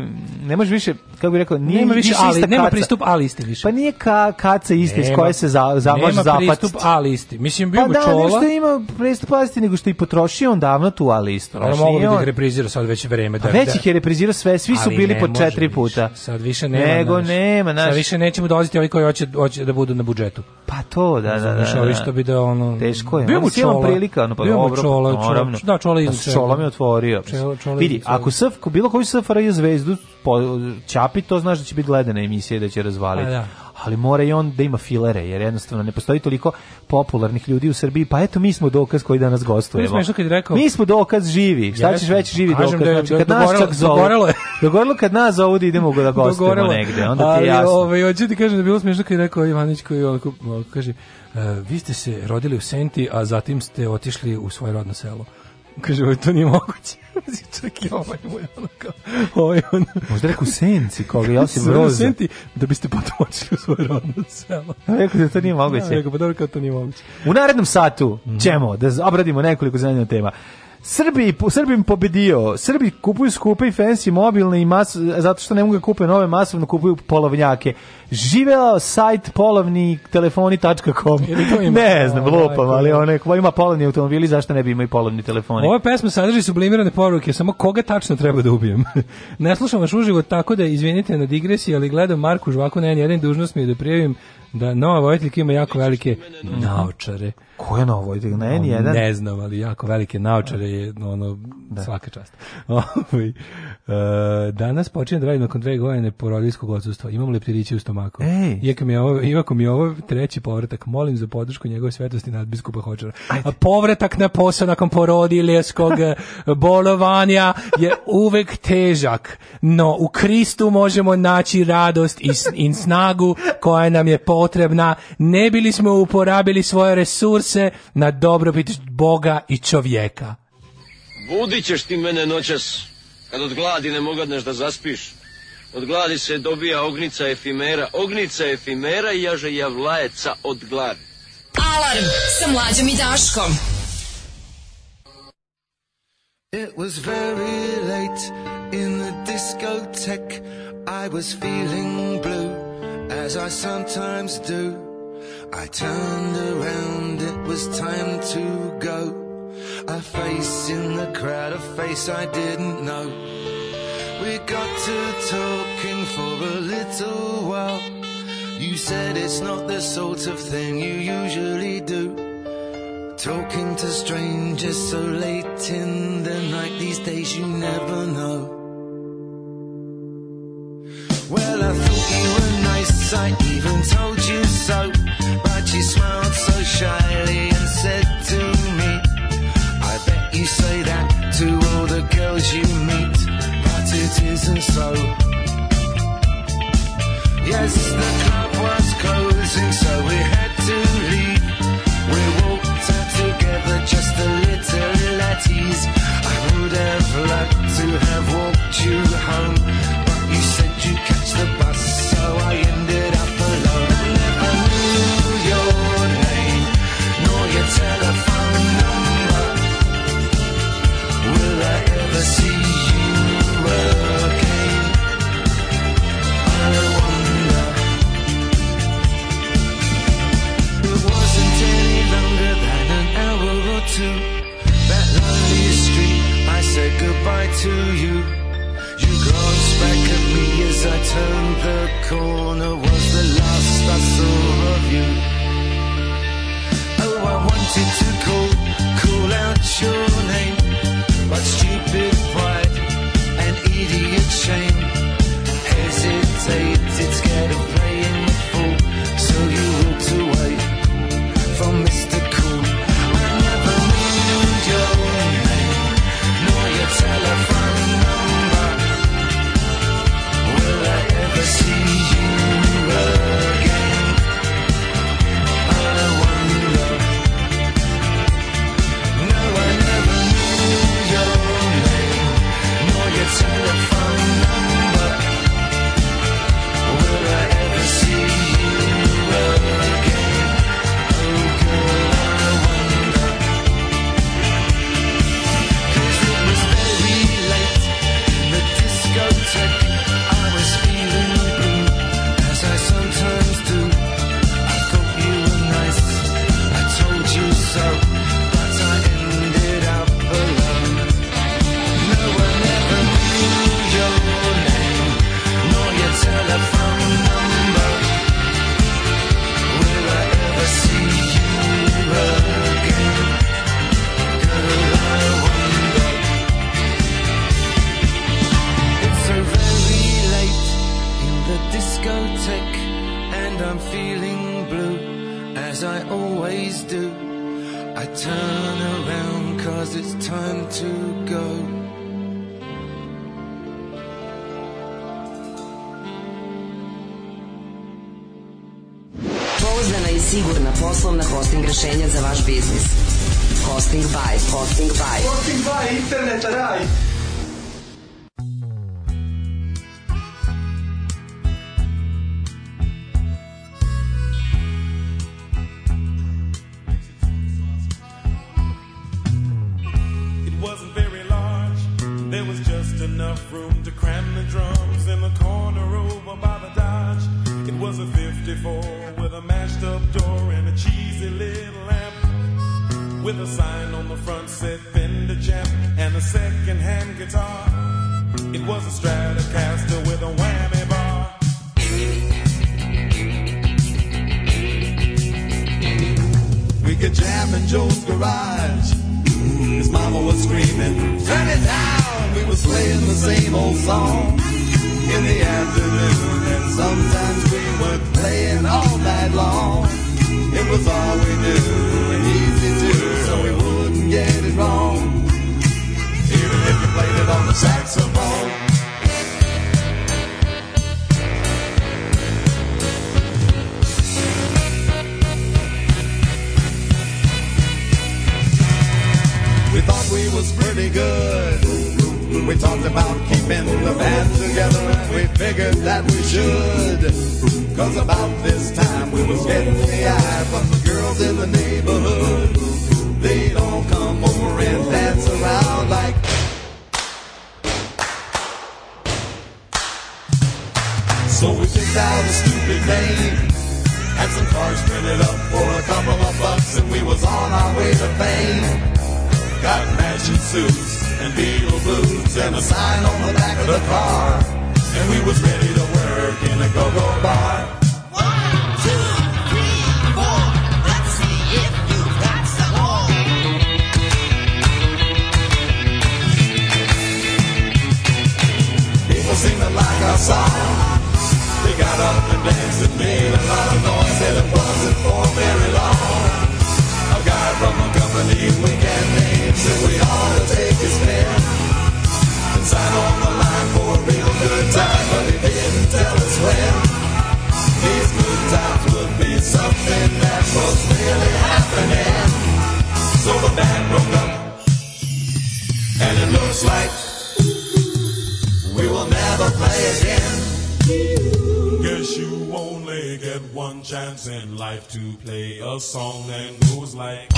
[SPEAKER 7] ne može više, kako bih rekao, nije
[SPEAKER 8] Nema više ali,
[SPEAKER 7] ista
[SPEAKER 8] nema
[SPEAKER 7] kaca.
[SPEAKER 8] pristup A listi više.
[SPEAKER 7] Pa nije ka, kaca ista iz koje se za, za, može
[SPEAKER 8] Nema pristup
[SPEAKER 7] zapaciti.
[SPEAKER 8] A listi. Mislim, bio
[SPEAKER 7] Pa
[SPEAKER 8] mu
[SPEAKER 7] da,
[SPEAKER 8] čola.
[SPEAKER 7] nešto ima pristup A listi, nego što je i potrošio on davno tu A listu.
[SPEAKER 8] Ono
[SPEAKER 7] Znaš,
[SPEAKER 8] mogu bi
[SPEAKER 7] nije
[SPEAKER 8] da
[SPEAKER 7] Znači, on-
[SPEAKER 8] ih reprizira sad već vreme. Da,
[SPEAKER 7] A Pa već
[SPEAKER 8] da-
[SPEAKER 7] ih je reprizirao sve, svi su
[SPEAKER 8] Ali
[SPEAKER 7] bili
[SPEAKER 8] ne
[SPEAKER 7] po
[SPEAKER 8] može
[SPEAKER 7] četiri
[SPEAKER 8] više.
[SPEAKER 7] puta.
[SPEAKER 8] Sad više nema.
[SPEAKER 7] Nego
[SPEAKER 8] znaš.
[SPEAKER 7] nema, znaš.
[SPEAKER 8] Sad više nećemo dolaziti ovi koji hoće, hoće da budu na budžetu.
[SPEAKER 7] Pa to, da, da, da.
[SPEAKER 8] Znaš, ovi
[SPEAKER 7] da.
[SPEAKER 8] što bi da ono...
[SPEAKER 7] Teško je.
[SPEAKER 8] Bio
[SPEAKER 7] ono
[SPEAKER 8] mu
[SPEAKER 7] si imam
[SPEAKER 8] čola.
[SPEAKER 7] prilika, ono pa
[SPEAKER 8] Bio mu
[SPEAKER 7] dobro,
[SPEAKER 8] čola,
[SPEAKER 7] pa
[SPEAKER 8] čola.
[SPEAKER 7] naravno.
[SPEAKER 8] Da, čola
[SPEAKER 7] Pa
[SPEAKER 8] iz
[SPEAKER 7] s čola mi otvorio.
[SPEAKER 8] Čola- čola
[SPEAKER 7] Vidi,
[SPEAKER 8] iz-
[SPEAKER 7] ako SF, ko- bilo koju SFRJ zvezdu po, čapi, to znaš da će biti gledana emisija i da će razvaliti.
[SPEAKER 8] A, Pa da.
[SPEAKER 7] Ali mora i on da ima filere, jer jednostavno ne postoji toliko popularnih ljudi u Srbiji. Pa eto, mi smo dokaz koji danas
[SPEAKER 8] Bilo je
[SPEAKER 7] gostujemo.
[SPEAKER 8] smešno kad je rekao-
[SPEAKER 7] Mi smo dokaz živi. Šta ćeš
[SPEAKER 8] Jeste.
[SPEAKER 7] već živi
[SPEAKER 8] Kažem
[SPEAKER 7] dokaz?
[SPEAKER 8] da je-
[SPEAKER 7] znači,
[SPEAKER 8] da-
[SPEAKER 7] kad nas
[SPEAKER 8] dogorelo-
[SPEAKER 7] čak zovu.
[SPEAKER 8] dogorelo je.
[SPEAKER 7] Dogorelo kad nas zovu da idemo da gostujemo
[SPEAKER 8] Dogorelo.
[SPEAKER 7] negde. Onda ti je
[SPEAKER 8] Ali,
[SPEAKER 7] jasno.
[SPEAKER 8] ovaj, hoću ti kažem da je bilo smiješno kad je rekao Ivanić koji je onako, ovako kaže, e, vi ste se rodili u Senti, a zatim ste otišli u svoje rodno selo. Kaže, ovo, to nije moguće. Čak i ovaj moj, ono kao, ovaj, ono,
[SPEAKER 7] Možda rekao u senci koga, Josip
[SPEAKER 8] Sve u
[SPEAKER 7] Broza.
[SPEAKER 8] Senti, da biste potom otišli u svoje rodno selo.
[SPEAKER 7] Rekao da to nije moguće.
[SPEAKER 8] Ja, rekao, pa dobro, kao to nije moguće.
[SPEAKER 7] U narednom satu ćemo da obradimo nekoliko zanimljivih tema. Srbi, po, Srbim pobedio. Srbi kupuju skupe i fancy mobilne i mas, zato što ne mogu da kupe nove masovno kupuju polovnjake. Živeo sajt polovnitelefoni.com.
[SPEAKER 8] to ima? Ovaj,
[SPEAKER 7] Ne znam,
[SPEAKER 8] O,
[SPEAKER 7] lupam,
[SPEAKER 8] majko.
[SPEAKER 7] ali one ko ima polovni automobili, zašto ne bi imao i polovni telefoni?
[SPEAKER 8] Ova pesma sadrži sublimirane poruke, samo koga tačno treba da ubijem. ne slušam vaš uživo, tako da izvinite na digresiji, ali gledam Marku Žvaku na N1, dužnost mi je da prijavim da nova vojiteljka ima jako velike naočare.
[SPEAKER 7] Ko je novo? Ide Na N1?
[SPEAKER 8] Ne znam, ali jako velike naočare je ono, svaka čast. Ovaj, e, danas počinjem da radim nakon dve godine porodiljskog odsustva. Imam leptiriće u stomaku.
[SPEAKER 7] Ej.
[SPEAKER 8] Iako mi je ovo, iako mi je ovo treći povratak, molim za podršku njegove svetosti nadbiskupa Hočara. A povratak na posao nakon porodiljskog eh, bolovanja je uvek težak, no u Kristu možemo naći radost i, s- i snagu koja nam je potrebna. Ne bili smo uporabili svoje resurse na dobrobit Boga i čovjeka.
[SPEAKER 4] Budit ćeš ti mene noćas, kad od gladi ne mogadneš da zaspiš. Od gladi se dobija ognica efimera, ognica efimera i jaže javlajeca od gladi.
[SPEAKER 5] Alarm sa mlađom i Daškom.
[SPEAKER 2] It was very late in the discotheque. I was feeling blue, as I sometimes do. I turned around, it was time to go. A face in the crowd, a face I didn't know. We got to talking for a little while. You said it's not the sort of thing you usually do. Talking to strangers so late in the night, these days you never know. Well, I thought you were nice, I even told you so. But you smiled so shyly and said to me, I bet you say that to all the girls you meet, but it isn't so. Yes, the club was closing, so we had to leave. We walked out together, just a little at ease. I would have liked to have walked you home, but you said you catch the bus, so I ended up alone. I never knew your name, nor your telephone number. Will I ever see you again? I wonder. It wasn't any longer than an hour or two. That lonely street, I said goodbye to you. You glanced back at me as I turned the corner. Was the last I saw of you. Oh, I wanted to call, call out your name, but stupid pride and idiot shame hesitated, scared of playing the fool. So you walked away from Mr. Cool. I never knew your name, nor your telephone number. Will I ever see you again? always do. I turn around cause it's time to go.
[SPEAKER 22] Pouzdana i sigurna poslovna hosting rešenja za vaš biznis. Hosting by, hosting by.
[SPEAKER 23] Hosting by, internet, raj.
[SPEAKER 1] It wasn't very large. There was just enough room to cram the drums in the corner over by the Dodge. It was a 54 with a mashed up door and a cheesy little amp. With a sign on the front said Fender Jam and a second hand guitar. It was a Stratocaster with a whammy bar. We could jam in Joe's garage. His mama was screaming, turn it down. We was playing the same old song in the afternoon, and sometimes we were playing all night long. It was all we knew and easy too, so we wouldn't get it wrong. Even if we played it on the saxophone. We thought we was pretty good. We talked about keeping the band together and we figured that we should. Cause about this time we was getting the eye from the girls in the neighborhood. They'd all come over and dance around like. So we picked out a stupid name. Had some cards printed up for a couple of bucks and we was on our way to fame. Got matching suits and beetle boots and a sign on the back of the car. And we was ready to work in a go-go bar. One, two, three, four. Let's see if you've got some more. People seeming like our song. They got up and danced and made a lot of noise and it wasn't for very long. A guy from a company we can name said we ought to take his pen and sign on the line for a real good time, but he didn't tell us when. These good times would be something that was really happening. So the band broke up, and it looks like we will never play again. Guess you only get one chance in life to play a song that goes like.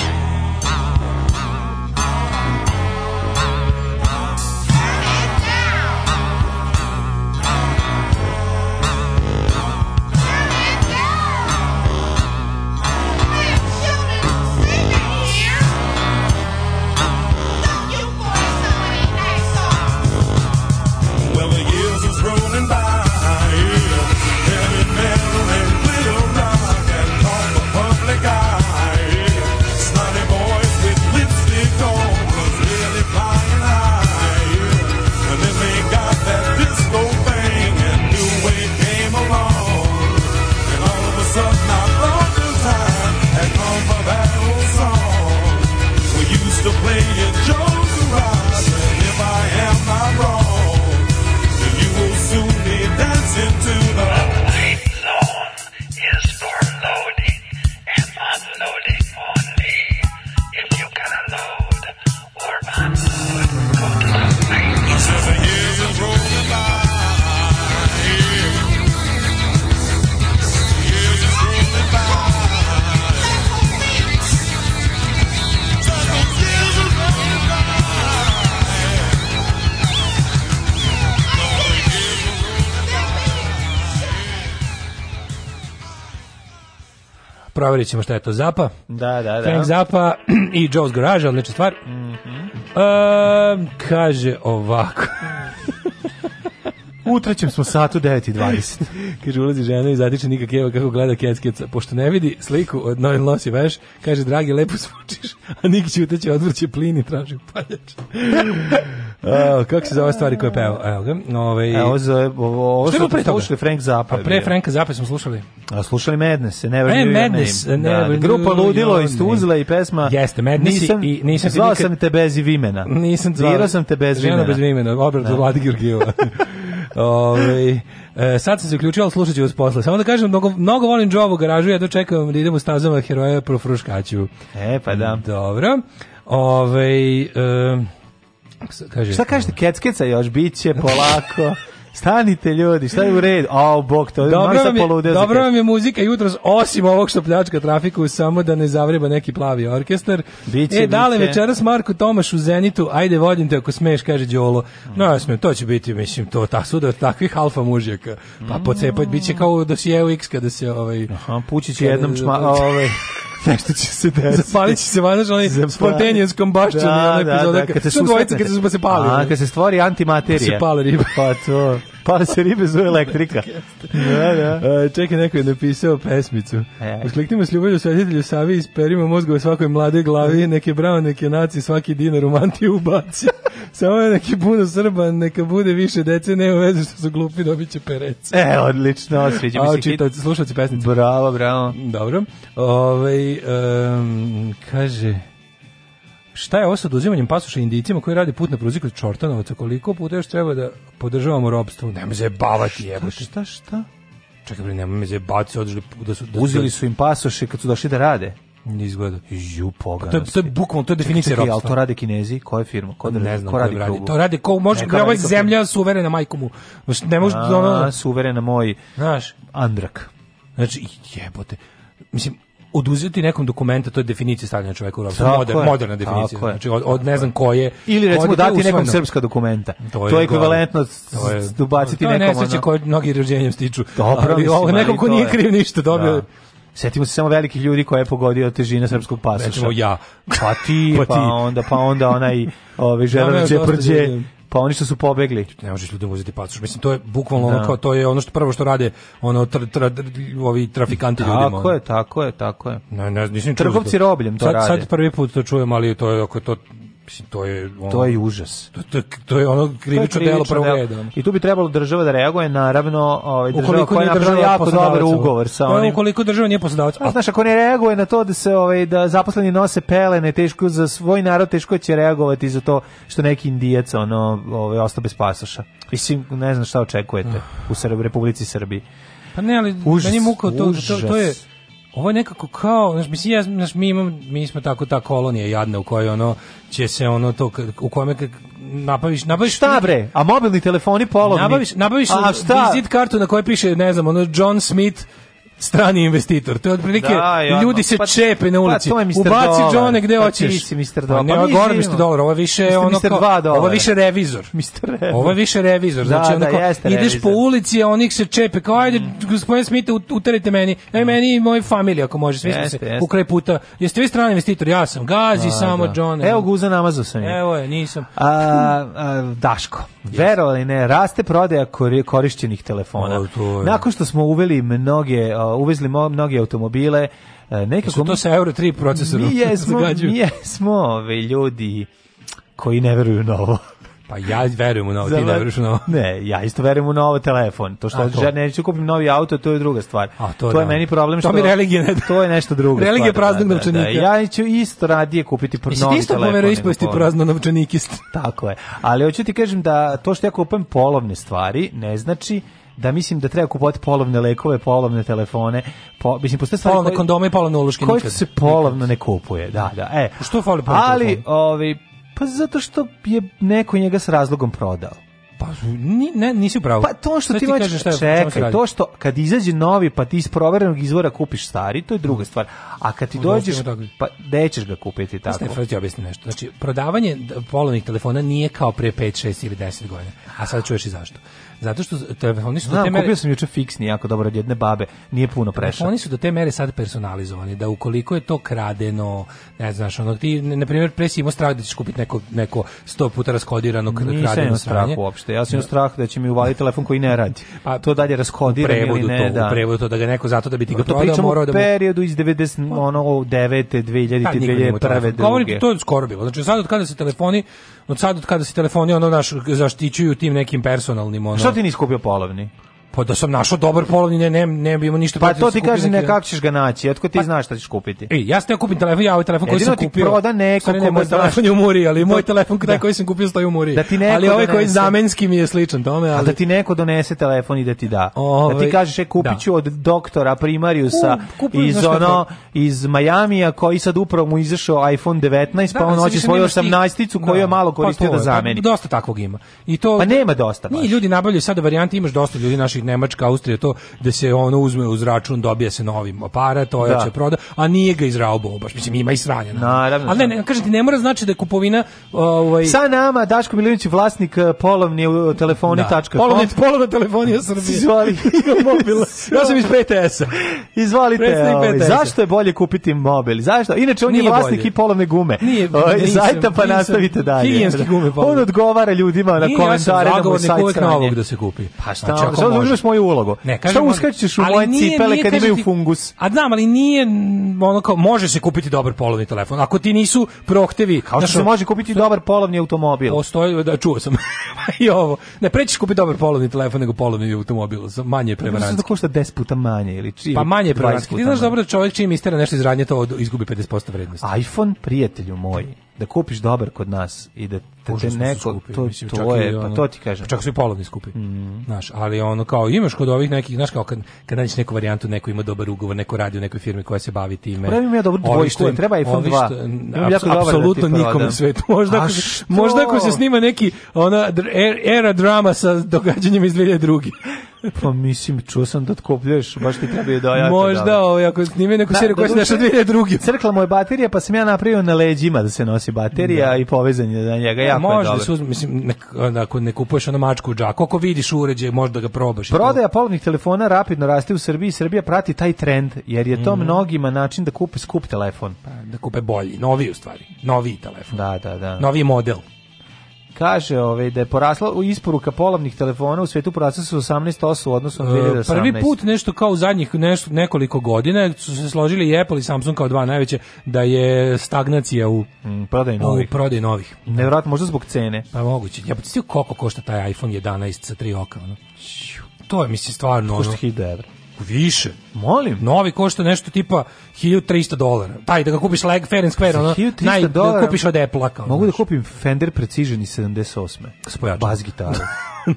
[SPEAKER 1] Well, the years is rolling by. Yeah. Heavy metal and glitter rock and talk for public eye. Yeah. Snotty boys with lipstick on was really flying high. Yeah. And then they got that disco thing and new wave came along. And all of a sudden, our local time had come for that old song. We used to play it Joe's garage, and if I am not wrong. And you will soon be dancing to the late lawn is for loading and unloading only. If you can load or unload, go to the late lawn. the years is rolling by. yeah. Years is rolling by. Years is rolling by.
[SPEAKER 9] Proverit ćemo šta je to Zapa.
[SPEAKER 8] Da, da, da.
[SPEAKER 9] Frank Zappa i Joe's Garage, odlična stvar. Ehm, kaže ovako.
[SPEAKER 8] U trećem smo satu 9.20.
[SPEAKER 9] kaže, ulazi žena i zatiče Nika Kjeva kako gleda keckeca. Pošto ne vidi sliku od Novi Losi Veš, kaže, dragi, lepo zvučiš, a Nik će uteći odvrće plin i traži paljač.
[SPEAKER 8] A, kako se zove stvari koje peva? Evo ga. Ovaj
[SPEAKER 7] Evo za ovo, ovo
[SPEAKER 8] Što je
[SPEAKER 7] što
[SPEAKER 8] bilo pre
[SPEAKER 7] smo
[SPEAKER 8] toga?
[SPEAKER 7] slušali Frank Zappa.
[SPEAKER 8] Pa pre Franka Zappa smo slušali.
[SPEAKER 7] A slušali Madness, Never
[SPEAKER 8] E,
[SPEAKER 7] Knew Your
[SPEAKER 8] Madness,
[SPEAKER 7] Name.
[SPEAKER 8] Never
[SPEAKER 7] da, grupa
[SPEAKER 8] Knew
[SPEAKER 7] Ludilo
[SPEAKER 8] Your
[SPEAKER 7] iz Tuzle i pesma
[SPEAKER 8] Jeste, Madness i-
[SPEAKER 7] nisam,
[SPEAKER 8] i nisam ti
[SPEAKER 7] zvao
[SPEAKER 8] nikad-
[SPEAKER 7] sam te bez imena.
[SPEAKER 8] Nisam zvao.
[SPEAKER 7] Zvirao sam te bez
[SPEAKER 8] Žena
[SPEAKER 7] imena.
[SPEAKER 8] bez imena, obrad
[SPEAKER 7] Da.
[SPEAKER 8] za Vlade Georgijeva. Ove, e, sad sam se uključio, ali slušat ću vas posle. Samo da kažem, mnogo, mnogo volim Joe u garažu, jedno čekam da idem u stazama heroja pro fruškaću.
[SPEAKER 7] E, pa da.
[SPEAKER 8] Dobro. Ove, e, s- kaže,
[SPEAKER 7] Šta kažete, keckeca još, bit će polako. Stanite ljudi, šta je u redu? Au, bog, to je
[SPEAKER 8] Dobro
[SPEAKER 7] malo
[SPEAKER 8] vam,
[SPEAKER 7] sam poludeo
[SPEAKER 8] je,
[SPEAKER 7] za
[SPEAKER 8] dobro
[SPEAKER 7] kecke.
[SPEAKER 8] vam je muzika jutros, osim ovog što pljačka trafiku, samo da ne zavreba neki plavi orkestar.
[SPEAKER 7] Biće,
[SPEAKER 8] e, dale,
[SPEAKER 7] biće.
[SPEAKER 8] večeras Marko Tomaš u Zenitu, ajde vodim te ako smeš, kaže Đolo. No, ja smijem, to će biti, mislim, to ta suda od takvih alfa mužjaka. Pa pocepati, bit će kao u dosijeu X kada se ovaj...
[SPEAKER 7] Mm. Aha, pući će jednom čma... Ovaj, nešto će se desiti.
[SPEAKER 8] Zapalit će se vanaš, onaj spontaneous combustion,
[SPEAKER 7] da,
[SPEAKER 8] ona epizoda
[SPEAKER 7] da, da,
[SPEAKER 8] kad-
[SPEAKER 7] kad se
[SPEAKER 8] što dvojica
[SPEAKER 7] susretnete.
[SPEAKER 8] kad se- pa se pali,
[SPEAKER 7] A,
[SPEAKER 8] ono.
[SPEAKER 7] kad se stvori antimaterija.
[SPEAKER 8] Kad se pale ribe.
[SPEAKER 7] Pa to, pale se ribe zove elektrika. da, da.
[SPEAKER 8] E, čekaj, neko je napisao pesmicu.
[SPEAKER 7] E.
[SPEAKER 8] Uskliknimo s ljubavlju svetitelju Savi iz perima mozgova svakoj mlade glavi, neke bravo, neke naci, svaki dinar u mantiju ubaci. Samo je neki puno Srba, neka bude više dece, nema veze što su glupi, dobit će perece.
[SPEAKER 7] E, odlično, sviđa mi
[SPEAKER 8] A,
[SPEAKER 7] se hit.
[SPEAKER 8] čitaoci, slušalci pesnice.
[SPEAKER 7] Bravo, bravo.
[SPEAKER 8] Mm, Dobro. Ovaj em, kaže... Šta je ovo sa oduzimanjem pasoša indicima koji radi put na pruzi kod Čortanovaca? Koliko puta još treba da podržavamo robstvo? Nemoj zajebavati, jebote.
[SPEAKER 7] Šta, šta?
[SPEAKER 8] Čekaj, bre, nemoj me zajebati, su održali pu- da su... Da su-
[SPEAKER 7] Uzeli su im pasoše kad su došli da rade.
[SPEAKER 8] Ne izgleda.
[SPEAKER 7] Ju, pogano.
[SPEAKER 8] To je, to je bukvalno, to je definicija
[SPEAKER 7] Čekaj, ali
[SPEAKER 8] ropstva.
[SPEAKER 7] to rade kinezi? Koje firma? Ko,
[SPEAKER 8] ne
[SPEAKER 7] radi-
[SPEAKER 8] znam
[SPEAKER 7] ko radi
[SPEAKER 8] ko radi.
[SPEAKER 7] prugu?
[SPEAKER 8] To radi ko može,
[SPEAKER 7] Neka
[SPEAKER 8] bre, ovo je
[SPEAKER 7] radi ko-
[SPEAKER 8] zemlja suverena majku mu. Znaš, Ne može da ono,
[SPEAKER 7] A, suverena moj
[SPEAKER 8] znaš,
[SPEAKER 7] Andrak.
[SPEAKER 8] znači jebote. Mislim oduzeti nekom dokumenta, to je definicija stavljanja čoveka u ropstvo,
[SPEAKER 7] Tako
[SPEAKER 8] moder,
[SPEAKER 7] je,
[SPEAKER 8] moderna definicija.
[SPEAKER 7] tako je.
[SPEAKER 8] Znači od, od ne znam koje.
[SPEAKER 7] Ili recimo
[SPEAKER 8] od- to je
[SPEAKER 7] dati nekom
[SPEAKER 8] usvojeno.
[SPEAKER 7] srpska dokumenta. To je, ekvivalentno
[SPEAKER 8] ekvivalentno
[SPEAKER 7] s- s- ubaciti
[SPEAKER 8] To je
[SPEAKER 7] nekom...
[SPEAKER 8] nesreće
[SPEAKER 7] ono-
[SPEAKER 8] koje mnogi rođenjem stiču.
[SPEAKER 7] Dobro,
[SPEAKER 8] ali,
[SPEAKER 7] mislim,
[SPEAKER 8] ovo,
[SPEAKER 7] ali
[SPEAKER 8] nekom ko
[SPEAKER 7] to
[SPEAKER 8] nije
[SPEAKER 7] je.
[SPEAKER 8] kriv ništa dobio.
[SPEAKER 7] Da. Setimo se samo velikih ljudi koje je pogodio težina srpskog pasoša.
[SPEAKER 8] Recimo ja.
[SPEAKER 7] Pa ti, pa,
[SPEAKER 8] Pa ti.
[SPEAKER 7] onda, pa onda onaj ove,
[SPEAKER 8] Da,
[SPEAKER 7] Žeran
[SPEAKER 8] ne, dosta
[SPEAKER 7] Đeprđe,
[SPEAKER 8] ljudi.
[SPEAKER 7] pa oni što su pobegli.
[SPEAKER 8] ne možeš ljudima uzeti pasoš. Mislim to je bukvalno ono
[SPEAKER 7] Da.
[SPEAKER 8] kao to je ono što prvo što rade ono tra, tra, ovi trafikanti ljudima. ono.
[SPEAKER 7] Tako je, tako je, tako je.
[SPEAKER 8] Ne, ne, nisam čuo za
[SPEAKER 7] Trgovci
[SPEAKER 8] to.
[SPEAKER 7] robljem to
[SPEAKER 8] sad,
[SPEAKER 7] rade.
[SPEAKER 8] Sad prvi put to čujem, ali to je ako je to mislim to je ono,
[SPEAKER 7] To je i užas.
[SPEAKER 8] to, to, to je ono
[SPEAKER 7] To je
[SPEAKER 8] krivično delo prvog
[SPEAKER 7] delo.
[SPEAKER 8] reda. ono.
[SPEAKER 7] I tu bi trebalo država da reaguje, naravno, ovaj, država
[SPEAKER 8] Ukoliko
[SPEAKER 7] koja je
[SPEAKER 8] nije država
[SPEAKER 7] napravila jako
[SPEAKER 8] poslodavac,
[SPEAKER 7] dobar
[SPEAKER 8] ono.
[SPEAKER 7] ugovor sa
[SPEAKER 8] Pa,
[SPEAKER 7] onim.
[SPEAKER 8] Ukoliko država nije poslodavac,
[SPEAKER 7] A, znaš, ako ne reaguje na to da se ovaj da zaposleni nose pelene, teško za svoj narod teško će reagovati za to što neki indijac ono ovaj ostao bez pasoša. Mislim, ne znam šta očekujete u Srbiji, Republici Srbiji.
[SPEAKER 8] Pa ne, ali
[SPEAKER 7] Užas,
[SPEAKER 8] meni je muka to, to, to je
[SPEAKER 7] užas.
[SPEAKER 8] ovo je nekako kao, znaš, mislim, ja, znaš, mi, imam, mi smo tako ta kolonija jadna u kojoj ono će se ono to, k- u kome k- napraviš, napraviš
[SPEAKER 7] Šta bre? A mobilni telefoni polovni?
[SPEAKER 8] Nabaviš, nabaviš
[SPEAKER 7] A šta?
[SPEAKER 8] vizit kartu na kojoj piše, ne znam, ono John Smith strani investitor. To je otprilike,
[SPEAKER 7] Da, jadno.
[SPEAKER 8] ljudi se
[SPEAKER 7] Pa-
[SPEAKER 8] čepe na ulici.
[SPEAKER 7] pa to je Mr.
[SPEAKER 8] Ubaci
[SPEAKER 7] Dolar.
[SPEAKER 8] Johne gde
[SPEAKER 7] Pa ti
[SPEAKER 8] hoćeš.
[SPEAKER 7] si Mr. Dolar.
[SPEAKER 8] ne,
[SPEAKER 7] Pa
[SPEAKER 8] ovo
[SPEAKER 7] mi
[SPEAKER 8] je gore
[SPEAKER 7] živimo.
[SPEAKER 8] Mr. Dolar, ovo je više
[SPEAKER 7] Mr.
[SPEAKER 8] ono kao,
[SPEAKER 7] $2
[SPEAKER 8] ovo je više revizor.
[SPEAKER 7] Mr. Revizor.
[SPEAKER 8] Ovo je više revizor.
[SPEAKER 7] Da,
[SPEAKER 8] Znači,
[SPEAKER 7] da,
[SPEAKER 8] ono kao,
[SPEAKER 7] jeste
[SPEAKER 8] ideš
[SPEAKER 7] revizor. Mm.
[SPEAKER 8] po ulici, a onih se čepe. Kao, ajde, gospodin Smith, ut- uterite meni. E, meni i moje familije, ako može. Svi smo
[SPEAKER 7] Jeste,
[SPEAKER 8] se
[SPEAKER 7] jeste.
[SPEAKER 8] u kraj puta. Jeste vi strani investitor? Ja sam. Gazi samo,
[SPEAKER 7] Da.
[SPEAKER 8] John. ono.
[SPEAKER 7] Evo guza namazu sam. je.
[SPEAKER 8] Evo je, nisam.
[SPEAKER 7] A, a, Daško, verovali ili ne, raste prodaja kori- korišćenih telefona.
[SPEAKER 8] O, to je.
[SPEAKER 7] Nakon što smo uveli mnoge, a, uvezli mo- mnoge automobile, e, nekako
[SPEAKER 8] Su to sa Euro 3 procesorom.
[SPEAKER 7] mi jesmo,
[SPEAKER 8] zagađuju.
[SPEAKER 7] mi jesmo ove ljudi koji ne veruju na ovo.
[SPEAKER 8] Pa ja verujem u novo, ti ne veruješ u novo.
[SPEAKER 7] Ne, ja isto verujem u novo telefon. To što
[SPEAKER 8] A, to.
[SPEAKER 7] ja neću kupim novi auto, to je druga stvar.
[SPEAKER 8] A, to da.
[SPEAKER 7] je meni problem što...
[SPEAKER 8] To mi religija ne da.
[SPEAKER 7] To je nešto drugo.
[SPEAKER 8] Religija praznog novčanika.
[SPEAKER 7] Ja ću isto radije kupiti pr- novi
[SPEAKER 8] Mislim,
[SPEAKER 7] telefon.
[SPEAKER 8] ti isto po veroispovesti
[SPEAKER 7] nego ono. Pa
[SPEAKER 8] prazno novčanikist.
[SPEAKER 7] Tako je. Ali hoću ti kažem da to što ja kupujem polovne stvari ne znači da mislim da treba kupovati polovne lekove, polovne telefone, po, mislim postoje stvari
[SPEAKER 8] Polovne
[SPEAKER 7] koje-
[SPEAKER 8] kondome i polovne uloške
[SPEAKER 7] koje
[SPEAKER 8] nikad.
[SPEAKER 7] se polovno ne kupuje. Da, da. E,
[SPEAKER 8] Što fali polovne
[SPEAKER 7] ali
[SPEAKER 8] telefone?
[SPEAKER 7] ovaj pa zato što je neko njega s razlogom prodao.
[SPEAKER 8] Pa, ni, ne, nisi u pravu.
[SPEAKER 7] Pa to što
[SPEAKER 8] Sad
[SPEAKER 7] ti hoćeš
[SPEAKER 8] kažeš šta je- o čemu se
[SPEAKER 7] čekaj,
[SPEAKER 8] radi.
[SPEAKER 7] to što kad izađe novi pa ti iz proverenog izvora kupiš stari, to je druga stvar. A kad ti
[SPEAKER 8] Možda
[SPEAKER 7] dođeš
[SPEAKER 8] ostavimo tako.
[SPEAKER 7] pa nećeš ga kupiti tako.
[SPEAKER 8] Stefan, ti objasni nešto. Znači, prodavanje d- polovnih telefona nije kao pre 5, 6 ili 10 godina. A sad čuješ i zašto. Zato što telefoni su do
[SPEAKER 7] Znam,
[SPEAKER 8] te mere...
[SPEAKER 7] kupio sam juče fiksni, jako dobro od jedne babe. Nije puno prešao.
[SPEAKER 8] Oni su do te mere sad personalizovani, da ukoliko je to kradeno, ne znaš, ono, ti, n- na primjer, pre si imao strah da ćeš kupiti neko, neko sto puta raskodirano k-
[SPEAKER 7] Nisam
[SPEAKER 8] kradeno
[SPEAKER 7] imao strah
[SPEAKER 8] sranje.
[SPEAKER 7] uopšte. Ja sam imao strah da će mi uvaliti telefon koji ne radi. to dalje raskodiram ili
[SPEAKER 8] prevodu
[SPEAKER 7] ne.
[SPEAKER 8] to,
[SPEAKER 7] da.
[SPEAKER 8] Pa, u prevodu to da ga neko zato da bi ti ga
[SPEAKER 7] to
[SPEAKER 8] prodao
[SPEAKER 7] pričamo
[SPEAKER 8] morao
[SPEAKER 7] u
[SPEAKER 8] da mu...
[SPEAKER 7] periodu iz 90, ono, 9. 2000,
[SPEAKER 8] Tad niko nije imao
[SPEAKER 7] 2001,
[SPEAKER 8] telefon. Govorim ti,
[SPEAKER 7] druge.
[SPEAKER 8] to je skoro bilo. Znači sad od kada se telefoni, od sad od kada se telefoni ono naš zaštićuju tim nekim personalnim ono.
[SPEAKER 7] Šta ti nisi kupio polovni?
[SPEAKER 8] Pa da sam našao dobar polovni, ne, ne, ne bi imao ništa
[SPEAKER 7] Pa
[SPEAKER 8] protiv
[SPEAKER 7] to
[SPEAKER 8] da sam
[SPEAKER 7] ti
[SPEAKER 8] kupio Pa-
[SPEAKER 7] kaži
[SPEAKER 8] neki-
[SPEAKER 7] ne kako ćeš ga naći, otko ti znaš šta ćeš kupiti.
[SPEAKER 8] Ej, ja sam teo kupim telefon, ja ovaj telefon koji
[SPEAKER 7] Jedino
[SPEAKER 8] sam
[SPEAKER 7] ti
[SPEAKER 8] kupio.
[SPEAKER 7] proda neko
[SPEAKER 8] Stvari, ne,
[SPEAKER 7] kome
[SPEAKER 8] moj
[SPEAKER 7] znaš.
[SPEAKER 8] telefon je u muri, ali moj
[SPEAKER 7] To-
[SPEAKER 8] telefon taj
[SPEAKER 7] da.
[SPEAKER 8] koji sam kupio stoji u muri.
[SPEAKER 7] Da ti neko
[SPEAKER 8] ali ovaj koji je
[SPEAKER 7] donese.
[SPEAKER 8] zamenski mi je sličan tome,
[SPEAKER 7] A
[SPEAKER 8] ali
[SPEAKER 7] da ti neko donese telefon i da ti da. da
[SPEAKER 8] Ovaj,
[SPEAKER 7] ti kažeš, e, kupit
[SPEAKER 8] da.
[SPEAKER 7] ću od doktora Primariusa
[SPEAKER 8] U, kupujem,
[SPEAKER 7] iz,
[SPEAKER 8] znaš šta
[SPEAKER 7] ono,
[SPEAKER 8] to-
[SPEAKER 7] iz Majamija koji sad upravo mu izašao iPhone 19, pa
[SPEAKER 8] Da,
[SPEAKER 7] on
[SPEAKER 8] mislim,
[SPEAKER 7] hoće
[SPEAKER 8] više
[SPEAKER 7] svoju
[SPEAKER 8] nemaš tih-
[SPEAKER 7] 18-icu koju je
[SPEAKER 8] Da,
[SPEAKER 7] malo
[SPEAKER 8] pa
[SPEAKER 7] koristio
[SPEAKER 8] to
[SPEAKER 7] da
[SPEAKER 8] je, pa
[SPEAKER 7] zameni.
[SPEAKER 8] Dosta takvog ima. I to
[SPEAKER 7] Pa nema dosta baš.
[SPEAKER 8] Nije ljudi nabavljaju sada varijante, imaš dosta ljudi naših Nemačka, Austrija, to da se ono uzme uz račun, dobije se novi aparat,
[SPEAKER 7] Da.
[SPEAKER 8] ojače će proda, a nije ga izraubao baš. Mislim ima i sranja.
[SPEAKER 7] Naravno.
[SPEAKER 8] Ali ne, ne, kažem ti ne mora znači da je kupovina ovaj
[SPEAKER 7] Sa nama Daško Milinović, vlasnik eh, polovni eh, telefoni.com.
[SPEAKER 8] Polovni, polovna telefonija Srbije.
[SPEAKER 7] Izvoli.
[SPEAKER 8] Mobila. Ja sam iz PTS-a.
[SPEAKER 7] Izvalite,
[SPEAKER 8] Predstavnik
[SPEAKER 7] ovaj,
[SPEAKER 8] PTS-a.
[SPEAKER 7] zašto je bolje kupiti mobil? Zašto? Inače, on je
[SPEAKER 8] Nije
[SPEAKER 7] vlasnik
[SPEAKER 8] bolje.
[SPEAKER 7] i polovne gume.
[SPEAKER 8] Nije,
[SPEAKER 7] Ovaj,
[SPEAKER 8] nisam,
[SPEAKER 7] Zajta, pa
[SPEAKER 8] nisam.
[SPEAKER 7] nastavite dalje.
[SPEAKER 8] Higijenske gume, pa.
[SPEAKER 7] On odgovara ljudima na
[SPEAKER 8] Nije, ja sam
[SPEAKER 7] komentare da mu je
[SPEAKER 8] zagovornik
[SPEAKER 7] sajt
[SPEAKER 8] uvek
[SPEAKER 7] sranje.
[SPEAKER 8] novog da se kupi.
[SPEAKER 7] Pa šta,
[SPEAKER 8] Znači, ako
[SPEAKER 7] sad
[SPEAKER 8] može.
[SPEAKER 7] uzmeš moju ulogu.
[SPEAKER 8] Ne,
[SPEAKER 7] šta
[SPEAKER 8] kažem, ono,
[SPEAKER 7] uskačeš u
[SPEAKER 8] ali
[SPEAKER 7] moje
[SPEAKER 8] nije-
[SPEAKER 7] cipele
[SPEAKER 8] nije,
[SPEAKER 7] kad
[SPEAKER 8] kažem
[SPEAKER 7] imaju
[SPEAKER 8] ti-
[SPEAKER 7] fungus?
[SPEAKER 8] A znam, ali nije mm, ono kao, može se kupiti dobar polovni telefon. Ako ti nisu prohtevi...
[SPEAKER 7] Kao što se može kupiti dobar polovni automobil.
[SPEAKER 8] Postoji, da, čuo sam Pa i ovo. Ne, prećeš kupiti dobar polovni telefon nego polovni automobil. za- Manje je
[SPEAKER 7] Pa Mislim da
[SPEAKER 8] prevaranski.
[SPEAKER 7] košta 10 puta manje ili čiji.
[SPEAKER 8] Pa manje je prevaranski. Ti znaš dobro da čovjek čim istera nešto iz radnje, to od- izgubi 50% vrednosti.
[SPEAKER 7] iPhone, prijatelju moj, da kupiš dobar kod nas i da te, te
[SPEAKER 8] Užasno su
[SPEAKER 7] neko,
[SPEAKER 8] skupi,
[SPEAKER 7] to,
[SPEAKER 8] mislim, čak
[SPEAKER 7] to
[SPEAKER 8] i
[SPEAKER 7] je, pa
[SPEAKER 8] ono-
[SPEAKER 7] to ti kažem. Mhm.
[SPEAKER 8] pa Čak su i polovni skupi. Znaš, ali ono kao imaš kod ovih nekih, znaš kao kad kad nađeš neku varijantu, neko ima dobar ugovor, neko radi u nekoj firmi koja se bavi time.
[SPEAKER 7] Pa imam ja dobru
[SPEAKER 8] Ovi
[SPEAKER 7] dvojku,
[SPEAKER 8] što im-
[SPEAKER 7] treba iPhone
[SPEAKER 8] ovi
[SPEAKER 7] 2.
[SPEAKER 8] što-
[SPEAKER 7] Imam jako
[SPEAKER 8] aps-
[SPEAKER 7] dobar da ti
[SPEAKER 8] Apsolutno nikom
[SPEAKER 7] prodam.
[SPEAKER 8] u svetu. Možda
[SPEAKER 7] A
[SPEAKER 8] ako, se-
[SPEAKER 7] što?
[SPEAKER 8] možda ako se snima neki ona dr- er- era drama sa događanjima iz 2002.
[SPEAKER 7] Pa mislim, čuo sam da otkopljuješ, baš ti treba Pa je dojata.
[SPEAKER 8] Možda ovaj, ako snime neku seriju koja se dešava 2002.
[SPEAKER 7] ono. Crkla mu je baterija, pa sam ja napravio na leđima da se nosi baterija i povezan je na njega. jako je
[SPEAKER 8] E, možda
[SPEAKER 7] dobro.
[SPEAKER 8] se uzme, mislim, nek- onda ako ne kupuješ ono mačku u džaku, ako vidiš uređaj, možda ga probaš. i to.
[SPEAKER 7] Prodaja polovnih telefona rapidno raste u Srbiji i Srbija prati taj trend, jer je
[SPEAKER 8] Mhm.
[SPEAKER 7] to mnogima način da kupe skup telefon.
[SPEAKER 8] da kupe bolji, noviji u stvari, noviji telefon.
[SPEAKER 7] Da, da, da.
[SPEAKER 8] Noviji model.
[SPEAKER 7] Kaže ovaj, da je porasla u isporuka polovnih telefona u svetu porasla su 18% u odnosu na 2018.
[SPEAKER 8] E, Prvi put nešto kao u zadnjih nešto, nekoliko godina su se složili i Apple i Samsung kao dva najveće da je stagnacija u,
[SPEAKER 7] Mm, prodaji
[SPEAKER 8] u
[SPEAKER 7] novih.
[SPEAKER 8] prodaji novih.
[SPEAKER 7] Nevjerojatno, možda zbog cene.
[SPEAKER 8] Pa moguće. Ja bih stio koliko košta taj iPhone 11 sa tri oka. Ono. To je, mislim, stvarno...
[SPEAKER 7] Košta
[SPEAKER 8] ono-
[SPEAKER 7] 1000 evra.
[SPEAKER 8] Više.
[SPEAKER 7] Molim.
[SPEAKER 8] Novi košta nešto tipa 1300 dolara. Taj da ga kupiš leg, fair and square, ono,
[SPEAKER 7] 1300
[SPEAKER 8] naj, da
[SPEAKER 7] dolara.
[SPEAKER 8] ga kupiš od Apple-a. kao.
[SPEAKER 7] Mogu da kupim Fender Precision iz 78.
[SPEAKER 8] S pojačalom.
[SPEAKER 7] Bas gitaru.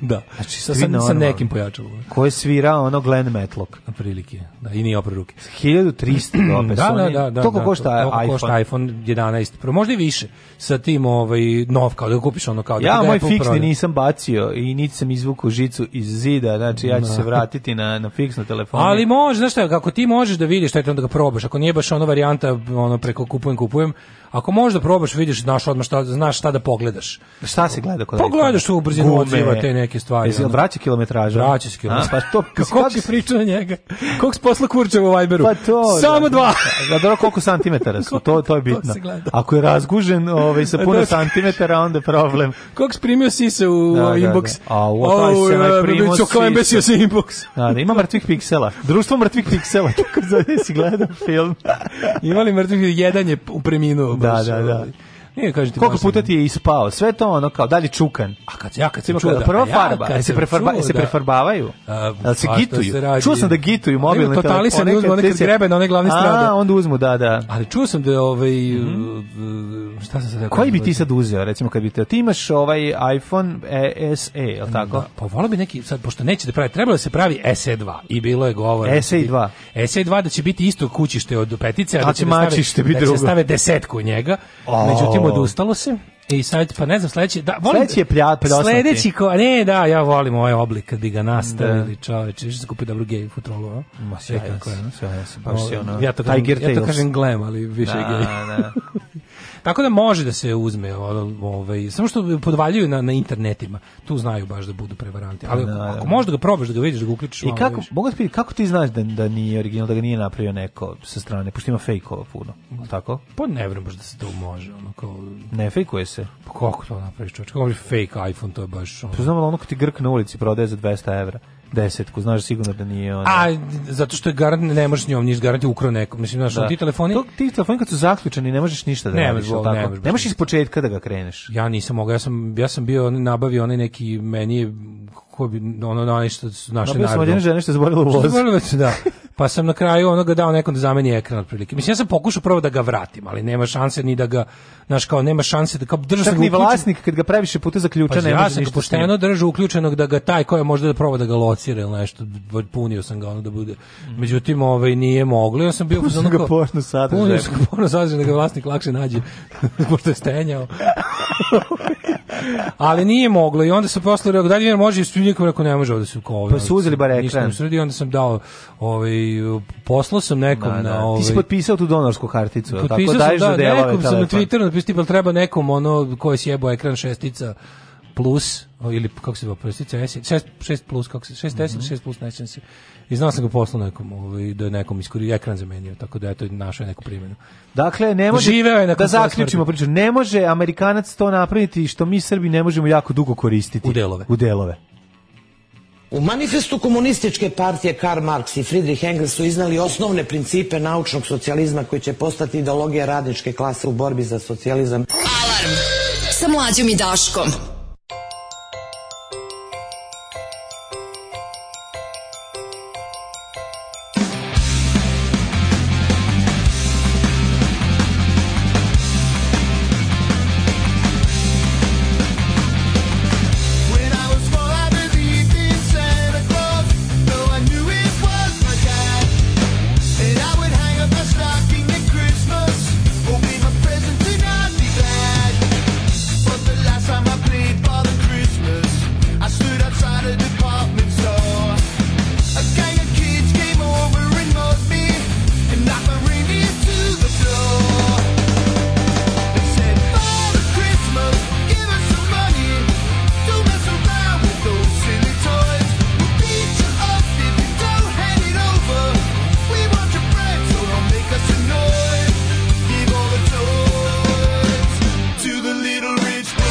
[SPEAKER 8] da.
[SPEAKER 7] Znači,
[SPEAKER 8] sa,
[SPEAKER 7] svi
[SPEAKER 8] sa, sa
[SPEAKER 7] normalni.
[SPEAKER 8] nekim pojačalom.
[SPEAKER 7] Ko je svirao ono Glenn Matlock.
[SPEAKER 8] Na prilike. Da, I nije opra ruke.
[SPEAKER 7] 1300 do opet.
[SPEAKER 8] da,
[SPEAKER 7] oni-
[SPEAKER 8] da, da, da.
[SPEAKER 7] Toliko
[SPEAKER 8] da,
[SPEAKER 7] košta
[SPEAKER 8] toliko
[SPEAKER 7] iPhone.
[SPEAKER 8] košta iPhone 11 Pro, možda i više. Sa tim ovaj nov kao da ga kupiš ono kao da
[SPEAKER 7] Ja
[SPEAKER 8] ga
[SPEAKER 7] moj
[SPEAKER 8] Apple
[SPEAKER 7] fiksni
[SPEAKER 8] proda.
[SPEAKER 7] nisam bacio i niti sam izvukao žicu iz zida, znači ja ću se vratiti na, na fiksno telefon.
[SPEAKER 8] Ali može, znaš šta, kako ti možeš da vidiš, taj da ga probaš. Ako nije baš ono varijanta ono preko kupujem, kupujem, ako možeš da probaš, vidiš, znaš odmah šta, znaš šta da pogledaš.
[SPEAKER 7] Šta se gleda kod
[SPEAKER 8] Pogledaš
[SPEAKER 7] iPhonea?
[SPEAKER 8] Pa tu u brzinu
[SPEAKER 7] Gume.
[SPEAKER 8] odziva, te neke stvari,
[SPEAKER 7] Jesi, jel
[SPEAKER 8] ono.
[SPEAKER 7] vraća kilometraža?
[SPEAKER 8] Vraća se kilometraža.
[SPEAKER 7] A, Pa to,
[SPEAKER 8] ono. Kako si pričao na njega? Koliko si posla kurčeva u Viberu?
[SPEAKER 7] Pa to,
[SPEAKER 8] Samo
[SPEAKER 7] da.
[SPEAKER 8] dva.
[SPEAKER 7] Da, dobro, koliko santimetara su, to, to je bitno.
[SPEAKER 8] se gleda.
[SPEAKER 7] Ako je razgužen ovaj, sa puno
[SPEAKER 8] Da.
[SPEAKER 7] santimetara, onda je problem.
[SPEAKER 8] Koliko si primio sise u
[SPEAKER 7] Da,
[SPEAKER 8] da,
[SPEAKER 7] da, da.
[SPEAKER 8] inbox?
[SPEAKER 7] A, u, taj
[SPEAKER 8] Au,
[SPEAKER 7] sam
[SPEAKER 8] ja,
[SPEAKER 7] primio
[SPEAKER 8] ću kao
[SPEAKER 7] sise.
[SPEAKER 8] imbecil sa inbox.
[SPEAKER 7] Da, da, ima mrtvih piksela. Društvo mrtvih piksela, tako zove si gledao film.
[SPEAKER 8] Imali mrtvih, jedan je preminuo.
[SPEAKER 7] Da,
[SPEAKER 8] baš,
[SPEAKER 7] da, da.
[SPEAKER 8] ovaj. Nije, kažem ti,
[SPEAKER 7] Koliko
[SPEAKER 8] baš sam-
[SPEAKER 7] puta ti je ispao? Sve to ono kao, dalje čukan.
[SPEAKER 8] A kad, ja kad sam
[SPEAKER 7] Ima
[SPEAKER 8] čuo
[SPEAKER 7] kada
[SPEAKER 8] da...
[SPEAKER 7] prva
[SPEAKER 8] a pa ja
[SPEAKER 7] farba,
[SPEAKER 8] kad
[SPEAKER 7] se,
[SPEAKER 8] sam
[SPEAKER 7] prefarba,
[SPEAKER 8] čuo
[SPEAKER 7] se
[SPEAKER 8] da-
[SPEAKER 7] prefarbavaju?
[SPEAKER 8] A,
[SPEAKER 7] Jel se
[SPEAKER 8] svašta
[SPEAKER 7] gituju?
[SPEAKER 8] se radi.
[SPEAKER 7] Čuo sam da gituju mobilne
[SPEAKER 8] Ali totali se ne uzmu, one kad grebe na one glavne strade.
[SPEAKER 7] A, onda uzmu, da, da.
[SPEAKER 8] Ali čuo sam da je ovaj... uh, Šta sam sad rekao?
[SPEAKER 7] Mhm. Koji bi ti sad uzeo, recimo, kad bi te... Ti imaš ovaj iPhone e, SE, je li tako?
[SPEAKER 8] Da, pa volao bi neki, sad, pošto neće da pravi, trebalo da se pravi SE2 i bilo je govor.
[SPEAKER 7] SE2.
[SPEAKER 8] SE2 da će biti isto kućište od petice, a
[SPEAKER 7] A
[SPEAKER 8] da će
[SPEAKER 7] će
[SPEAKER 8] da stave-
[SPEAKER 7] Znači, mačište biti
[SPEAKER 8] da će da
[SPEAKER 7] drugo.
[SPEAKER 8] stave desetku u njega.
[SPEAKER 7] O.
[SPEAKER 8] Međutim, odustalo se. I sad, pa ne znam, sledeći... Da, volim,
[SPEAKER 7] Sledeći je plja- pljosnati.
[SPEAKER 8] Sledeći, ko, ne, da, ja volim ovaj oblik kad bi ga nastavili, čoveče, što se kupi dobru gej futrolu, a?
[SPEAKER 7] Ma,
[SPEAKER 8] E, kako je,
[SPEAKER 7] sjajan
[SPEAKER 8] ono?
[SPEAKER 7] si, sjajan si, baš si ono,
[SPEAKER 8] Ja to kažem,
[SPEAKER 7] Tiger
[SPEAKER 8] ja to
[SPEAKER 7] Tales.
[SPEAKER 8] kažem glam, ali više je
[SPEAKER 7] Da,
[SPEAKER 8] gej.
[SPEAKER 7] da.
[SPEAKER 8] Tako da može da se uzme, o- ovaj, samo što podvaljuju na, na internetima. Tu znaju baš da budu prevaranti. Ali
[SPEAKER 7] Da, da.
[SPEAKER 8] ako možeš da ga probaš, da ga vidiš, da ga uključiš
[SPEAKER 7] Pa I
[SPEAKER 8] malo
[SPEAKER 7] kako,
[SPEAKER 8] više.
[SPEAKER 7] mogu da pitam, kako ti znaš da, da nije original, da ga nije napravio neko sa strane, pošto ima fejkova puno, jel tako?
[SPEAKER 8] Pa ne vrem baš da se to može, ono kao...
[SPEAKER 7] Ne fejkuje se.
[SPEAKER 8] Pa kako to napraviš čovječ? Kako možeš fake iPhone, to je baš... Ono.
[SPEAKER 7] Pa znam, ali ono kad ti grk na ulici prodaje za 200 evra, desetku, znaš sigurno da nije ono...
[SPEAKER 8] A, zato što je garant, ne možeš njom niš garanti ukro nekom. Mislim, znaš,
[SPEAKER 7] Da.
[SPEAKER 8] ti telefoni...
[SPEAKER 7] To, ti telefoni kad su zaključeni ne možeš ništa da
[SPEAKER 8] Ne
[SPEAKER 7] radiš,
[SPEAKER 8] možeš,
[SPEAKER 7] jel
[SPEAKER 8] ne
[SPEAKER 7] tako?
[SPEAKER 8] možeš
[SPEAKER 7] Ne možeš iz početka da ga kreneš.
[SPEAKER 8] Ja nisam mogao, ja sam, ja sam bio, on, nabavio onaj neki, meni je, ko bi, ono, na onaj što su naše
[SPEAKER 7] Nabavio sam od jedne žene što je zaboravila u
[SPEAKER 8] Što je
[SPEAKER 7] vozu.
[SPEAKER 8] zaboravila, da. Pa sam na kraju onoga dao nekom da zameni ekran otprilike. Mislim, ja sam pokušao prvo da ga vratim, ali nema šanse ni da ga, znaš, kao nema šanse da kao držao sam
[SPEAKER 7] Čak
[SPEAKER 8] ga
[SPEAKER 7] ni
[SPEAKER 8] uključen-
[SPEAKER 7] vlasnik kad ga previše puta zaključa
[SPEAKER 8] Pazi,
[SPEAKER 7] ne
[SPEAKER 8] ja
[SPEAKER 7] može
[SPEAKER 8] sam ga
[SPEAKER 7] ništa s njim.
[SPEAKER 8] pošteno držao uključenog da ga taj ko je možda da proba da ga locira ili nešto, punio sam ga ono da bude. Međutim, ovaj nije moglo. Ja sam bio
[SPEAKER 7] Punio sam
[SPEAKER 8] ono
[SPEAKER 7] ga
[SPEAKER 8] kao-
[SPEAKER 7] porno sadržajem.
[SPEAKER 8] Punio sam ga porno sadržajem da ga vlasnik lakše nađe pošto je stenjao. Ali nije moglo i onda sam posle rekao da li jer može i nikom rekao ne može ovde se kao.
[SPEAKER 7] Pa su uzeli bar ekran.
[SPEAKER 8] i onda sam dao ovaj poslao sam nekom
[SPEAKER 7] Da,
[SPEAKER 8] na
[SPEAKER 7] da.
[SPEAKER 8] ovaj
[SPEAKER 7] Ti si potpisao tu donorsku karticu, jel tako
[SPEAKER 8] Potpisao
[SPEAKER 7] daješ
[SPEAKER 8] sam,
[SPEAKER 7] da,
[SPEAKER 8] da,
[SPEAKER 7] delove
[SPEAKER 8] nekom sam na
[SPEAKER 7] telefon.
[SPEAKER 8] Twitteru napisao, tipa, treba nekom ono ko je sjebao ekran šestica plus, o, ili kako se zove, šestica, S, šest, šest plus, kako se, šest S ili
[SPEAKER 7] Mhm.
[SPEAKER 8] šest plus, ne sjećam se. I znao sam ga poslao nekom, ovaj, da je nekom iskoristio, ekran zamenio, tako da eto, našao je neku primjenu.
[SPEAKER 7] Dakle, ne može
[SPEAKER 8] Živeo je nakon
[SPEAKER 7] da
[SPEAKER 8] svoje
[SPEAKER 7] zaključimo priču. Ne može Amerikanac to napraviti što mi Srbi ne možemo jako dugo koristiti. U delove. U delove.
[SPEAKER 19] U manifestu komunističke partije Karl Marx i Friedrich Engels su iznali osnovne principe naučnog socijalizma koji će postati ideologija radničke klase u borbi za socijalizam.
[SPEAKER 5] Alarm sa mlađom i Daškom.
[SPEAKER 1] When I was four, I believed in Santa Claus, though I knew it was my dad. And I would hang up my stocking at Christmas, hoping my presents and I'd be glad. But the last time I played Father Christmas, I stood outside a department store. A gang of kids came over and mugged me, and knocked my reindeer to the floor. They said, Father Christmas, give us some money. Don't mess around with those silly toys. We'll beat you up if you don't hand it over. We want your bread, so don't make us a noise. Give all the toys to the little rich boys.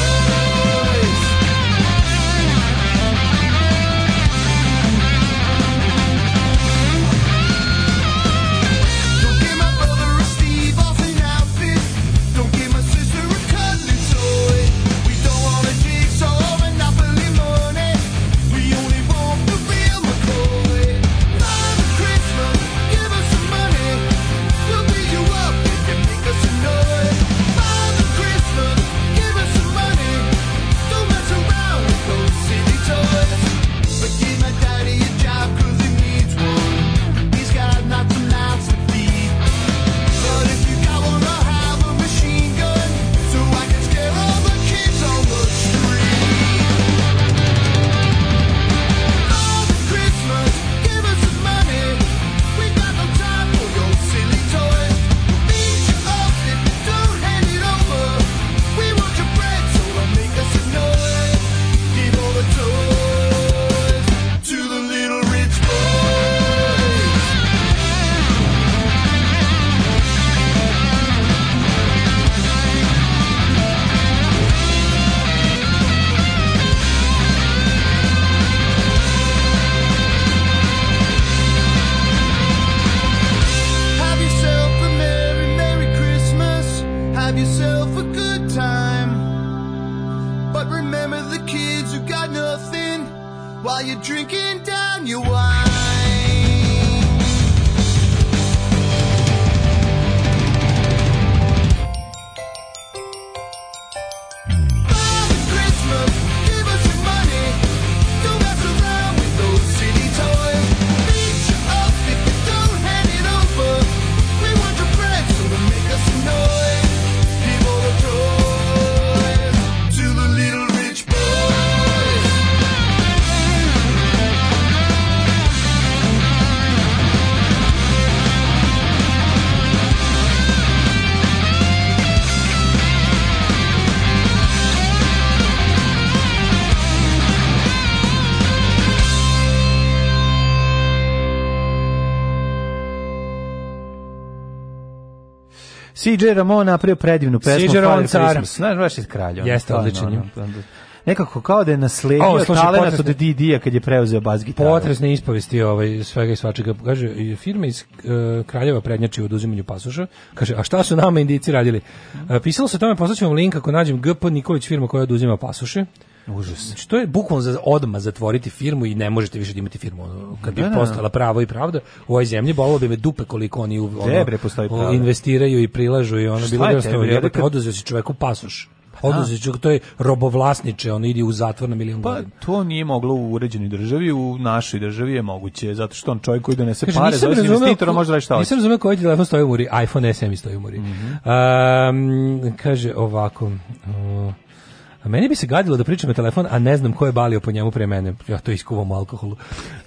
[SPEAKER 1] Don't give my brother a Steve Austin outfit. Don't give my sister a cuddly toy. We don't want a jigsaw or monopoly money. We only want the real McCoy. Father Christmas, give us some money. We'll beat you up if you make us a noise. Father Christmas, give us some money. Don't mess around with those silly toys. But give my daddy a job 'cause he needs one. He's got lots and lots of feet. But if you got one, I'll have a machine gun so I can scare all the kids on the street. Father Christmas, give us some money. We got no time for your silly toys. We'll beat you up if you don't hand it over. We want your bread, so don't make us a noise. Give all the toys to the little rich boys. Have yourself a merry, merry Christmas. Have yourself a good time. But remember the kids who got nothing while you're drinking down your wine. Father Christmas, give us some money. Don't mess around with those silly toys. Beat you up if you don't hand it over. We want your bread, so don't make us a noise. Give all the toys to the little rich boys.
[SPEAKER 7] CJ Ramon napravio predivnu pesmu.
[SPEAKER 8] CJ Ramon
[SPEAKER 7] Father
[SPEAKER 8] car.
[SPEAKER 7] Christmas. Znaš, baš je kralj. ono,
[SPEAKER 8] Jeste
[SPEAKER 7] stvarno,
[SPEAKER 8] odličan je.
[SPEAKER 7] ono, Nekako kao da je
[SPEAKER 8] O,
[SPEAKER 7] nasledio
[SPEAKER 8] slušaj,
[SPEAKER 7] talenat od
[SPEAKER 8] potresne-
[SPEAKER 7] DD-a kad je preuzeo bas gitaru.
[SPEAKER 8] Potresne ispovesti ovaj, svega i svačega. Kaže, i firma iz e, Kraljeva prednjači u oduzimanju pasoša. Kaže, a šta su nama indici radili?
[SPEAKER 7] Mhm.
[SPEAKER 8] E, pisalo se o tome, poslaću vam link ako nađem GP Nikolić firma koja oduzima pasoše.
[SPEAKER 7] Užas.
[SPEAKER 8] Znači, to je bukvalno za odma zatvoriti firmu i ne možete više da imate firmu. Ono, kad bi
[SPEAKER 7] Da, da, da.
[SPEAKER 8] postala pravo i pravda u ovoj zemlji, bolilo bi me dupe koliko oni u- ono,
[SPEAKER 7] Debre, postoji pravda.
[SPEAKER 8] investiraju i prilažu i ono
[SPEAKER 7] Šta
[SPEAKER 8] bilo
[SPEAKER 7] je
[SPEAKER 8] da
[SPEAKER 7] tebi,
[SPEAKER 8] ostavi,
[SPEAKER 7] jebote,
[SPEAKER 8] jebote,
[SPEAKER 7] kad-
[SPEAKER 8] oduzeo si čoveku pasoš.
[SPEAKER 7] Pa da.
[SPEAKER 8] Oduzeo si čoveku, to je robovlasniče, on idi u zatvor na milion
[SPEAKER 7] Pa
[SPEAKER 8] godina.
[SPEAKER 7] to nije moglo u uređenoj državi, u našoj državi je moguće, zato što on čovjek koji donese
[SPEAKER 8] Kaže,
[SPEAKER 7] pare,
[SPEAKER 8] Znači, nisam
[SPEAKER 7] zove se
[SPEAKER 8] razumeo
[SPEAKER 7] investitora,
[SPEAKER 8] ko-
[SPEAKER 7] može raditi šta hoće. Mhm.
[SPEAKER 8] Nisam razumeo koji telefon stoji u muri. iPhone SE mi stoji u muri. Um, kaže ovako... uh, A meni bi se gadilo da pričam na telefon, a ne znam ko je balio po njemu pre mene. Ja to iskuvam u alkoholu.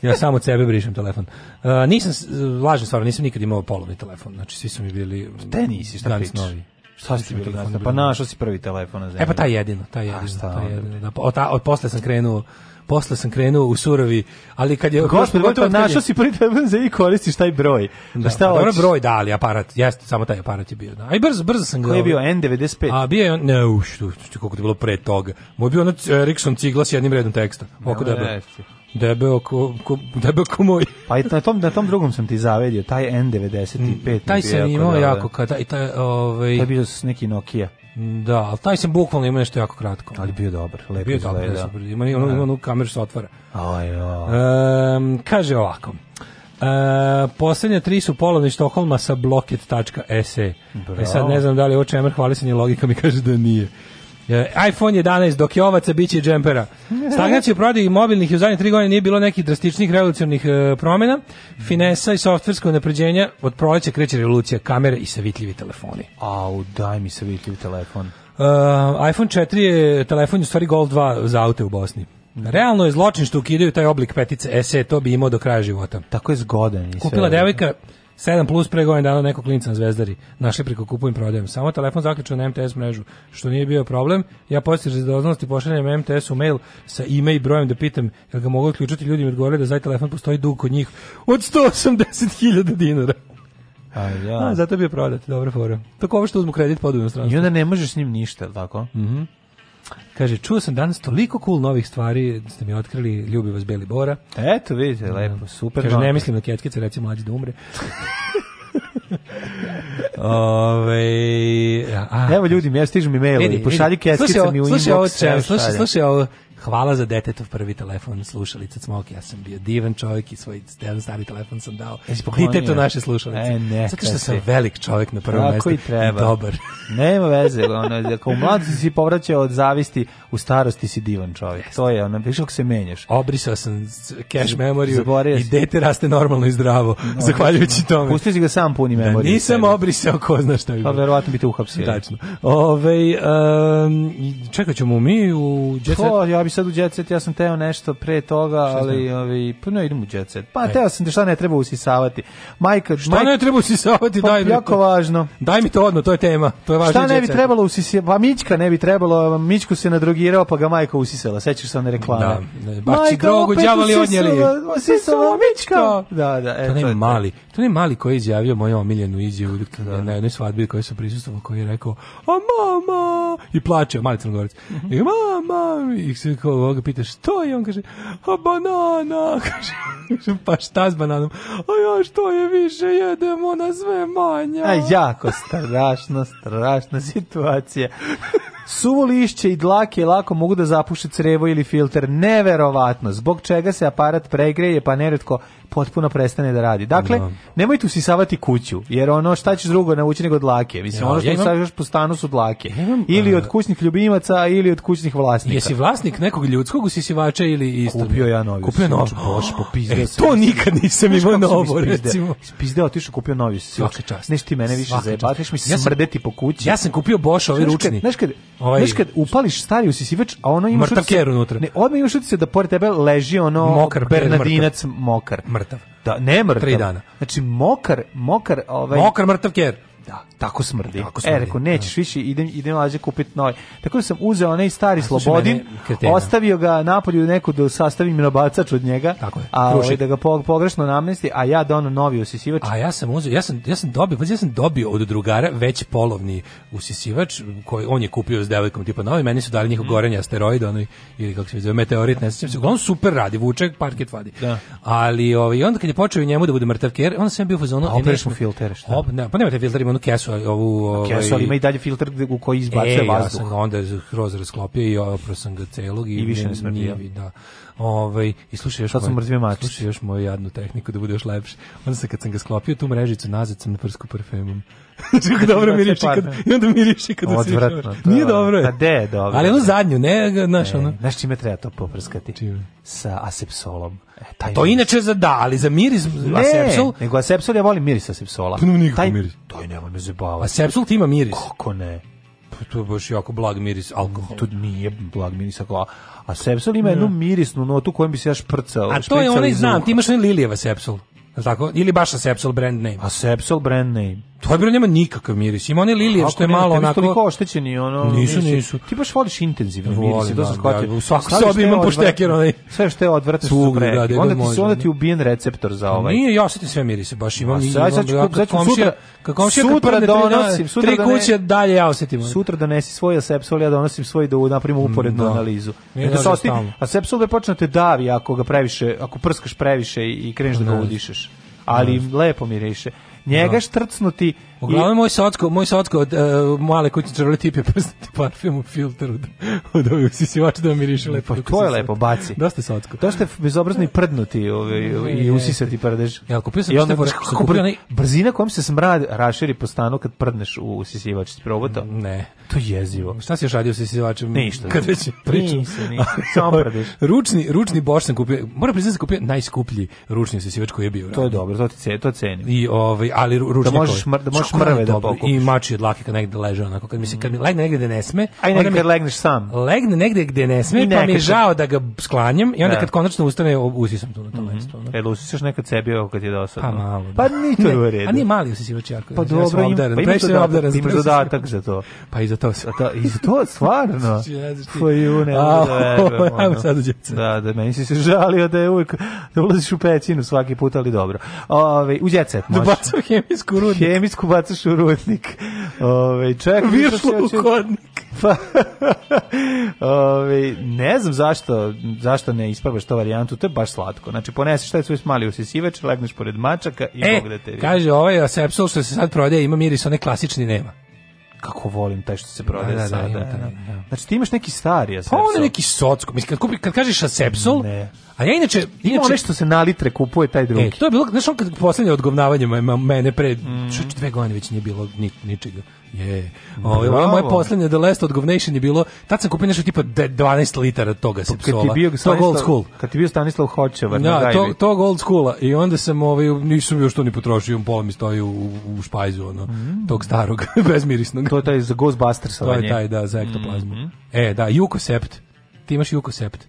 [SPEAKER 8] Ja samo od sebe brišem telefon. Uh, nisam, s- lažem stvarno, nisam nikad imao polovni telefon. Znači, svi su mi bili...
[SPEAKER 7] Te nisi, šta
[SPEAKER 8] danas
[SPEAKER 7] pričaš?
[SPEAKER 8] novi.
[SPEAKER 7] Šta si
[SPEAKER 8] Nisam
[SPEAKER 7] bili
[SPEAKER 8] telefon
[SPEAKER 7] danas?
[SPEAKER 8] bio.
[SPEAKER 7] Pa našao si prvi telefon na zemlji.
[SPEAKER 8] E pa taj jedino, taj jedino,
[SPEAKER 7] šta
[SPEAKER 8] taj
[SPEAKER 7] onda?
[SPEAKER 8] jedino. Da, pa od, ta- od posle sam krenuo, posle sam krenuo u surovi, ali kad je
[SPEAKER 7] Gospod,
[SPEAKER 8] pogotovo
[SPEAKER 7] gotovo,
[SPEAKER 8] od kad je-
[SPEAKER 7] našao si prvi telefon za i koristiš taj broj. Da,
[SPEAKER 8] Da,
[SPEAKER 7] šta
[SPEAKER 8] pa dobro,
[SPEAKER 7] hoćeš?
[SPEAKER 8] broj da, ali aparat, jeste, samo taj aparat je bio. Da. A i brzo, brzo sam ga...
[SPEAKER 7] Koji je bio
[SPEAKER 8] ovaj,
[SPEAKER 7] N95?
[SPEAKER 8] A bio je, on- ne, u, što, što, koliko je bilo pre toga. Moj je bio ono Ericsson cigla s jednim redom teksta. Oko
[SPEAKER 7] Nemoj
[SPEAKER 8] debel.
[SPEAKER 7] reći.
[SPEAKER 8] Debel ko, ko, debel ko moj.
[SPEAKER 7] Pa i na tom, na tom drugom sam ti zavedio, taj N95. mi je
[SPEAKER 8] Mm, Taj
[SPEAKER 7] bio
[SPEAKER 8] sam imao
[SPEAKER 7] dobar.
[SPEAKER 8] jako, kada, i taj, ovaj...
[SPEAKER 7] To je bio s neki Nokia.
[SPEAKER 8] Da, ali taj sam bukvalno imao nešto jako kratko.
[SPEAKER 7] Ali bio dobar, lepo
[SPEAKER 8] bio dobro,
[SPEAKER 7] izgleda.
[SPEAKER 8] super. Ima ni- ono-
[SPEAKER 7] Da.
[SPEAKER 8] ima onu kameru se otvara.
[SPEAKER 7] Aj, aj.
[SPEAKER 8] Ehm, kaže ovako. E, poslednje tri su polovni Štokholma sa blocket.se.
[SPEAKER 7] Bravo.
[SPEAKER 8] E sad ne znam da li je ovo čemer hvalisanje logika mi kaže da nije. E, iPhone 11, dok je ovaca, bit će i džempera. Stagnacija u prodaju mobilnih i u zadnje tri godine nije bilo nekih drastičnih revolucionih e, promjena. Finesa i softversko napređenja od proleća kreće revolucija kamere i savitljivi telefoni.
[SPEAKER 7] Au, daj mi se vidjeti u telefon.
[SPEAKER 8] Uh, iPhone 4 je telefon, u stvari Golf 2 za aute u Bosni. Realno je zločin što ukidaju taj oblik petice E, SE, to bi imao do kraja života.
[SPEAKER 7] Tako je zgodan. i sve.
[SPEAKER 8] Kupila devojka 7 plus pre godinu dana nekog klinca na Zvezdari. Našli preko kupujem prodajem. Samo telefon zaključen na MTS mrežu, što nije bio problem. Ja poslije razdoznosti pošaljem MTS u mail sa ime i brojem da pitam jel ga mogu odključiti. Ljudi mi odgovorili da za taj telefon postoji dug kod njih od 180.000 dinara.
[SPEAKER 7] Aj, ja.
[SPEAKER 8] A, zato bi je prodat, dobra fora. Tako ovo što uzmu kredit pod
[SPEAKER 7] I
[SPEAKER 8] inostranstvo.
[SPEAKER 7] onda ne možeš s njim ništa, jel tako?
[SPEAKER 8] Mhm. Kaže, čuo sam danas toliko cool novih stvari, ste mi otkrili, ljubi vas Beli Bora.
[SPEAKER 7] Eto, vidite, lepo, super.
[SPEAKER 8] Kaže,
[SPEAKER 7] note.
[SPEAKER 8] ne mislim na ketkice, reci mlađi da umre. Ove, a,
[SPEAKER 7] Evo ljudi, ja stižu mi mailovi,
[SPEAKER 8] vidi,
[SPEAKER 7] pošalji
[SPEAKER 8] vidi. Slušaj
[SPEAKER 7] keskica
[SPEAKER 8] ovo-
[SPEAKER 7] mi u inbox.
[SPEAKER 8] Slušaj ovo,
[SPEAKER 7] evo
[SPEAKER 8] čem, slušaj,
[SPEAKER 7] šalje.
[SPEAKER 8] slušaj ovo, hvala za detetov prvi telefon, slušalica Cmok, ja sam bio divan čovjek i svoj jedan stari telefon sam dao.
[SPEAKER 7] Jesi poklonio?
[SPEAKER 8] Ditetu naše slušalice.
[SPEAKER 7] E, neka
[SPEAKER 8] Zato što sam
[SPEAKER 7] si.
[SPEAKER 8] velik čovjek na prvom
[SPEAKER 7] Tako
[SPEAKER 8] mestu.
[SPEAKER 7] i treba.
[SPEAKER 8] Dobar.
[SPEAKER 7] Nema veze, ono, ako u mladosti si povraćao od zavisti, u starosti si divan čovjek. To je, ono, viš kako se menjaš.
[SPEAKER 8] Obrisao sam s- cache memoriju
[SPEAKER 7] Zaboravio
[SPEAKER 8] i
[SPEAKER 7] si.
[SPEAKER 8] dete raste normalno i zdravo, zahvaljujući tome.
[SPEAKER 7] Pustio si ga sam puni
[SPEAKER 8] Da
[SPEAKER 7] memoriju.
[SPEAKER 8] nisam obrisao, ko zna šta bi
[SPEAKER 7] Pa
[SPEAKER 8] bilo.
[SPEAKER 7] verovatno bi te uhapsili.
[SPEAKER 8] Tačno. Ove, um, čekat ćemo mi u Jet Set.
[SPEAKER 7] To, ja bi sad u jet set, ja sam teo nešto pre toga, ali
[SPEAKER 8] znam?
[SPEAKER 7] ovi, pa ne idem u jet set. Pa
[SPEAKER 8] E.
[SPEAKER 7] teo sam da šta ne treba usisavati. Majka,
[SPEAKER 8] Šta ne treba usisavati,
[SPEAKER 7] Pa,
[SPEAKER 8] daj mi
[SPEAKER 7] jako
[SPEAKER 8] to.
[SPEAKER 7] važno.
[SPEAKER 8] Daj mi to odmah, to je tema. To je važno
[SPEAKER 7] Šta
[SPEAKER 8] u
[SPEAKER 7] ne
[SPEAKER 8] Jet
[SPEAKER 7] bi
[SPEAKER 8] Setu.
[SPEAKER 7] trebalo usisati? Pa Mićka ne bi trebalo, Mićku se nadrogirao pa ga majka usisala. Sećaš se one reklame?
[SPEAKER 8] Da, ne, baš će drogu
[SPEAKER 7] opet
[SPEAKER 8] đavoli
[SPEAKER 7] usisala,
[SPEAKER 8] odnijeli.
[SPEAKER 7] Usisala Mićka. Da, da,
[SPEAKER 8] Pa to
[SPEAKER 7] eto.
[SPEAKER 8] onaj
[SPEAKER 7] je to.
[SPEAKER 8] mali, to onaj mali koji je izjavio moju omiljenu izjavu na jednoj svadbi kojoj sam prisustvovao, koji je rekao: "A mama!" i plače, mali crnogorac.
[SPEAKER 7] Mhm.
[SPEAKER 8] I mama, i se kao ovoga pita što je, on kaže: "A banana." Kaže, kažem, pa šta s bananom? A ja što je više jedemo na sve manja.
[SPEAKER 7] A jako strašna, strašna situacija. Suvo lišće i dlake lako mogu da zapuše crevo ili filter. Neverovatno. Zbog čega se aparat pregreje pa neretko potpuno prestane da radi. Dakle,
[SPEAKER 8] Da.
[SPEAKER 7] nemojte usisavati kuću, jer ono šta ćeš drugo naučiti nego dlake. Mislim,
[SPEAKER 8] Ja,
[SPEAKER 7] ono što
[SPEAKER 8] ja
[SPEAKER 7] ja
[SPEAKER 8] imam-
[SPEAKER 7] usisavaš po stanu su dlake.
[SPEAKER 8] imam,
[SPEAKER 7] ili od
[SPEAKER 8] e,
[SPEAKER 7] kućnih ljubimaca, ili od kućnih vlasnika.
[SPEAKER 8] Jesi vlasnik nekog ljudskog usisivača ili isto?
[SPEAKER 7] Kupio ja novi
[SPEAKER 8] Kupio novo.
[SPEAKER 7] usisivač, boš, popizdio
[SPEAKER 8] E,
[SPEAKER 7] sam.
[SPEAKER 8] to nikad nisam
[SPEAKER 7] Znaš
[SPEAKER 8] imao
[SPEAKER 7] kako sam
[SPEAKER 8] novo,
[SPEAKER 7] ispizdeo?
[SPEAKER 8] recimo.
[SPEAKER 7] Ispizdeo, otišao kupio novi usisivač.
[SPEAKER 8] Svaka čast.
[SPEAKER 7] Neš ti mene više
[SPEAKER 8] Svaka
[SPEAKER 7] zajebati,
[SPEAKER 8] čast.
[SPEAKER 7] neš mi
[SPEAKER 8] Ja sam-
[SPEAKER 7] smrdeti po kući.
[SPEAKER 8] Ja sam kupio Bosch ovaj
[SPEAKER 7] Znaš kad-
[SPEAKER 8] ručni.
[SPEAKER 7] Znaš kad,
[SPEAKER 8] Ovaj-
[SPEAKER 7] znaš kad upališ stari usisivač, a ono imaš
[SPEAKER 8] Mrtav ker unutra.
[SPEAKER 7] Ne, odmah imaš utisak da pored tebe leži ono
[SPEAKER 8] Mokar ker,
[SPEAKER 7] Bernardinac mokar.
[SPEAKER 8] Mrtav.
[SPEAKER 7] Da, ne mrtav.
[SPEAKER 8] Tri dana.
[SPEAKER 7] Znači mokar, mokar, ovaj
[SPEAKER 8] Mokar mrtav ker.
[SPEAKER 7] Da. Tako smrdi.
[SPEAKER 8] Tako
[SPEAKER 7] E,
[SPEAKER 8] smrdi,
[SPEAKER 7] rekao, nećeš više, idem, idem lađe kupiti novi. Tako da sam uzeo onaj stari
[SPEAKER 8] slušaj
[SPEAKER 7] Slobodin,
[SPEAKER 8] mene, kretena.
[SPEAKER 7] ostavio ga napolju neko da sastavim minobacač od njega, Tako a
[SPEAKER 8] Krušik.
[SPEAKER 7] ovaj, da ga po- pogrešno namesti, a ja donio novi usisivač.
[SPEAKER 8] A ja sam uzeo, ja sam, ja sam dobio, pazi, ja sam dobio od drugara već polovni usisivač koji on je kupio s devojkom tipa novi, meni su dali njihov
[SPEAKER 7] Mhm.
[SPEAKER 8] gorenje asteroida onaj, ili kako se zove, meteorit, ne sjećam se. Uglavnom super radi, vuče parket vadi.
[SPEAKER 7] Da.
[SPEAKER 8] Ali ovaj, onda kad je počeo i njemu da bude mrtav ker, onda sam ja bio u fazonu...
[SPEAKER 7] A Pa opereš mu filtere, šta?
[SPEAKER 8] Op, ne, pa nemate filter, ima onu kesu, ovu... Ovaj,
[SPEAKER 7] Kesu, ali ima i dalje filtr gde- u koji izbacuje
[SPEAKER 8] e, ja
[SPEAKER 7] vazduh.
[SPEAKER 8] sam ga onda kroz rasklopio i oprao sam ga celog i,
[SPEAKER 7] I više ne
[SPEAKER 8] nije-
[SPEAKER 7] smrdi,
[SPEAKER 8] nije
[SPEAKER 7] ja.
[SPEAKER 8] vi- da. Ovaj i slušaj još
[SPEAKER 7] Sad su
[SPEAKER 8] moj-
[SPEAKER 7] mrtvi mačići.
[SPEAKER 8] Slušaj još moju jadnu tehniku da bude još lepše. Onda sam kad sam ga sklopio tu mrežicu nazad sam naprskao parfemom. Čekaj, dobro
[SPEAKER 7] Znači,
[SPEAKER 8] miriši kad
[SPEAKER 7] parfem.
[SPEAKER 8] i onda miriši kad se
[SPEAKER 7] Odvratno, to je
[SPEAKER 8] Nije
[SPEAKER 7] ono.
[SPEAKER 8] dobro.
[SPEAKER 7] Pa de je dobro.
[SPEAKER 8] Ali ono zadnju, ne, ga, znaš ono.
[SPEAKER 7] Znaš čime treba to poprskati? Sa asepsolom. E, taj
[SPEAKER 8] To
[SPEAKER 7] miris.
[SPEAKER 8] inače za da, ali za miris
[SPEAKER 7] Ne,
[SPEAKER 8] asepsol,
[SPEAKER 7] nego asepsol ja volim miris asepsola.
[SPEAKER 8] Pa nema nikakav
[SPEAKER 7] Taj-
[SPEAKER 8] miris.
[SPEAKER 7] To je nemoj me zabavati.
[SPEAKER 8] asepsol ti ima miris.
[SPEAKER 7] Kako ne?
[SPEAKER 8] Pa To je baš jako blag miris alkohola.
[SPEAKER 7] To nije blag miris alkohola. A sepsol ima jednu mirisnu notu kojom bi se ja šprcao.
[SPEAKER 8] A to je onaj, znam, ti imaš onaj Lilijeva sepsol. Jel tako? Ili baš Asepsol brand name.
[SPEAKER 7] Asepsol brand name.
[SPEAKER 8] To je bre nema nikakav miris. Ima onaj Lilijev što je malo onako...
[SPEAKER 7] toliko oštećeni, ono...
[SPEAKER 8] Nisu,
[SPEAKER 7] mirisi.
[SPEAKER 8] nisu.
[SPEAKER 7] Ti baš voliš intenzivne
[SPEAKER 8] Volim,
[SPEAKER 7] mirisi, to
[SPEAKER 8] da,
[SPEAKER 7] sam shvatio.
[SPEAKER 8] da, u svakoj
[SPEAKER 7] Sve što
[SPEAKER 8] sobi
[SPEAKER 7] je
[SPEAKER 8] imam
[SPEAKER 7] odvratno-
[SPEAKER 8] poštekir onaj.
[SPEAKER 7] Sve što je odvratno su
[SPEAKER 8] Svugde, da,
[SPEAKER 7] prepi.
[SPEAKER 8] gde god
[SPEAKER 7] Onda ti,
[SPEAKER 8] može,
[SPEAKER 7] onda
[SPEAKER 8] da. Pa
[SPEAKER 7] ti ubijen receptor za ovaj.
[SPEAKER 8] Nije, ja osetim sve mirise, baš imam.
[SPEAKER 7] A
[SPEAKER 8] i-
[SPEAKER 7] sad- sad ću
[SPEAKER 8] imam-
[SPEAKER 7] kup- sad ću
[SPEAKER 8] kad komšija-
[SPEAKER 7] sutra-
[SPEAKER 8] kad komšija kad
[SPEAKER 7] sutra
[SPEAKER 8] prne tri dana-
[SPEAKER 7] donosim, sutra
[SPEAKER 8] tri
[SPEAKER 7] da ne-
[SPEAKER 8] kuće dalje ja osetim.
[SPEAKER 7] Sutra donesi svoj asepsol, ja donosim svoj da u- napravimo uporednu
[SPEAKER 8] Mm, da.
[SPEAKER 7] analizu.
[SPEAKER 8] Ne
[SPEAKER 7] Jer da se
[SPEAKER 8] daže
[SPEAKER 7] osti-
[SPEAKER 8] stalno.
[SPEAKER 7] asepsol da počne te davi ako ga previše, ako prskaš previše i i kreneš da ga
[SPEAKER 8] Ne.
[SPEAKER 7] udišeš. Ali lepo miriše. Njega
[SPEAKER 8] Da.
[SPEAKER 7] štrcnuti
[SPEAKER 8] Uglavnom moj socko, moj socko od uh, male kućice roli tipje prstati parfem u filteru od, od ovih usisivača da miriše lepo.
[SPEAKER 7] Pa to je lepo, baci.
[SPEAKER 8] Dosta je socko.
[SPEAKER 7] Dosta je bezobrazni prdnuti ovaj, i
[SPEAKER 8] Ne,
[SPEAKER 7] usisati prdež.
[SPEAKER 8] Ja, kupio sam
[SPEAKER 7] I onda,
[SPEAKER 8] što je-
[SPEAKER 7] kako
[SPEAKER 8] sam kupio
[SPEAKER 7] br-
[SPEAKER 8] onaj-
[SPEAKER 7] Brzina kojom se smrad raširi po stanu kad prdneš u usisivač. Ti probao to?
[SPEAKER 8] Ne.
[SPEAKER 7] To je jezivo.
[SPEAKER 8] Šta si još radio sa isivačem?
[SPEAKER 7] Ništa.
[SPEAKER 8] Kad već pričam.
[SPEAKER 7] Nisam, nisam. Samo prdeš.
[SPEAKER 8] ručni, ručni Bosch sam kupio. Moram priznati da sam kupio najskuplji ručni sisivač koji je bio.
[SPEAKER 7] To je dobro, to ti ce, to cenim.
[SPEAKER 8] I ovaj ali ru- ručni
[SPEAKER 7] možeš
[SPEAKER 8] koji-
[SPEAKER 7] mr- da možeš
[SPEAKER 8] Kako je
[SPEAKER 7] mrve da
[SPEAKER 8] dobro.
[SPEAKER 7] pokupiš. Mm.
[SPEAKER 8] I mači od dlake kad negde leže onako kad mi se kad mi legne negde gde ne sme.
[SPEAKER 7] Aj
[SPEAKER 8] onda
[SPEAKER 7] nekad
[SPEAKER 8] mi
[SPEAKER 7] kad legneš sam.
[SPEAKER 8] legne negde gde ne sme,
[SPEAKER 7] I
[SPEAKER 8] pa mi je
[SPEAKER 7] nekaže.
[SPEAKER 8] žao da ga sklanjam i onda
[SPEAKER 7] Da.
[SPEAKER 8] kad konačno ustane o- usisam tu na to mesto. ono.
[SPEAKER 7] E, lusiš nekad sebi ovo kad je dosadno.
[SPEAKER 8] Pa malo. da.
[SPEAKER 7] Pa ni to je u
[SPEAKER 8] Ne,
[SPEAKER 7] redu.
[SPEAKER 8] A nije mali usisivač Jarko.
[SPEAKER 7] Pa
[SPEAKER 8] ja sam
[SPEAKER 7] dobro, im,
[SPEAKER 8] obdaren,
[SPEAKER 7] pa imaš
[SPEAKER 8] previše sam
[SPEAKER 7] dodatak,
[SPEAKER 8] obdaren za
[SPEAKER 7] imaš
[SPEAKER 8] to
[SPEAKER 7] dodatak za to.
[SPEAKER 8] Pa i za to se.
[SPEAKER 7] Da, i za to stvarno.
[SPEAKER 8] Ja znaš ti.
[SPEAKER 7] Pa ju ne
[SPEAKER 8] A,
[SPEAKER 7] mogu da verujem,
[SPEAKER 8] ajmo
[SPEAKER 7] ono.
[SPEAKER 8] sad u đece.
[SPEAKER 7] Da, da, meni si se žalio da je uvijek, da ulaziš u pećinu svaki put, ali dobro. Ove, u djecet
[SPEAKER 8] Da
[SPEAKER 7] možeš.
[SPEAKER 8] bacam hemijsku rudnik.
[SPEAKER 7] Hemijsku bacaš u rudnik. Ove, čekaj,
[SPEAKER 8] Višlo
[SPEAKER 7] što se
[SPEAKER 8] u
[SPEAKER 7] hoće-
[SPEAKER 8] hodnik.
[SPEAKER 7] Pa, ove, ne znam zašto, zašto ne isprobaš to varijantu, to je baš slatko. Znači, poneseš taj svoj mali usisivač, legneš pored mačaka i
[SPEAKER 8] E,
[SPEAKER 7] Bog da te vidi.
[SPEAKER 8] kaže, ovaj Asepsol što se sad prodaje ima miris, onaj klasični nema.
[SPEAKER 7] Kako volim taj što se prodaje
[SPEAKER 8] Da, da, da,
[SPEAKER 7] sada.
[SPEAKER 8] ima taj,
[SPEAKER 7] da.
[SPEAKER 8] da.
[SPEAKER 7] Znači, ti imaš neki stari
[SPEAKER 8] Pa
[SPEAKER 7] asepsol.
[SPEAKER 8] on je neki socko. Mislim, kad, kupi, kad kažeš Asepsol,
[SPEAKER 7] Ne.
[SPEAKER 8] a ja inače...
[SPEAKER 7] Ima
[SPEAKER 8] inače
[SPEAKER 7] onaj što Ono se na litre kupuje, taj drugi.
[SPEAKER 8] E, to je bilo, znaš, on kad poslednje odgovnavanje me- me- mene pre,
[SPEAKER 7] Mm.
[SPEAKER 8] čuč, dve godine već nije bilo ni, ničega. Je. Ovo,
[SPEAKER 7] Bravo.
[SPEAKER 8] moje poslednje The Last Odgovnation je bilo, tad sam kupio nešto tipa de- 12 litara toga
[SPEAKER 7] Pa kad
[SPEAKER 8] Asepsola.
[SPEAKER 7] ti bio
[SPEAKER 8] Tog
[SPEAKER 7] Stanislav,
[SPEAKER 8] old school.
[SPEAKER 7] Kad ti bio Stanislav Hočevar na
[SPEAKER 8] Da,
[SPEAKER 7] Gajbi.
[SPEAKER 8] to, tog old schoola. I onda sam, ovaj, nisam još to ni potrošio, pola mi stoji u, u špajzu, ono, tog starog, bezmirisnog.
[SPEAKER 7] Mm. To je Mhm. taj za Ghostbusters. ovaj
[SPEAKER 8] To je taj, da, za ektoplazmu. E, da, Jukosept. Ti imaš Jukosept.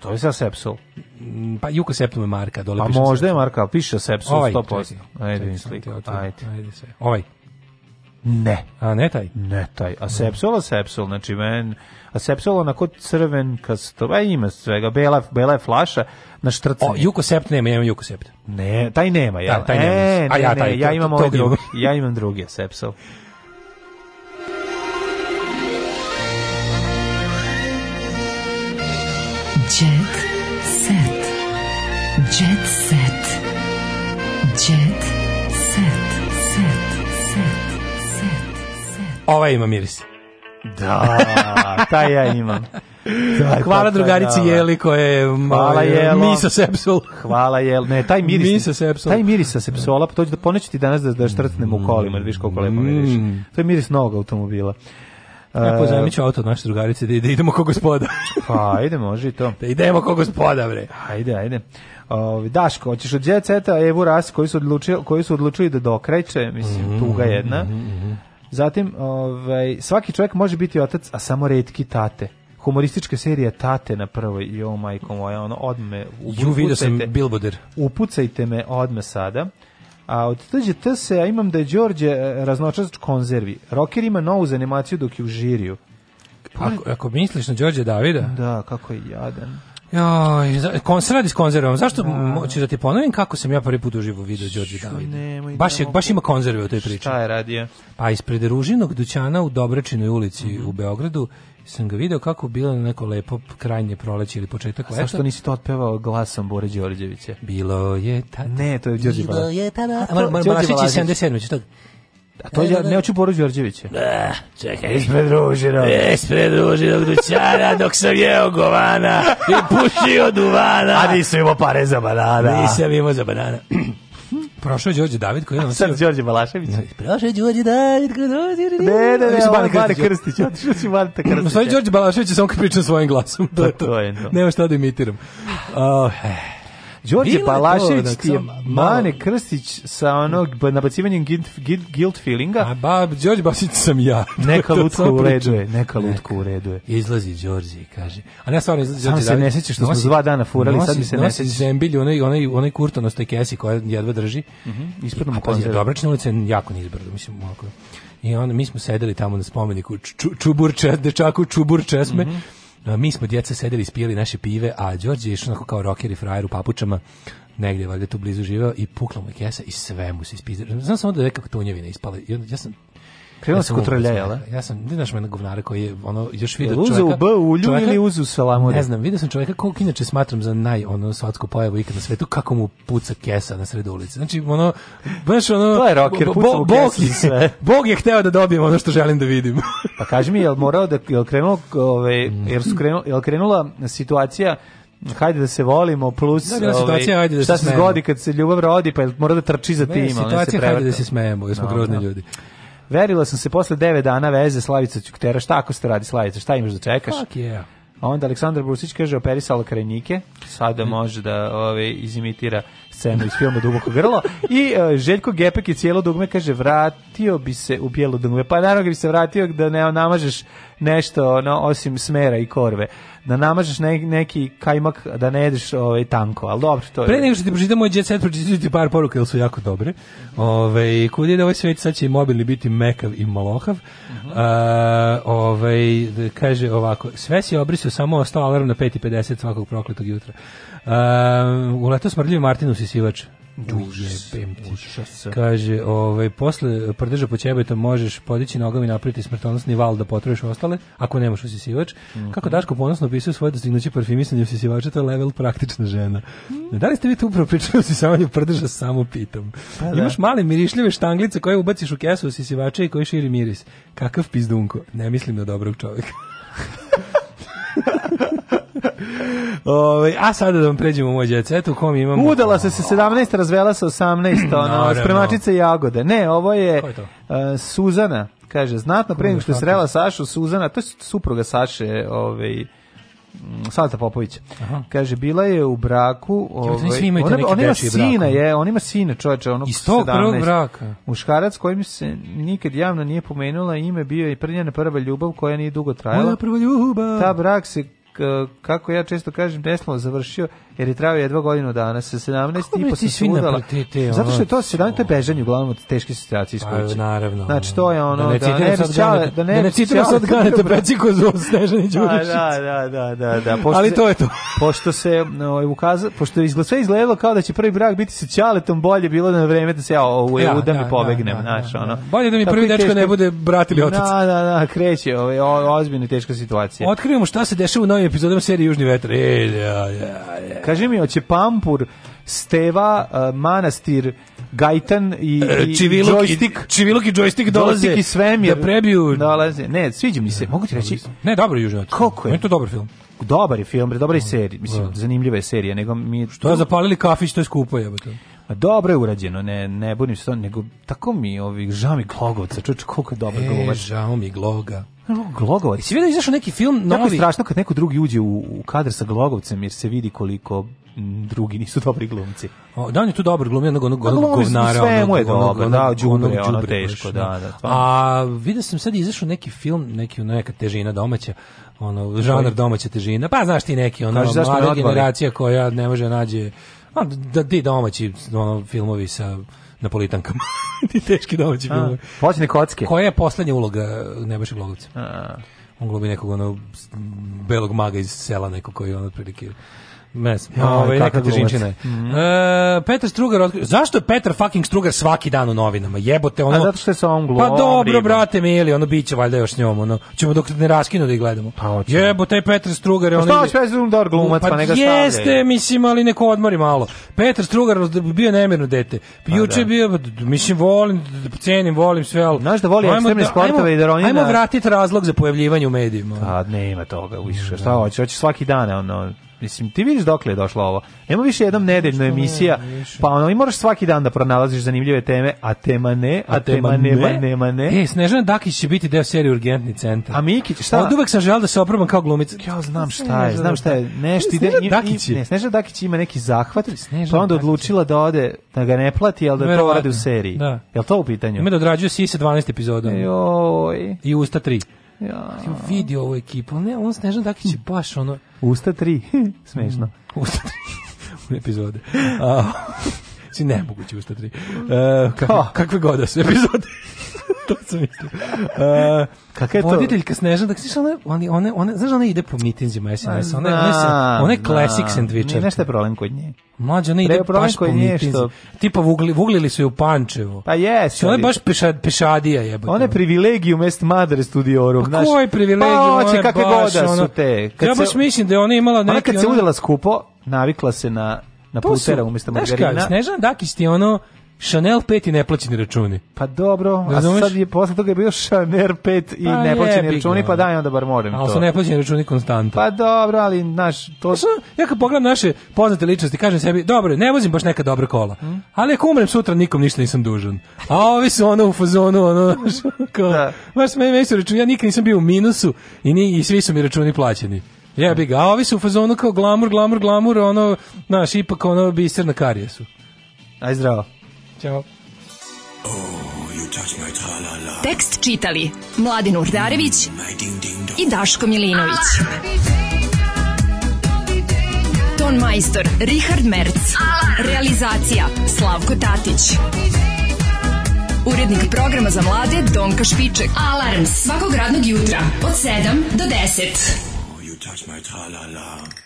[SPEAKER 7] To je sa Sepsol.
[SPEAKER 8] Mm, Pa Jukosept mu je marka, dole
[SPEAKER 7] Pa
[SPEAKER 8] piše
[SPEAKER 7] možda je
[SPEAKER 8] Sepsol.
[SPEAKER 7] Marka, piše Sepsol
[SPEAKER 8] Ovaj,
[SPEAKER 7] 100%.
[SPEAKER 8] čekaj,
[SPEAKER 7] Ajde,
[SPEAKER 8] čekaj,
[SPEAKER 7] vidim
[SPEAKER 8] sam ti
[SPEAKER 7] sliku.
[SPEAKER 8] otvorio.
[SPEAKER 7] Ajde.
[SPEAKER 8] Ajde sve. Ovaj.
[SPEAKER 7] Ne,
[SPEAKER 8] A ne taj?
[SPEAKER 7] ne taj. A Sepsol, a Sepsol, znači men... A Sepsol onako crven, kasto, a ima svega, bela, bela je flaša na štrcanje.
[SPEAKER 8] O, Jukosept nema, ja imam Jukosept.
[SPEAKER 7] Ne, taj nema, ja.
[SPEAKER 8] Da, taj
[SPEAKER 7] e,
[SPEAKER 8] nema.
[SPEAKER 7] ne,
[SPEAKER 8] A ja
[SPEAKER 7] ne,
[SPEAKER 8] taj,
[SPEAKER 7] ja
[SPEAKER 8] to-
[SPEAKER 7] imam
[SPEAKER 8] to-
[SPEAKER 7] ovaj
[SPEAKER 8] tog drugog.
[SPEAKER 7] drugi. Ja imam drugi Sepsol.
[SPEAKER 5] Jet set. Jet set. Jet set. Set. Set. Set. Set.
[SPEAKER 8] Ovaj ima miris.
[SPEAKER 7] E, Da, taj ja imam. Taj,
[SPEAKER 8] Hvala
[SPEAKER 7] pa, taj,
[SPEAKER 8] drugarici
[SPEAKER 7] da.
[SPEAKER 8] Jeli koja je e,
[SPEAKER 7] Hvala, Jelo. E.
[SPEAKER 8] Misa Sepsul.
[SPEAKER 7] Hvala jel, ne, taj miris.
[SPEAKER 8] Mirisa sepsola.
[SPEAKER 7] Taj miris sa sepsola, pa to ću da poneću ti danas da da štrcnem u kolima, jer vidiš koliko lepo miriš. To je miris novog automobila. E,
[SPEAKER 8] Ja pozajmit ću auto od naše drugarice da, da idemo ko gospoda.
[SPEAKER 7] Pa, ajde, može i to.
[SPEAKER 8] da idemo ko gospoda, bre.
[SPEAKER 7] Ajde, ajde. Ovi, Daško, hoćeš od Jet Seta Evu Ras koji su odlučili, koji su odlučili da dokreće, mislim, tuga jedna. Zatim, ovaj, svaki čovjek može biti otac, a samo retki tate. Humoristička serija Tate na prvoj, jo majko moja, ono, odme,
[SPEAKER 8] Ju, vidio sam Bilboder.
[SPEAKER 7] upucajte me odme sada. A od tuđe tse, a imam da je Đorđe e, raznočač konzervi. Rocker ima novu zanimaciju dok je u žiriju.
[SPEAKER 8] Ako, ako misliš na Đorđe Davida?
[SPEAKER 7] Da, kako je jadan.
[SPEAKER 8] Joj, za- kon se radi s konzervom. Zašto da. ću da ti ponovim kako sam ja prvi put uživo video Đorđe Davida?
[SPEAKER 7] nemoj
[SPEAKER 8] Baš,
[SPEAKER 7] da
[SPEAKER 8] je,
[SPEAKER 7] mogu.
[SPEAKER 8] baš ima konzerve u toj priči. Šta
[SPEAKER 7] je radio?
[SPEAKER 8] Pa ispred Ružinog dućana u Dobračinoj ulici u Beogradu sam ga video kako bilo na neko lepo krajnje proleće ili početak leta.
[SPEAKER 7] Zašto nisi to otpevao glasom Bore Đorđevića?
[SPEAKER 8] Bilo je tada.
[SPEAKER 7] Ne, to je Đorđe
[SPEAKER 8] Bilo
[SPEAKER 7] Balašić.
[SPEAKER 8] je pa tada.
[SPEAKER 7] A to-
[SPEAKER 8] Mar- Mar-
[SPEAKER 7] Đorđe
[SPEAKER 8] Balašić je
[SPEAKER 7] Balašić.
[SPEAKER 8] 77, ću tako.
[SPEAKER 7] A to je, ne hoću Boru Đorđevića.
[SPEAKER 8] Da, Eh, čekaj.
[SPEAKER 7] Ispred Ružinog.
[SPEAKER 8] Ispred Ružinog dućana dok sam jeo govana i pušio duvana.
[SPEAKER 7] A nisam imao pare za banana.
[SPEAKER 8] Nisam imao za banana. Prošao je Đorđe David koji je nosio...
[SPEAKER 7] Sad Đorđe Balašević.
[SPEAKER 8] Prošao je Đorđe David koji je nosio...
[SPEAKER 7] Ne, ne, ne,
[SPEAKER 8] Mislim,
[SPEAKER 7] ovo je
[SPEAKER 8] Bane
[SPEAKER 7] Mare
[SPEAKER 8] Krstić.
[SPEAKER 7] Krstić. Otišao si Marta Krstića.
[SPEAKER 8] U stvari Đorđe Balašević je samo kad pričam svojim glasom. To je to.
[SPEAKER 7] to je to.
[SPEAKER 8] Nema šta da imitiram. Uh,
[SPEAKER 7] Đorđe
[SPEAKER 8] Bilo je to,
[SPEAKER 7] Balašević
[SPEAKER 8] onak,
[SPEAKER 7] ti je
[SPEAKER 8] samo malo-
[SPEAKER 7] Mane Krstić sa onog ba- nabacivanjem guilt, guilt, guilt feelinga.
[SPEAKER 8] A ba, Đorđe Balašević sam ja.
[SPEAKER 7] Neka
[SPEAKER 8] To
[SPEAKER 7] lutka
[SPEAKER 8] samo
[SPEAKER 7] u redu
[SPEAKER 8] pričam.
[SPEAKER 7] je, neka lutka u redu je.
[SPEAKER 8] Izlazi Đorđe i kaže. A ne, stvarno izlazi
[SPEAKER 7] Samo
[SPEAKER 8] Đorđe
[SPEAKER 7] se
[SPEAKER 8] David.
[SPEAKER 7] ne sjećaš što smo
[SPEAKER 8] Nosi-
[SPEAKER 7] dva dana furali, sad mi
[SPEAKER 8] nosi-
[SPEAKER 7] se ne
[SPEAKER 8] nosi
[SPEAKER 7] sjećaš.
[SPEAKER 8] zembilj, onaj, onaj, onaj kurtonostoj kesi koja jedva drži.
[SPEAKER 7] Mhm, ispred mu
[SPEAKER 8] A pazi,
[SPEAKER 7] konzerve.
[SPEAKER 8] Dobračna ulica je jako nizbrdo, mislim, ovako. I onda mi smo sedeli tamo na spomeniku ču, Čubur Čes, dečaku Čubur Česme.
[SPEAKER 7] Mhm.
[SPEAKER 8] A Mi smo djeca sedeli, ispijali naše pive, a Đorđe je išao onako kao rocker i frajer u papučama negdje valjda tu blizu živeo i pukla mu je kesa i sve mu se ispizira. Znam samo da je neka tunjevina ispala. I onda ja sam
[SPEAKER 7] Krenuo se
[SPEAKER 8] sam umro
[SPEAKER 7] kod trljaja,
[SPEAKER 8] od
[SPEAKER 7] jel da?
[SPEAKER 8] smeha. Ja sam, ne znaš mene govnara koji je ono, još vidio
[SPEAKER 7] Jel uzeo
[SPEAKER 8] čoveka-
[SPEAKER 7] u B ulju
[SPEAKER 8] čoveka-
[SPEAKER 7] ili uzeo salamure?
[SPEAKER 8] Ne znam, vidio sam čovjeka kog inače smatram za naj ono svatsko pojavu ikad na svetu, kako mu puca kesa na sred ulice. Znači, ono, baš ono...
[SPEAKER 7] To je rocker,
[SPEAKER 8] bo-
[SPEAKER 7] puca
[SPEAKER 8] bo-
[SPEAKER 7] mu
[SPEAKER 8] Bog
[SPEAKER 7] kesa i
[SPEAKER 8] je-
[SPEAKER 7] sve.
[SPEAKER 8] Bog je hteo da dobijem ono što želim da vidim.
[SPEAKER 7] Pa kaži mi, jel morao da, jel krenulo, ove, jel, su krenu, jel krenula situacija hajde da se volimo plus
[SPEAKER 8] Da, bila
[SPEAKER 7] ove,
[SPEAKER 8] situacija, hajde da se
[SPEAKER 7] šta se
[SPEAKER 8] smejemo.
[SPEAKER 7] zgodi kad se ljubav rodi pa jel mora da trči za
[SPEAKER 8] Ne,
[SPEAKER 7] tim ali
[SPEAKER 8] situacija, hajde
[SPEAKER 7] prevrta.
[SPEAKER 8] da se smejemo, jer smo grozni ljudi.
[SPEAKER 7] Verila sam se posle 9 dana veze Slavica Ćuktera, šta ako se radi Slavica, šta imaš da čekaš?
[SPEAKER 8] Fuck yeah.
[SPEAKER 7] A onda Aleksandar Brusić kaže operisala krajnike, sada može da ove, izimitira scenu iz filma Duboko grlo. I e, Željko Gepek je cijelo dugme, kaže vratio bi se u bijelo dugme. Pa naravno da bi se vratio da ne namažeš nešto ono, osim smera i korve. Da namažeš ne- neki kajmak da ne jedeš ovaj, tanko, ali dobro, to je...
[SPEAKER 8] Pre nego što ti pročitam moj jet set, pročitam ti par poruka, jer su jako dobre. Ove, kud ide ovaj svet, sad će i mobilni biti mekav i malohav.
[SPEAKER 7] Mhm.
[SPEAKER 8] A, ovaj, d- kaže ovako, sve si obrisao, samo ostao alarm na 5.50 svakog prokletog jutra. A, u leto smrdljivi Martin usisivač. Jebem ti. Kaže, ovaj, posle prdeža po ćebetom možeš podići nogom i napraviti smrtonosni val da potruješ ostale, ako nemaš usisivač.
[SPEAKER 7] Mhm.
[SPEAKER 8] Kako Daško ponosno opisuje svoje dostignuće parfimisanje usisivača, to je level praktična žena.
[SPEAKER 7] Mhm.
[SPEAKER 8] Da li ste vi tu upravo pričali o usisivanju prdeža, samo pitam.
[SPEAKER 7] Pa da.
[SPEAKER 8] Imaš male mirišljive štanglice koje ubaciš u kesu usisivača i koji širi miris. Kakav pizdunko. Ne mislim na dobrog čovjeka. Ovaj, a sada da vam pređemo u moj jet set, u kom imamo...
[SPEAKER 7] Udala se sa 17, razvela sa 18, ono,
[SPEAKER 8] Naravno.
[SPEAKER 7] spremačica jagode. Ne, ovo je,
[SPEAKER 8] Ko je to?
[SPEAKER 7] e, Suzana, kaže, znatno pre nego što je
[SPEAKER 8] Kako?
[SPEAKER 7] srela Sašu, Suzana, to je supruga Saše, ovaj, mm, Salata Popovića.
[SPEAKER 8] Aha.
[SPEAKER 7] Kaže, bila je u braku...
[SPEAKER 8] Jebote,
[SPEAKER 7] Ovaj,
[SPEAKER 8] svi imaju te
[SPEAKER 7] ona,
[SPEAKER 8] neke
[SPEAKER 7] ona ima
[SPEAKER 8] dečije
[SPEAKER 7] sina,
[SPEAKER 8] brakove.
[SPEAKER 7] je, on ima sina, čoveče, ono
[SPEAKER 8] Iz tog prvog
[SPEAKER 7] 17.
[SPEAKER 8] braka.
[SPEAKER 7] Muškarac kojim se nikad javno nije pomenula ime bio je prnjena prva ljubav koja nije dugo trajala.
[SPEAKER 8] Moja prva ljubav.
[SPEAKER 7] Ta brak se k- kako ja često kažem, neslovno završio, jer je trajao jedva godinu dana, sa 17
[SPEAKER 8] Kako
[SPEAKER 7] i
[SPEAKER 8] bre
[SPEAKER 7] po
[SPEAKER 8] ti
[SPEAKER 7] sam se
[SPEAKER 8] svi
[SPEAKER 7] udala.
[SPEAKER 8] napre- te- te,
[SPEAKER 7] Zato što je to
[SPEAKER 8] ono,
[SPEAKER 7] 17 to je bežanje uglavnom od teške situacije iz
[SPEAKER 8] Pa,
[SPEAKER 7] kuće.
[SPEAKER 8] naravno.
[SPEAKER 7] Znači, to je ono,
[SPEAKER 8] Da ne
[SPEAKER 7] da
[SPEAKER 8] citiram
[SPEAKER 7] ne
[SPEAKER 8] sad
[SPEAKER 7] bi ćale-
[SPEAKER 8] Ganeta-
[SPEAKER 7] da ne
[SPEAKER 8] da ne
[SPEAKER 7] bi
[SPEAKER 8] citiram
[SPEAKER 7] ćale-
[SPEAKER 8] sad Ganeta Peciko za Snežani
[SPEAKER 7] Pa, Da,
[SPEAKER 8] Đurišić.
[SPEAKER 7] da, da, da, da. Pošto
[SPEAKER 8] Ali
[SPEAKER 7] se-
[SPEAKER 8] to je to.
[SPEAKER 7] Pošto se ovaj ukaza, pošto je izgled, sve izgledalo kao da će prvi brak biti sa Ćaletom, bolje bilo da na vreme da se ja u
[SPEAKER 8] Da,
[SPEAKER 7] EU
[SPEAKER 8] da,
[SPEAKER 7] da, mi pobegnem,
[SPEAKER 8] da, da,
[SPEAKER 7] znaš,
[SPEAKER 8] da,
[SPEAKER 7] ono.
[SPEAKER 8] da. Bolje da mi
[SPEAKER 7] Tako
[SPEAKER 8] prvi
[SPEAKER 7] i
[SPEAKER 8] dečko
[SPEAKER 7] teško-
[SPEAKER 8] ne bude brat ili otac.
[SPEAKER 7] Da, da, da, kreće, ovaj o- ozbiljno je teška situacija.
[SPEAKER 8] Otkrivamo šta se dešava u novim epizodama serije Južni vetar. E, ja, ja, ja.
[SPEAKER 7] Kaži mi, hoće Pampur, Steva, eh, Manastir, Gajtan i, i
[SPEAKER 8] Čivilok Eh, E, i,
[SPEAKER 7] joystick.
[SPEAKER 8] Čivilok i joystick dolaze
[SPEAKER 7] Joystick i svemir.
[SPEAKER 8] da prebiju.
[SPEAKER 7] Dolaze. Ne, sviđa mi se. Mogu ti reći,
[SPEAKER 8] Ne, dobro Južni vetar.
[SPEAKER 7] Koliko je?
[SPEAKER 8] Meni to dobar film.
[SPEAKER 7] dobar je film, bre, dobra je serija. Mislim, zanimljiva je serija. Nego mi,
[SPEAKER 8] To je zapalili kafić, to je skupo jebote.
[SPEAKER 7] Ma dobro je urađeno, ne, ne bunim se to, nego tako mi ovi žami glogovca, čuč, koliko je dobar
[SPEAKER 8] E,
[SPEAKER 7] glogovac.
[SPEAKER 8] žao mi gloga.
[SPEAKER 7] Glogovac.
[SPEAKER 8] Jesi vidio da je izašao neki film
[SPEAKER 7] Tako je
[SPEAKER 8] novi?
[SPEAKER 7] strašno kad neko drugi uđe u, u kadar sa glogovcem, jer se vidi koliko m, drugi nisu dobri glumci.
[SPEAKER 8] O, da on je tu dobar glumio, onog onog
[SPEAKER 7] Pa
[SPEAKER 8] onog
[SPEAKER 7] glumi,
[SPEAKER 8] govnara.
[SPEAKER 7] sve
[SPEAKER 8] onog-
[SPEAKER 7] mu je
[SPEAKER 8] onog-
[SPEAKER 7] dobar,
[SPEAKER 8] onog-
[SPEAKER 7] da, đubre,
[SPEAKER 8] onog
[SPEAKER 7] ono
[SPEAKER 8] đubre,
[SPEAKER 7] teško,
[SPEAKER 8] baš,
[SPEAKER 7] da, da, stvarno.
[SPEAKER 8] A vidio sam sad izašao neki film, neki neka težina domaća, ono žanar domaća težina. Pa znaš ti neki ono
[SPEAKER 7] Kaži, zašto me
[SPEAKER 8] mlada
[SPEAKER 7] odvali?
[SPEAKER 8] generacija koja ne može nađe a, da di domaći ono filmovi sa napolitankama. Ti teški domaći
[SPEAKER 7] A,
[SPEAKER 8] filmovi.
[SPEAKER 7] počne kocke.
[SPEAKER 8] Koja je poslednja uloga Nebojša Glogovca? Moglo bi nekog ono s- belog maga iz sela neko koji on otprilike Ne znam,
[SPEAKER 7] Joj,
[SPEAKER 8] ovaj, neka
[SPEAKER 7] kakav glumac.
[SPEAKER 8] težinčina je.
[SPEAKER 7] Mhm.
[SPEAKER 8] E, Petar Strugar, otkri- zašto je Petar fucking Strugar svaki dan u novinama? Jebote, ono...
[SPEAKER 7] A zato što je sa ovom glumom
[SPEAKER 8] Pa dobro,
[SPEAKER 7] ribom.
[SPEAKER 8] brate, mili, ono bit će valjda još s njom, ono. Ćemo dok ne raskinu da ih gledamo. Jebote, Petar Strugar je
[SPEAKER 7] Pa
[SPEAKER 8] ono...
[SPEAKER 7] šta hoće Petar Strugar, dobar glumac, pa ne ga
[SPEAKER 8] Jeste,
[SPEAKER 7] stavljaju.
[SPEAKER 8] mislim, ali neko odmori malo. Petar Strugar bio nemirno dete. Pa Juče
[SPEAKER 7] Pa da.
[SPEAKER 8] je bio, mislim, volim, cenim, volim sve, ali... Znaš da
[SPEAKER 7] voli ekstremne sportove i da oni
[SPEAKER 8] Ajmo
[SPEAKER 7] na-
[SPEAKER 8] vratiti razlog za pojavljivanje u medijima.
[SPEAKER 7] A nema toga, više, šta hoće, hoće svaki dan, ono, mislim, ti vidiš dokle je došlo ovo. Nema više jednom nedeljna emisija, pa ono, i moraš svaki dan da pronalaziš zanimljive teme, a tema ne, a, tema, nema, nema ne.
[SPEAKER 8] E, Snežana Dakić će biti deo serije Urgentni centar. A
[SPEAKER 7] Mikić, šta?
[SPEAKER 8] Od uvek sam želeo da se oprobam kao glumica.
[SPEAKER 7] Ja znam šta je, znam šta je, nešto ide,
[SPEAKER 8] Snežana
[SPEAKER 7] i- i-
[SPEAKER 8] Dakić je.
[SPEAKER 7] ne, Snežana Dakić ima neki zahvat, pa onda odlučila da ode, da ga ne plati, ali da to
[SPEAKER 8] Verovatno,
[SPEAKER 7] radi u seriji.
[SPEAKER 8] da.
[SPEAKER 7] Jel to u pitanju?
[SPEAKER 8] Ima da odrađuje Sise 12 epizoda.
[SPEAKER 7] E, Joj.
[SPEAKER 8] I Usta 3. Ja. Vidi ovu ekipu. Ne, on Snežan Dakić je baš ono...
[SPEAKER 7] Usta 3,
[SPEAKER 8] Mm.
[SPEAKER 7] smešno.
[SPEAKER 8] Usta 3. u epizode. A, si nemoguće Usta 3. Uh, kakve, kakve god da su epizode. to sam mislio. Uh,
[SPEAKER 7] Kakva je to?
[SPEAKER 8] Voditeljka Snežana Dakić, znaš, ona, ona, ona, ona, znaš, ona ide po mitinzima SNS. Ona, ona, se- ona je classic sandvičar.
[SPEAKER 7] Nešto je problem kod nje.
[SPEAKER 8] Mlađa, ona ide
[SPEAKER 7] Treba problem
[SPEAKER 8] baš po
[SPEAKER 7] koji nije
[SPEAKER 8] mitinzima.
[SPEAKER 7] što-
[SPEAKER 8] Tipa, vugli, vuglili su je u Pančevu. Znači,
[SPEAKER 7] Pa jes.
[SPEAKER 8] Ona je
[SPEAKER 7] ali-
[SPEAKER 8] baš peša, pešadija jebote.
[SPEAKER 7] One privilegiju mest madre studiorum.
[SPEAKER 8] Pa koji privilegij?
[SPEAKER 7] Pa
[SPEAKER 8] Ona
[SPEAKER 7] hoće
[SPEAKER 8] je
[SPEAKER 7] kakve
[SPEAKER 8] baš,
[SPEAKER 7] goda
[SPEAKER 8] ono-
[SPEAKER 7] su te.
[SPEAKER 8] ja baš
[SPEAKER 7] se-
[SPEAKER 8] mislim da je ona imala
[SPEAKER 7] Ona
[SPEAKER 8] neki,
[SPEAKER 7] kad se
[SPEAKER 8] ono-
[SPEAKER 7] udjela skupo, navikla se na, na
[SPEAKER 8] To su-
[SPEAKER 7] putera umjesto
[SPEAKER 8] znaš
[SPEAKER 7] margarina.
[SPEAKER 8] kako, Snežana Dakić ti je ono Chanel 5 i neplaćeni računi.
[SPEAKER 7] Pa dobro, a
[SPEAKER 8] Razumeš?
[SPEAKER 7] sad je posle toga je bio Šaner 5 i
[SPEAKER 8] Pa
[SPEAKER 7] neplaćeni
[SPEAKER 8] jebi ga,
[SPEAKER 7] računi, pa
[SPEAKER 8] ono.
[SPEAKER 7] daj onda bar moram to.
[SPEAKER 8] Ali su neplaćeni računi konstanta.
[SPEAKER 7] Pa dobro, ali naš, to
[SPEAKER 8] su... Ja kad pogledam naše poznate ličnosti, kažem sebi, dobro, ne vozim baš neka dobra kola,
[SPEAKER 7] Mm.
[SPEAKER 8] ali ako umrem sutra, nikom ništa nisam dužan. A ovi su ono u fazonu, ono, znaš, kao, baš meni, meni su računi, ja nikad nisam bio u minusu i, ni, i svi su mi računi plaćeni. Jebi ga, a ovi su u fazonu kao glamur, glamur, glamur, ono, znaš, ipak ono biser na karijesu.
[SPEAKER 7] Aj zdravo.
[SPEAKER 8] Ćao.
[SPEAKER 5] Tekst čitali Mladin Urdarević i Daško Milinović. Ton majstor Richard Merc. Realizacija Slavko Tatić. Urednik programa za mlade Donka Špiček. Alarms svakog radnog jutra od 7 do 10.
[SPEAKER 20] You touch my tra-la-la.